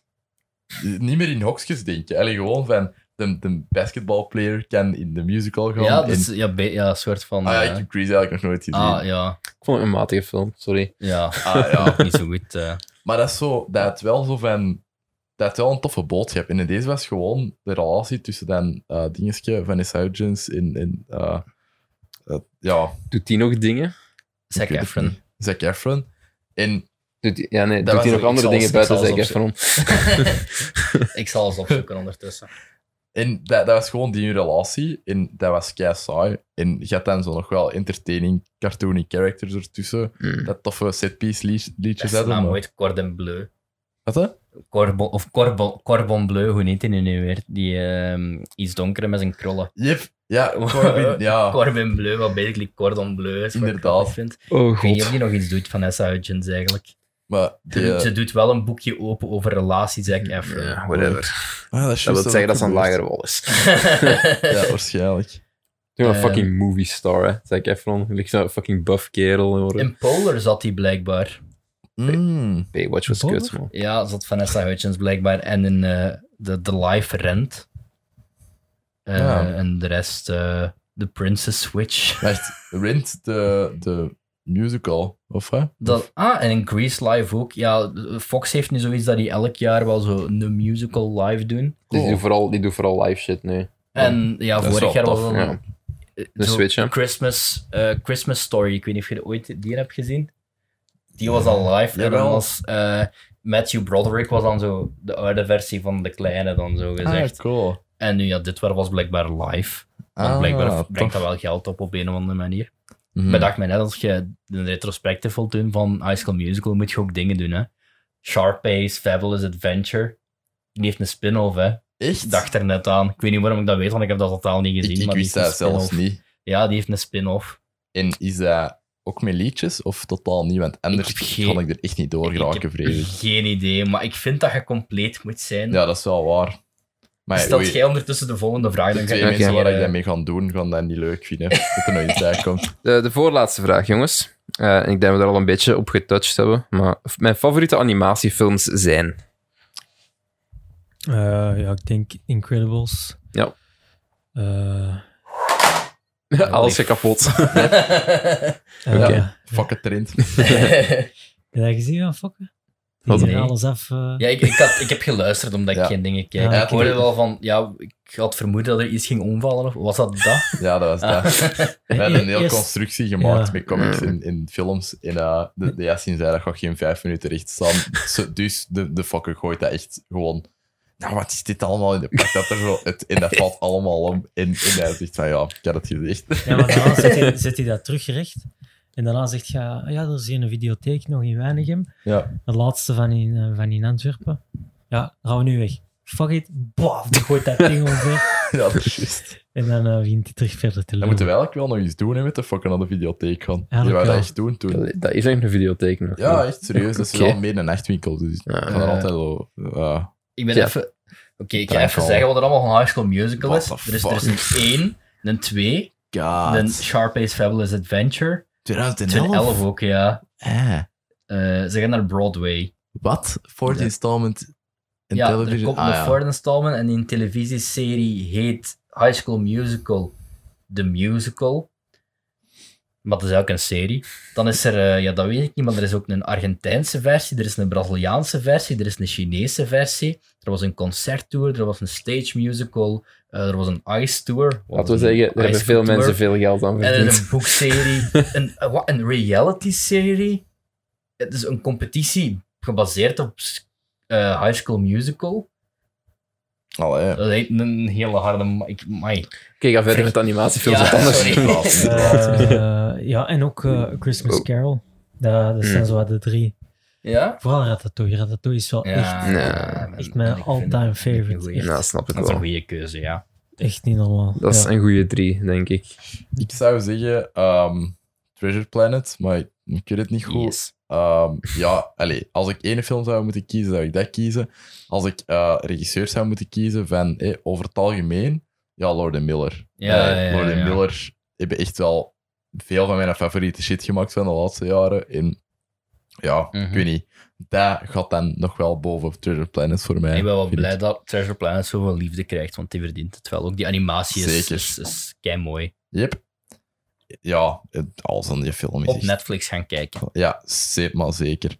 [SPEAKER 3] niet meer in hokjes denken. Eigenlijk gewoon van... De, de basketbalplayer kan in de musical gaan.
[SPEAKER 2] Ja, dat is
[SPEAKER 3] en,
[SPEAKER 2] ja, be- ja, een soort van...
[SPEAKER 3] ah, ja,
[SPEAKER 2] eh,
[SPEAKER 3] ik heb Grease eigenlijk nog nooit gezien.
[SPEAKER 2] ah, ja.
[SPEAKER 1] Ik vond het een matige film, sorry.
[SPEAKER 2] Ja,
[SPEAKER 3] Ah, ja.
[SPEAKER 2] niet zo goed.
[SPEAKER 3] *laughs*
[SPEAKER 2] eh.
[SPEAKER 3] Maar dat is zo, dat het wel zo van. Dat het wel een toffe boodschap. En in deze was gewoon de relatie tussen dan eh dingetje, Vanessa Hudgens en. en eh, eh, ja,
[SPEAKER 1] Doet die nog dingen?
[SPEAKER 2] Zac
[SPEAKER 3] ik weet het
[SPEAKER 2] Efron.
[SPEAKER 3] niet. Zac Efron. En
[SPEAKER 1] Doet die, ja, nee,
[SPEAKER 3] Dat
[SPEAKER 1] doet die
[SPEAKER 3] was
[SPEAKER 1] nog
[SPEAKER 3] zo- ik
[SPEAKER 1] andere
[SPEAKER 3] zal
[SPEAKER 1] dingen
[SPEAKER 3] eens-
[SPEAKER 1] buiten
[SPEAKER 3] ik zal
[SPEAKER 1] Zac
[SPEAKER 3] eens
[SPEAKER 1] Efron?
[SPEAKER 2] *laughs* Ik zal eens opzoeken ondertussen.
[SPEAKER 3] En dat, dat was gewoon die relatie. En dat was kei saai. En je had dan zo nog wel entertaining, cartoony characters ertussen.
[SPEAKER 1] Mm.
[SPEAKER 3] Dat toffe setpiece lied- liedjes
[SPEAKER 2] Zijn
[SPEAKER 3] hadden.
[SPEAKER 2] naam
[SPEAKER 3] maar-
[SPEAKER 2] ooit Cordon Bleu.
[SPEAKER 3] Wat hè?
[SPEAKER 2] Corbon, of Corbon, Corbon Bleu, hoe heet die nu weer? Die ehm, iets donkere met zijn krullen.
[SPEAKER 3] Yep.
[SPEAKER 2] *laughs*
[SPEAKER 3] Ja, Corbin. Ja.
[SPEAKER 2] Corbin Bleu, wat basically Cordon Bleu is. wat ik
[SPEAKER 3] Ah. Inderdaad.
[SPEAKER 2] grappig vind.
[SPEAKER 1] Oh
[SPEAKER 2] Ik weet niet of
[SPEAKER 1] god.
[SPEAKER 2] die nog iets doet van Essa Hutchins eigenlijk.
[SPEAKER 3] Maar
[SPEAKER 2] Ze,
[SPEAKER 3] die, eh,
[SPEAKER 2] doet, ze doet wel een boekje open over relaties, Zac Efron.
[SPEAKER 1] Ja, whatever.
[SPEAKER 3] ah, dat, is juist
[SPEAKER 1] Dat wil zeggen dat ze een
[SPEAKER 3] gebeurt.
[SPEAKER 1] lagere wal is.
[SPEAKER 2] *laughs*
[SPEAKER 3] Ja, waarschijnlijk.
[SPEAKER 1] Doe maar een
[SPEAKER 2] Ehm.
[SPEAKER 1] fucking movie star, hè. Zac Efron. Ligt zo'n fucking buff kerel. hoor.
[SPEAKER 2] *laughs* In Polar zat hij blijkbaar.
[SPEAKER 3] Mm.
[SPEAKER 1] Baywatch was
[SPEAKER 4] Polar?
[SPEAKER 1] kut, man.
[SPEAKER 2] Ja, zat Vanessa Hutchins blijkbaar. En in eh, de, de Live Rent. Eh,
[SPEAKER 3] Ja.
[SPEAKER 2] En de rest, eh The Princess Switch.
[SPEAKER 3] Wacht, Rent, de, de musical, of hè?
[SPEAKER 2] Dat, ah, en in Grease Live ook. Ja, Fox heeft nu zoiets dat die elk jaar wel zo een musical live doen.
[SPEAKER 1] Dus die
[SPEAKER 3] Cool.
[SPEAKER 1] doen vooral, die doen vooral live shit nu.
[SPEAKER 2] En ja,
[SPEAKER 3] Dat is
[SPEAKER 2] vorig
[SPEAKER 3] wel
[SPEAKER 2] jaar was
[SPEAKER 3] tof,
[SPEAKER 2] dat
[SPEAKER 1] ja.
[SPEAKER 2] eh,
[SPEAKER 1] De
[SPEAKER 2] zo
[SPEAKER 1] Switch, hè?
[SPEAKER 2] Christmas, eh, Christmas Story. Ik weet niet of je die ooit die hebt gezien. Die was al live. en dan
[SPEAKER 3] Jawel.
[SPEAKER 2] was eh, Matthew Broderick was dan zo de oude versie van de kleine dan zo gezegd.
[SPEAKER 3] Ah, cool.
[SPEAKER 2] En nu ja, dit waar was blijkbaar live. Want
[SPEAKER 3] Ah,
[SPEAKER 2] blijkbaar
[SPEAKER 3] tof.
[SPEAKER 2] brengt dat wel geld op op een of andere manier.
[SPEAKER 3] Mhm.
[SPEAKER 2] Bedacht mij net, als je een retrospectief wilt doen van High School Musical, moet je ook dingen doen, hè. Sharpace, Fabulous Adventure. Die heeft een spin-off, hè.
[SPEAKER 3] Echt?
[SPEAKER 2] Ik dacht er net aan. Ik weet niet waarom ik dat weet, want ik heb dat totaal niet
[SPEAKER 3] ik,
[SPEAKER 2] gezien.
[SPEAKER 3] ik
[SPEAKER 2] maar die
[SPEAKER 3] wist
[SPEAKER 2] heeft
[SPEAKER 3] dat
[SPEAKER 2] een
[SPEAKER 3] zelfs
[SPEAKER 2] spin-off.
[SPEAKER 3] niet.
[SPEAKER 2] Ja, die heeft een spin-off.
[SPEAKER 3] En is dat ook met liedjes of totaal niet? Want anders
[SPEAKER 2] Ik heb geen-
[SPEAKER 3] kan ik er echt niet door
[SPEAKER 2] ik
[SPEAKER 3] geraken,
[SPEAKER 2] heb
[SPEAKER 3] vrees ik.
[SPEAKER 2] geen idee, maar ik vind dat je compleet moet zijn.
[SPEAKER 3] Ja, dat is wel waar. Maar
[SPEAKER 2] Stelt
[SPEAKER 3] oei,
[SPEAKER 2] jij ondertussen de volgende vraag,
[SPEAKER 3] de
[SPEAKER 2] dan ga
[SPEAKER 3] twee
[SPEAKER 2] ik
[SPEAKER 3] mensen
[SPEAKER 2] weer,
[SPEAKER 3] waar ik dat
[SPEAKER 2] eh,
[SPEAKER 3] mee gaan doen, gaan dat niet leuk vinden. Dat er nog iets uitkomt.
[SPEAKER 1] De, de voorlaatste vraag, jongens. Eh, en ik denk dat we daar al een beetje op getouched hebben. Maar f- mijn favoriete animatiefilms zijn.
[SPEAKER 4] Eh, ja, ik denk Incredibles.
[SPEAKER 1] Ja.
[SPEAKER 4] Eh,
[SPEAKER 1] *laughs* Alles gaat kapot.
[SPEAKER 4] eh,
[SPEAKER 1] Oké.
[SPEAKER 3] Fuck het trend.
[SPEAKER 4] Heb je dat gezien van Fokke?
[SPEAKER 1] Wat?
[SPEAKER 4] Die
[SPEAKER 2] Nee.
[SPEAKER 4] alles af. eh,
[SPEAKER 2] *laughs* Ja, ik, ik, had, ik heb geluisterd omdat
[SPEAKER 3] Ja.
[SPEAKER 2] ik geen dingen keek.
[SPEAKER 4] Ja.
[SPEAKER 2] ik hoorde wel van, ja, ik had vermoed dat er iets ging omvallen. Of was dat dat?
[SPEAKER 3] Ja, dat was
[SPEAKER 2] Ah.
[SPEAKER 3] dat. We hebben een hele
[SPEAKER 4] eerst-
[SPEAKER 3] constructie gemaakt
[SPEAKER 4] Ja.
[SPEAKER 3] met comics en, en films. En eh, de, de Yassin zei, dat gaat geen vijf minuten recht staan. Zo- Dus de, de fucker gooit dat echt gewoon... Nou, wat is dit allemaal? En de pakt dat er zo uit en dat valt allemaal om. En, en hij zegt van, ja, ik had het gezegd.
[SPEAKER 4] Ja, maar daarna zet hij, zet hij dat teruggerecht. En daarna zegt hij, ah ja, er is hier een videotheek nog in Weinigem.
[SPEAKER 3] Ja.
[SPEAKER 4] De laatste van in, eh, van in Antwerpen. Ja, gaan we nu weg. Fuck it. Boah, die gooit dat ding *laughs* omver.
[SPEAKER 3] *laughs* Ja, dat is juist.
[SPEAKER 4] En dan eh, begint hij terug verder te
[SPEAKER 3] Dan
[SPEAKER 4] lopen.
[SPEAKER 3] moeten we eigenlijk wel nog iets doen hè, met de fucker naar de videotheek gaan. Die wou
[SPEAKER 4] Eigenlijk
[SPEAKER 3] dat
[SPEAKER 4] wel.
[SPEAKER 3] echt doen toen.
[SPEAKER 1] Dat, dat is eigenlijk een videotheek nog.
[SPEAKER 3] Ja, echt serieus. Dat is
[SPEAKER 1] Oké.
[SPEAKER 3] wel meer een nachtwinkel. Dus ik
[SPEAKER 1] Ja.
[SPEAKER 3] ga er altijd wel... eh,
[SPEAKER 2] Ik ben
[SPEAKER 1] Ja.
[SPEAKER 2] even... Oké, ik ga
[SPEAKER 3] Drank
[SPEAKER 2] even
[SPEAKER 3] al.
[SPEAKER 2] zeggen wat er allemaal van High School Musical is.
[SPEAKER 3] What the Ah,
[SPEAKER 2] Er is, er is een 1, een 2, een
[SPEAKER 3] God.
[SPEAKER 2] Sharpace Fabulous Adventure.
[SPEAKER 3] 2011.
[SPEAKER 2] 2011 ook, ja.
[SPEAKER 3] Eh,
[SPEAKER 2] Eh, ze gaan naar Broadway.
[SPEAKER 3] wat? Fourth
[SPEAKER 1] Ja.
[SPEAKER 3] installment in
[SPEAKER 2] ja, er
[SPEAKER 3] television?
[SPEAKER 2] komt
[SPEAKER 3] Ah,
[SPEAKER 2] een
[SPEAKER 3] ja.
[SPEAKER 2] fourth installment en die een televisieserie heet High School Musical The Musical. maar dat is ook een serie. Dan is er, eh, ja, dat weet ik niet, maar er is ook een Argentijnse versie, er is een Braziliaanse versie, er is een Chinese versie, er was een concerttour, er was een stage musical, eh, er was een ice tour. Wat
[SPEAKER 1] Laten we
[SPEAKER 2] is een
[SPEAKER 1] zeggen, er hebben
[SPEAKER 2] ice
[SPEAKER 1] veel
[SPEAKER 2] tour?
[SPEAKER 1] mensen veel geld aan
[SPEAKER 2] En er is
[SPEAKER 1] verdiend.
[SPEAKER 2] een boekserie, een, eh, wat, een reality-serie. Het is een competitie gebaseerd op eh, High School Musical.
[SPEAKER 3] Allee.
[SPEAKER 2] Dat heet een hele harde... ma- Ik, mai.
[SPEAKER 1] Oké, ga verder met animatiefilms. *laughs*
[SPEAKER 2] Ja,
[SPEAKER 1] wat anders.
[SPEAKER 2] sorry.
[SPEAKER 4] Eh, ja, en ook eh, A Christmas
[SPEAKER 1] Oh.
[SPEAKER 4] Carol. Dat, dat zijn zo wat de drie.
[SPEAKER 2] Ja?
[SPEAKER 4] Vooral Ratatouille. Ratatouille is wel echt,
[SPEAKER 2] Ja,
[SPEAKER 1] Nee.
[SPEAKER 4] echt mijn
[SPEAKER 2] ik vind
[SPEAKER 4] all-time
[SPEAKER 2] het- vind ik een
[SPEAKER 4] favorite.
[SPEAKER 2] goeie.
[SPEAKER 4] Echt,
[SPEAKER 1] Nou, snap ik
[SPEAKER 2] Dat is een
[SPEAKER 1] wel.
[SPEAKER 2] goede keuze, ja.
[SPEAKER 4] echt niet normaal.
[SPEAKER 1] Dat is
[SPEAKER 4] Ja.
[SPEAKER 1] een goede drie, denk ik.
[SPEAKER 3] Ik zou zeggen ehm, Treasure Planet, maar ik, ik weet het niet goed. Ehm, ja, allee, als ik één film zou moeten kiezen, zou ik dat kiezen. Als ik eh, regisseur zou moeten kiezen van eh, over het algemeen, ja, Lord and Miller.
[SPEAKER 2] Ja,
[SPEAKER 3] Eh,
[SPEAKER 2] ja, ja,
[SPEAKER 3] Lord and
[SPEAKER 2] ja.
[SPEAKER 3] Miller hebben echt wel veel van mijn favoriete shit gemaakt van de laatste jaren. En ja, ik
[SPEAKER 2] Mhm.
[SPEAKER 3] weet niet. Dat gaat dan nog wel boven Treasure Planet voor mij.
[SPEAKER 2] Ik ben wel
[SPEAKER 3] vind
[SPEAKER 2] blij dat Treasure Planet zoveel liefde krijgt, want die verdient het wel. Ook die animatie is,
[SPEAKER 3] Zeker.
[SPEAKER 2] is, is mooi.
[SPEAKER 3] Yep. Ja, het- alles aan die film is
[SPEAKER 2] Op
[SPEAKER 3] echt-
[SPEAKER 2] Netflix gaan kijken.
[SPEAKER 3] Ja, ze- maar zeker.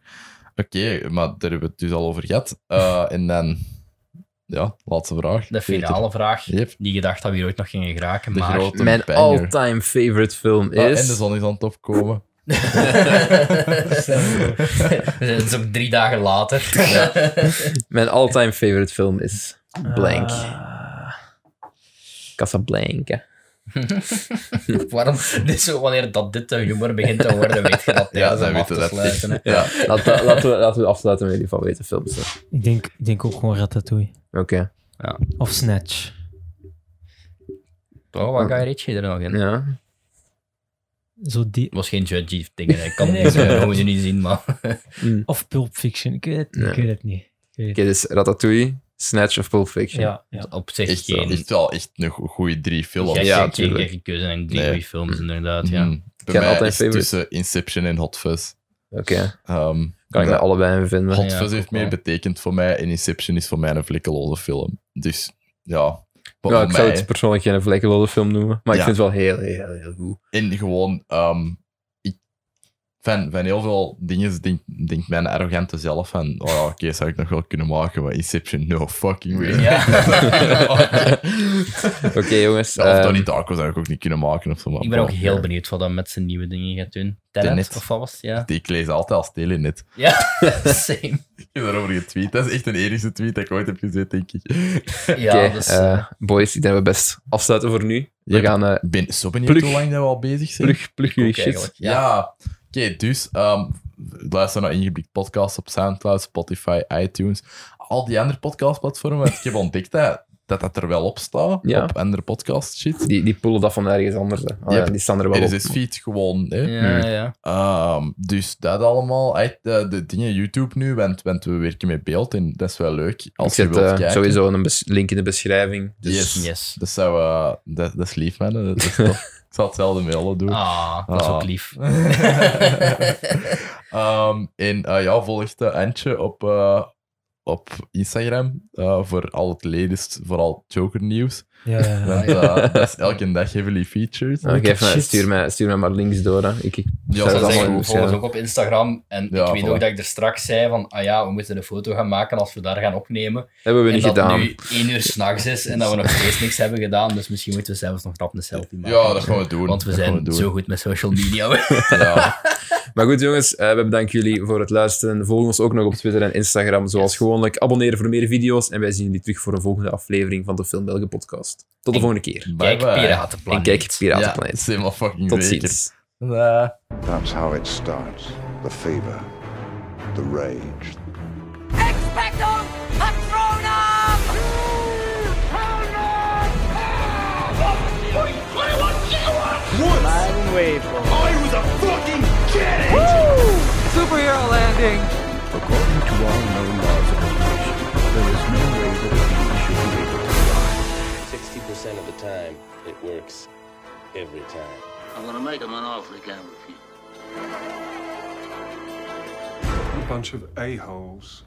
[SPEAKER 3] Oké, maar daar hebben we het dus al over gehad. Eh, en dan, ja, laatste vraag.
[SPEAKER 2] De finale vraag,
[SPEAKER 3] Peter. Yep.
[SPEAKER 2] die gedacht dat we hier ooit nog gingen geraken,
[SPEAKER 3] De
[SPEAKER 2] maar...
[SPEAKER 3] grote
[SPEAKER 1] Mijn
[SPEAKER 3] banger.
[SPEAKER 1] all-time favorite film
[SPEAKER 3] Ah, en
[SPEAKER 1] is...
[SPEAKER 3] de zon is aan het opkomen.
[SPEAKER 2] Het is ook drie dagen later.
[SPEAKER 3] *laughs*
[SPEAKER 1] Mijn all-time favorite film is Blank.
[SPEAKER 4] Ah,
[SPEAKER 1] Casablanca.
[SPEAKER 2] Waarom? Dit is zo, wanneer dat dit de humor begint te worden, weet je dat
[SPEAKER 3] Ja,
[SPEAKER 2] tijdens
[SPEAKER 3] zij
[SPEAKER 2] hem af
[SPEAKER 3] weten
[SPEAKER 2] te
[SPEAKER 3] dat.
[SPEAKER 2] sluiten, hè.
[SPEAKER 3] Ja.
[SPEAKER 1] Laat- la- Laten we, laten we afsluiten met die favoriete films. hè.
[SPEAKER 4] ik, denk, ik denk ook gewoon Ratatouille.
[SPEAKER 1] Oké.
[SPEAKER 4] Of Snatch.
[SPEAKER 2] Oh, wat ga je Ritchie er nog in? Het
[SPEAKER 1] Ja.
[SPEAKER 4] Zo die,
[SPEAKER 2] was geen judgy dingen, hè. ik
[SPEAKER 3] *laughs*
[SPEAKER 2] kan het
[SPEAKER 4] Nee,
[SPEAKER 2] niet
[SPEAKER 4] nee.
[SPEAKER 2] zeggen, dat moet je niet zien, maar...
[SPEAKER 4] of Pulp Fiction. Ik weet het,
[SPEAKER 1] Ja.
[SPEAKER 4] ik weet het niet. Ik weet het
[SPEAKER 1] Oké, dus Ratatouille, Snatch of Pulp Fiction.
[SPEAKER 4] Ja, ja.
[SPEAKER 2] Op zich
[SPEAKER 3] Echt,
[SPEAKER 2] geen...
[SPEAKER 3] echt wel dus echt een goede drie films.
[SPEAKER 1] Ja,
[SPEAKER 2] ja,
[SPEAKER 1] tuurlijk.
[SPEAKER 2] geen keuze en drie
[SPEAKER 3] Nee.
[SPEAKER 2] goede films, inderdaad,
[SPEAKER 3] Mhm.
[SPEAKER 2] ja.
[SPEAKER 3] Bij
[SPEAKER 1] Geen
[SPEAKER 3] mij
[SPEAKER 1] all-time
[SPEAKER 3] is
[SPEAKER 1] favorite.
[SPEAKER 3] tussen Inception en Hot Fuzz.
[SPEAKER 1] Oké.
[SPEAKER 3] Ehm,
[SPEAKER 1] Kan ik
[SPEAKER 3] dat-
[SPEAKER 1] mij allebei in vinden.
[SPEAKER 3] Hot
[SPEAKER 2] Ja,
[SPEAKER 3] Fuzz
[SPEAKER 2] ik
[SPEAKER 3] heeft
[SPEAKER 2] ook wel.
[SPEAKER 3] meer betekend voor mij en Inception is voor mij een vlekkeloze film. Dus ja, wat
[SPEAKER 1] Ja,
[SPEAKER 3] voor
[SPEAKER 1] ik zou
[SPEAKER 3] mij-
[SPEAKER 1] het persoonlijk geen vlekkeloze film noemen, maar
[SPEAKER 3] Ja.
[SPEAKER 1] ik vind het wel heel, heel, heel
[SPEAKER 3] *laughs*
[SPEAKER 1] goed.
[SPEAKER 3] En gewoon, ehm, ik, van, van heel veel dingen denkt denk mijn arrogante zelf van, oh ja, oké, zou ik nog wel kunnen maken, maar Inception, no fucking way. *laughs*
[SPEAKER 2] Ja. Oh,
[SPEAKER 1] Oké, jongens.
[SPEAKER 3] Zelf
[SPEAKER 1] ehm,
[SPEAKER 3] Donnie Darko zou ik ook niet kunnen maken of zo. maar
[SPEAKER 2] Ik ben ook
[SPEAKER 3] bon,
[SPEAKER 2] heel
[SPEAKER 3] Oh, ja.
[SPEAKER 2] benieuwd wat dat met zijn nieuwe dingen gaat doen. Tenet,
[SPEAKER 3] Tenet.
[SPEAKER 2] of wat was het? Ja.
[SPEAKER 3] Ik lees altijd als Telenet.
[SPEAKER 2] Ja, *laughs* same.
[SPEAKER 3] Ik heb daarover getweet. Dat is echt een enige tweet dat ik ooit heb gezet, denk ik.
[SPEAKER 2] Ja,
[SPEAKER 1] Oké,
[SPEAKER 2] dus...
[SPEAKER 1] eh, boys, ik denk dat we best afsluiten voor nu. We
[SPEAKER 3] Yep.
[SPEAKER 1] gaan eh
[SPEAKER 3] Ik ben zo benieuwd
[SPEAKER 1] Plug.
[SPEAKER 3] hoe lang dat we al bezig zijn.
[SPEAKER 1] plug, plug jullie
[SPEAKER 2] ook
[SPEAKER 1] shit.
[SPEAKER 2] eigenlijk.
[SPEAKER 3] Ja.
[SPEAKER 2] Ja.
[SPEAKER 3] Oké, dus ehm, luister naar Ingeblikt Podcast op Soundcloud, Spotify, iTunes. Al die andere podcastplatformen. want ik heb ontdekt dat, dat dat er wel op staat.
[SPEAKER 1] Ja.
[SPEAKER 3] Op andere podcast shit.
[SPEAKER 1] Die, die pullen dat van ergens anders. hè. Ah, ja,
[SPEAKER 3] Yep.
[SPEAKER 1] die staan er wel
[SPEAKER 3] Er
[SPEAKER 1] op.
[SPEAKER 3] is dus feed gewoon. Hè.
[SPEAKER 2] Ja, ja.
[SPEAKER 3] Ehm, dus dat allemaal. Echt, de, de dingen YouTube nu, want, want we werken met beeld en dat is wel leuk.
[SPEAKER 1] Ik
[SPEAKER 3] Als je
[SPEAKER 1] zet
[SPEAKER 3] wilt
[SPEAKER 1] eh,
[SPEAKER 3] kijken.
[SPEAKER 1] sowieso een bes- link in de beschrijving. Dus
[SPEAKER 3] Yes.
[SPEAKER 2] Yes.
[SPEAKER 3] Dat, zou, eh, dat, dat is lief, man. Dat
[SPEAKER 1] *laughs*
[SPEAKER 3] is tof. ik zal hetzelfde mailen doen.
[SPEAKER 2] Ah, dat is
[SPEAKER 3] Ah.
[SPEAKER 2] ook lief.
[SPEAKER 3] *laughs* Ehm, en eh, ja, volg de Antje op, eh, op Instagram eh, voor al het latest, vooral Joker nieuws.
[SPEAKER 4] ja,
[SPEAKER 1] *laughs*
[SPEAKER 2] Ah,
[SPEAKER 4] ja, ja.
[SPEAKER 3] Want eh, dat is elke dag heavily featured.
[SPEAKER 1] nou, geef mij-
[SPEAKER 4] Shit.
[SPEAKER 1] stuur, mij, stuur mij maar links door. Hè. Ik, ik-
[SPEAKER 3] Ja,
[SPEAKER 1] zou
[SPEAKER 2] Dat
[SPEAKER 1] het allemaal in
[SPEAKER 2] is eigenlijk
[SPEAKER 1] de
[SPEAKER 2] volgens
[SPEAKER 1] beschrijving.
[SPEAKER 2] ook op Instagram. En
[SPEAKER 3] Ja,
[SPEAKER 2] ik weet
[SPEAKER 3] voilà.
[SPEAKER 2] ook dat ik er straks zei van, ah ja, we moeten een foto gaan maken als we daar gaan opnemen.
[SPEAKER 1] Hebben we
[SPEAKER 2] en
[SPEAKER 1] niet
[SPEAKER 2] dat
[SPEAKER 1] gedaan.
[SPEAKER 2] het nu één uur s'nachts is en dat we nog steeds niks hebben gedaan. Dus misschien moeten we zelfs nog rap een selfie maken.
[SPEAKER 3] Ja, dat gaan we doen.
[SPEAKER 2] Want we
[SPEAKER 3] Dat gaan
[SPEAKER 2] zijn
[SPEAKER 3] doen.
[SPEAKER 2] zo goed met social media. *laughs*
[SPEAKER 3] Ja.
[SPEAKER 1] Maar goed, jongens, eh, we bedanken jullie voor het luisteren. Volg ons ook nog op Twitter en Instagram, zoals gewoonlijk. Abonneren voor meer video's. En wij zien jullie terug voor een volgende aflevering van de Film Belgen podcast. Tot de volgende keer.
[SPEAKER 3] Bye
[SPEAKER 2] Kijk,
[SPEAKER 3] bye.
[SPEAKER 1] En
[SPEAKER 2] Piratenplaneet.
[SPEAKER 1] kijk
[SPEAKER 3] Ja,
[SPEAKER 1] Piratenplaneet.
[SPEAKER 3] is helemaal fucking
[SPEAKER 1] Tot
[SPEAKER 3] zeker.
[SPEAKER 1] ziens.
[SPEAKER 3] Dag.
[SPEAKER 5] That's how it starts. The fever, the rage,
[SPEAKER 6] Expecto Patronum!
[SPEAKER 5] According to all known laws of evolution, there is no way that a bee should be able to fly.
[SPEAKER 7] 60% of the time, it works every time.
[SPEAKER 8] I'm gonna make him an offer he can't refuse.
[SPEAKER 9] bunch of a-holes.